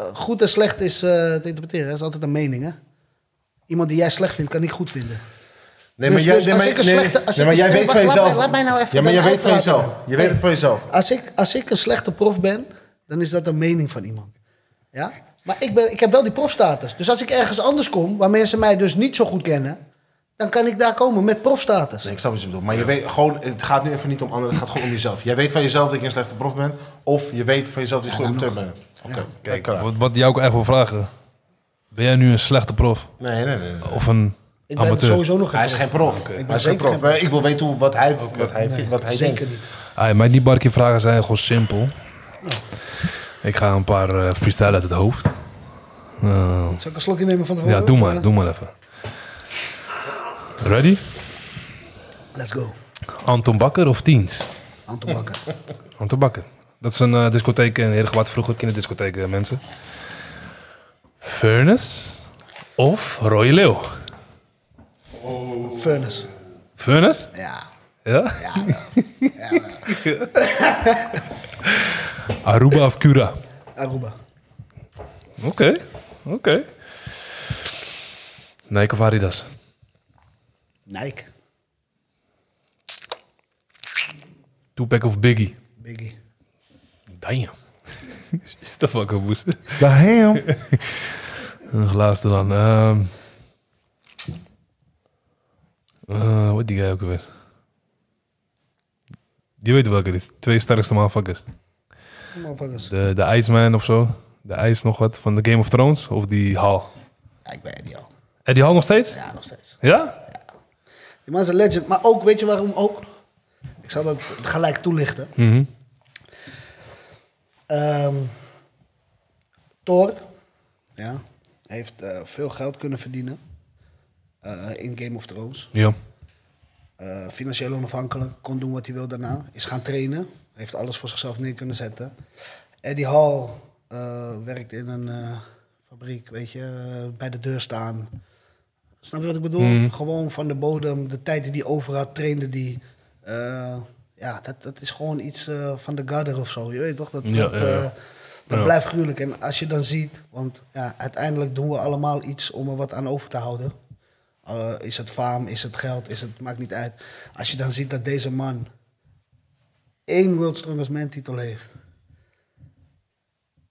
Speaker 2: Ja.
Speaker 3: Eh, goed en slecht is eh, te interpreteren. Dat is altijd een mening, hè? Iemand die jij slecht vindt, kan ik goed vinden.
Speaker 2: Nee,
Speaker 3: Dus-
Speaker 2: maar jij,
Speaker 3: dus
Speaker 2: nee,
Speaker 3: als
Speaker 2: maar-
Speaker 3: ik een
Speaker 2: nee,
Speaker 3: slechte- als
Speaker 2: nee, maar
Speaker 3: ik een-
Speaker 2: jij
Speaker 3: nee,
Speaker 2: weet
Speaker 3: wacht,
Speaker 2: van
Speaker 3: laat mij-
Speaker 2: jezelf.
Speaker 3: laat mij nou even
Speaker 2: Ja, maar
Speaker 3: dat
Speaker 2: jij weet van
Speaker 3: uitpraten
Speaker 2: jezelf.
Speaker 3: dan.
Speaker 2: Je weet het van jezelf.
Speaker 3: Als ik, als ik een slechte prof ben, dan is dat een mening van iemand. Ja? Maar ik, ben, ik heb wel die profstatus. Dus als ik ergens anders kom, waar mensen mij dus niet zo goed kennen, dan kan ik daar komen met profstatus.
Speaker 2: Nee, ik snap wat je bedoelt. Maar je weet gewoon, het gaat nu even niet om anderen, het gaat gewoon om jezelf. Jij weet van jezelf dat je een slechte prof bent, of je weet van jezelf dat je goed amateur bent. Oké,
Speaker 1: Kijk,
Speaker 2: dat kan.
Speaker 1: wat, wat jou ook echt wil vragen. Ben jij nu een slechte prof?
Speaker 2: Nee, nee, nee. nee.
Speaker 1: Of een
Speaker 3: Ik ben
Speaker 1: amateur?
Speaker 3: sowieso nog
Speaker 2: Hij is geen prof.
Speaker 3: ben
Speaker 2: Hij is geen
Speaker 3: zeker
Speaker 2: prof.
Speaker 3: geen
Speaker 2: Maar ik wil weten hoe, wat hij, wat hij, vindt, wat hij
Speaker 3: Zeker
Speaker 2: denkt.
Speaker 3: niet.
Speaker 1: Hey, maar die barkje vragen zijn gewoon simpel. Ik ga een paar eh, freestyle uit het hoofd. Eh,
Speaker 3: Zal ik een slokje nemen van tevoren?
Speaker 1: ja, doe maar.
Speaker 3: Eh,
Speaker 1: Doe maar even. Ready?
Speaker 3: Let's go.
Speaker 1: Anton Bakker of Tiens?
Speaker 3: Anton Bakker.
Speaker 1: Anton Bakker. Dat is een eh, discotheek in Heergewaard, vroeger kinderdiscotheek, eh, mensen. Furnace of Rode Leeuw?
Speaker 3: Furnace.
Speaker 1: Furnace?
Speaker 3: Ja.
Speaker 1: Ja? Aruba of Cura?
Speaker 3: Aruba.
Speaker 1: Oké, oké. Nike of Adidas?
Speaker 3: Nike.
Speaker 1: Tupac of Biggie?
Speaker 3: Biggie.
Speaker 1: Damn. Is dat fucking woest?
Speaker 2: Daarheen.
Speaker 1: Nog laatste dan. ehm. Eh, wat die guy ook weer? Je weet welke dit. Twee sterkste motherfuckers.
Speaker 3: Motherfuckers.
Speaker 1: De, de Iceman of zo. De IJs nog wat van de Game of Thrones. Of die Hal.
Speaker 3: Ja, ik ben Eddie al.
Speaker 1: En die Hal nog steeds?
Speaker 3: Ja, nog steeds.
Speaker 1: Ja?
Speaker 3: Die Die man is een legend. Maar ook, weet je waarom ook? Ik zal dat gelijk toelichten.
Speaker 1: Mhm.
Speaker 3: Ehm Thor ja, heeft eh, veel geld kunnen verdienen eh, in Game of Thrones.
Speaker 1: Ja.
Speaker 3: Eh, financieel onafhankelijk, kon doen wat hij wil daarna. Is gaan trainen, heeft alles voor zichzelf neer kunnen zetten. Eddie Hall eh, werkt in een eh, fabriek, weet je, eh, bij de deur staan. Snap je wat ik bedoel?
Speaker 1: Mm.
Speaker 3: Gewoon van de bodem, de tijd die hij over had, trainde die. Eh, ja, dat, dat is gewoon iets eh, van de garder of zo. Je weet toch? Dat,
Speaker 1: Ja,
Speaker 3: dat,
Speaker 1: ja, ja.
Speaker 3: eh, dat
Speaker 1: Ja.
Speaker 3: blijft gruwelijk. En als je dan ziet, want ja, uiteindelijk doen we allemaal iets om er wat aan over te houden. Eh, is het faam, is het geld, is het, maakt niet uit. Als je dan ziet dat deze man één World Strongest Man titel heeft.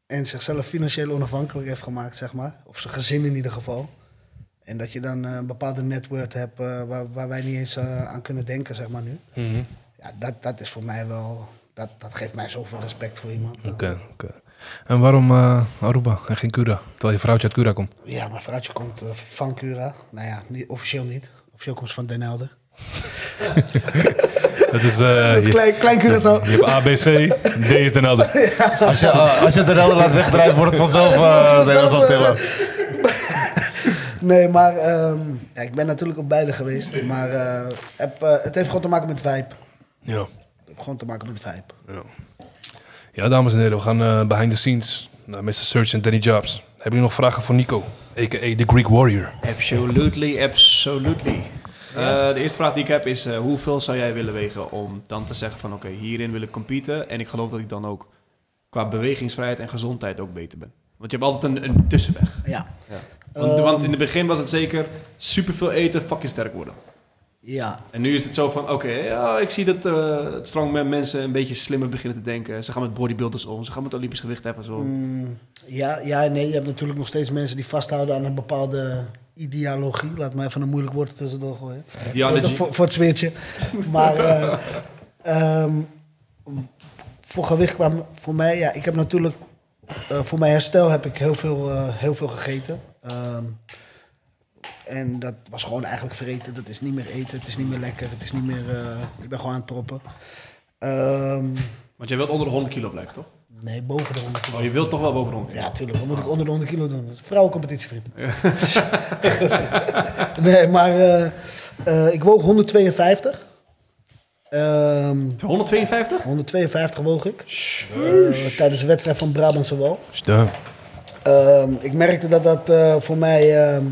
Speaker 3: En zichzelf financieel onafhankelijk heeft gemaakt, zeg maar. Of zijn gezin in ieder geval. En dat je dan eh, een bepaalde netwerk hebt eh, waar, waar wij niet eens eh, aan kunnen denken, zeg maar nu.
Speaker 1: Mhm.
Speaker 3: Ja, dat, dat is voor mij wel... Dat, dat geeft mij zoveel respect voor iemand.
Speaker 1: Oké. oké. En waarom eh, Aruba en geen Cura? Terwijl je vrouwtje uit Cura komt.
Speaker 3: Ja, mijn vrouwtje komt eh, van Cura. Nou ja, niet, officieel niet. Officieel komt ze van Den Helder.
Speaker 1: Dat is, eh,
Speaker 3: dat is
Speaker 1: je,
Speaker 3: klein, klein Curaçao.
Speaker 1: je hebt ABC, D is Den Helder.
Speaker 2: Als je, eh, als je de relder laat wegdrijven, wordt het vanzelf eh Nederlands op tillen.
Speaker 3: Nee, maar ehm, ja, ik ben natuurlijk op beide geweest. Maar eh, heb, eh, het heeft gewoon te maken met vibe.
Speaker 1: Ja.
Speaker 3: Het heeft gewoon te maken met vibe.
Speaker 1: ja, dames en heren, we gaan eh, behind the scenes naar Mr. Search en Danny Jobs. Hebben jullie nog vragen voor Nico, a.k.a. The Greek Warrior?
Speaker 4: Absolutely, absolutely. Eh, de eerste vraag die ik heb is, eh, hoeveel zou jij willen wegen om dan te zeggen van oké, hierin wil ik competen en ik geloof dat ik dan ook qua bewegingsvrijheid en gezondheid ook beter ben? Want je hebt altijd een, een tussenweg.
Speaker 3: Ja.
Speaker 4: Want,
Speaker 3: Ehm,
Speaker 4: want in het begin was het zeker superveel eten, fucking sterk worden.
Speaker 3: Ja,
Speaker 4: En nu is het zo van, oké, ja, ik zie dat eh strongman mensen een beetje slimmer beginnen te denken. Ze gaan met bodybuilders om, ze gaan met olympisch gewichtheffers om.
Speaker 3: mm, ja, ja, nee, je hebt natuurlijk nog steeds mensen die vasthouden aan een bepaalde ideologie. Laat me even een moeilijk woord er tussendoor gooien.
Speaker 4: Ideology.
Speaker 3: Voor, voor- voor het zweertje. Maar eh, ehm, voor gewicht kwam voor mij, ja, ik heb natuurlijk eh, voor mijn herstel heb ik heel veel, eh, heel veel gegeten. Ehm, en dat was gewoon eigenlijk vereten. Dat is niet meer eten, het is niet meer lekker, het is niet meer. eh, ik ben gewoon aan het proppen. Ehm,
Speaker 4: Want jij wilt onder de 100 kilo blijven, toch?
Speaker 3: nee, boven de 100 kilo.
Speaker 4: Oh, je wilt toch wel boven de 100 kilo?
Speaker 3: Ja, tuurlijk. Wat moet ik onder de 100 kilo doen? Dat is een Vrouwencompetitie, vriend. nee, maar eh, eh, ik woog 152. Ehm
Speaker 4: 152?
Speaker 3: 152 woog ik. Eh, tijdens de wedstrijd van Brabantse Wal.
Speaker 1: Stem.
Speaker 3: Ehm, ik merkte dat dat eh, voor mij... ehm,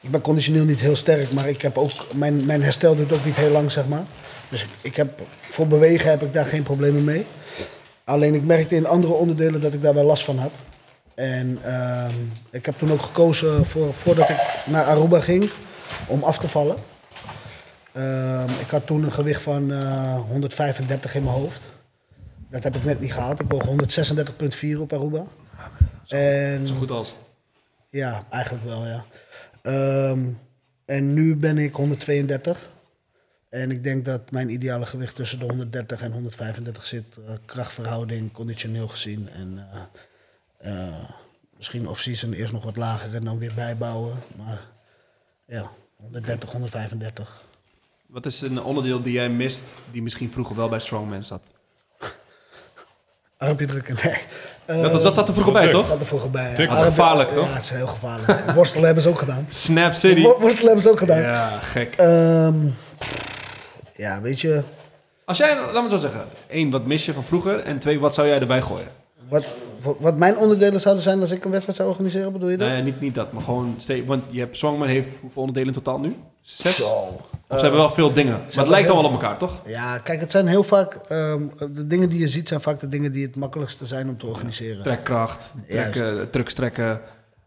Speaker 3: ik ben conditioneel niet heel sterk, maar ik heb ook, mijn, mijn herstel duurt ook niet heel lang, zeg maar. Dus ik, ik heb, voor bewegen heb ik daar geen problemen mee. Alleen ik merkte in andere onderdelen dat ik daar wel last van had. En ehm, ik heb toen ook gekozen voor, voordat ik naar Aruba ging om af te vallen. Ehm, ik had toen een gewicht van eh, 135 in mijn hoofd. Dat heb ik net niet gehaald. Ik woog 136,4 op Aruba. En
Speaker 4: Zo goed als.
Speaker 3: ja, eigenlijk wel, ja. Ehm, en nu ben ik 132. En ik denk dat mijn ideale gewicht tussen de 130 en 135 zit. eh, krachtverhouding, conditioneel gezien. En eh, eh, misschien off-season eerst nog wat lager en dan weer bijbouwen. Maar ja, 130, 135.
Speaker 4: Wat is een onderdeel die jij mist, die misschien vroeger wel bij strongman zat?
Speaker 3: Armpje drukken, nee. Eh,
Speaker 4: dat, dat zat er vroeger bij,
Speaker 5: dat
Speaker 4: toch?
Speaker 3: zat er vroeger bij.
Speaker 4: Dat is gevaarlijk, toch?
Speaker 3: Ja, het is heel gevaarlijk. Worstelen hebben ze ook gedaan.
Speaker 4: Snap City.
Speaker 3: Wo- Worstelen hebben ze ook gedaan.
Speaker 4: Ja, gek.
Speaker 3: Ehm, ja, weet je,
Speaker 4: Als jij, laat me het zo zeggen. Eén, wat mis je van vroeger? En twee, wat zou jij erbij gooien?
Speaker 3: Wat, wat- wat mijn onderdelen zouden zijn als ik een wedstrijd zou organiseren, bedoel je dat?
Speaker 4: Nou ja, niet, niet dat, maar gewoon... ste- Want je hebt, strongman heeft hoeveel onderdelen in totaal nu? Zes?
Speaker 3: Zo.
Speaker 4: Of ze hebben wel veel dingen. Maar het
Speaker 3: hebben
Speaker 4: lijkt
Speaker 3: heel-
Speaker 4: allemaal op elkaar, toch?
Speaker 3: Ja, kijk, het zijn heel vaak... ehm, de dingen die je ziet zijn vaak de dingen die het makkelijkste zijn om te organiseren.
Speaker 4: Trekkracht, trekken, trucks trekken,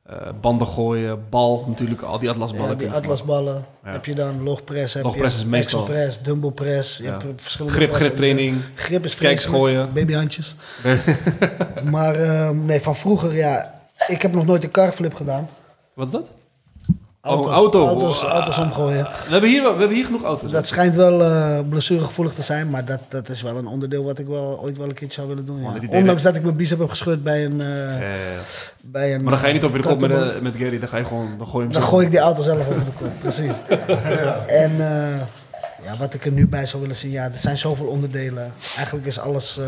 Speaker 4: eh, banden gooien, bal natuurlijk, al die atlasballen.
Speaker 3: Ja, die
Speaker 4: kunnen we
Speaker 3: atlasballen
Speaker 4: Ja.
Speaker 3: heb je dan, logpress heb
Speaker 4: Logpress
Speaker 3: je,
Speaker 4: is meestal.
Speaker 3: axel press, dumbbell press, je
Speaker 4: Ja.
Speaker 3: hebt
Speaker 4: maken.
Speaker 3: verschillende
Speaker 4: Grip,
Speaker 3: pressen.
Speaker 4: grip training.
Speaker 3: Grip is
Speaker 4: Kijks
Speaker 3: vreselijk.
Speaker 4: gooien.
Speaker 3: Babyhandjes. maar ehm, nee, van vroeger, ja, ik heb nog nooit een carflip gedaan.
Speaker 4: Wat is dat? Oh, auto.
Speaker 3: Auto's,
Speaker 4: Oh,
Speaker 3: auto's
Speaker 4: ah.
Speaker 3: omgooien.
Speaker 4: We hebben hier, wel- we hebben hier genoeg auto's.
Speaker 3: Dat schijnt wel eh, blessuregevoelig te zijn, maar dat, dat is wel een onderdeel wat ik wel, ooit wel een keertje zou willen doen. ja.
Speaker 4: het idee
Speaker 3: Ondanks dat ik mijn bicep heb gescheurd bij een... eh,
Speaker 4: Ja, ja, ja.
Speaker 3: bij een
Speaker 4: Maar dan ga je niet over de kop met,
Speaker 3: kattenband.
Speaker 4: eh, met Gary. Dan ga je gewoon... Dan gooi je hem
Speaker 3: Dan
Speaker 4: zo.
Speaker 3: gooi ik die auto zelf over de kop, precies. En eh, ja, wat ik er nu bij zou willen zien, ja, er zijn zoveel onderdelen. Eigenlijk is alles, eh,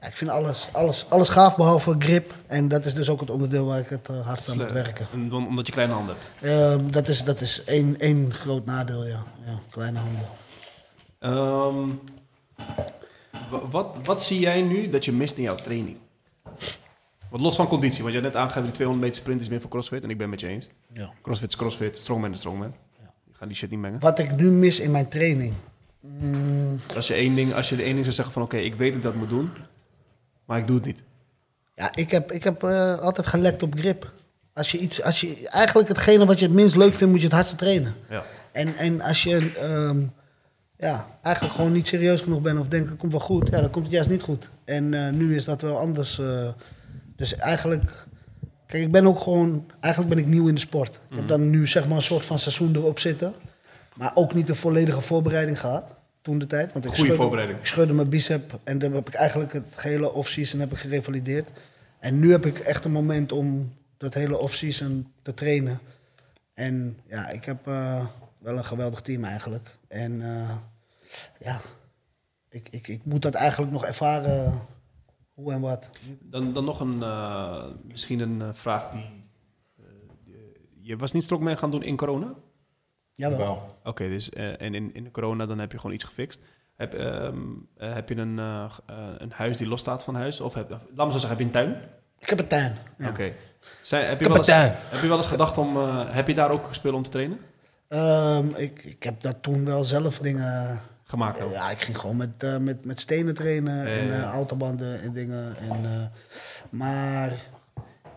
Speaker 3: ja, ik vind alles, alles, alles gaaf behalve grip. En dat is dus ook het onderdeel waar ik het eh, hardst aan moet werken.
Speaker 4: En dan- Omdat je kleine handen hebt.
Speaker 3: Ehm, dat is, dat is één, één groot nadeel, ja. ja kleine handen.
Speaker 4: Ehm, wa- wat, wat zie jij nu dat je mist in jouw training? Want los van conditie, want je had net aangegeven die 200 meter sprint is meer voor crossfit. En ik ben het met je eens.
Speaker 3: Ja.
Speaker 4: Crossfit is crossfit, strongman is strongman. Je gaat die shit niet mengen.
Speaker 3: Wat ik nu mis in mijn training. Mm,
Speaker 4: Als je één ding, als je de één ding zou zeggen van oké, ik weet dat ik dat moet doen, maar ik doe het niet.
Speaker 3: ja, ik heb, ik heb eh, altijd gelekt op grip. Als je iets, als je, eigenlijk hetgene wat je het minst leuk vindt, moet je het hardste trainen.
Speaker 4: Ja.
Speaker 3: En, en als je ehm, ja, eigenlijk gewoon niet serieus genoeg bent of denkt het komt wel goed, ja, dan komt het juist niet goed. En eh, nu is dat wel anders. eh. dus eigenlijk, kijk, ik ben ook gewoon, eigenlijk ben ik nieuw in de sport. Ik
Speaker 4: Mhm.
Speaker 3: heb dan nu zeg maar een soort van seizoen erop zitten, maar ook niet de volledige voorbereiding gehad toen de tijd. Want ik
Speaker 4: Goeie
Speaker 3: scheurde-
Speaker 4: voorbereiding.
Speaker 3: Ik scheurde mijn bicep en dan heb ik eigenlijk het hele off-season heb ik gerevalideerd. En nu heb ik echt een moment om dat hele off-season te trainen. En ja, ik heb eh, wel een geweldig team eigenlijk. En eh, ja, ik, ik, ik moet dat eigenlijk nog ervaren hoe en wat.
Speaker 4: Dan, dan nog een, eh, misschien een eh, vraag die, eh, die- Je was niet strongman gaan doen in corona?
Speaker 3: Jawel.
Speaker 4: Oké, dus eh, en in, in de corona dan heb je gewoon iets gefixt. Heb, ehm, eh, heb je een, eh, g- eh, een huis die los staat van huis? Of heb, laat me zo zeggen, heb je een tuin?
Speaker 3: Ik heb een tuin. Ja.
Speaker 4: Oké. Zij- Heb, je wel eens-
Speaker 1: Kapitein.
Speaker 4: heb je wel eens gedacht om... eh, heb je daar ook spullen om te trainen?
Speaker 3: Ehm, ik, ik heb dat toen wel zelf dingen...
Speaker 4: Gemaakt ook.
Speaker 3: Ja, ik ging gewoon met, eh, met, met stenen trainen en
Speaker 4: ja,
Speaker 3: eh,
Speaker 4: ja.
Speaker 3: autobanden en dingen. En, eh, maar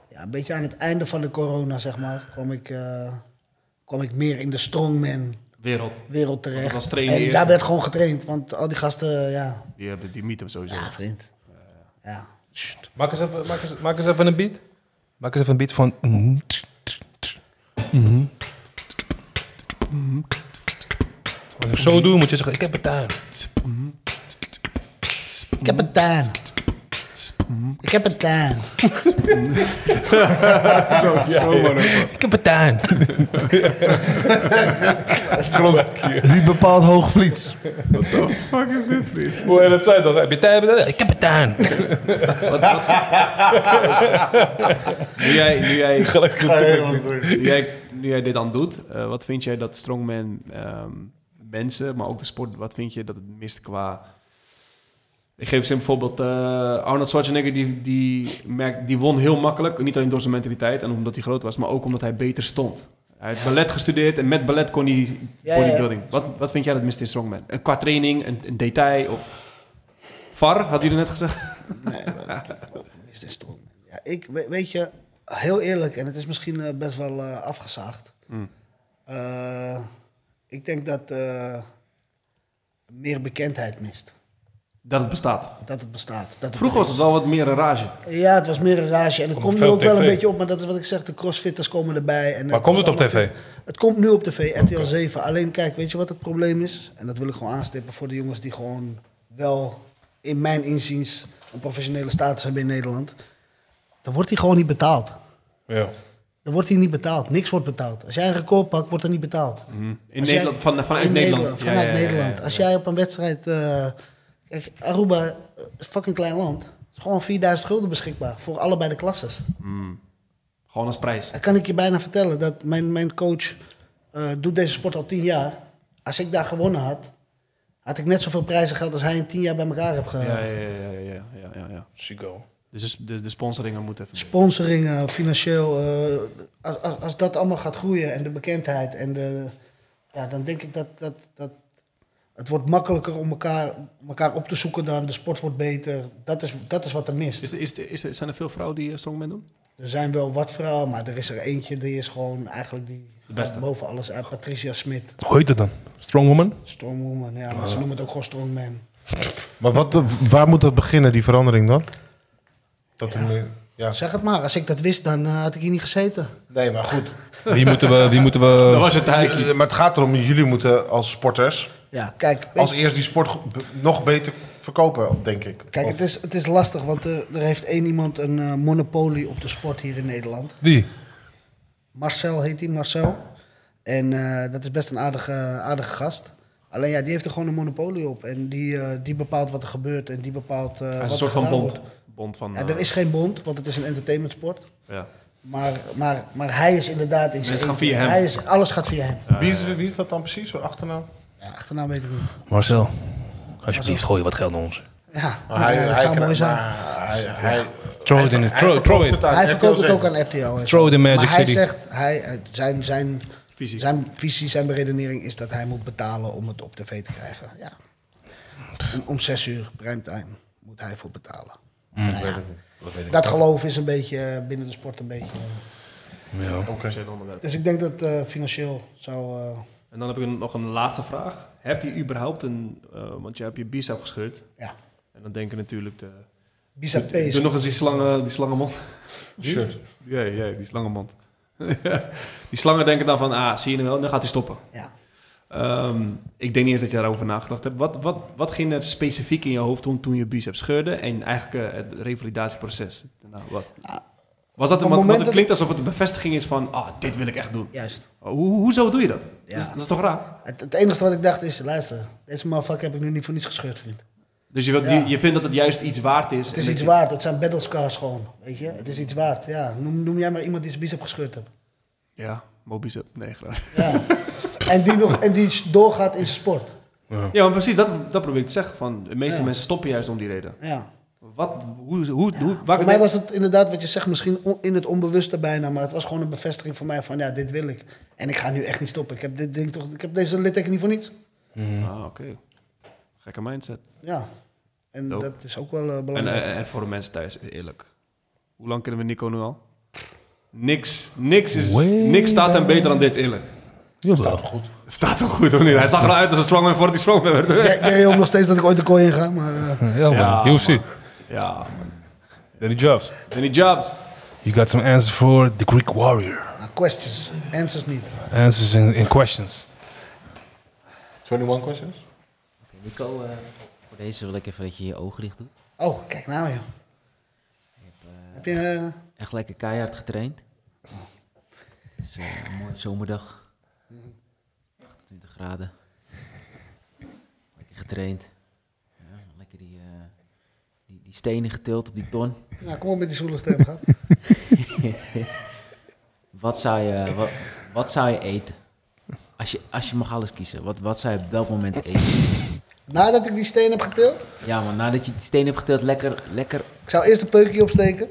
Speaker 3: ja, een beetje aan het einde van de corona, zeg maar, kwam ik, eh, kwam ik meer in de strongman
Speaker 4: Wereld.
Speaker 3: wereld terecht.
Speaker 4: Dat was trainen
Speaker 3: en
Speaker 4: eerst.
Speaker 3: daar werd gewoon getraind, want al die gasten, ja,
Speaker 4: Die, hebben, die meet hem sowieso.
Speaker 3: ja vriend. Ja. Sst.
Speaker 1: Maak eens even, maak eens, maak eens even een beat. Maak eens even een beat van... Als ik zo doe, moet je zeggen, ik heb het daar.
Speaker 3: Ik heb een tuin. Ik heb een tuin.
Speaker 1: Ik heb het daar.
Speaker 2: Niet bepaald hoog vliets.
Speaker 1: Hoe hij dat zei toch? Heb je tijd? Heb je tijd? Ik heb het daar.
Speaker 4: Nu jij, nu jij,
Speaker 2: Gelukkig.
Speaker 4: nu jij, nu jij dit aan doet, eh, wat vind jij dat strongman ehm, mensen, maar ook de sport, wat vind je dat het mist qua... Ik geef ze een voorbeeld. eh, Arnold Schwarzenegger die, die, merkt, die won heel makkelijk. Niet alleen door zijn mentaliteit en omdat hij groot was, maar ook omdat hij beter stond. Hij heeft ballet gestudeerd en met ballet kon hij
Speaker 3: ja.
Speaker 4: bodybuilding. Wat, wat vind jij dat mist in strongman? Eh, Qua training, een, een detail of... VAR, had jullie net gezegd?
Speaker 3: Is dit stom? Ja, ik, we- weet je, heel eerlijk, en het is misschien eh, best wel eh, afgezaagd.
Speaker 4: Hmm.
Speaker 3: Eh, ik denk dat eh, meer bekendheid mist.
Speaker 4: Dat het bestaat.
Speaker 3: Dat het bestaat. Dat het
Speaker 4: Vroeger
Speaker 3: er
Speaker 4: was
Speaker 3: is.
Speaker 4: het wel wat meer een rage.
Speaker 3: Ja, het was meer een rage. En het komt nu
Speaker 1: veel
Speaker 3: ook wel
Speaker 1: tv.
Speaker 3: een beetje op, maar dat is wat ik zeg. De crossfitters komen erbij. En
Speaker 1: Maar komt het op tv?
Speaker 3: Het komt nu op tv, RTL 7. Alleen kijk, weet je wat het probleem is? En dat wil ik gewoon aanstippen voor de jongens die gewoon wel, in mijn inziens, een professionele status hebben in Nederland. Dan wordt hij gewoon niet betaald.
Speaker 5: Ja.
Speaker 3: Dan wordt hij niet betaald. Niks wordt betaald. Als jij een record pakt, wordt er niet betaald.
Speaker 4: Hm. In
Speaker 3: Als jij-
Speaker 4: Nederland, van, vanuit
Speaker 3: in
Speaker 4: Nederland. Ja,
Speaker 3: Vanuit
Speaker 4: ja, ja, ja.
Speaker 3: Nederland. Als jij op een wedstrijd... eh, kijk, Aruba eh, is fucking klein land. Het is gewoon 4000 gulden beschikbaar voor allebei de klasses.
Speaker 4: Gewoon als prijs.
Speaker 3: Dan kan ik je bijna vertellen dat mijn, mijn coach eh, doet deze sport al 10 jaar. Als ik daar gewonnen had, had ik net zoveel prijzen gehad als hij in 10 jaar bij elkaar heeft
Speaker 4: Ja,
Speaker 3: gehad.
Speaker 4: ja, ja, ja, ja, ja, ja, ja.
Speaker 5: Chico.
Speaker 4: Dus de s- de, de sponsoringen moeten even.
Speaker 3: Sponsoring, eh, financieel. eh, als, als, als dat allemaal gaat groeien en de bekendheid en de. Ja, dan denk ik dat, dat, dat het wordt makkelijker om elkaar, elkaar op te zoeken dan. De sport wordt beter. Dat is, dat is wat er mist.
Speaker 4: Is, is, is, zijn er veel vrouwen die eh, strongman doen?
Speaker 3: Er zijn wel wat vrouwen, maar er is er eentje die is gewoon eigenlijk die.
Speaker 4: De beste.
Speaker 3: Boven alles uit. Patricia Smit.
Speaker 1: Hoe heet het dan? Strongwoman?
Speaker 3: Strongwoman, ja,
Speaker 4: Ah.
Speaker 3: maar ze noemen het ook gewoon Strongman.
Speaker 2: Maar wat, waar moet dat beginnen, die verandering dan? Dat er meer- ja. Ja.
Speaker 3: Zeg het maar. Als ik dat wist, dan eh, had ik hier niet gezeten.
Speaker 2: Nee, maar goed. Eh,
Speaker 1: Wie moeten we... Wie moeten
Speaker 4: Dat
Speaker 1: we
Speaker 4: was het heikie.
Speaker 2: Maar het gaat erom, jullie moeten als sporters
Speaker 3: Ja, kijk. weet
Speaker 2: als
Speaker 3: je,
Speaker 2: eerst die sport go- b- nog beter verkopen, denk ik.
Speaker 3: Kijk,
Speaker 2: Of-
Speaker 3: het is, het is lastig, want eh, er heeft één iemand een eh, monopolie op de sport hier in Nederland.
Speaker 1: wie?
Speaker 3: Marcel heet hij, Marcel. En eh, dat is best een aardige, aardige gast. Alleen ja, die heeft er gewoon een monopolie op. En die, eh, die bepaalt wat er gebeurt en die bepaalt eh, wat
Speaker 4: Hij is
Speaker 3: er
Speaker 4: een soort van
Speaker 3: gedaan
Speaker 4: bond.
Speaker 3: wordt.
Speaker 4: Bond van...
Speaker 3: Ja,
Speaker 4: eh,
Speaker 3: er is geen bond, want het is een entertainmentsport.
Speaker 4: ja.
Speaker 3: Maar, maar, maar hij is inderdaad... in zijn
Speaker 4: Mensen gaan
Speaker 3: eentje.
Speaker 4: via hem.
Speaker 3: Hij is, alles gaat via hem.
Speaker 2: wie, is, wie is dat dan precies, zo'n achternaam?
Speaker 3: Ja, achternaam weet ik niet.
Speaker 1: Marcel, alsjeblieft, gooi wat geld naar ons.
Speaker 3: Ja, nou ja, dat zou
Speaker 2: kan-
Speaker 3: mooi zijn.
Speaker 2: maar hij- hij-
Speaker 1: Throw it in.
Speaker 2: hij
Speaker 1: Throw,
Speaker 2: verkoopt
Speaker 1: throw
Speaker 2: het
Speaker 1: it.
Speaker 2: aan
Speaker 3: Hij verkoopt
Speaker 2: RTL
Speaker 3: het ook
Speaker 2: zeven.
Speaker 3: aan RTL. en zo.
Speaker 1: Throw the magic
Speaker 3: maar hij
Speaker 1: city.
Speaker 3: zegt, hij, eh, zijn, zijn,
Speaker 4: Visie.
Speaker 3: zijn visie, zijn beredenering is dat hij moet betalen om het op tv te krijgen. Ja. Om, om zes uur, primetime, moet hij voor betalen.
Speaker 4: Mm.
Speaker 3: Nou ja, dat geloof is een beetje eh, binnen de sport een beetje. eh,
Speaker 1: Ja.
Speaker 4: Shit, onderwerp.
Speaker 3: Dus ik denk dat eh, financieel zou... eh,
Speaker 4: En dan heb ik nog een laatste vraag. Heb je überhaupt een... eh, want je hebt je bicep gescheurd.
Speaker 3: ja,
Speaker 4: En dan denken natuurlijk de...
Speaker 3: bizar pace.
Speaker 4: Doe nog eens die slangen, die slangenmond.
Speaker 5: Shirt.
Speaker 4: Ja, ja, die slangenmond. die slangen denken dan van, ah, zie je hem wel, dan gaat hij stoppen.
Speaker 3: Ja.
Speaker 4: Ehm, ik denk niet eens dat je daarover nagedacht hebt. Wat, wat, wat ging er specifiek in je hoofd om toen je biceps scheurde en eigenlijk eh, het revalidatieproces? Nou, wat?
Speaker 3: op
Speaker 4: Was dat
Speaker 3: het
Speaker 4: een, want,
Speaker 3: moment
Speaker 4: want het
Speaker 3: dat-
Speaker 4: klinkt alsof het een bevestiging is van, ah, dit wil ik echt doen.
Speaker 3: Juist.
Speaker 4: Hoe, hoezo doe je dat?
Speaker 3: Ja.
Speaker 4: Dat, is, dat is toch raar?
Speaker 3: Het, het enige wat ik dacht is, luister, deze motherfucker heb ik nu niet voor niets gescheurd, vriend.
Speaker 4: Dus je, wilt,
Speaker 3: Ja.
Speaker 4: je, je vindt dat het juist iets waard is.
Speaker 3: Het
Speaker 4: en
Speaker 3: is
Speaker 4: dat
Speaker 3: iets
Speaker 4: je-
Speaker 3: waard, het zijn battle scars gewoon, weet je. Het is iets waard, ja. Noem, noem jij maar iemand die zijn bicep gescheurd hebt.
Speaker 4: Ja, Mo bicep. Nee, graag.
Speaker 3: Ja. en, die nog, en die doorgaat in zijn sport.
Speaker 4: Ja, maar precies, dat, dat probeer ik te zeggen. Van, de meeste
Speaker 3: Ja.
Speaker 4: mensen stoppen juist om die reden.
Speaker 3: Ja.
Speaker 4: Wat, hoe, hoe, hoe, waar-
Speaker 3: Voor mij was het inderdaad wat je zegt, misschien on- in het onbewuste bijna, maar het was gewoon een bevestiging voor mij van ja, dit wil ik. En ik ga nu echt niet stoppen. Ik heb, dit ding toch, ik heb deze litteken niet voor niets.
Speaker 4: Ah, oké. Gekke mindset.
Speaker 3: Ja. En
Speaker 4: Dope.
Speaker 3: dat is ook wel eh,
Speaker 4: En,
Speaker 3: belangrijk.
Speaker 4: eh, en voor de mensen thuis, eerlijk. Hoe lang kennen we Nico nu al? Niks, niks, is,
Speaker 1: Way
Speaker 4: niks staat hem beter dan dit, eerlijk.
Speaker 1: Jawel.
Speaker 4: Het staat toch goed, of niet? Hij zag eruit als een strongman voordat hij strongman werd.
Speaker 3: Jij- Jij hoopt nog steeds dat ik ooit de kooi in ga, maar eh,
Speaker 1: Ja,
Speaker 4: Ja,
Speaker 1: man. UFC.
Speaker 4: Ja, man.
Speaker 1: Danny Jobs.
Speaker 4: Danny Jobs.
Speaker 1: You got some answers for the Greek warrior.
Speaker 3: nou, questions, answers niet.
Speaker 1: Answers in, in questions.
Speaker 2: 21 questions?
Speaker 9: Nico, eh, voor deze wil ik even dat je je ogen dicht doet.
Speaker 3: Oh, kijk nou joh. Heb je... eh,
Speaker 9: Echt lekker keihard getraind. Het is eh, een mooie zomerdag. 28 graden. Lekker getraind. Ja, lekker die, eh, die, die stenen getild op die ton.
Speaker 3: nou, kom op met die zoele stem, gaat.
Speaker 9: Wat zou je, eh, wat, wat zou je eten? Als je, als je mag alles kiezen, wat, wat zou je op dat moment eten?
Speaker 3: Nadat ik die steen heb getild,
Speaker 9: Ja, maar nadat je die steen hebt getild, lekker, lekker
Speaker 3: Ik zou eerst een peukje opsteken.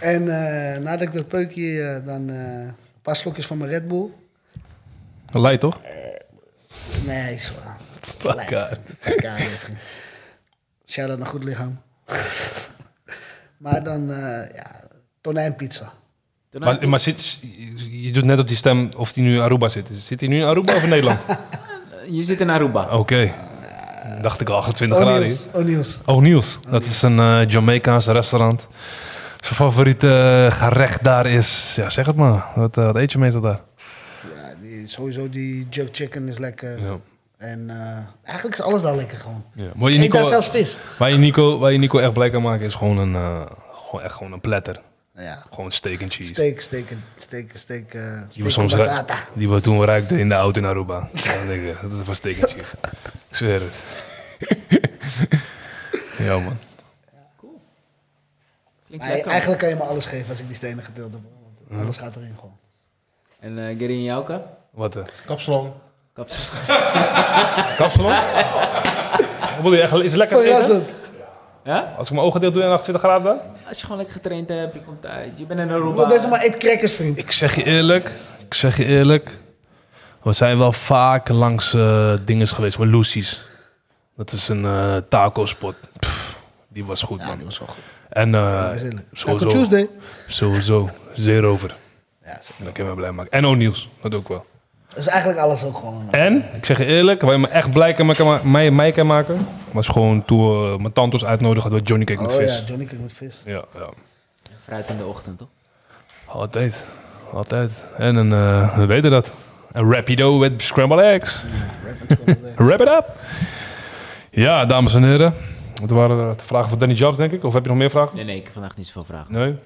Speaker 3: en eh, nadat ik dat peukje eh, dan eh, een paar slokjes van mijn Red Bull.
Speaker 1: Leid toch?
Speaker 3: Nee, is waar.
Speaker 1: Fuck uit.
Speaker 3: Fuck out, vriend. Shout out naar goed lichaam. maar dan eh ja, tonijnpizza.
Speaker 1: Maar, maar zit, je doet net op die stem of die nu in Aruba zit. Zit hij nu in Aruba of in Nederland?
Speaker 9: eh, Je zit in Aruba.
Speaker 1: Oké. Dacht ik al,
Speaker 2: Oh,
Speaker 1: 28 graden. hier.
Speaker 3: O'Neill's. O'Neill's.
Speaker 1: O'Neill's. Oh,
Speaker 3: Oh,
Speaker 1: Dat is een eh Jamaicaans restaurant. Zijn favoriete eh, gerecht daar is... Ja, zeg het maar. Wat, eh, wat eet je meestal daar?
Speaker 3: Ja, die, sowieso die jerk chicken is lekker.
Speaker 1: Ja.
Speaker 3: En eh, eigenlijk is alles daar lekker gewoon.
Speaker 1: Ja. Waar, je
Speaker 3: Ik eet daar
Speaker 1: Nico,
Speaker 3: zelfs vis.
Speaker 1: waar, je Nico, waar je Nico echt blij kan maken is gewoon een, eh, gewoon, echt gewoon een platter.
Speaker 3: Ja.
Speaker 1: Gewoon steak and cheese.
Speaker 3: Steak, steak, en- steak, steak, eh
Speaker 1: Die we
Speaker 3: steak en
Speaker 1: soms
Speaker 3: batata.
Speaker 1: ruik- die we toen ruikten in de auto in Aruba. Ja, dan denk ik, dat is een steek cheese. Ik zweer het. ja, man.
Speaker 9: Klinkt
Speaker 3: Maar
Speaker 9: lekker.
Speaker 3: eigenlijk kan je me alles geven als ik die stenen gedeeld heb. Want alles gaat erin gewoon.
Speaker 9: En eh Gerin Jouka?
Speaker 1: Wat eh?
Speaker 2: Kapsalon.
Speaker 9: Kaps.
Speaker 1: Kapsalon? Wat bedoel je echt? Is het lekker eten?
Speaker 3: Verrassend.
Speaker 9: Ja?
Speaker 1: Als ik mijn ogen dicht doe en 28 graden daar?
Speaker 9: Als je gewoon lekker getraind hebt, je komt uit, je bent in
Speaker 3: Bro,
Speaker 9: Aruba.
Speaker 3: Deze maar eet crackers, vriend.
Speaker 1: Ik zeg je eerlijk. Ik zeg je eerlijk. We zijn wel vaak langs eh dingen geweest. Maar Lucy's. Dat is een eh taco spot. Pff, die was goed, man.
Speaker 3: was wel goed.
Speaker 1: En eh
Speaker 3: Gezellig. Taco
Speaker 1: sowieso,
Speaker 3: Tuesday.
Speaker 1: sowieso. Zeer over.
Speaker 3: Ja, zo.
Speaker 1: Dat kan me blij maken. En O'Neill's, dat ook wel.
Speaker 3: Dat is eigenlijk alles ook gewoon.
Speaker 1: En, ik zeg je eerlijk, waar je me echt blij kan maken, mij, mij kan maken, was gewoon toen we eh, mijn tantes uitnodigen door Johnny Cake met
Speaker 3: Oh ja,
Speaker 1: vis.
Speaker 3: Johnny King met vis.
Speaker 1: Ja, ja.
Speaker 9: Fruit in de ochtend, toch?
Speaker 1: Altijd. Altijd. En een, eh, we weten dat. Een rapido met scrambled eggs. Wrap it up. Ja, dames en heren. Het waren de vragen van Danny Jobs, denk ik. Of heb je nog meer vragen?
Speaker 9: Nee, nee, ik heb vandaag niet zoveel vragen.
Speaker 1: Nee?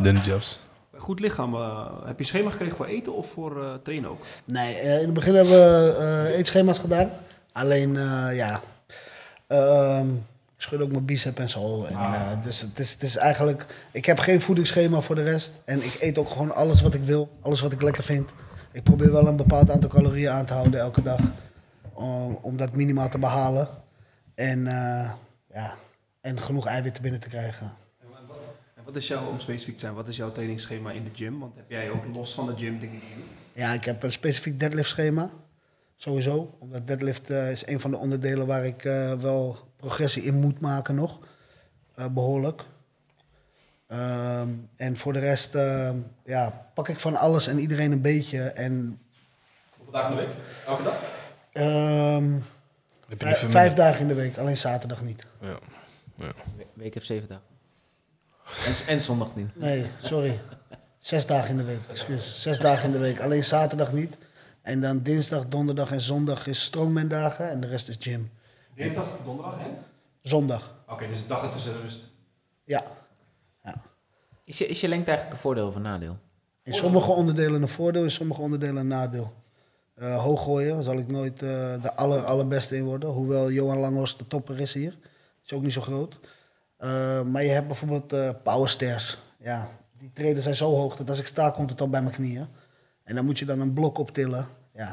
Speaker 1: Danny Jobs.
Speaker 4: Goed lichaam. eh, heb je schema gekregen voor eten of voor eh, trainen ook?
Speaker 3: Nee, eh, in het begin hebben we eh, eetschema's gedaan. Alleen, eh, ja. Ehm, ik schud ook mijn bicep en zo. En, eh, dus het is, het is eigenlijk. Ik heb geen voedingsschema voor de rest. En ik eet ook gewoon alles wat ik wil. Alles wat ik lekker vind. Ik probeer wel een bepaald aantal calorieën aan te houden elke dag. Om, om dat minimaal te behalen. En, eh, ja, en genoeg eiwitten binnen te krijgen.
Speaker 4: En wat is jouw, om specifiek te zijn, wat is jouw trainingsschema in de gym? Want heb jij ook los van de gym dingen die je doet?
Speaker 3: Ja, ik heb een specifiek deadlift schema. Sowieso. Omdat deadlift eh, is een van de onderdelen waar ik eh, wel progressie in moet maken nog. Eh, behoorlijk. Ehm, en voor de rest ehm, ja, pak ik van alles en iedereen een beetje. En
Speaker 4: Hoeveel dagen in de week? Elke dag?
Speaker 3: ehm,
Speaker 1: Heb
Speaker 3: vij- vijf dagen in de week, alleen zaterdag niet.
Speaker 9: We- Week of zeven dagen. En, z- en zondag niet.
Speaker 3: Nee, sorry. Zes dagen in de week, excuus. Zes dagen in de week, alleen zaterdag niet. En dan dinsdag, donderdag en zondag is strongman dagen en de rest is gym.
Speaker 4: Dinsdag, donderdag en? Oké,
Speaker 3: Zondag,
Speaker 4: dus een dag ertussen de rust.
Speaker 3: ja.
Speaker 9: Is je, is je lengte eigenlijk een voordeel of een nadeel?
Speaker 3: In sommige onderdelen een voordeel, in sommige onderdelen een nadeel. Eh hoog gooien zal ik nooit eh, de aller, allerbeste in worden. Hoewel Johan Langhorst de topper is hier. Is ook niet zo groot. Eh, maar je hebt bijvoorbeeld eh powerstairs. Ja, die treden zijn zo hoog dat als ik sta komt het al bij mijn knieën. En dan moet je dan een blok optillen. Ja.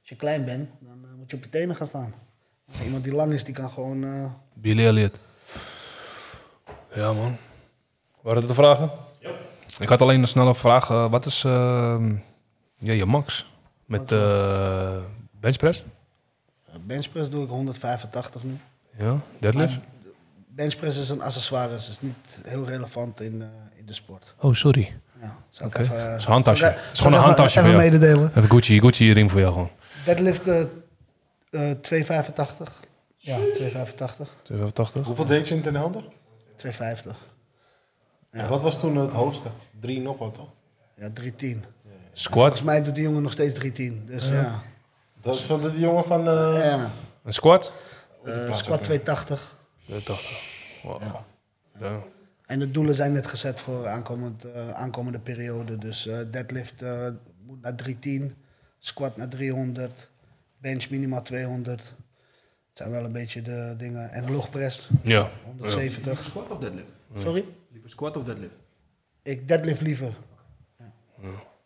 Speaker 3: Als je klein bent, dan eh, moet je op je tenen gaan staan. Maar iemand die lang is, die kan gewoon... eh,
Speaker 1: Billy Elliot. Ja, man. Waren dat de vragen? Ik had alleen een snelle vraag. eh, wat is eh, ja, je max met eh benchpress?
Speaker 3: benchpress doe ik 185 nu.
Speaker 1: Ja, deadlift?
Speaker 3: Maar benchpress is een accessoire, dus is niet heel relevant in, eh, in de sport.
Speaker 1: Oh, sorry.
Speaker 3: Ja, zou
Speaker 1: Oké.
Speaker 3: ik even...
Speaker 1: Het is een handtasje.
Speaker 3: zou ik-
Speaker 1: Het is
Speaker 3: zou
Speaker 1: gewoon
Speaker 3: ik
Speaker 1: een
Speaker 3: even-
Speaker 1: handtasje
Speaker 3: Even
Speaker 1: voor jou.
Speaker 3: mededelen.
Speaker 1: Even Gucci, Gucci ring voor jou gewoon.
Speaker 3: Deadlift eh eh 285. Ja, 285.
Speaker 1: 280.
Speaker 2: Hoeveel deed je in ten helder?
Speaker 3: 250.
Speaker 2: En Wat was toen het hoogste? Drie nog wat, toch?
Speaker 3: Ja, 310.
Speaker 1: Squat.
Speaker 3: Volgens mij doet die jongen nog steeds 310. Dus ja.
Speaker 2: Dat is dan de jongen van... eh,
Speaker 3: ja.
Speaker 1: Een squat?
Speaker 3: Eh, squat 280.
Speaker 1: 280. Wow.
Speaker 3: Ja.
Speaker 1: Ja.
Speaker 3: En de doelen zijn net gezet voor aankomend, eh, aankomende periode. Dus eh, deadlift eh, moet naar 310. Squat naar 300. Bench minimaal 200. Het zijn wel een beetje de dingen. En logpress
Speaker 1: Ja.
Speaker 3: 170.
Speaker 4: Squat of deadlift?
Speaker 3: Sorry?
Speaker 4: Liever squat of deadlift?
Speaker 3: Ik deadlift liever.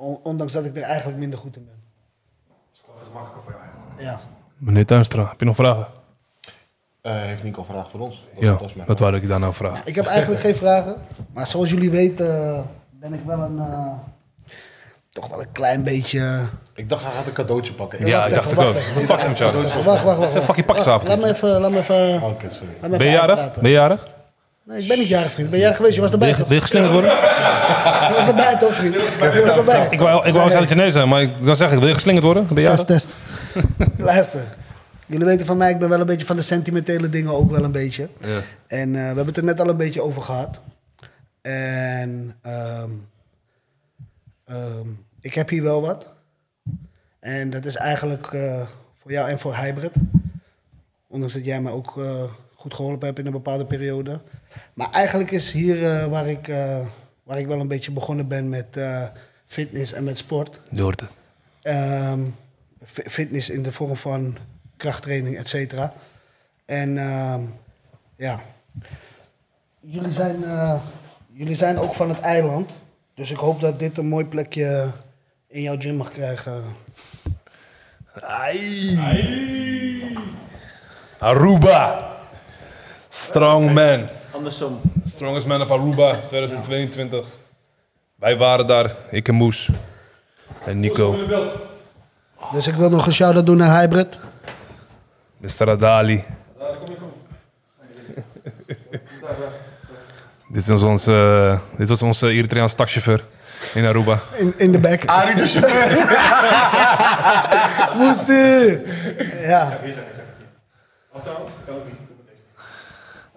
Speaker 3: O- Ondanks dat ik er eigenlijk minder goed in ben. Squat is makkelijker voor jou
Speaker 1: Meneer Tuinstra, heb je nog vragen?
Speaker 2: eh, heeft Nico vraag voor ons?
Speaker 1: Ja,
Speaker 2: was mijn
Speaker 1: dat
Speaker 2: vraag.
Speaker 1: wou ik daar nou vragen.
Speaker 3: Ja. Ik heb eigenlijk geen vragen. Maar zoals jullie weten eh, ben ik wel een... eh, toch wel een klein beetje...
Speaker 2: Ik dacht, hij gaat een cadeautje pakken.
Speaker 1: Ja,
Speaker 3: Wacht
Speaker 1: ik dacht ik
Speaker 3: even,
Speaker 1: ook.
Speaker 3: wacht even.
Speaker 1: Fuck hem,
Speaker 2: Dat
Speaker 1: Charles.
Speaker 2: is-
Speaker 3: Wacht, wacht, wacht. wacht.
Speaker 1: Fuck je pak
Speaker 3: Wacht,
Speaker 1: avond.
Speaker 3: Laat me even... Laat me even, laat
Speaker 2: Oké, sorry.
Speaker 3: me even
Speaker 1: Ben je jarig?
Speaker 3: uitpraten.
Speaker 1: Ben je jarig?
Speaker 3: Nee, ik ben niet jarig, vriend. Ben jij geweest? Je was erbij,
Speaker 1: Wil je-
Speaker 3: toch?
Speaker 1: wil je geslingerd worden?
Speaker 3: Je was erbij, toch, vriend? Je was erbij.
Speaker 1: Ik wou, ik wou
Speaker 3: Nee.
Speaker 1: zelf Chinees zijn, maar ik, dan zeg ik, wil je geslingerd worden? Ben je jarig?
Speaker 3: Test, test. Luister. Jullie weten van mij, ik ben wel een beetje van de sentimentele dingen ook wel een beetje.
Speaker 1: Ja.
Speaker 3: En eh, we hebben het er net al een beetje over gehad. En ehm, ehm, ik heb hier wel wat. En dat is eigenlijk eh, voor jou en voor Hybrid. Ondanks dat jij mij ook eh, goed geholpen hebt in een bepaalde periode. Maar eigenlijk is hier eh, waar, ik, eh, waar ik wel een beetje begonnen ben met eh, fitness en met sport.
Speaker 1: Je hoort het.
Speaker 3: Ehm, fi- fitness in de vorm van krachttraining, et cetera. En ehm, ja, jullie zijn, eh, jullie zijn ook van het eiland. Dus ik hoop dat dit een mooi plekje in jouw gym mag krijgen.
Speaker 1: Aruba. Strong man.
Speaker 9: Andersom.
Speaker 1: Strongest man of Aruba 2022. Wij waren daar, ik en Moes. En Nico.
Speaker 3: Dus ik wil nog een shout-out doen naar Hybrid.
Speaker 1: Mr. Adali. dit, is ons, eh, dit was onze Eritreaanse taxichauffeur. In Aruba.
Speaker 3: In, in de bek.
Speaker 2: Arie de chauffeur.
Speaker 3: Moesie! Ja,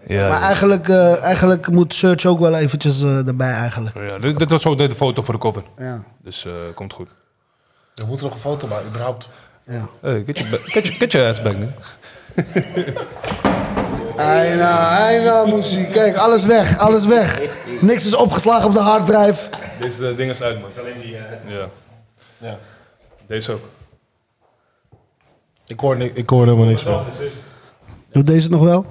Speaker 1: Ja,
Speaker 3: maar eigenlijk, eh, eigenlijk moet Search ook wel eventjes eh, erbij eigenlijk.
Speaker 1: ja, dit, dit was zo de, de foto voor de cover.
Speaker 3: Ja,
Speaker 1: Dus eh, komt goed.
Speaker 2: We moeten nog een foto maken, überhaupt.
Speaker 3: ja.
Speaker 1: Hey, get, your ba- get, your- get your ass back, man.
Speaker 3: Eina, eina, Moesie. Kijk, alles weg, alles weg. Niks is opgeslagen op de harddrive.
Speaker 1: Deze eh, ding is uit, man. Alleen die... eh, Ja.
Speaker 2: Ja.
Speaker 1: Deze ook.
Speaker 2: Ik hoor, ni- ik hoor helemaal niks van.
Speaker 3: Doet deze nog wel?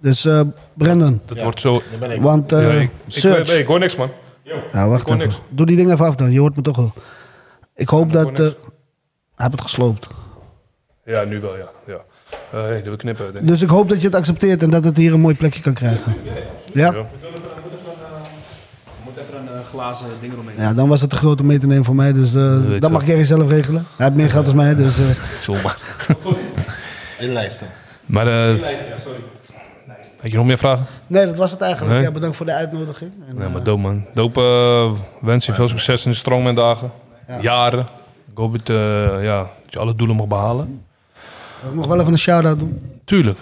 Speaker 3: Dus eh Brendan,
Speaker 1: Dat wordt zo...
Speaker 2: Daar ben ik.
Speaker 3: want eh,
Speaker 1: Ja, ik, ik,
Speaker 3: Search...
Speaker 1: ik hoor niks, man.
Speaker 3: ja, wacht
Speaker 1: hoor
Speaker 3: even.
Speaker 1: niks.
Speaker 3: Doe die ding even af dan, je hoort me toch wel. Ik hoop dat...
Speaker 1: hoor niks.
Speaker 3: eh, Hij heeft het gesloopt.
Speaker 1: Ja, nu wel, ja. ja. Eh, hey, dat wil ik knippen, denk ik.
Speaker 3: Dus ik hoop dat je het accepteert en dat het hier een mooi plekje kan krijgen. Ja?
Speaker 4: Er moet even een eh, glazen ding eromheen.
Speaker 3: Ja, dan was het te groot om mee te nemen voor mij, dus eh,
Speaker 1: weet
Speaker 3: dat
Speaker 1: wel.
Speaker 3: mag Jerry zelf regelen. Hij heeft meer geld dan mij, dus... eh,
Speaker 1: Zomaar.
Speaker 2: Inlijsten.
Speaker 1: Maar... eh Had je nog meer vragen?
Speaker 3: nee, dat was het eigenlijk.
Speaker 1: Nee?
Speaker 3: Ja, bedankt voor de uitnodiging. En,
Speaker 1: Nee,
Speaker 3: eh,
Speaker 1: maar dope, man. Dope eh, wens je veel succes in de stroom en dagen.
Speaker 3: Ja.
Speaker 1: Jaren. Ik hoop het, eh, ja, dat je alle doelen mag behalen.
Speaker 3: Ik mag eh, wel even een shout-out doen.
Speaker 1: Tuurlijk.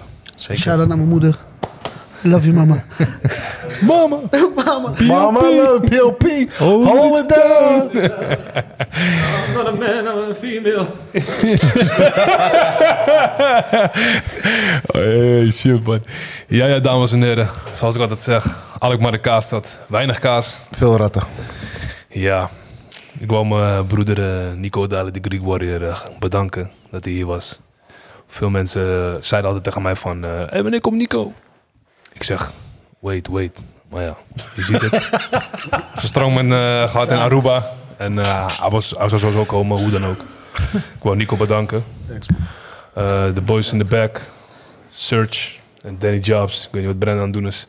Speaker 3: Een shout-out naar mijn moeder. I love you, mama.
Speaker 1: Mama!
Speaker 3: mama.
Speaker 2: Mama, love, PLP. Hold it down.
Speaker 4: Not a man, I'm a female.
Speaker 1: Oh, Hey, shit, man. Ja, ja, dames en heren. Zoals ik altijd zeg, Alkmaar de kaasstad. Weinig kaas.
Speaker 2: Veel ratten.
Speaker 1: Ja. Ik wou mijn broeder eh, Nico Dalen, de Greek Warrior, eh, bedanken dat hij hier was. Veel mensen eh, zeiden altijd tegen mij van... eh hey, wanneer komt Nico? Ik zeg, wait, wait. Maar ja, je ziet het. Stromen eh gehad in Aruba. En eh, hij, was, hij zou sowieso komen, hoe dan ook. Ik wou Nico bedanken.
Speaker 3: Thanks,
Speaker 1: Eh, De boys in the back. Search. En Danny Jobs. Ik weet niet wat Brennan aan het doen is.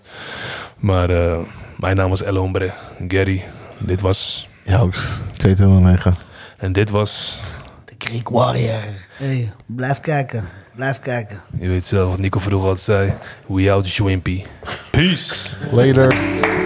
Speaker 1: Maar eh, mijn naam was El Hombre. Gary. Dit was...
Speaker 2: Jouks. 209.
Speaker 1: En dit was,
Speaker 3: De Greek Warrior. Hey, blijf kijken. Blijf kijken.
Speaker 1: je weet zelf wat Nico vroeger altijd zei, we out wimpy. Peace.
Speaker 2: Later.